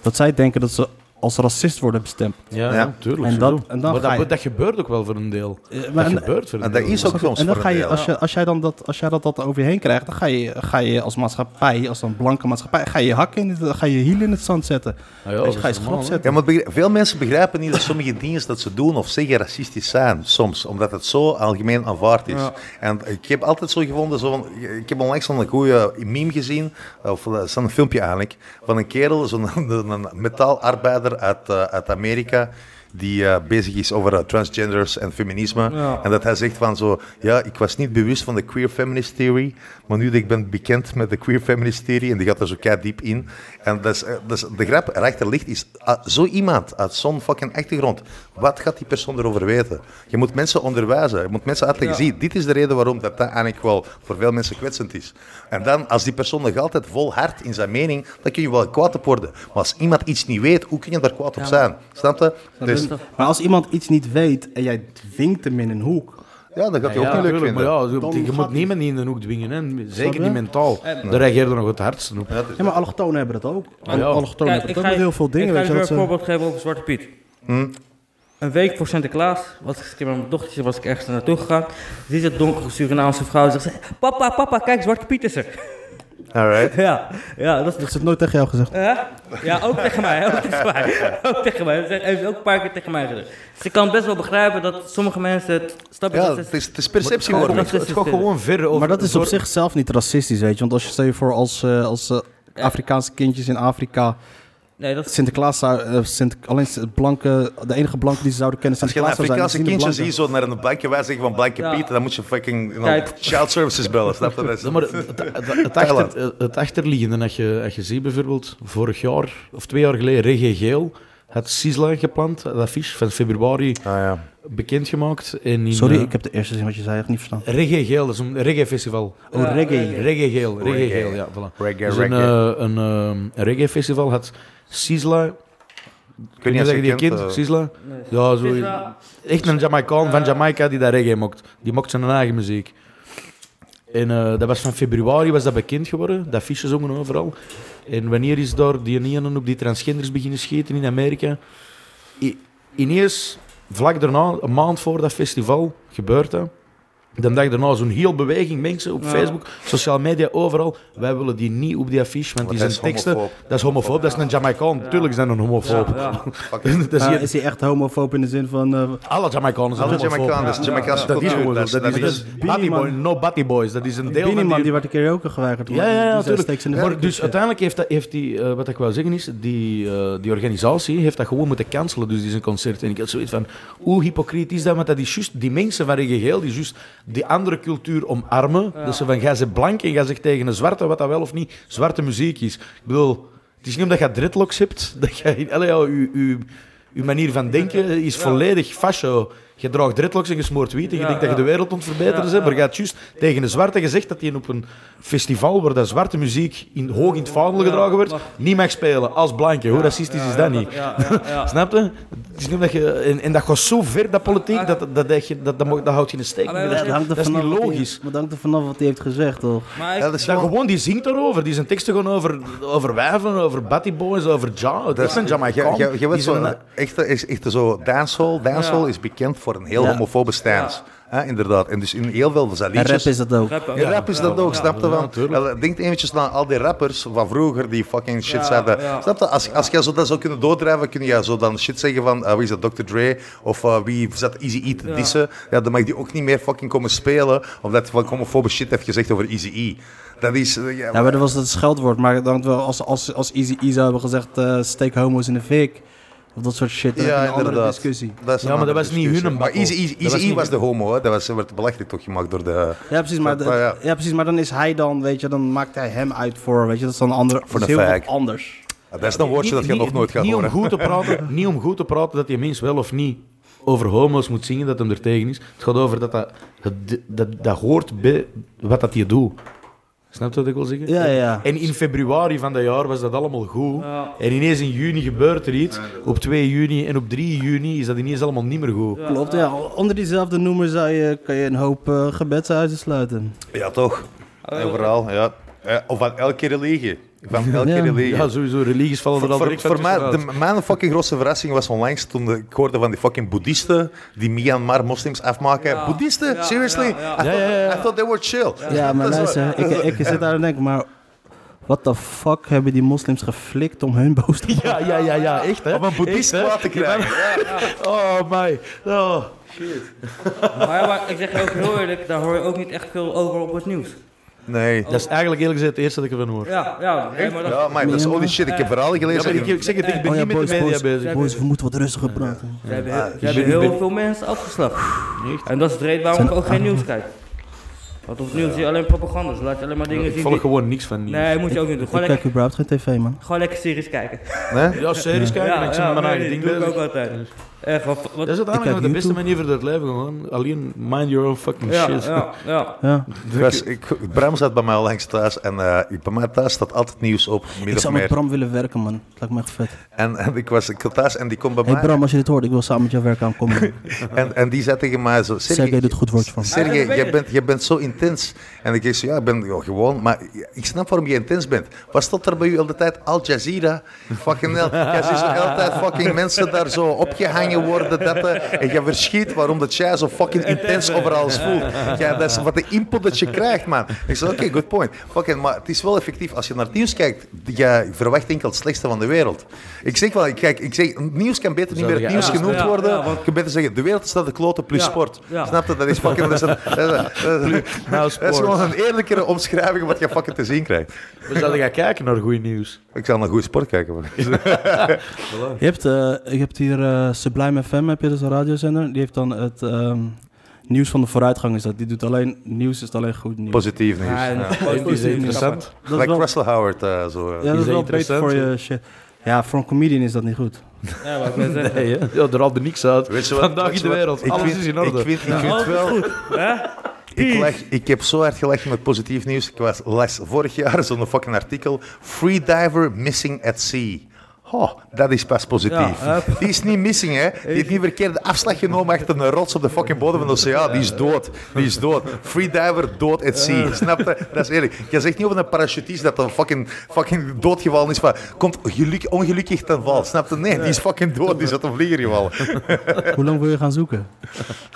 dat zij denken dat ze als racist worden bestempeld. Ja, Ja. natuurlijk. En zo dat- doen. en dan maar ga je- dat, dat gebeurt ook wel voor een deel. Eh, maar Dat en- gebeurt voor een En Ah, dat deel. is ook soms En dan voor ga een je, deel. als, je, als jij dan dat, als jij dat, dat over je heen krijgt, dan ga je, ga je als maatschappij, als een blanke maatschappij, ga je je hakken in het, ga je je hielen in het zand zetten. Ah ja, Weet dat je, is ga je schrap normaal, hè. zetten. Ja, maar begrijp- veel mensen begrijpen niet dat sommige dingen dat ze doen of zeggen racistisch zijn, soms. Omdat het zo algemeen aanvaard is. En ik heb altijd zo gevonden, zo'n- ik heb onlangs zo'n goede meme gezien, of eh, zo'n filmpje eigenlijk, van een kerel, zo'n een, een metaalarbeider uit, eh, uit Amerika, die eh, bezig is over eh, transgenders en feminisme. Ja. En dat hij zegt van zo, ja, ik was niet bewust van de queer feminist theory, maar nu dat ik ben bekend met de queer feminist theory, en die gaat er zo kei diep in. En dat is, eh, dat is, de grap erachter ligt is, ah, zo iemand uit zo'n fucking achtergrond, wat gaat die persoon erover weten? Je moet mensen onderwijzen, je moet mensen uitleggen, Ja. zie, dit is de reden waarom dat, dat eigenlijk wel voor veel mensen kwetsend is. En dan, als die persoon nog altijd vol hard in zijn mening, dan kun je wel kwaad op worden. Maar als iemand iets niet weet, hoe kun je daar kwaad op zijn? Snap je? Dus, Maar als iemand iets niet weet en jij dwingt hem in een hoek, ja, dat gaat je Ja, ook niet leuk tuurlijk, vinden. maar ja, je- Dan je gaat moet die- niemand niet in de hoek dwingen. Hè. Zeker je? niet mentaal. Daar reageer je nog het hardst op. ja, maar allochtonen hebben dat ook. ja. Allochtonen hebben dat ook met heel veel dingen. Ik ga Weet je je, eh? Hm? dat weer een ze- voorbeeld geven over Zwarte Piet. Een week voor Sinterklaas was ik een keer met mijn dochtertje was ik ergens naartoe gegaan. Ziet een donkere Surinaamse vrouw zegt: ze, Papa, papa, kijk, Zwarte Piet is er. Alright. Ja, ja dat is dat ze het nooit tegen jou gezegd. Hè? Ja, ook tegen mij. Ook tegen mij. Ook tegen mij. Ze heeft ook een paar keer tegen mij gezegd. Dus ik kan best wel begrijpen dat sommige mensen het stapje Ja, het is, het is perceptievorming. Maar- Het gaat gewoon verder over... Maar dat is op door- zichzelf niet racistisch, weet je. Want als je stel je voor als, eh, als eh, Afrikaanse kindjes in Afrika Nee, dat is... Sinterklaas zou, eh, Sint, alleen blanke, de enige blanke die ze zouden kennen Als je een Sinterklaas zou zijn. Afrikaanse die zien de kindje blanken. ziet zo naar een blanke wij zeggen van blanke Ja. Piet, dan moet je fucking you know, Kijk. child services bellen, snap je? Dat is- Ja, maar het, het, het- het achter, het achterliggende, dat je, dat je ziet bijvoorbeeld, vorig jaar of twee jaar geleden, Regie Geel had Sisla gepland, dat affiche van februari Ah, ja. bekendgemaakt. En in, Sorry, eh, ik heb de eerste zin wat je zei echt niet verstaan. Reggae Geel, dat is een reggae-festival. Oh, reggae. Reggae Geel, Reggae Reggae. eh, Geel, ja, voilà. Reggae, dus een, reggae. eh, een, eh, een reggae-festival had Sisla Ik weet Kun niet je als je zeggen, die kent, kind, eh, Sisla? Ja, zo. Sisla. Echt een Jamaicaan van Jamaica die daar reggae mocht. Die mocht zijn eigen muziek. En eh, dat was van februari was dat bekend geworden. Dat fiche zongen overal. En wanneer is daar die ene op die transgenders beginnen schieten in Amerika? I- ineens, vlak daarna, een maand voor dat festival, gebeurt dat. Dan dag daarna zo'n heel beweging mensen op Ja. Facebook, sociale media, overal. Wij willen die niet op die affiche, want die dat zijn is teksten... homofoob. Dat is homofoob, dat is een Jamaicaan. Tuurlijk zijn een homofoob. Ja, ja. dat is Ah, hier- is hij echt homofoob in de zin van... eh, alle Jamaicanen zijn Alle homofoob. Jamaicanen, dat is Jamaicaanse Dat is cultuur, gewoon zo. Dat is is- Batty Beanie Boy, Man. no Batty Boys. Dat is een deel Beanie van Man, die... die werd een keer ook geweigerd. Ja, ja, ja, natuurlijk. Maar Maar dus uiteindelijk heeft, dat, heeft die, eh, wat ik wou zeggen is, die, eh, die organisatie heeft dat gewoon moeten cancelen, dus die zijn concert. En ik had zoiets van, hoe hypocriet is dat? Want dat is juist die mensen van Regegeel, die juist die andere cultuur omarmen. Dus ze van, jij zegt blank en jij zegt tegen een zwarte wat dat wel of niet zwarte muziek is. Ik bedoel, het is niet omdat je dreadlocks hebt, dat je, allee, ja, je, je, je manier van denken is volledig fascio. Je draagt dreadlocks en je smoort wiet en je Ja, denkt dat je ja. de wereld ont verbeteren Ja, zijn. Maar ja. je had juist tegen een zwarte gezegd dat hij op een festival waar dat zwarte muziek in, hoog in het vaandel Ja, gedragen wordt, mag. niet mag spelen als blanke. Hoe racistisch is dat niet? Ja, ja, ja. Snap je? Het is niet omdat je, en, en dat gaat zo ver, dat politiek, dat, dat, dat, dat, dat, dat, dat houdt je in de steek. Maar wij- Dus Dat, Ah. dat dat is niet logisch. Maar dat hangt er vanaf wat hij heeft gezegd, toch? Maar Ja, ik, dat is Dat gewoon- gewoon, die zingt daarover. Die zijn teksten gewoon over, over wijven, over batty boys, over ja. Dat is een Jamaican. Je, je, je Die weet zijn zo, een- echt, is echt zo, dancehall, dancehall Ja. is bekend voor een heel Ja. homofobe stance. Hè, inderdaad. En dus in heel veel van zijn En rap liedjes... is dat ook. rap, Ja, rap is dat ook, snap je? Ja, Want, natuurlijk. eh, denk eventjes naar al die rappers van vroeger die fucking shit Ja, zeiden. ja. Snap je? Als, als jij zo dat zou kunnen doordrijven, kun je zo dan shit zeggen van eh, wie is dat, Dr. Dre? Of eh, wie zat Easy E te Ja. dissen? Ja, dan mag die ook niet meer fucking komen spelen, omdat hij van homofobe shit heeft gezegd over Easy E. Dat is... eh, ja, Ja, maar dat was het scheldwoord. Maar dan wel als, als, als Easy E zou hebben gezegd, eh, steek homo's in de fik. Of dat soort shit. Dat is Ja, een andere inderdaad. discussie. Dat is een Ja, maar dat andere was niet hun discussie. een Maar bakkel. Easy, E- Easy, Dat was Easy niet was hun- de homo, hè. Dat was, werd belachelijk toch gemaakt door de... Ja precies, maar, Ja, dat- ja. ja, precies, maar dan is hij dan, weet je, dan maakt hij hem uit voor, weet je, dat is dan een andere, Voor dat de is heel fag. wat anders. Dat is een woordje dat je Niet- nog nooit gaat niet horen. Om goed te praten, niet om goed te praten dat die mens wel of niet over homo's moet zingen, dat hem er tegen is. Het gaat over dat dat, het- dat, dat hoort bij wat dat je doet. Snap je wat ik wil zeggen? Ja, ja, ja. En in februari van dat jaar was dat allemaal goed. Ja. En ineens in juni gebeurt er iets. Op 2 juni en op 3 juni is dat ineens allemaal niet meer goed. Klopt, ja. Onder diezelfde noemer zou je, kan je een hoop eh, gebedshuizen sluiten. Ja, toch. Ah, Overal, ja. Ja, Of van elke religie. Van elke Ja. religie. Ja, sowieso, religies vallen er voor, al voor, direct van voor mij, tussenuit. de, mijn fucking grootste verrassing was onlangs toen ik hoorde van die fucking boeddhisten die Myanmar moslims afmaken. Ja. Boeddhisten? Ja, Seriously? ja, ja. I, thought, Ja, ja, ja. I thought they were chill. Ja, maar Dat is wel- luister, ik, ik zit daar en denk, maar wat de fuck hebben die moslims geflikt om hun boos te maken? Ja, ja, ja, ja, echt hè. Om een boeddhist Echt, eh, hè? kwaad te krijgen. Oh, my. Oh. maar, ja, maar ik zeg je ook heel eerlijk, daar hoor je ook niet echt veel over op het nieuws. Nee. Dat is eigenlijk eerlijk gezegd het eerste dat ik ervan hoor. Ja, ja. nee, maar dat- Ja, maar dat is all die shit. Ik heb verhalen Ja, gelezen. maar ik, ik zeg het, ik ben Oh ja, niet met boys, de media boys. bezig. Boys, we moeten wat rustiger praten. Ze hebben, ze ik hebben ben- ik heel ben- veel mensen afgeslacht. En dat is de reden waarom ik ook geen Ah. nieuws kijk. Want op het nieuws zie je alleen propaganda. Ze laten alleen maar dingen Ik zien. volg die- gewoon niks van nieuws. Nee, moet je ook niet doen. Gewoon Ik kijk lekker, überhaupt geen tv, man. gewoon lekker series kijken. Nee? Ja, series kijken en ik zit met nee, mijn eigen nee, ding doe ik bezig. ook altijd. Echt, wat, wat, Dus- Dat is uiteindelijk nog de YouTube. beste manier voor het leven gewoon. Alleen mind your own fucking ja, shit. ja, ja. Ja. Ik was- ik- Bram zat bij mij onlangs thuis en eh, ik- bij mij thuis staat altijd nieuws op, min Ik of zou met meer. Bram willen werken, man. Dat lijkt me echt vet. En, en ik was ik zat thuis en die komt bij Hé hey mij Bram, als je dit hoort, ik wil samen met jou werken aan comedy. en, en die zei tegen mij zo... Sergej doet goed woordje van. Ah, Sergej, dat weet jij ik. bent, jij bent zo intens. En ik zei, ja, ik ben wel gewoon, maar ik snap waarom je intens bent. Wat stond er bij u al de tijd? Al Jazeera? Fucking hell. Jij ziet zo altijd fucking mensen daar zo opgehangen worden. Dat, eh, en je verschiet waarom dat jij zo fucking intens over alles voelt. Ja, dat is wat de input dat je krijgt, man. Ik zei, oké, good point. Fucking, maar het is wel effectief. Als je naar het nieuws kijkt, je verwacht enkel het slechtste van de wereld. Ik zeg wel, ik, kijk, ik zeg, nieuws kan beter niet Zou meer het jij- nieuws Ja, genoemd ja, worden. ja, want- Je kan beter zeggen, de wereld staat de kloten plus Ja, sport. ja. Snap je? Dat is fucking... Dat is, een- dat is een- dat is- Nou, dat is gewoon sport. een eerlijkere omschrijving wat je fucking te zien krijgt. We zouden gaan kijken naar goed nieuws. Ik zal naar goede sport kijken. man. Je hebt, eh, je hebt hier eh, Sublime FM, heb je dus een radiozender. Die heeft dan het ehm, nieuws van de vooruitgang. Is dat. Die doet alleen nieuws, is alleen goed nieuws. Positief Dus, nieuws. Ja, Ja, en- Is dat interessant? dat is Like wel, Russell Howard. eh, zo, eh. ja, dat is is wel dat beter voor je shit. Ja, voor een comedian is dat niet goed. Ja, maar ik ben zeggen. Nee, hè? ja, er haalt er niks uit. Weet je wat- Vandaag weet je in de wat? wereld, Ik alles vind- is in orde. Ik vind, ik vind wel... Ik, lach- ik heb zo hard gelachen met positief nieuws. Ik was, las vorig jaar zo'n fucking artikel. Freediver missing at sea. Oh, dat is pas positief. Ja, hup. die is niet missing, hè. Die heeft niet verkeerde afslag genomen achter een rots op de fucking bodem van de oceaan. Die is dood. Die is dood. Freediver, dood at sea. Snap je? Dat is eerlijk. Je zegt niet over een parachutist dat een fucking, fucking doodgevallen is van... Komt geluk, ongelukkig ten val. Snap je? Nee, die is fucking dood. Die is uit een vlieger gevallen. Hoe lang wil je gaan zoeken?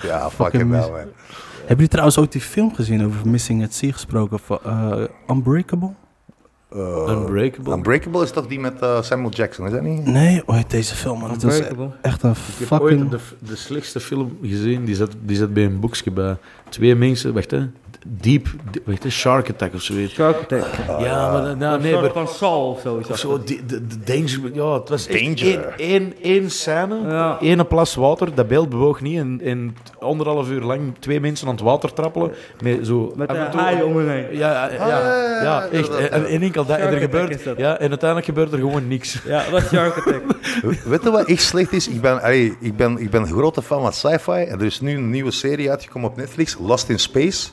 Ja, fucking mis- wel, nou, man. Hebben jullie trouwens ook die film gezien over Missing at Sea gesproken? Van, eh, Unbreakable? Unbreakable. Unbreakable is toch die met eh, Samuel Jackson, is dat niet? Nee, ooit deze film. Man. Het was Unbreakable. echt een Ik heb ooit fucking... de, de slechtste film gezien, die zat, die zat bij een boekje bij. Twee mensen, wacht hè, Deep, wacht hè, Shark Attack of zoiets. Shark Attack. Ja, maar nou, Een nee, soort maar van Saul of zo. is Of dat. zo, die- de, de danger. Ja, het was echt Danger. één- één- één scène, Ja. één plas water, dat beeld bewoog niet. En, en anderhalf uur lang twee mensen aan het water trappelen. Met zo Met af en een toe- haai om hun heen. Ja, ja, Ah, ja, ja, ja, ja, ja, echt. inderdaad, En, ja. en enkel dat. En, er Shark Attack gebeurt, is dat. ja, en uiteindelijk gebeurt er gewoon niks. Ja, dat is Shark Attack. Weet je wat echt slecht is? Ik ben, allee, ik ben, ik ben een grote fan van sci-fi. En er is nu een nieuwe serie uitgekomen op Netflix, Lost in Space.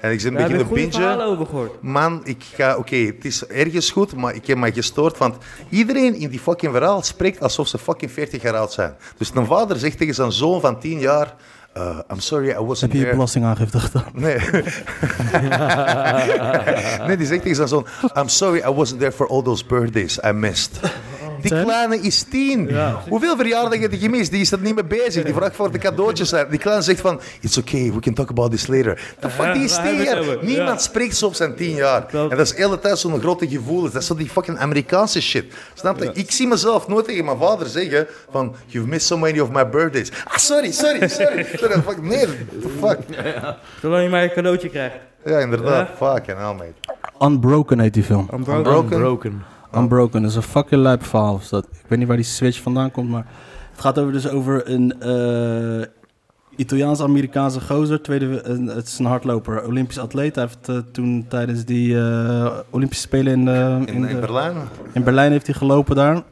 En ik zit Daar een heb beetje ik te goede verhalen bingen. over gehoord. Man, ik ga... Oké, het is ergens goed, maar ik heb mij gestoord. Want iedereen in die fucking verhaal spreekt alsof ze fucking 40 jaar oud zijn. Dus een vader zegt tegen zijn zoon van 10 jaar... eh, I'm sorry, I wasn't Heb je je there. belastingaangifte gedaan? Nee. nee, die zegt tegen zijn zoon... I'm sorry, I wasn't there for all those birthdays I missed. Die Ten? kleine is tien. Hoeveel verjaardagen heb je gemist? Die is er niet mee bezig. Die vraagt voor de cadeautjes uit. Die kleine zegt van... It's okay, we can talk about this later. The fuck, die is waar tien hebben we het jaar. over? Niemand Ja. spreekt zo op zijn tien jaar. En Klopt. dat is de hele tijd zo'n grote gevoel. Dat is zo die fucking Amerikaanse shit. Snap je? Ik zie mezelf nooit tegen mijn vader zeggen van... You've missed so many of my birthdays. Ah, sorry, sorry, sorry. sorry fuck, nee, fuck. Zolang je maar een cadeautje krijgt. Ja, inderdaad. Fucking hell, mate. Unbroken heet die film. Unbroken. Broken? Broken. Unbroken is een fucking lijp verhaal. Is dat. Ik weet niet waar die switch vandaan komt, maar... Het gaat over dus over een eh, Italiaans-Amerikaanse gozer. Tweede, een- het is een hardloper, Olympisch atleet. Hij heeft eh, toen tijdens die eh, Olympische Spelen in, eh, In, in in de- Berlijn? In Berlijn heeft hij gelopen daar.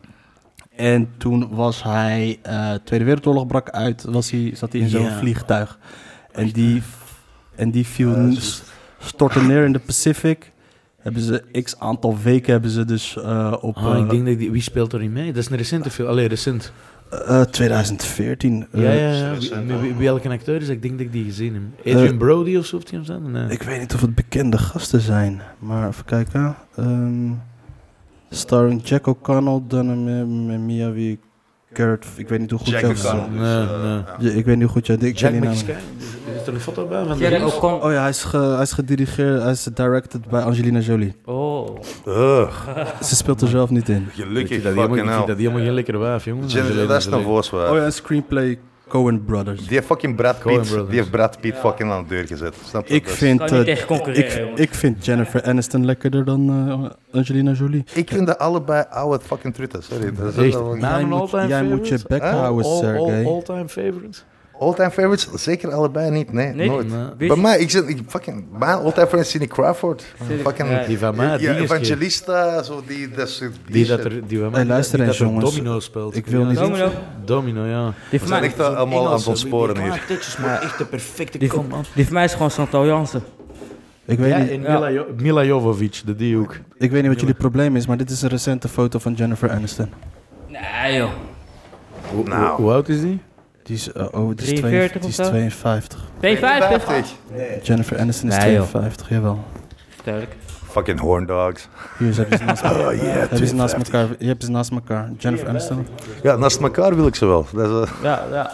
En toen was hij, eh, Tweede Wereldoorlog brak uit, was hij, zat hij in zo'n Ja. vliegtuig. En die, en die viel, s- stortte neer in de Pacific. Hebben ze x aantal weken hebben ze dus eh, op Ah, eh, ik denk dat die, wie speelt er niet mee? Dat is een recente film. Allee, recent. eh, 2014. eh, Ja, ja, ja. recent, Wie- ja. Wie, wie- welke acteur is dat? Ik denk dat ik die gezien heb. Adrian Eh, Brody of zo, of die hem zijn? Nee. Ik weet niet of het bekende gasten zijn, maar even kijken. Ehm, starring Jack O'Connell, Dunham en Mia wie Garrett. Ik weet niet hoe goed Jack jij- O'Connell. Nee, Dus, eh, nee. ja. Ja, ik weet niet hoe goed jij. Ik ken Jack die naam McSky? Is er een foto bij? Van Jerry die O'Connor. Oh ja, hij is, ge- hij is gedirigeerd, hij is directed bij Angelina Jolie. Oh. eh, Ugh, Ze speelt er zelf niet in. gelukkig, dat die helemaal, ik fucking vind dat hell. die helemaal geen lekkere wijf, jongen. Jennifer, dat is een Oh voorzwaar. ja, een screenplay Coen Brothers. Die heeft fucking Brad Coen Pitt, Brothers. die heeft Brad Pitt fucking aan de deur gezet. Snap je? Ik Dus- vind, Kan je eh, niet tegen concurreren, ik, jongen. ik vind Jennifer Aniston lekkerder dan eh, Angelina Jolie. Ik vind dat allebei oude fucking trutten. Sorry. Dat is Echt? wel- Nou, jij een moet, all-time jij moet je favorite? bek Huh? houden, Oh, Sergey. All-time favorite? All-time favorites? Zeker allebei niet. Nee, Nee, nooit. Nee. Wist- Bij mij, ik zit, ik fucking, mijn all-time favorite is Cindy Crawford. Fucking, Crawford. Die van mij, ja, die, is die, evangelista, zo die, dat soort- die, die dat shit. er, die van mij, Hey, luister die eens, dat er jongens. Domino speelt. Ik wil niet- Domino. Domino, ja. Die We van zijn mij, echt eh, allemaal aan het ontsporen hier. Tetjes, maar echt de perfecte die, combo. die van mij is gewoon Chantal Jansen. Ik weet, Ja, niet, en Mila, Jo- Mila Jovovich, de die ook. ik weet niet wat jullie probleem is, maar dit is een recente foto van Jennifer Aniston. Nee joh. Nou. Hoe oud is die? Die is, eh, oh, die is, 43 twee- die is of zo? 52. P50. 50. Jennifer Aniston is Nee, joh. 52, jawel. Sterk. Fucking horndogs. Hier ze hebben ze naast elkaar. Oh ja, Hebben ze naast elkaar. Je hebt ze naast elkaar. Jennifer Aniston. Ja, naast elkaar wil ik ze wel. Dat is, eh, Ja, ja.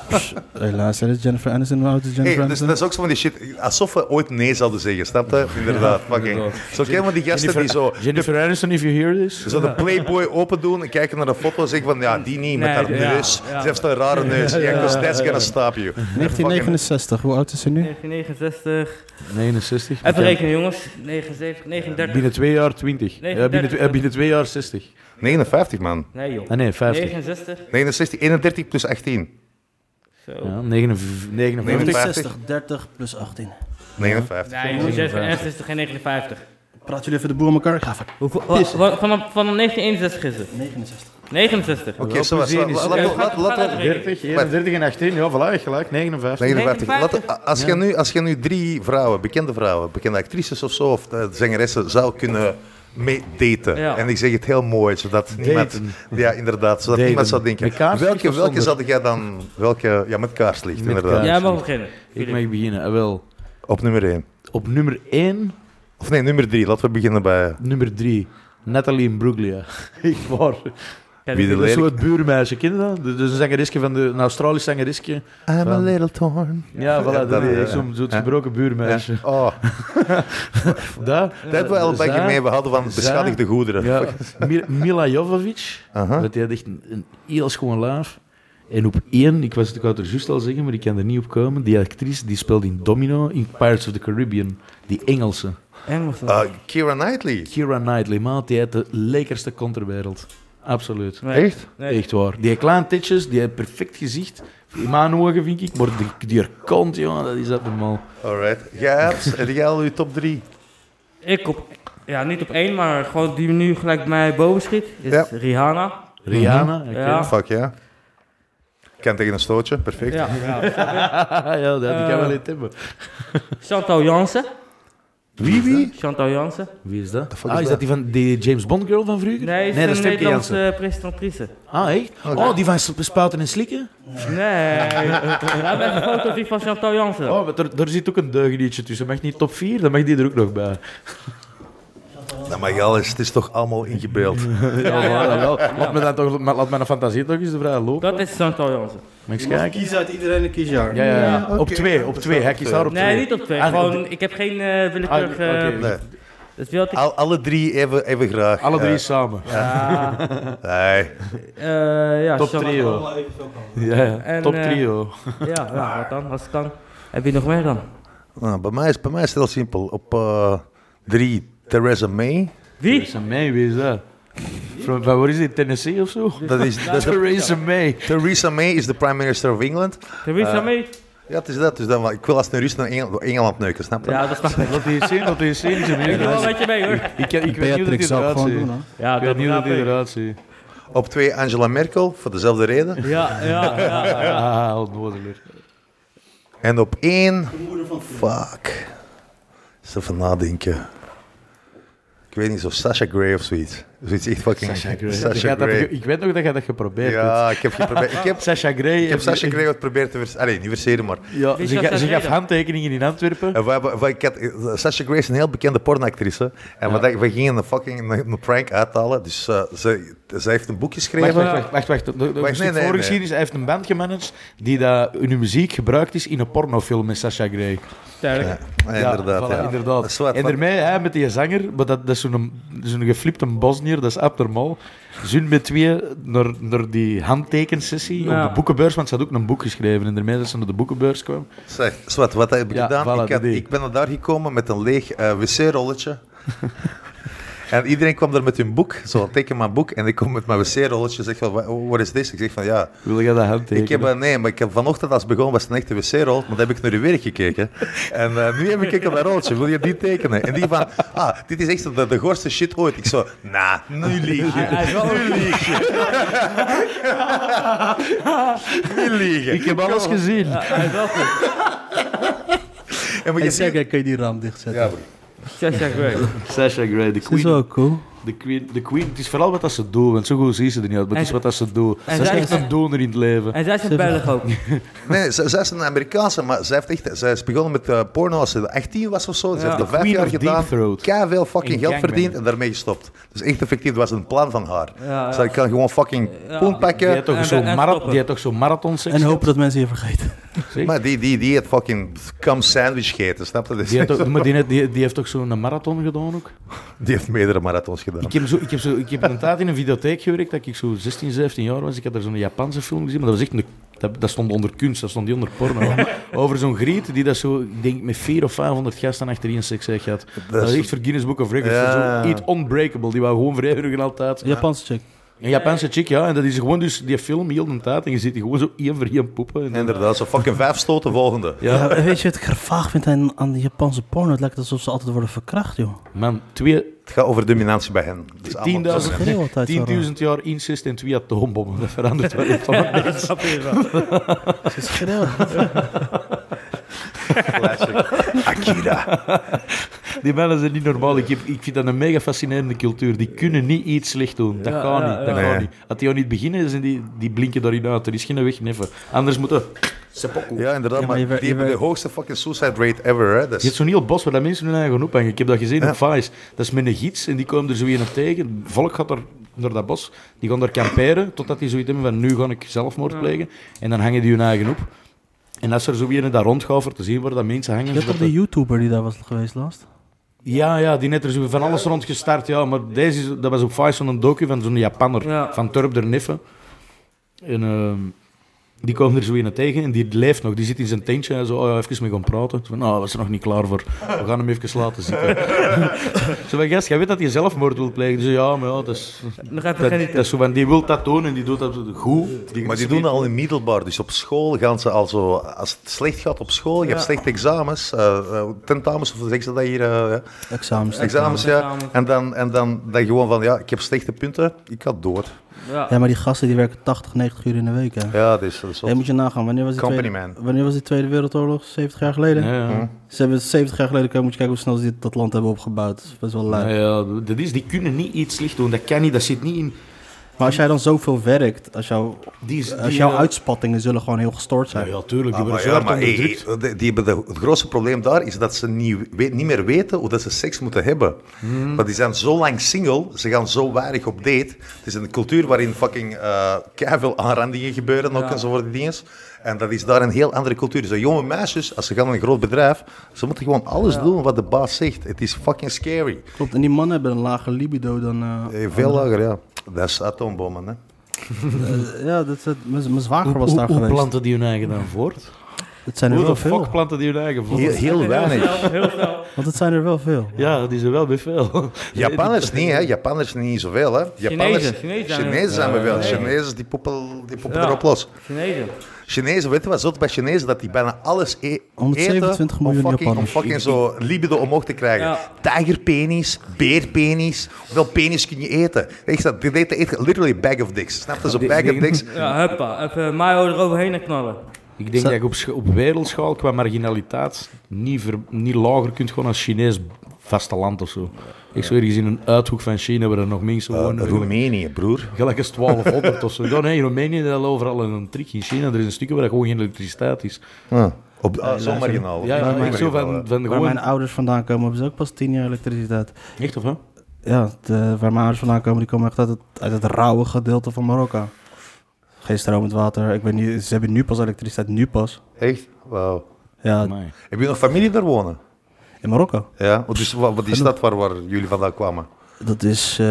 Helaas, is Jennifer Aniston. Hoe oud is Jennifer Hey, dus Aniston? dat is ook zo van die shit. Alsof we ooit nee zouden zeggen, snap je? Inderdaad, fucking. Zo ken je die gasten die zo, Jennifer Aniston, if you hear this. zo de Playboy open doen en kijken naar de foto en zeggen van ja, die niet met Nee, haar die- ja, neus. ja. Ze heeft een rare neus. Ja, Ja, because ja, that's ja. gonna stop you. dus- 1969, hoe oud is ze nu? 1969. 69. Even Ja. rekenen jongens. 79, 39. Binnen twee jaar 20. Nee, Ja, binnen, 30. twee- eh, binnen twee jaar 60. 59 man. Nee joh. Ah nee, 50. 69. 69, 31 plus 18. Zo. Ja, 59. 59. 60, 30 plus 18. 59. Nee jongens, 69 en 59. Praat jullie even de boer aan elkaar? Ik ga even. Hoeveel, wa- wa- vanaf, vanaf 1961 is het. 69. 69. Oké, zo was plezier is- het. Gaat- 30, 31 en 18. Ja, voilà, gelijk. 59. 59. 59. Laat- als, je nu, als je nu drie vrouwen, bekende vrouwen, bekende actrices of zo, of eh, zangeressen, zou kunnen mee daten. Ja. En ik zeg het heel mooi, zodat niemand... Daten. Ja, inderdaad, zodat Daten. niemand zou denken... Met kaarslicht Welke, of welke zonder? zat jij dan... Welke, ja, met kaarslicht, Met inderdaad. kaars. Jij mag beginnen. Ik mag beginnen. Ah, wel, Op nummer 1. op nummer 1, Of nee, nummer 3. Laten we beginnen bij... nummer 3. Nathalie Imbruglia. Echt waar. Wie de Dat is zo lelijk... het buurmeisje, ken je dat? Dus een zangeresje van de, een Australisch zangeresje. I'm a little torn. Ja, voilà, dat, dat, is ja. echt zo'n zo'n gebroken buurmeisje. Oh, Dat, dat hebben we al een beetje Zij- mee. We hadden van beschadigde goederen. Ja, Mi- Mila Jovovich. Aha. Dat had echt een, een heel schoon lijf. En op één, ik, was, ik wou het er juist al zeggen, maar ik kan er niet op komen. Die actrice die speelde in Domino in Pirates of the Caribbean. Die Engelse. Engels. Eh, Keira Knightley. Kira Knightley, maat, die had de lekkerste conterwereld. Absoluut. Nee. Echt? Nee. Echt waar. Die kleine titjes, die heeft perfect gezicht. In mijn ogen, vind ik. Maar die, die haar kont, jongen, dat is abnormaal. Alright. Jij had, heb jij al je top 3? Ik op, ja, niet op één, maar gewoon die nu gelijk mij boven schiet, is Ja. Rihanna. Rihanna. oké. Mhm. Ja. Fuck ja. Kan tegen een stootje, perfect. Ja, ja. ja, dat Eh. kan wel niet hebben. Chantal Jansen. Wie wie? Chantal Jansen. Wie is dat? fuck ah, is is dat? dat die van die James Bond girl van vroeger? Nee, is dat een Femke Nederlandse Jansen. presentatrice. Ah, echt? Oh, die van sp- Spouten en Slikken? Nee. We hebben een fotografie van Chantal Jansen. Oh, maar er, er zit ook een deugnietje tussen. Mag niet top 4, dan mag die er ook nog bij. Dat mag alles, Nou, het is toch allemaal ingebeeld. Ja, Ah, wel. Laat, me dan toch, maar laat mijn fantasie toch eens de vrije loop. Dat is Chantal Jansen. Mag ik eens kijken? Kies uit iedereen een kiesjaar. Ja, ja, ja. Op twee, op twee. Hij kiest daar op twee. Nee, niet op twee. Ah, Gewoon, op- ik heb geen eh ah, willekeurig... eh, oké. Nee. Dus wilde ik... Al- alle drie even, even graag. Alle drie Eh, samen. Ja, nee. eh, ja, Ah. Top Chantal- trio. Ja, ja. En, top eh, trio. Ja, ja, wat dan? Als het kan. Heb je nog meer dan? Nou, bij, mij is, bij mij is het heel simpel. Op eh, drie, Theresa May. Wie? Theresa May, wie is dat? Van, van waar is dit? Tennessee of zo? Dat is, dat is de- Theresa May. Theresa May is de prime minister of England. dus, eh, Theresa May? Ja, het is dat. Dus dan, wel- ik wil als het een Rus naar Engel- Engeland neuken, snap je? Ja, dat snap ik. Wat is zin, wat is zin. Ik, Ik doe wel een ik, beetje mee hoor. ik, ik weet niet hoe dat Beatrix die zou het eruit gewoon ziet. doen, hè? Ja, Ik weet niet hoe dat die eruit ziet. Op twee, Angela Merkel, voor dezelfde reden. Ja, ja, ja. Ah, onnozeler. En op één... Fuck. Eens even nadenken. Ik weet niet, zo Sasha Gray of zoiets. Zoiets echt fucking... Sasha Grey. Sasha Grey. ik weet nog dat jij dat geprobeerd hebt. Ja, ik heb geprobeerd... Ik heb, Sasha Grey. ik heb Sasha Gray geprobeerd te verseren. Allee, niet verseren, maar... Ja, Wie ze, is ga- Sasha ze Grey gaf dan? handtekeningen in Antwerpen. En we hebben, we- ik had, eh, Sasha Grey is een heel bekende pornoactrice. En we, dachten, we gingen een fucking een, een prank uithalen. Dus eh, ze, ze heeft een boek Wacht, geschreven. wacht, wacht. wacht, wacht. Nog- nog een nee, stuk nee, voorgeschiedenis. Hij heeft een band gemanaged die dat, hun muziek gebruikt is in een pornofilm met Sasha Grey. Duidelijk. Ja, inderdaad. voilà, ja. inderdaad. Dat is wat- en wat- daarmee, hè, met die zanger, maar dat, dat is zo'n zo'n geflipte Bosnier, dat is abnormaal. Zijn met twee naar, naar die handtekensessie Ja. op de boekenbeurs, want ze had ook een boek geschreven. En daarmee dat ze naar de boekenbeurs kwam. Zeg, Swat, wat heb ik Ja, gedaan? voilà, ik, had- die. ik ben naar daar gekomen met een leeg eh, wc-rolletje. en iedereen kwam daar met hun boek. Zo, teken mijn boek. En ik kom met mijn wc-rolletje. Zeg van, wat is dit? Ik zeg van, ja... Wil jij dat handtekenen? Ik heb, eh, nee, maar ik heb vanochtend als het begon was het een echte wc-rol, maar dan heb ik naar uw werk gekeken. En eh, nu heb ik gekeken naar dat roodje, wil je die tekenen? En die van, ah, dit is echt de, de gorste shit ooit. Ik zo, nah, nu lieg Hij- hij je. is wel- Nu lieg je. Ik heb alles gezien. Hij is wel goed. En moet je Hey, zien- Sega, kun je die raam dichtzetten? Ja, broer. Sasha Grey. Sasha Grey, de Dat is queen, wel cool. de, queen, de queen. Het is vooral wat dat ze doen, want zo goed zien ze er niet uit, maar het En- is wat dat ze doen. en Ze is zij echt is- een doner in het leven. En zij is een Belg ook. Nee, nee, zij zij is een Amerikaanse, maar zij, heeft echt, zij is begonnen met eh, porno als ze 18 was of zo. Ze Ja. heeft er vijf Queen jaar of Deep gedaan, Throat. veel In fucking geld Gangbang. verdiend en daarmee gestopt. Dus echt effectief, dat was een plan van haar. ja. Zij kan gewoon fucking Ja. poen Die pakken. had toch en- zo'n en mara- stoppen. die had toch zo'n marathon En hopen dat mensen je vergeten. Maar die, die, die had fucking cum sandwich gegeten, snap je? Dus- Die heeft, ook, maar die, heeft- die, die heeft toch zo'n marathon gedaan ook? Die heeft meerdere marathons gedaan. Ik heb, zo, ik, heb zo, ik heb een tijd in een videotheek gewerkt dat ik zo 16, 17 jaar was. Ik had daar zo'n Japanse film gezien, maar dat was echt een, dat, dat stond onder kunst, dat stond niet onder porno. Over zo'n griet die dat zo, ik denk met 400 of 500 gasten achterin seks heeft gehad. Dat is echt voor Guinness Book of Records. Ja. Dat is Zo, iets unbreakable, die wou gewoon vereeuwigen altijd. Japanse chick. Een Japanse chick, ja, en dat is gewoon dus die film heel de tijd en je zit die gewoon zo één voor één poepen. En dan- Inderdaad, zo fucking vijf stoten volgende. ja, Ja, weet je wat ik er vaag vind aan, aan de Japanse porno? Het lijkt alsof ze altijd worden verkracht, joh. man, twee, Het gaat over dominantie bij hen. Dat is allemaal- 10.000 Dat is heel wat tijd, 10.000 jaar incest en twee atoombommen. Dat verandert wel iets van het Dat snap je wel. Het is schreeuwen. Classic. Akira. Die mannen zijn niet normaal. Ik, heb, ik vind dat een mega fascinerende cultuur. Die kunnen niet iets slecht doen. Dat Ja, gaat ja, niet. ja. Dat gaat Nee. niet. Als die jou niet beginnen, zijn die, die blinken daarin uit. Er is geen weg neffen. Anders moeten... Ja, inderdaad, Ja, maar maar, je wer- die je hebben de wer- hoogste fucking suicide rate ever, hè. Dat Je hebt is... zo'n heel bos waar dat mensen hun eigen ophangen. Ik heb dat gezien Ja. op Vice. Dat is met een gids en die komen er zo in op tegen. Volk gaat er naar dat bos. Die gaan daar kamperen totdat die zoiets hebben van nu ga ik zelfmoord plegen. En dan hangen die hun eigen op. En als er zo weer daar rondgaat voor te zien waar dat mensen hangen... Je had zodat toch er- de YouTuber die daar was geweest last? Ja, ja, die net er zo van alles rond gestart. Ja, maar deze is, dat was op Vice zo'n docu van zo'n Japanner. Ja. Van Turp der Niffen. En ehm, die komen er zo in tegen en die leeft nog. Die zit in zijn tentje en zo, oh ja, even mee gaan praten. Zo van, nou, was er nog niet klaar voor. We gaan hem even laten zitten. zo van, gast, jij weet dat hij zelfmoord wil plegen. Dus ja, maar ja, dat is... Dan gaat Dat, het dat genieten. is zo van, die wil dat doen en die doet dat goed. Maar die doen dat al in middelbaar, dus op school gaan ze al zo... Als het slecht gaat op school, je hebt slechte examens, eh, eh, tentamens, of hoe zeggen ze dat hier? eh, ja? Examens. examens, ja. Examens. En dan, en dan, dan gewoon van, ja, ik heb slechte punten, ik ga dood. Ja. Ja, maar die gasten die werken 80, 90 uur in de week. Hè. Ja, dat is, dat is wat- Hey, moet je nagaan, wanneer was, de Company tweede, man. wanneer was de Tweede Wereldoorlog? 70 jaar geleden? Ja, Hm? ja. Ze hebben het 70 jaar geleden, moet je kijken hoe snel ze dit- dat land hebben opgebouwd. Dat is best wel lui. Ja, ja, dat is, die kunnen niet iets slecht doen. Dat kan niet, dat zit niet in... Maar als jij dan zoveel werkt, als, jou, Die, is- als die, jouw eh, uitspattingen zullen gewoon heel gestoord Ja, zijn. ja, tuurlijk, die Ah, worden maar zo ja, hard maar hey, onderdrukt. hey, die hebben de- het grootste probleem daar is dat ze niet, weet, niet meer weten hoe dat ze seks moeten hebben. Want die zijn zo lang single, ze gaan zo weinig op date. Het is een cultuur waarin fucking eh veel aanrandingen gebeuren ook en zo worden dingen. En dat is daar een heel andere cultuur. Dus de jonge meisjes, als ze gaan naar een groot bedrijf, ze moeten gewoon alles doen wat de baas zegt. Het is fucking scary. Klopt, en die mannen hebben een lager libido dan... eh, Eh, Veel lager, ja. Dat is atoombommen, hè. eh, ja, dat, dat, mijn mijn zwager was Hoe- daar hoe geweest. planten die hun eigen dan voort? Het zijn er Hoe de wel fuck veel. planten die hun eigen voort? Heel, heel weinig. Heel snel. Want het zijn er wel veel. Ja, dat is er wel bij veel. Japanners niet, hè? Japanners niet zoveel, hè? Japanners, Chinezen, Chinezen zijn er- Chinezen zijn we wel. Ja. Chinezen die poppen, die poppen Ja. erop los. Chinezen. Chinezen, weet je wat zot bij Chinezen? Dat die bijna alles e- 127 eten om miljoen fucking, om Japanners. fucking zo libido omhoog te krijgen. Ja. Tijgerpenis, beerpenis. Hoeveel penis kun je eten? Echt, dat, die eten echt literally bag of dicks. Snap je? Zo'n bag of dicks. Ja, huppa. Even mayo eroverheen en knallen. Ik denk dat je op, sch- op wereldschaal qua marginaliteit niet, ver- niet lager kunt gewoon als Chinees vasteland of zo. Ik zou ergens in een uithoek van China waar er nog mensen wonen. gelijk- Eh, Roemenië, broer. Gelijk is 1200 of zo. Ja, nee, in Roemenië is dat overal een trick. In China er is een stukje waar gewoon geen elektriciteit is. Ja. Op, ah, zo marginaal. Ja, ja, Zo ik zo marginaal, van, van Waar mijn gewoon... ouders vandaan komen, hebben ze ook pas 10 jaar elektriciteit. Echt of hè? Ja, de- waar mijn ouders vandaan komen, die komen echt uit het, uit het rauwe gedeelte van Marokko. Geen stromend water. Ik weet niet, ze hebben nu pas elektriciteit, nu pas. hè. Echt? Wauw. Ja, Amai. Heb je nog familie daar wonen? in Marokko. Ja, dus wat, wat die stad waar, waar jullie vandaan kwamen? Dat is, eh,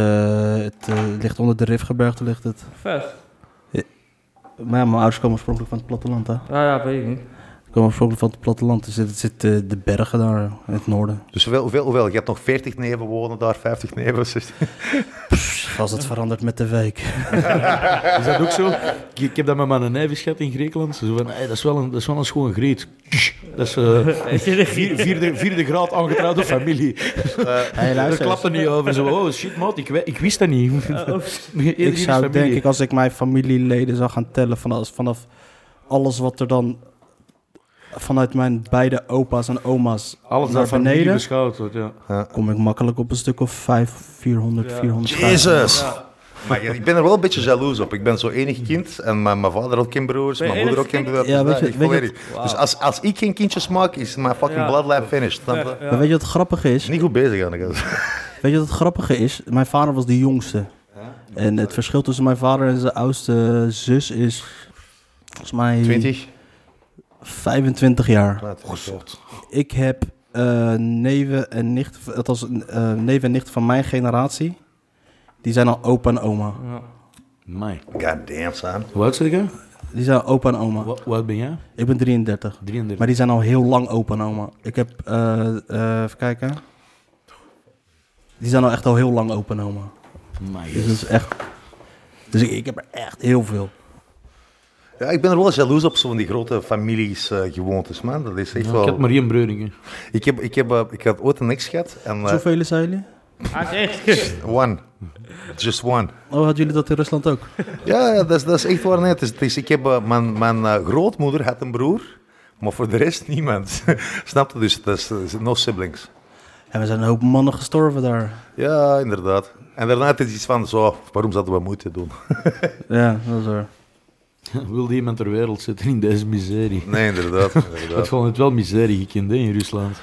het eh, ligt onder de Rifgebergte ligt het. Vers. Maar ja, mijn ouders komen oorspronkelijk van het platteland, hè. Ja, ja, weet ik niet. Ze komen oorspronkelijk van het platteland. Dus het zit eh, de bergen daar in het noorden. Dus hoeveel, hoeveel, hoeveel? Je hebt nog 40 neven wonen daar, 50 neven, 60. Pff, als het verandert met de week. Is dat ook zo? Ik, ik heb dat met mijn neef eens gehad in Griekenland. Ze zo van, hey, dat, is wel een, dat is wel een schoon Griet. Dat is eh, vier, vierde, vierde graad aangetrouwde familie. Eh, Hey, Daar luister. eens. klapt er niet over. Zo, oh shit, maat, ik, we- ik wist dat niet. Iedereen Ik is zou familie. denk ik, als ik mijn familieleden zou gaan tellen vanaf, vanaf alles wat er dan vanuit mijn beide opa's en oma's Alles naar dat van beneden beneden, beschouwd wordt, ja. kom ik makkelijk op een stuk of 500, 400, 450. Jezus! Maar ik- ik ben er wel een beetje jaloers op. Ik ben zo enig kind en mijn, mijn vader had geen broers, Ben je mijn moeder ook enig geen kind? broers. Ja, weet je- ik weet je- volledig. Dus als, als ik geen kindjes maak, is mijn fucking Ja. bloodline finished. snap je? Maar weet je wat het grappige is? Niet goed bezig aan de gast. Weet je wat het grappige is? Mijn vader was de jongste. En het verschil tussen mijn vader en zijn oudste zus is volgens mij 20? Oh, 25 jaar. Nou, 20, ja. Ik heb eh, neven en nicht, althans, eh, neven en nicht van mijn generatie. Die zijn al opa en oma. Amai. God damn, son. Hoe oud zit ik? Die zijn al opa en oma. Wat, wat ben jij? Ik ben 33. 33. Maar die zijn al heel lang opa en oma. Ik heb, eh, eh, even kijken. Die zijn al echt al heel lang opa en oma. Amai, Dus dat is echt... Dus ik, ik heb er echt heel veel. Ja, ik ben er wel jaloers op, zo'n die grote families, eh, gewoontes, man. Dat is echt Ja, wel... Ik had maar één Breuningen. Ik, heb, ik, heb, eh, ik had ooit een ex gehad en... eh, Zoveel zijn jullie? Hij is echt. one. Just one. Oh, hadden jullie dat in Rusland ook? Ja, ja, dat, is, dat is echt waar. Nee, het is, het is- ik heb, eh, mijn mijn eh, grootmoeder had een broer, maar voor de rest niemand. Snap je? Dus dat is, dat is no siblings. En we zijn een hoop mannen gestorven daar. Ja, inderdaad. En daarna het is iets van, zo, waarom zouden we moeite doen? Ja, dat is waar. Wil die iemand ter wereld zitten in deze miserie? Nee, inderdaad. Ik inderdaad. vond het wel miserie gekend hè, in Rusland.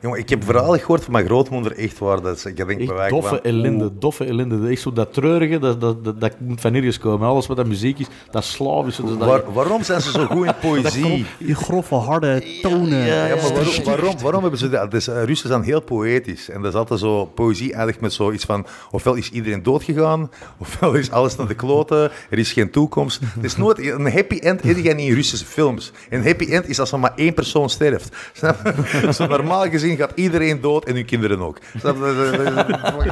Jongen, ik heb verhalen gehoord van mijn grootmoeder, echt waar. Dat ze, ik denk bij Echt wijze van- doffe ellende, doffe ellende. Dat is Echt zo dat treurige, dat, dat, dat, dat moet van ergens komen. Alles wat dat muziek is, dat is slavisch. Dus dat, Waar- waarom zijn ze zo goed in poëzie? Die grove, harde tonen. Ja, maar waarom, waarom, waarom hebben ze dat? Dus, eh, Russen zijn heel poëtisch. En dat is altijd zo poëzie eigenlijk met zoiets van... Ofwel is iedereen doodgegaan, ofwel is alles naar de kloten, er is geen toekomst. Het is nooit... Een happy end heb je niet in Russische films. Een happy end is als er maar één persoon sterft. Snap je? Zo normaal gezien gaat iedereen dood en hun kinderen ook. Snap je?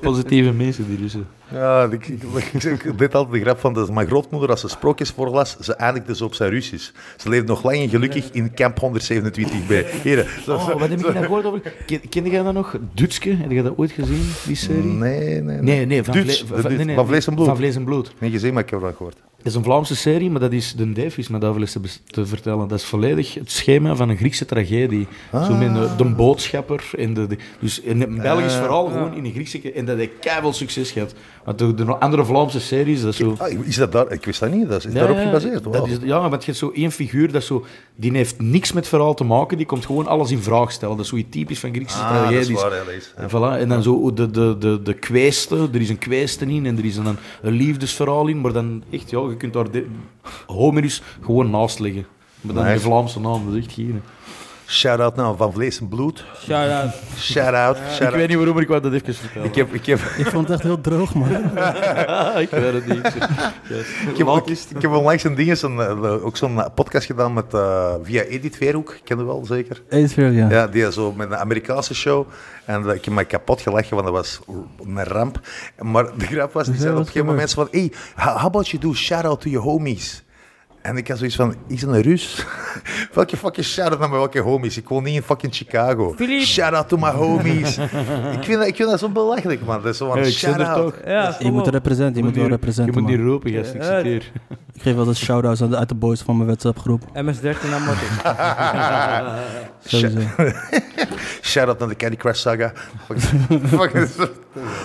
Positieve mensen, die Russen. Ja, ik, ik, ik, ik deed altijd de grap van dat mijn grootmoeder, als ze sprookjes voorlas, ze eindigde ze op zijn Russisch. Ze leefde nog lang en gelukkig in kamp 127 bij. Heren, zo- Oh, wat heb ik daar gehoord over? Ken, kende jij dat nog? Dutske, heb je dat ooit gezien, die serie? Nee, nee, Nee, nee, van, Duits, vle- de van, Duits, nee, nee, van vlees en bloed. Van vlees en bloed. Nee, gezien, maar ik heb dat gehoord. Dat is een Vlaamse serie, maar dat is de Dave is me daarover eens te, bes- te vertellen. Dat is volledig het schema van een Griekse tragedie. Ah. Zo met de, de boodschapper. En de, de- dus in in België Ah. is vooral gewoon in de Griekse... ke- En dat hij keihard succes gehad. Want de, de andere Vlaamse series, dat is zo... Ah, is dat daar? Ik wist dat niet. Dat is, is daarop Ja, ja, gebaseerd. Dat Wauw. is, ja, want je hebt zo één figuur dat zo, die heeft niks met verhaal te maken, die komt gewoon alles in vraag stellen. Dat is zoiets typisch van Griekse Ah, dat tragedies. is waar, ja, dat is. En, voilà, en dan zo de, de, de, de kwijsten, er is een kwijsten in en er is een, een liefdesverhaal in, maar dan echt, ja, je kunt daar de, Homerus gewoon naast leggen. Maar dan Nice. de Vlaamse naam, dat is echt geen. Shout-out naar Van Vlees en Bloed. Shout-out. Shout-out. Ik shout-out. weet niet waarom maar ik wou dat even vertellen. Ik heb, ik heb, Ik vond het echt heel droog, man. Ah, ik weet het niet. Yes. ik heb, ook- ik heb onlangs een ding, zo'n, eh, ook zo'n podcast gedaan met, eh, via Edith Verhoek. Ken je wel, zeker? Eens weer, ja. Ja, die zo met een Amerikaanse show. En dat- ik heb me kapot gelachen, want dat was een ramp. Maar de grap was, die Ja, zei op dat een is gegeven moment van... Hey, ho- how about you do shout-out to your homies? En ik had zoiets van, is dat een Rus? welke fucking shout-out naar mijn welke homies? Ik woon niet in fucking Chicago. Philippe. Shout-out to my homies. ik, vind dat, ik vind dat zo belachelijk, man. Dat is zo van, Ja, ik zit er shout-out. toch. Ja, Je moet kom op. representen, je moet wel Je representen, moet niet man. roepen, gast, ik zit hier. Ik geef altijd shout-outs aan de- uit de boys van mijn WhatsApp-groep. MS-13 naar Martin. Sowieso. Shout-out naar de Candy Crush saga. Fuck- fuck.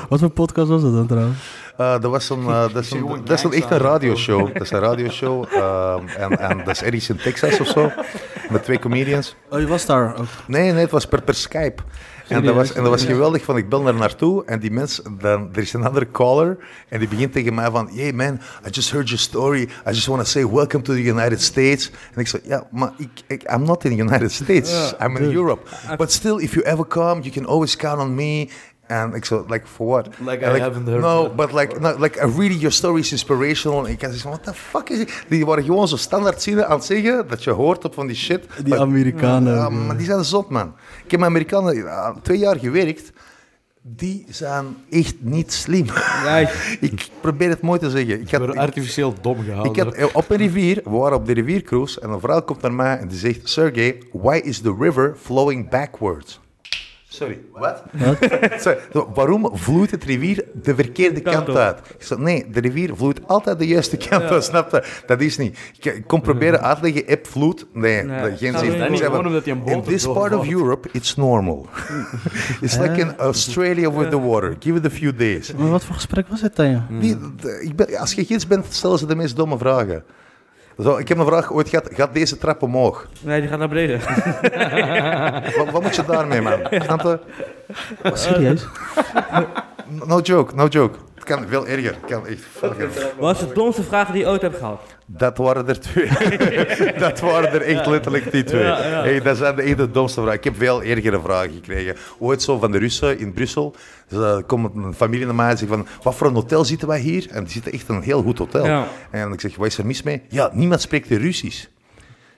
Wat voor podcast was dat dan, trouwens? Eh, dat was een, eh, dat is een, dat is een, echt een radioshow. Dat is een radioshow. ehm, en, en dat is ergens in Texas of zo. Met twee comedians. Oh, je was daar ook. Nee, nee, het was per, per Skype. En dat, was, en dat was geweldig, van ik bel daar naartoe en die mens, dan, er is een andere caller en die begint tegen mij van, hey man, I just heard your story, I just want to say welcome to the United States. En ik zei, ja, maar ik, ik, I'm not in the United States, I'm in Europe. But still, if you ever come, you can always count on me. En ik zo, like, for what? Like, En I haven't heard No, but like, no, like, I really, your story is inspirational. En ik had zoiets van, what the fuck is it? Die waren gewoon zo standaard zinnen aan het zeggen, dat je hoort op van die shit. Die Maar- Amerikanen. ja, maar die zijn zot, man. Ik heb met Amerikanen eh, twee jaar gewerkt. Die zijn echt niet slim. Ja, ik- ik probeer het mooi te zeggen. Ik Ik word had, ik, artificieel dom gehaald. ik had eh, op een rivier, we waren op de riviercruise, en een vrouw komt naar mij en die zegt, Sergey, why is the river flowing backwards? Sorry, wat? Sorry, zo, waarom vloeit het rivier de verkeerde Kant kant op. uit? Ik zei, nee, de rivier vloeit altijd de juiste kant uit, snap je? Dat is niet. Ik, ik kon proberen uit te leggen, eb vloed. Nee, Nee, dat- geen dat zin. is niet. Ik zei, Gewoon omdat hij een boot In this erdoor part of valt. Europe, it's normal. it's like in Australia with the water. Give it a few days. Maar wat voor gesprek was het dan, ja? Die- de- ik ben- als je gids bent, stellen ze de meest domme vragen. Zo, ik heb een vraag ooit gehad, gaat deze trap omhoog? Nee, die gaat naar beneden. Wat, wat moet je daarmee, man? Snap je? Serieus? No joke, no joke. Het kan veel erger. Het kan echt fucking- Wat is de domste vraag die je ooit hebt gehad? Dat waren er twee. dat waren er echt letterlijk die twee. Hey, dat zijn de echt de domste vragen. Ik heb veel ergere vragen gekregen. Ooit zo van de Russen in Brussel. Dus, eh, komt een familie naar mij en zegt van... Wat voor een hotel zitten wij hier? En die zitten echt in een heel goed hotel. Ja. En ik zeg, wat is er mis mee? Ja, niemand spreekt de Russisch.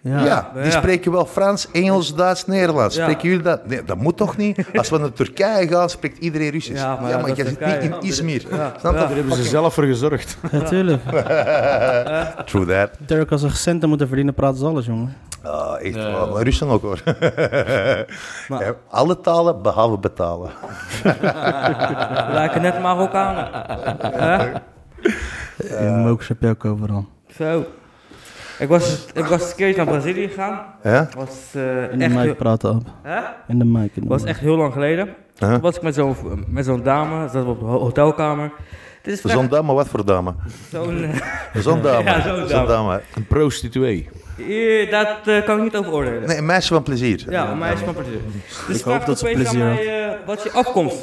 Ja. Ja, die Ja. spreken wel Frans, Engels, Duits, Nederlands. Ja. Spreken jullie dat? Nee, dat moet toch niet? Als we naar Turkije gaan, spreekt iedereen Russisch. Ja, Ja, maar maar, ja, dat jij is zit niet Turkije. in Izmir. Snap je? Ja. Daar hebben ze zelf voor gezorgd. Ja, tuurlijk. True that. Turk als ze centen moeten verdienen, praten ze alles, jongen. Ah, echt, wel. Maar Russen ook hoor. Ja, Alle talen behalve betalen. We lijken net Marokkanen. Hè? In Mokers heb je ook overal. Zo. Ik was, ik was een keertje naar Brazilië gegaan. Ja? Was, eh, In de echt, mic praten, Ab. hè? In de mic. in de was mic. echt heel lang geleden. Huh? Toen was ik met zo'n met zo'n dame, zaten we op de ho- hotelkamer. Dit is Zo'n vrij- dame, wat voor dame? zo'n... Zo'n dame. Ja, zo'n dame. Een prostituee. eh, dat eh, kan ik niet over oordelen. Nee, een meisje van plezier. Ja, een meisje van plezier. Dus Ik hoop dat ze plezier aan mij eh, wat je afkomst.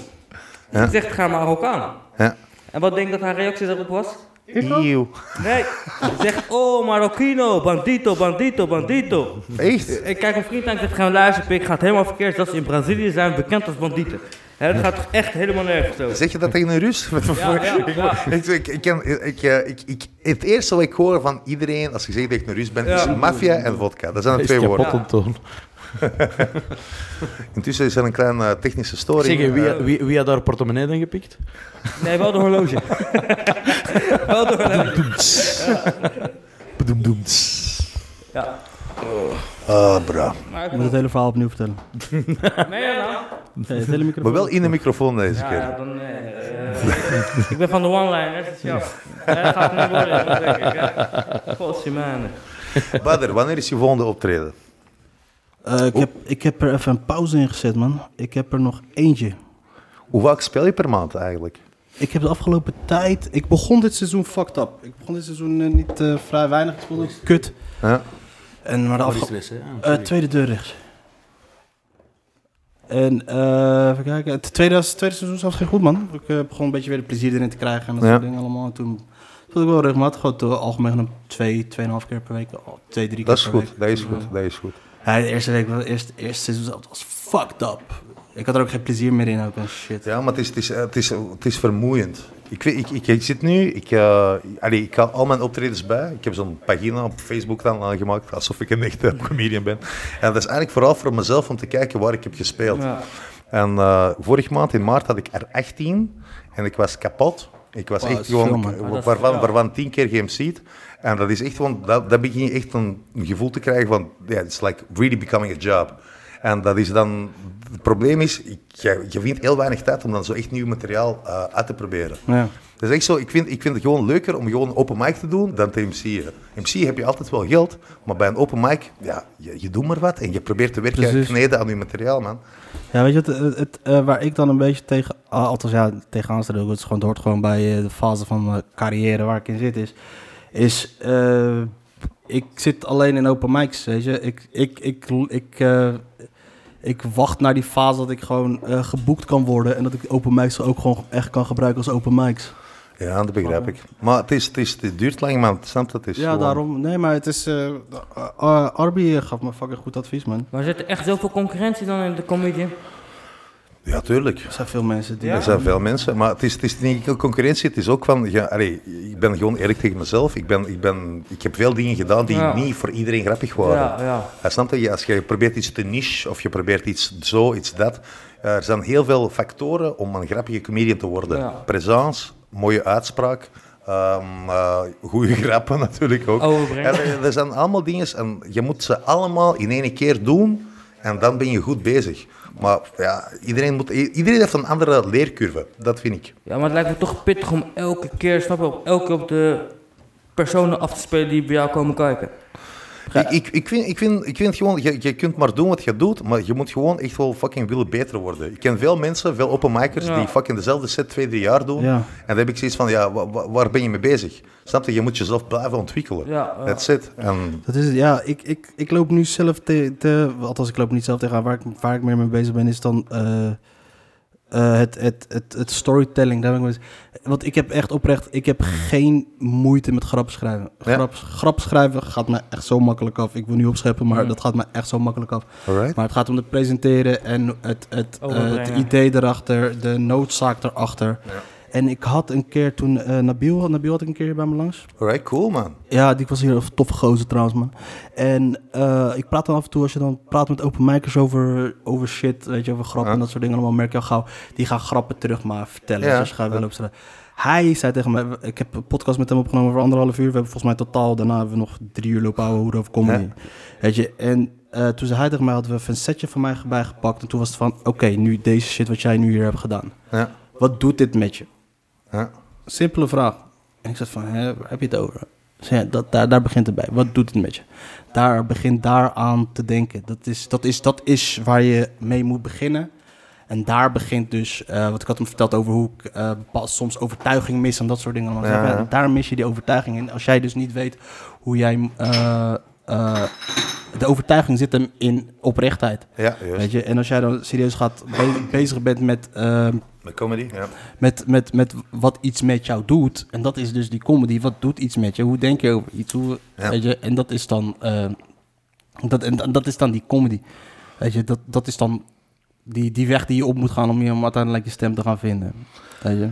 Ja. Ik zeg, ga Marokkaan. Ja. En wat denk je dat haar reactie daarop was? Eeuw. Nee. Ze zegt, oh Marokino, bandito, bandito, bandito. Echt? Ik kijk een vriend aan, ik zeg, gaan luisteren, pik, gaat helemaal verkeerd. Dat ze in Brazilië zijn bekend als bandieten. Hè, dat gaat echt helemaal nergens over. Zeg je dat tegen een Rus? Wat voor- Ja, ja, ja. Ik, ik, ik, ken- ik, eh, ik, ik, het eerste wat ik hoor van iedereen als je zegt dat ik een Rus ben, Ja. is maffia en vodka. Dat zijn de Is twee woorden. kapot Anton. Intussen is er een kleine eh, technische storing. Zeg, wie, Eh, wie, wie had daar portemonnee dan gepikt? Nee, wel de horloge. wel de horloge. Ja. Ah, bra. Maar ik Je moet het hele verhaal opnieuw vertellen. Nee, ja, nou. Hey, het hele microfoon. Maar wel in de microfoon deze Ja, keer. ja, dan, eh, eh, ik ben van de one-liners, dus ja. Ja, dat gaat het niet worden, dat denk ik. hè. Godzimane. Bader, wanneer is je volgende optreden? Eh, ik, heb, ik heb er even een pauze in gezet, man. Ik heb er nog eentje. Hoe vaak speel je per maand eigenlijk? Ik heb de afgelopen tijd... Ik begon dit seizoen fucked up. Ik begon dit seizoen eh, niet eh, vrij weinig. Ik vond het kut. Huh? En maar de afgelopen... Eh, tweede deur rechts. En eh even kijken. Het tweede, het tweede seizoen zat geen goed, man. Ik eh, begon een beetje weer de plezier erin te krijgen en dat Ja. soort dingen allemaal. En toen vond ik wel regelmatig gewoon eh, algemeen genomen twee, tweeënhalf keer per week. al twee, drie Dat is keer per goed, week. dat is goed, dat is goed. Ja, de eerste week, was- eerst, eerste seizoen zelf was fucked up. Ik had er ook geen plezier meer in ook en shit. Ja, maar het is, het is, eh, het is, het is vermoeiend. Ik, weet, ik, ik, ik zit nu, ik, eh allee, ik haal al mijn optredens bij. Ik heb zo'n pagina op Facebook dan aangemaakt, alsof ik een echte comedian ben. En dat is eigenlijk vooral voor mezelf om te kijken waar ik heb gespeeld. Ja. En eh, vorige maand in maart had ik er 18 en ik was kapot. Ik was Wauw, echt dat is veel, gewoon, man. wa- Ah, dat is- waarvan, ja. waarvan tien keer GMC'd. En dat is echt gewoon, dat, dat begin je echt een gevoel te krijgen van, ja, it's like really becoming a job. En dat is dan, het probleem is, ik, je, je vindt heel weinig tijd om dan zo echt nieuw materiaal eh, uit te proberen. Ja. Dat is echt zo, ik vind, ik vind het gewoon leuker om gewoon open mic te doen dan te MC'en. MC'en heb je altijd wel geld, maar bij een open mic, ja, je, je doet maar wat en je probeert te werken en Precies. kneden aan je materiaal, man. Ja, weet je wat, het, het, eh, waar ik dan een beetje tegen, ah, althans ja, tegenaan sta, dat is gewoon, het hoort gewoon bij eh, de fase van mijn carrière waar ik in zit, is, is eh, ik zit alleen in open mics, weet je. Ik, ik, ik, ik, eh, ik wacht naar die fase dat ik gewoon eh, geboekt kan worden en dat ik open mics ook gewoon echt kan gebruiken als open mics. Ja, dat begrijp ik. Maar het, is, het, is, het duurt lang, man. Snap dat? Het is ja, gewoon- daarom. Nee, maar het is, eh, eh, eh, Arby gaf me fucking goed advies, man. Maar zit er echt zoveel concurrentie dan in de comedy? Ja, tuurlijk. Er zijn veel mensen die... Ja. Er zijn veel mensen, maar het is, het is niet enkel concurrentie. Het is ook van, ja, allee, ik ben gewoon eerlijk tegen mezelf. Ik, ben, ik, ben, ik heb veel dingen gedaan die Ja. niet voor iedereen grappig waren. Ja, ja. Ja, snap je? Als je probeert iets te niche of je probeert iets zo, iets dat. Er zijn heel veel factoren om een grappige comedian te worden. Ja. Presence, mooie uitspraak, ehm, eh, goede grappen natuurlijk ook. Overbrengen. En eh, er- er zijn allemaal dingen en je moet ze allemaal in één keer doen en dan ben je goed bezig. Maar ja, iedereen, moet, i- iedereen heeft een andere leercurve, dat vind ik. Ja, maar het lijkt me toch pittig om elke keer, snap je, op elke keer op de personen af te spelen die bij jou komen kijken. Ik, ik, ik, vind, ik, vind, ik vind gewoon, je, je kunt maar doen wat je doet, maar je moet gewoon echt wel fucking willen beter worden. Ik ken veel mensen, veel openmakers, Ja. die fucking dezelfde set twee, drie jaar doen. Ja. En dan heb ik zoiets van, ja, wa- wa- waar ben je mee bezig? Snap je? Je moet jezelf blijven ontwikkelen. Ja, ja. That's it. En Dat is het, ja. Ik, ik, ik loop nu zelf te, te... Althans, ik loop niet zelf tegenaan. Waar ik, waar ik meer mee bezig ben, is dan eh, eh, het, het, het, het storytelling. Daar ben ik mee bezig. Want ik heb echt oprecht... Ik heb geen moeite met grap schrijven. Ja. Grap, grap schrijven gaat me echt zo makkelijk af. Ik wil niet opscheppen, maar dat gaat me echt zo makkelijk af. alright. Maar het gaat om het presenteren en het, het, eh, het Overbrengen. idee erachter, de noodzaak erachter. En ik had een keer toen eh, Nabil, Nabil had ik een keer bij me langs. Alright, cool man. Ja, die was hier een toffe gozer trouwens, man. En eh, ik praat dan af en toe, als je dan praat met open micers over, over shit, weet je, over grappen en dat soort dingen allemaal, merk je al gauw, die gaan grappen terug maar vertellen. Ja. Dus je gaat wel op straat. Hij zei tegen mij, ik heb een podcast met hem opgenomen voor anderhalf uur. We hebben volgens mij totaal, daarna hebben we nog drie uur lopen houden hoe over comedy. Ja. Weet je, en eh, toen zei hij tegen mij, hadden we even een setje van mij bijgepakt. En toen was het van, oké, nu deze shit wat jij nu hier hebt gedaan. Ja. Wat doet dit met je? Ja. Simpele vraag. En ik zat van, hè, waar heb je het over? Dus ja, dat, daar, daar begint het bij. Wat doet het met je? Daar begint daaraan te denken. Dat is, dat, is, dat is waar je mee moet beginnen. En daar begint dus, eh, wat ik had hem verteld over hoe ik eh, bepaal- soms overtuiging mis en dat soort dingen. allemaal. Ja, ja. Daar mis je die overtuiging in. Als jij dus niet weet hoe jij. eh, eh, de overtuiging zit hem in oprechtheid. Ja, juist. Weet je? En als jij dan serieus gaat be- bezig bent met, ehm, Met comedy, ja. met, met, met wat iets met jou doet. En dat is dus die comedy. Wat doet iets met je? Hoe denk je over iets? Hoe, Ja. weet je? En dat is dan. eh, dat, en da- dat is dan die comedy. Weet je, dat, dat is dan die, die weg die je op moet gaan om, je, om uiteindelijk je stem te gaan vinden. Weet je?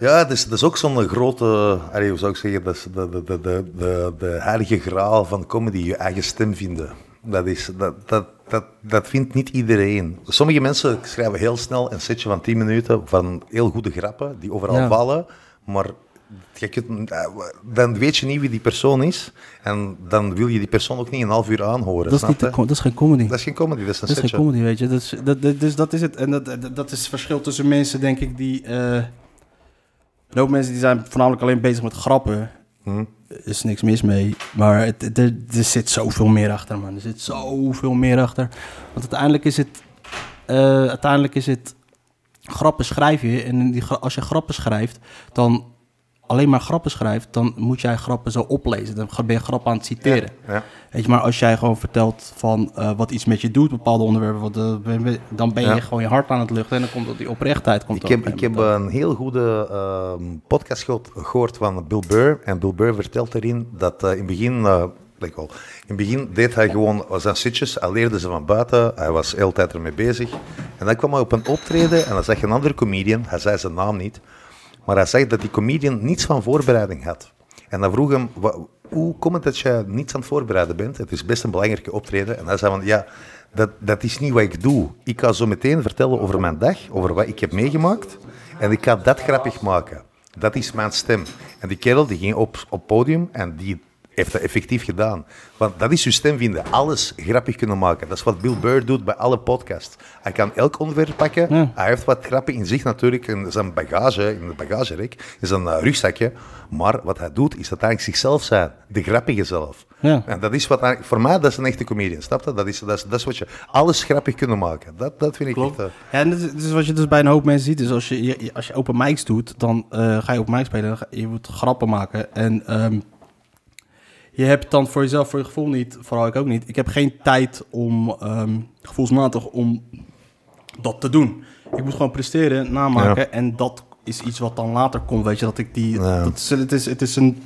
Ja, dat is, dat is ook zo'n grote, allee, hoe zou ik zeggen, dat is de, de, de, de, de, de heilige graal van comedy, je eigen stem vinden. Dat, is, dat, dat, dat, dat vindt niet iedereen. Sommige mensen schrijven heel snel een setje van 10 minuten van heel goede grappen, die overal Ja. vallen, maar je kunt, eh, dan weet je niet wie die persoon is en dan wil je die persoon ook niet een half uur aanhoren. Dat, is snap niet de je? co- dat is geen comedy. dat is geen comedy, dat is een Dat is geen setje. comedy, weet je. Dat is, dat, dat- dus dat is het. En dat, dat, dat is het verschil tussen mensen, denk ik, die... eh een hoop mensen die zijn voornamelijk alleen bezig met grappen. Hm? Er is niks mis mee. Maar het, het- er, er zit zoveel meer achter, man. Er zit zoveel meer achter. Want uiteindelijk is het... eh, uiteindelijk is het... Grappen schrijf je. En in die, gra- als je grappen schrijft, dan... Alleen maar grappen schrijft, dan moet jij grappen zo oplezen. Dan ben je grappen aan het citeren. Ja. Weet je, maar als jij gewoon vertelt van eh, wat iets met je doet, bepaalde onderwerpen, wat, eh, ben- ben- dan ben je Ja. gewoon je hart aan het luchten en dan komt dat die oprechtheid. Komt Ik er op heb, een ik heb gegeven moment een heel goede ehm, podcast gehoord- gehoord van Bill Burr. En Bill Burr vertelt erin dat eh, in het begin... eh, like wel, in het begin deed hij gewoon zijn sitjes. Hij leerde ze van buiten. Hij was heel de tijd ermee bezig. En dan kwam hij op een optreden en dan zag je een andere comedian. Hij zei zijn naam niet. Maar hij zei dat die comedian niets van voorbereiding had. En dan vroeg hem, "Wa- hoe komt het dat je niets aan het voorbereiden bent? Het is best een belangrijke optreden. En hij zei van, ja, dat, dat is niet wat ik doe. Ik ga zo meteen vertellen over mijn dag, over wat ik heb meegemaakt. En ik ga dat grappig maken. Dat is mijn stem. En die kerel die ging op op podium en die heeft dat effectief gedaan. Want dat is uw stem vinden. Alles grappig kunnen maken. Dat is wat Bill Burr doet bij alle podcasts. Hij kan elk onderwerp pakken. Hij heeft wat grappen in zich natuurlijk. In zijn bagage, in het bagagerek, in zijn eh, rugzakje. Maar wat hij doet, is dat hij zichzelf zijn. De grappige zelf. Ja. En dat is wat hij- voor mij, dat is een echte comedian. Snap je? Dat is, dat is, dat is wat je alles grappig kunnen maken. Dat, dat vind ik echt... eh, dan. Ja, en dat is, dat is wat je dus bij een hoop mensen ziet. Dus als je, je- je- als je open mics doet, dan eh, ga je open mics spelen. dan ga- Je moet grappen maken. En ehm, je hebt dan voor jezelf, voor je gevoel niet, vooral ik ook niet. Ik heb geen tijd om, ehm, gevoelsmatig, om dat te doen. Ik moet gewoon presteren, namaken. En dat is iets wat dan later komt, weet je. Dat ik die... Ja. Dat is, het, is, het is een...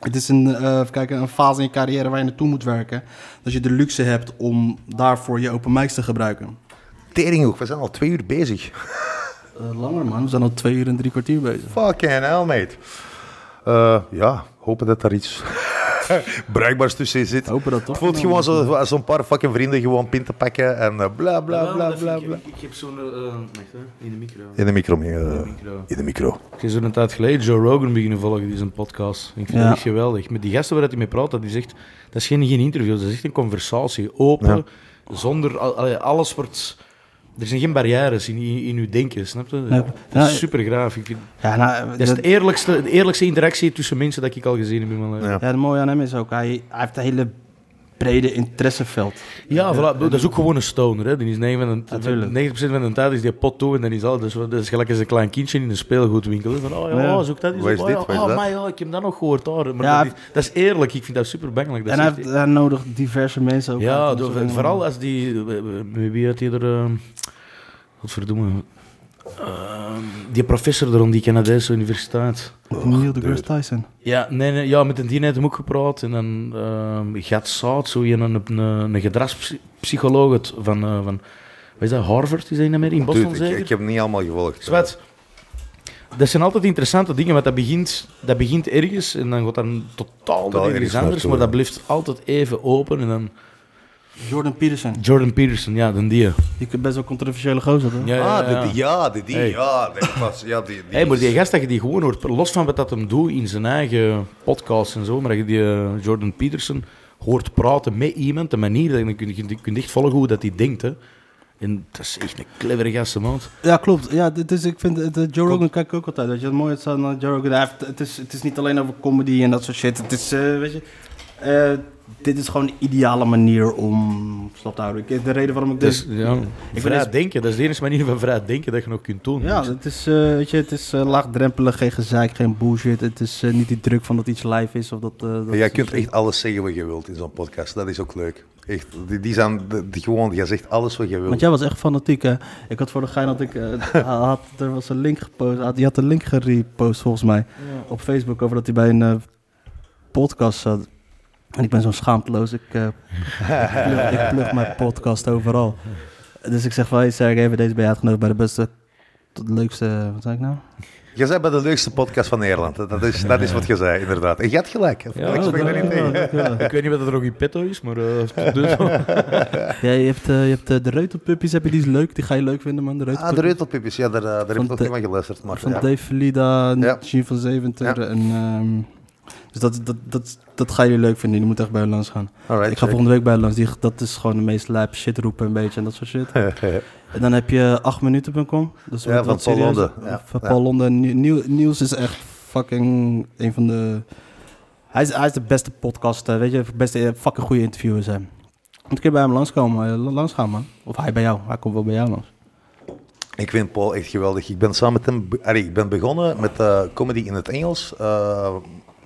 Het is een, eh, even kijken, een fase in je carrière waar je naartoe moet werken. Dat je de luxe hebt om daarvoor je open mics te gebruiken. Teringhoek, we zijn al twee uur bezig. Eh, langer, man. We zijn al twee uur en drie kwartier bezig. Fucking hell, mate. Eh, ja, hopen dat daar iets bruikbaars tussen zit. Hopen dat Het toch? voelt gewoon zo- zo'n paar fucking vrienden gewoon pin te pakken en eh, bla bla bla bla bla. Ik heb zo'n... eh, in de micro. In de micro. eh, in de micro. Ik ben zo'n tijd geleden Joe Rogan beginnen volgen, die zijn podcast. Ik vind Ja. dat echt geweldig. Met die gasten waar hij mee praat, dat is echt... Dat is geen, geen interview, dat is echt een conversatie. Open, zonder... al- allee, alles wordt... Er zijn geen barrières in, in, in uw denken, snap je? Ja. Dat Ja. is super graaf. Ik vind, Ja, nou, dat is dat, de eerlijkste, de eerlijkste interactie tussen mensen dat ik al gezien heb in mijn leven. Ja. Ja, ja, het mooie aan hem is ook, hij, hij heeft een hele brede interesseveld. voilà, dat is ook gewoon een stoner. Hè. Die is 9 van de- Natuurlijk. 90% van de tijd is die pot toe en dan is al. Dus dat is gelijk als een klein kindje in een speelgoedwinkel. hè. Van, oh ja, Ja. zoek dat eens Waar op. is Oh, dit? ja, Waar is oh, dat? maar ja, ik heb dat nog gehoord. daar. Maar Ja. dat, is, dat is eerlijk. Ik vind dat super bangelijk. en hij, heeft, ja, hij nodigt diverse mensen ook uit ja om door- zo'n- vooral als die... Wie wie had die er... eh, Wat verdomme... Ehm, die professor er om die Canadese universiteit. eh, Neil deGrasse Tyson. Ja, nee, nee, ja, met een die net hem ook gepraat. En dan ehm gaat Zout, zo een, een, een gedragspsycholoog het van, eh, van... Wat is dat? Harvard is dat in Amerika? In Boston Dude, ik, zeker? ik heb niet allemaal gevolgd. Zwart. Dat zijn altijd interessante dingen, want dat begint, dat begint ergens en dan gaat dan totaal Totaal naar ergens ergens anders, naartoe, maar dat ja. blijft altijd even open. En dan Jordan Peterson. Jordan Peterson, ja, dan die. Ja, Die kunt best wel controversiële gozer, hoor. ja, Ah, ja. de, die, ja, de, die, Hey. ja. die was- ja die, die Hey, maar die is- gast dat je die gewoon hoort, los van wat dat hem doet in zijn eigen podcast en zo, maar dat je die eh, Jordan Peterson hoort praten met iemand, de manier, dat je- dan kun je, je kunt echt volgen hoe dat hij denkt. Hè. En dat is echt een clevere gast, man. Ja, klopt. Ja, dit is, ik vind, het- het Joe Rogan kijk ik ook altijd. Weet je, het mooie is aan eh, Joe Rogan, hij heeft, het, is, het is niet alleen over comedy en dat soort shit. Het is, eh, weet je, eh, dit is gewoon de ideale manier om slap te houden. Ik, de reden waarom ik dit... Dus, ja, Ik vrij vind denken, dat is de enige manier van vrij denken dat je nog kunt doen. Dus- Ja, het is, eh, weet je, het is eh, laagdrempelig, geen gezeik, geen bullshit. Het is eh, niet die druk van dat iets live is of dat... eh, dat Ja, Jij kunt echt alles zeggen wat je wilt in zo'n podcast. Dat is ook leuk. Echt, die, die zijn de- die gewoon, jij zegt alles wat je wilt. Want jij was echt fanatiek, hè? Ik had voor de gein dat ik... eh, had, er was een link gepost. Had, die had een link gerepost, volgens mij. Op Facebook over dat hij bij een eh, podcast zat. En ik ben zo schaamteloos. Ik, eh, ik, plug, ik plug mijn podcast overal. Dus ik zeg van, hey Sergey, even deze bij uitgenodigd bij de beste... De leukste... Wat zei ik nou? Jij zei bij de leukste podcast van Nederland. Dat is, dat is wat je zei, inderdaad. En je had gelijk. Ja, ik dat- spreek daar niet tegen. dankjewel. Ik weet niet wat er nog in petto is, maar... eh, dus- Ja, je hebt, eh, je hebt eh, de reutelpuppies, heb je die is leuk, die ga je leuk vinden man, de Ah, de reutelpuppies. Reutelpipjes. Ja, daar, eh, daar heb Van ik nog de- niet van geluisterd. Maar, van ja. Dave Verlida, Ja. Jean van Zeventer Ja. en... ehm, dus dat, dat, dat, dat gaan jullie leuk vinden, jullie moeten echt bij hen langs gaan. Alright, ik ga volgende week bij hen langs, die, dat is gewoon de meest lijp shit roepen een beetje en dat soort shit. check. En dan heb je 8minuten.com. Dus we Ja, van moeten wat Paul serieus- Londen. Ja, Van ja. Paul Londen. Nieu- Nieu- Niels is echt fucking een van de... Hij is, hij is de beste podcast, eh, weet je, beste eh, fucking goede interviewers zijn. Moet ik bij hem langskomen, eh, langs gaan man. Of hij bij jou, hij komt wel bij jou langs. Ik vind Paul echt geweldig. Ik ben samen met hem... be- Allee, ik ben begonnen met eh, comedy in het Engels. eh,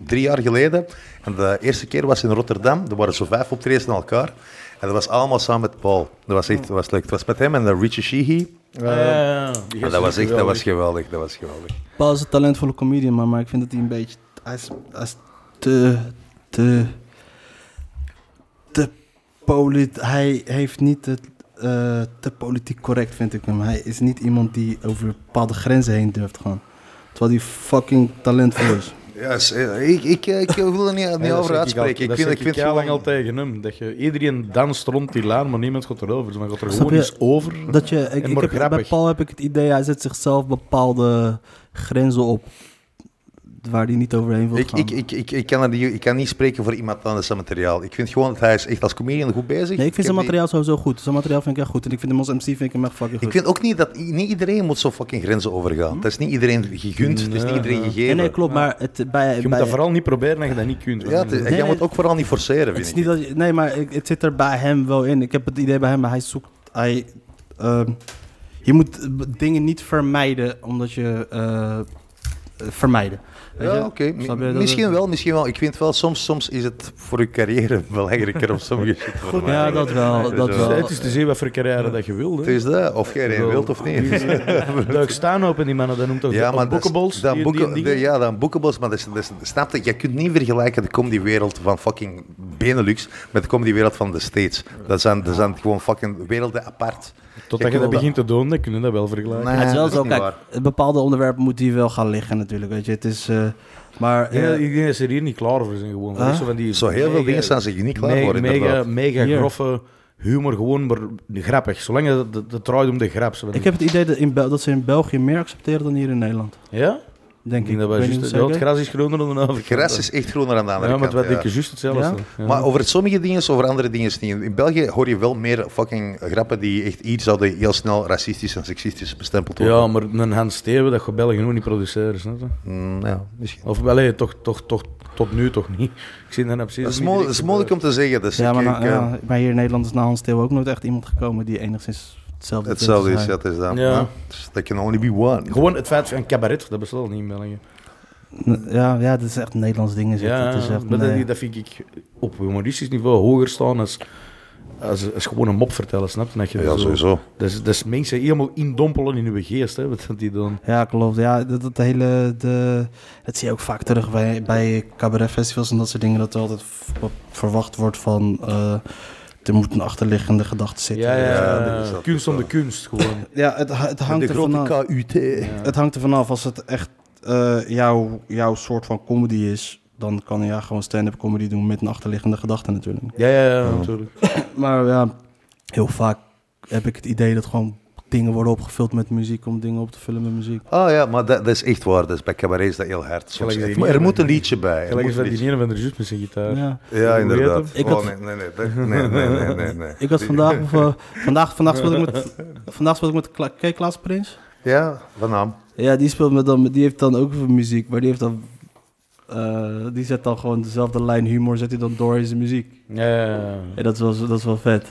drie jaar geleden. En de eerste keer was in Rotterdam. Er waren zo vijf optredens aan elkaar. En dat was allemaal samen met Paul. Dat was echt dat was leuk. Het was met hem en eh, Richie Sheehy. Ja, die En gast dat is was echt dat geweldig. was geweldig. Dat was geweldig. Paul is een talentvolle comedian, maar, maar ik vind dat hij een beetje... Hij is, hij is te... te... te polit... Hij heeft niet het... eh, te politiek correct vind ik hem. Hij is niet iemand die over bepaalde grenzen heen durft te gaan. Terwijl hij fucking talentvol is. Ja, is- eh, ik, ik, eh, ik wil er niet, niet Nee, dat over zeg uitspreken. Ik, Ik, vind, ik vind heel gewoon- lang al tegen hem. Dat je, iedereen danst rond die laan, maar niemand gaat erover. Dus dan gaat er Snap gewoon je? iets over. Dat je, ik, En ik maar heb- bij grappig. Paul heb ik het idee, hij zet zichzelf bepaalde grenzen op. Waar hij niet overheen wil Ik, gaan. ik, ik, ik, ik, kan er niet, ik kan niet spreken voor iemand anders zijn materiaal. Ik vind gewoon dat hij is echt als comedian goed bezig. nee, ik heb vind zijn die- materiaal sowieso goed. Zijn materiaal vind ik echt goed. En ik vind hem als MC vind ik hem echt fucking Ik goed. vind ook niet dat i- niet iedereen moet zo fucking grenzen overgaan. Dat is niet iedereen gegund, het is niet iedereen Nee, gegeven. nee, klopt. Maar het, eh, bij, Je moet bij, dat vooral niet proberen dat je dat niet kunt. Ja, het is- en Nee, jij nee. moet ook vooral niet forceren, het is vind niet ik. dat je- nee, maar ik- het zit er bij hem wel in. Ik heb het idee bij hem, maar hij zoekt... Hij, ehm, je moet eh, b- dingen niet vermijden, omdat je... eh, eh, vermijden. Weet je? Ja, oké. Snap je Mi- dat- Misschien wel, misschien wel. Ik vind wel, soms, soms is het voor je carrière belangrijker om sommige shit te vermijden. Ja, dat wel. Dus, Dat Dus eh, wel. Het is te zien wat voor carrière dat je wil. Het hè. is dat, of jij erin wilt of niet. Duik staan open die mannen, dat noemt toch Ja, de maar dat is- boekenbols? dat die- die boeken- dingen? de- ja, dan boekenbols, maar dat is, dat is, snap je, je kunt niet vergelijken de comedywereld van fucking Benelux met de comedywereld van de States. Dat zijn, dat zijn gewoon fucking werelden apart. Totdat je wil dat begint te doen, dan kunnen we dat wel vergelijken. Nee, het is wel dat is zo, niet kijk, waar. een bepaalde onderwerpen moet die wel gaan liggen natuurlijk, weet je. Het is, eh, maar... Ik denk eh, dat- ik denk dat ze er hier niet klaar voor zijn. Gewoon. Huh? Zo, van die Zo heel veel mega- dingen zijn ze hier niet klaar me- voor, Mega, inderdaad. mega Hier. grove humor, gewoon maar grappig. Zolang het, het, het draait om de grap. zo van ik die- heb het idee dat, in Bel- dat ze in België meer accepteren dan hier in Nederland. Ja? Denk Ik ik. denk dat wij Ik weet juist- niet ja, het zeker. gras is groener dan de overkant. Gras is echt groener aan de andere Ja, maar kant. wat ja. denk je juist hetzelfde. Ja? Ja. Maar over sommige dingen, over andere dingen niet. In België hoor je wel meer fucking grappen die echt hier zouden heel snel racistisch en seksistisch bestempeld worden. Ja, maar een Hans Steven, dat gaat België nog niet produceren, snap je? Mm, ja, misschien. Of allee, toch, toch, toch, tot nu toch niet. Ik zie dat nou precies... Dat is, niet mo- direct dat is op, moeilijk eh, om te zeggen. Dus Ja, ik- maar, ik, na- eh, ja, maar hier in Nederland is na Hans Theo ook nooit echt iemand gekomen die enigszins hetzelfde deed hetzelfde als is, hij. ja, het is dat. Ja. Ja. Dus That can only be one. Gewoon het feit van cabaret, dat bestaat niet in België. N- Ja, ja, dat is echt een Nederlands ding. Is het. Ja, het is echt, eh, maar nee. dat, dat vind ik op humoristisch niveau hoger staan als, als, als gewoon een mop vertellen, snap je? Dat je Ja, zo- sowieso. Dat is, dat is mensen helemaal indompelen in hun geest, hè, wat dat die doen. Ja, klopt. Ja, dat, dat hele, de, dat zie je ook vaak terug bij, bij cabaretfestivals en dat soort dingen. Dat er altijd v- verwacht wordt van, eh, er moet een achterliggende gedachte zitten. Ja, ja, ja, ja. dat is dat. kunst om de kunst, gewoon. Ja, het, het hangt De er grote vanaf. KUT. Het hangt er vanaf als het echt eh, jouw, jouw soort van comedy is. Dan kan je ja, gewoon stand-up comedy doen met een achterliggende gedachte natuurlijk. Ja, ja, ja, natuurlijk. Maar ja, heel vaak heb ik het idee dat gewoon dingen worden opgevuld met muziek om dingen op te vullen met muziek. Ah ja, maar dat, dat is echt waar. Dat is bij cabarets dat heel hard. Soms, Gelijk er die er niet- moet een liedje bij. Er Gelijk moet is een dat die liedje- ene van de juist met zijn gitaar. Ja. Ja, Hoe heet inderdaad. Ik hem? oh, had- nee, nee, nee, dat- nee, nee, nee, nee, nee. Ik had Die- vandaag, of, eh, vandaag, vandaag speelde ik met, vandaag speelde ik met Kla Kijk, Klaas Prins. Ja, van naam. Ja, die speelt met dan, die heeft dan ook weer muziek, maar die heeft dan, eh, die zet dan gewoon dezelfde lijn humor, zet hij dan door in zijn muziek. Ja, ja, ja. En dat is wel, dat is wel vet.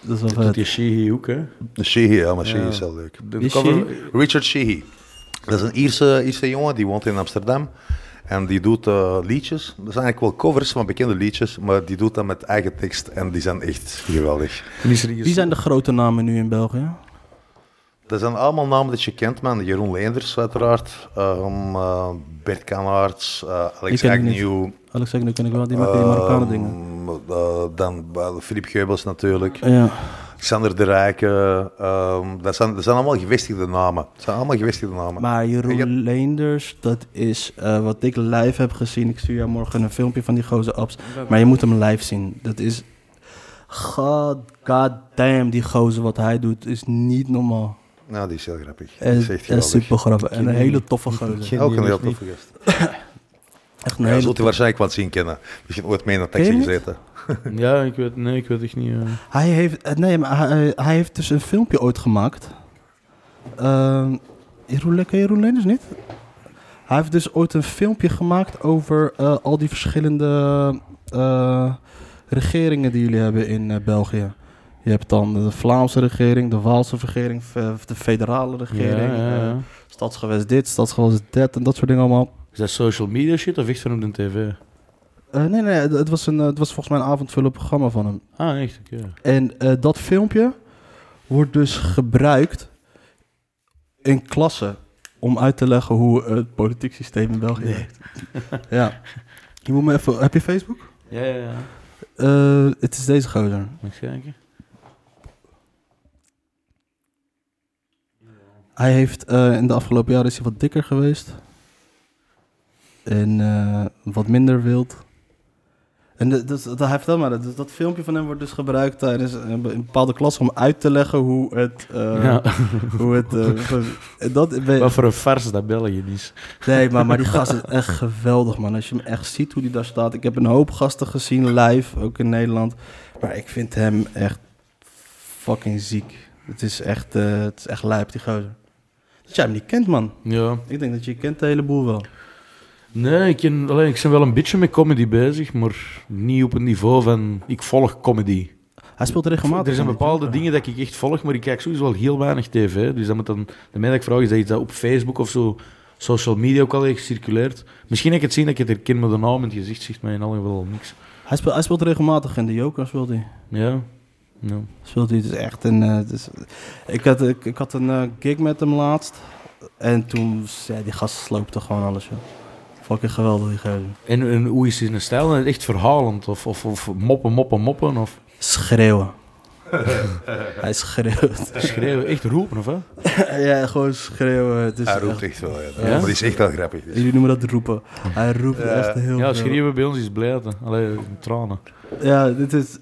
Dat is wel Dat doet vet. die Sheehy ook, hè. Sheehy, ja, maar Sheehy Ja. is heel leuk. De Wie is cover- Sheehy? Richard Sheehy. Dat is een Ierse, Ierse jongen, die woont in Amsterdam. En die doet eh, liedjes. Dat zijn eigenlijk wel covers van bekende liedjes, maar die doet dat met eigen tekst. En die zijn echt geweldig. Wie is er hier? Wie zijn de grote namen nu in België? Dat zijn allemaal namen dat je kent, man. Jeroen Leenders, uiteraard. Ehm, eh, Bert Kanaerts, eh, Die Alex ken ik niet. Agnew. Alex Agnew ken ik wel, die maakt die Marokkanen dingen. Ehm, eh, dan eh, Philip Geubels natuurlijk. Ja. Xander de Rijke. ehm, dat, zijn, dat zijn allemaal gevestigde namen. Dat zijn allemaal gevestigde namen. Maar Jeroen Ik heb- Leenders, dat is eh, wat ik live heb gezien. Ik stuur jou morgen een filmpje van die gozer abs. Maar je moet hem live zien. Dat is... God, god damn, die gozer wat hij doet is niet normaal. Nou, die is heel grappig. En Dat is echt dat is geweldig. Eh, super grappig. En een ken hele die. toffe gozer. ken- Ook een die heel dus niet. toffe gast. Echt een Ja, hele zult u toffe- waarschijnlijk wat zien kennen. Misschien ooit mee in een Ken taxi je hem gezeten. Ja, ik weet, nee, ik weet echt niet. eh. Hij heeft, eh, nee, maar hij, hij heeft dus een filmpje ooit gemaakt. Ehm Jeroen, Le- ken je Jeroen Leenders niet? Hij heeft dus ooit een filmpje gemaakt over eh, al die verschillende eh, regeringen die jullie hebben in eh, België. Je hebt dan de Vlaamse regering, de Waalse regering, ve- de federale regering, Ja, ja, ja. eh, stadsgewest dit, stadsgewest dat en dat soort dingen allemaal. Is dat social media shit of echt van op de tv? Eh, nee, nee, het het was, een, eh, het was volgens mij een avondvullend programma van hem. Ah, echt? Oké. En eh, dat filmpje wordt dus gebruikt in klassen om uit te leggen hoe het politiek systeem in België werkt. ja. Je moet me even, heb je Facebook? Ja, ja, ja. Eh, het is deze gozer. Mag ik kijken? Hij heeft eh, in de afgelopen jaren is hij wat dikker geweest. En eh, wat minder wild. En de- dus, dat, hij vertelt maar, dat, dat filmpje van hem wordt dus gebruikt tijdens een be- een bepaalde klas om uit te leggen hoe het... eh, ja. hoe het eh, dat, ben- Wat voor een farce dat België is. Nee, maar, maar die gast is echt geweldig, man. Als je hem echt ziet hoe die daar staat. Ik heb een hoop gasten gezien live, ook in Nederland. Maar ik vind hem echt fucking ziek. Het is echt, eh, het is echt lijp, die gozer. Dat jij hem niet kent, man. Ja. Ik denk dat je kent de hele boel wel. Nee, ik, ken, allee, ik ben wel een beetje met comedy bezig, maar niet op het niveau van ik volg comedy. Hij speelt regelmatig. Er zijn in die bepaalde tour. dingen dat ik echt volg, maar ik kijk sowieso wel heel weinig tv. Dus dat moet dan, de mij dat ik vraag is dat iets dat op Facebook of zo, social media ook al echt circuleert. Misschien heb ik het zien dat ik het herken, maar de naam en het gezicht zegt mij in alle geval niks. Hij speelt, hij speelt regelmatig in de Joker, speelt hij. Ja. ja. Speelt hij, het is echt een... eh, het is- ik, had, ik, ik had een eh, gig met hem laatst. En toen, ja, die gast sloopte gewoon alles, joh. Fucking geweldig, die gozer. En, en hoe is zijn stijl? Echt verhalend of, of, of moppen, moppen, moppen of Schreeuwen. hij schreeuwt. schreeuwen, echt roepen of hè? ja, gewoon schreeuwen. Het is Hij roept echt- echt wel. Ja. Ja? Maar die is echt wel grappig. Dus. Jullie noemen dat roepen. Hij roept Ja. echt heel Ja, veel. schreeuwen bij ons is blijten. Allee, tranen. Ja, dit is...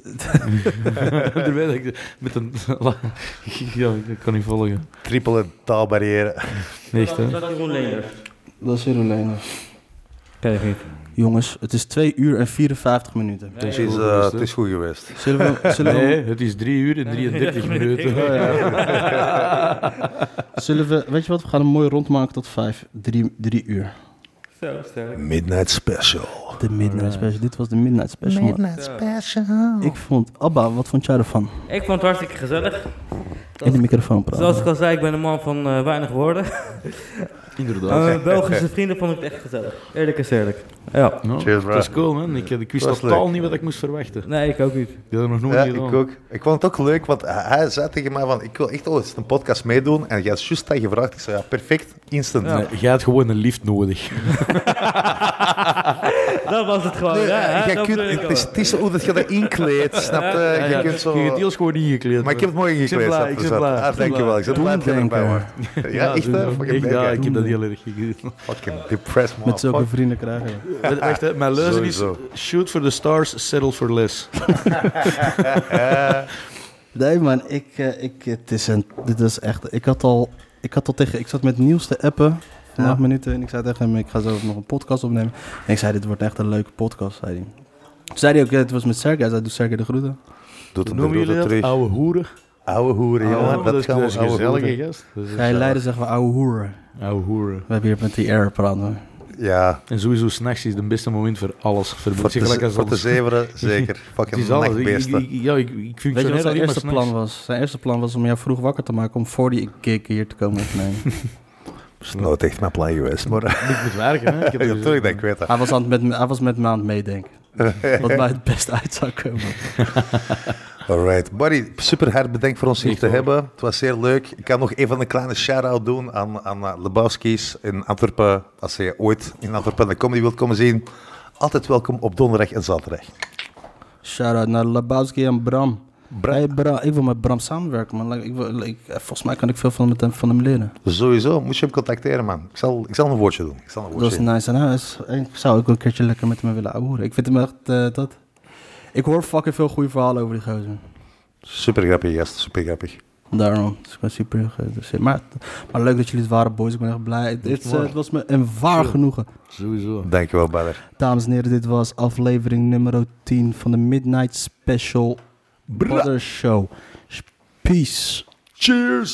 Daarbij dat ik met een... ja, ik kan niet volgen. Triple taalbarrière. Nee, echt hè? Dat is Jeroen Leenders. Dat is Jeroen Kijk niet. Jongens, het is 2 uur en 54 minuten. Het Ja, is, goed eh, geweest, het hè? is goed geweest. Zullen we, zullen we, Nee, het is 3 uur en 33 minuten. Oh, ja. zullen we... Weet je wat, we gaan hem mooi rondmaken tot 5. 3 uur. Zo, sterk. Midnight Special. De Midnight Special. Dit was de Midnight Special. man. Ik vond... Abba, wat vond jij ervan? Ik vond het hartstikke gezellig. In de microfoon praten. Zoals ik al zei, ik ben een man van eh, weinig woorden. Inderdaad. Eh Belgische vrienden vond ik het echt gezellig. Eerlijk is eerlijk. Ja. Ja, Cheers, bro. dat Nou, is cool, man. Ik, ik wist Was totaal leuk. niet wat ik moest verwachten. Nee, ik ook niet. Die had nog nooit Ja, gedaan. ik ook. Ik vond het ook leuk, want hij zei tegen mij van, ik wil echt ooit een podcast meedoen. En jij had juist dat gevraagd. Ik zei, ja, perfect. Instant. Nee, jij had gewoon een lift nodig. Dat was het gewoon. Nee, eh, eh, ja, hè, jij dat kunt, bedoel ik het, is, wel. het is hoe dat je dat inkleedt, snap je? Ja, Je ja. kunt zo... Je hebt deels gewoon ingekleed. Maar ik heb het mooi Ik ben ingekleed. blij, snap je, ik ben zo. blij, Ah, ik ben Dankjewel. Ik ben blij dat je er Toen nog bij denken. wordt. Ja, echt hè? Fucking Ik, ja, lekker. ik heb dat heel erg gegeten. Fucking depressed, man. Met zulke Fuck. vrienden krijgen we. Wacht, Wacht, hè, mijn leuze is... Sowieso. Shoot for the stars, settle for less. Nee, man, ik, eh, ik, het is een, dit is echt, ik had al, ik had al tegen, ik zat met Niels te appen, van acht minuten, en ik zei tegen hem, ik ga zo nog een podcast opnemen. En ik zei, dit wordt echt een leuke podcast, zei hij. Toen zei hij ook, ja, het was met Sergej, hij zei, doe Sergej de groeten. Doet hem de Noemen jullie groeten dat? terug. Oude hoeren. Oude hoeren, jongen. Oh, dat, is kan dat is wel, ouwe gezellig, hoeren. gast. Dat Ga je is gezellig. leiden, zeggen we, ouwe hoeren. Oude hoeren. We hebben hier met die air praten. hoor. Ja, En sowieso, s'nachts is het beste moment voor alles. Voor, voor muziek, gelijk te, als voor te alles. zeveren, zeker. Het Fucking is alles. Ik, ik, nachtbeesten. ik- ja, ik, ik Weet je functioneer wat zijn alleen maar eerste s'nachts. plan was? Zijn eerste plan was om jou vroeg wakker te maken om voor die kick hier te komen opnemen. Dat is nooit echt mijn plan geweest, maar... Ik moet werken, hè. Ik heb Ja, dus- Natuurlijk, dat ik weet dat. hij, was aan het met, hij was met me aan het meedenken. Wat mij het best uit zou komen. Alright. Barry, super hard bedankt voor ons hier Niet te hoor. hebben. Het was zeer leuk. Ik kan nog even een kleine shout-out doen aan, aan eh, Lebowski's in Antwerpen. Als je ooit in Antwerpen de comedy wilt komen zien, altijd welkom op donderdag en zaterdag. Shout-out naar Labowski en Bram. Bra- Hey, Bram, ik wil met Bram samenwerken, man. Like, ik wil, ik- eh, volgens mij kan ik veel van, met hem, van hem leren. Sowieso, moet je hem contacteren, man. Ik zal, ik zal een woordje doen. Ik zal een Dat is woordje doen. nice. En hij is, ik zou ook een keertje lekker met hem willen ouwen. Ik vind hem echt eh, dat. Ik hoor fucking veel goede verhalen over die gozer. Super grappig, gast. Super grappig. Daarom. Dus ik ben super geïnteresseerd. Maar, maar leuk dat jullie het waren, boys. Ik ben echt blij. Het, het, eh, het was me een waar genoegen. Sowieso. Dankjewel, Barry. Dames en heren, dit was aflevering nummer 10 van de Midnight Special Brother Show. Peace. Cheers!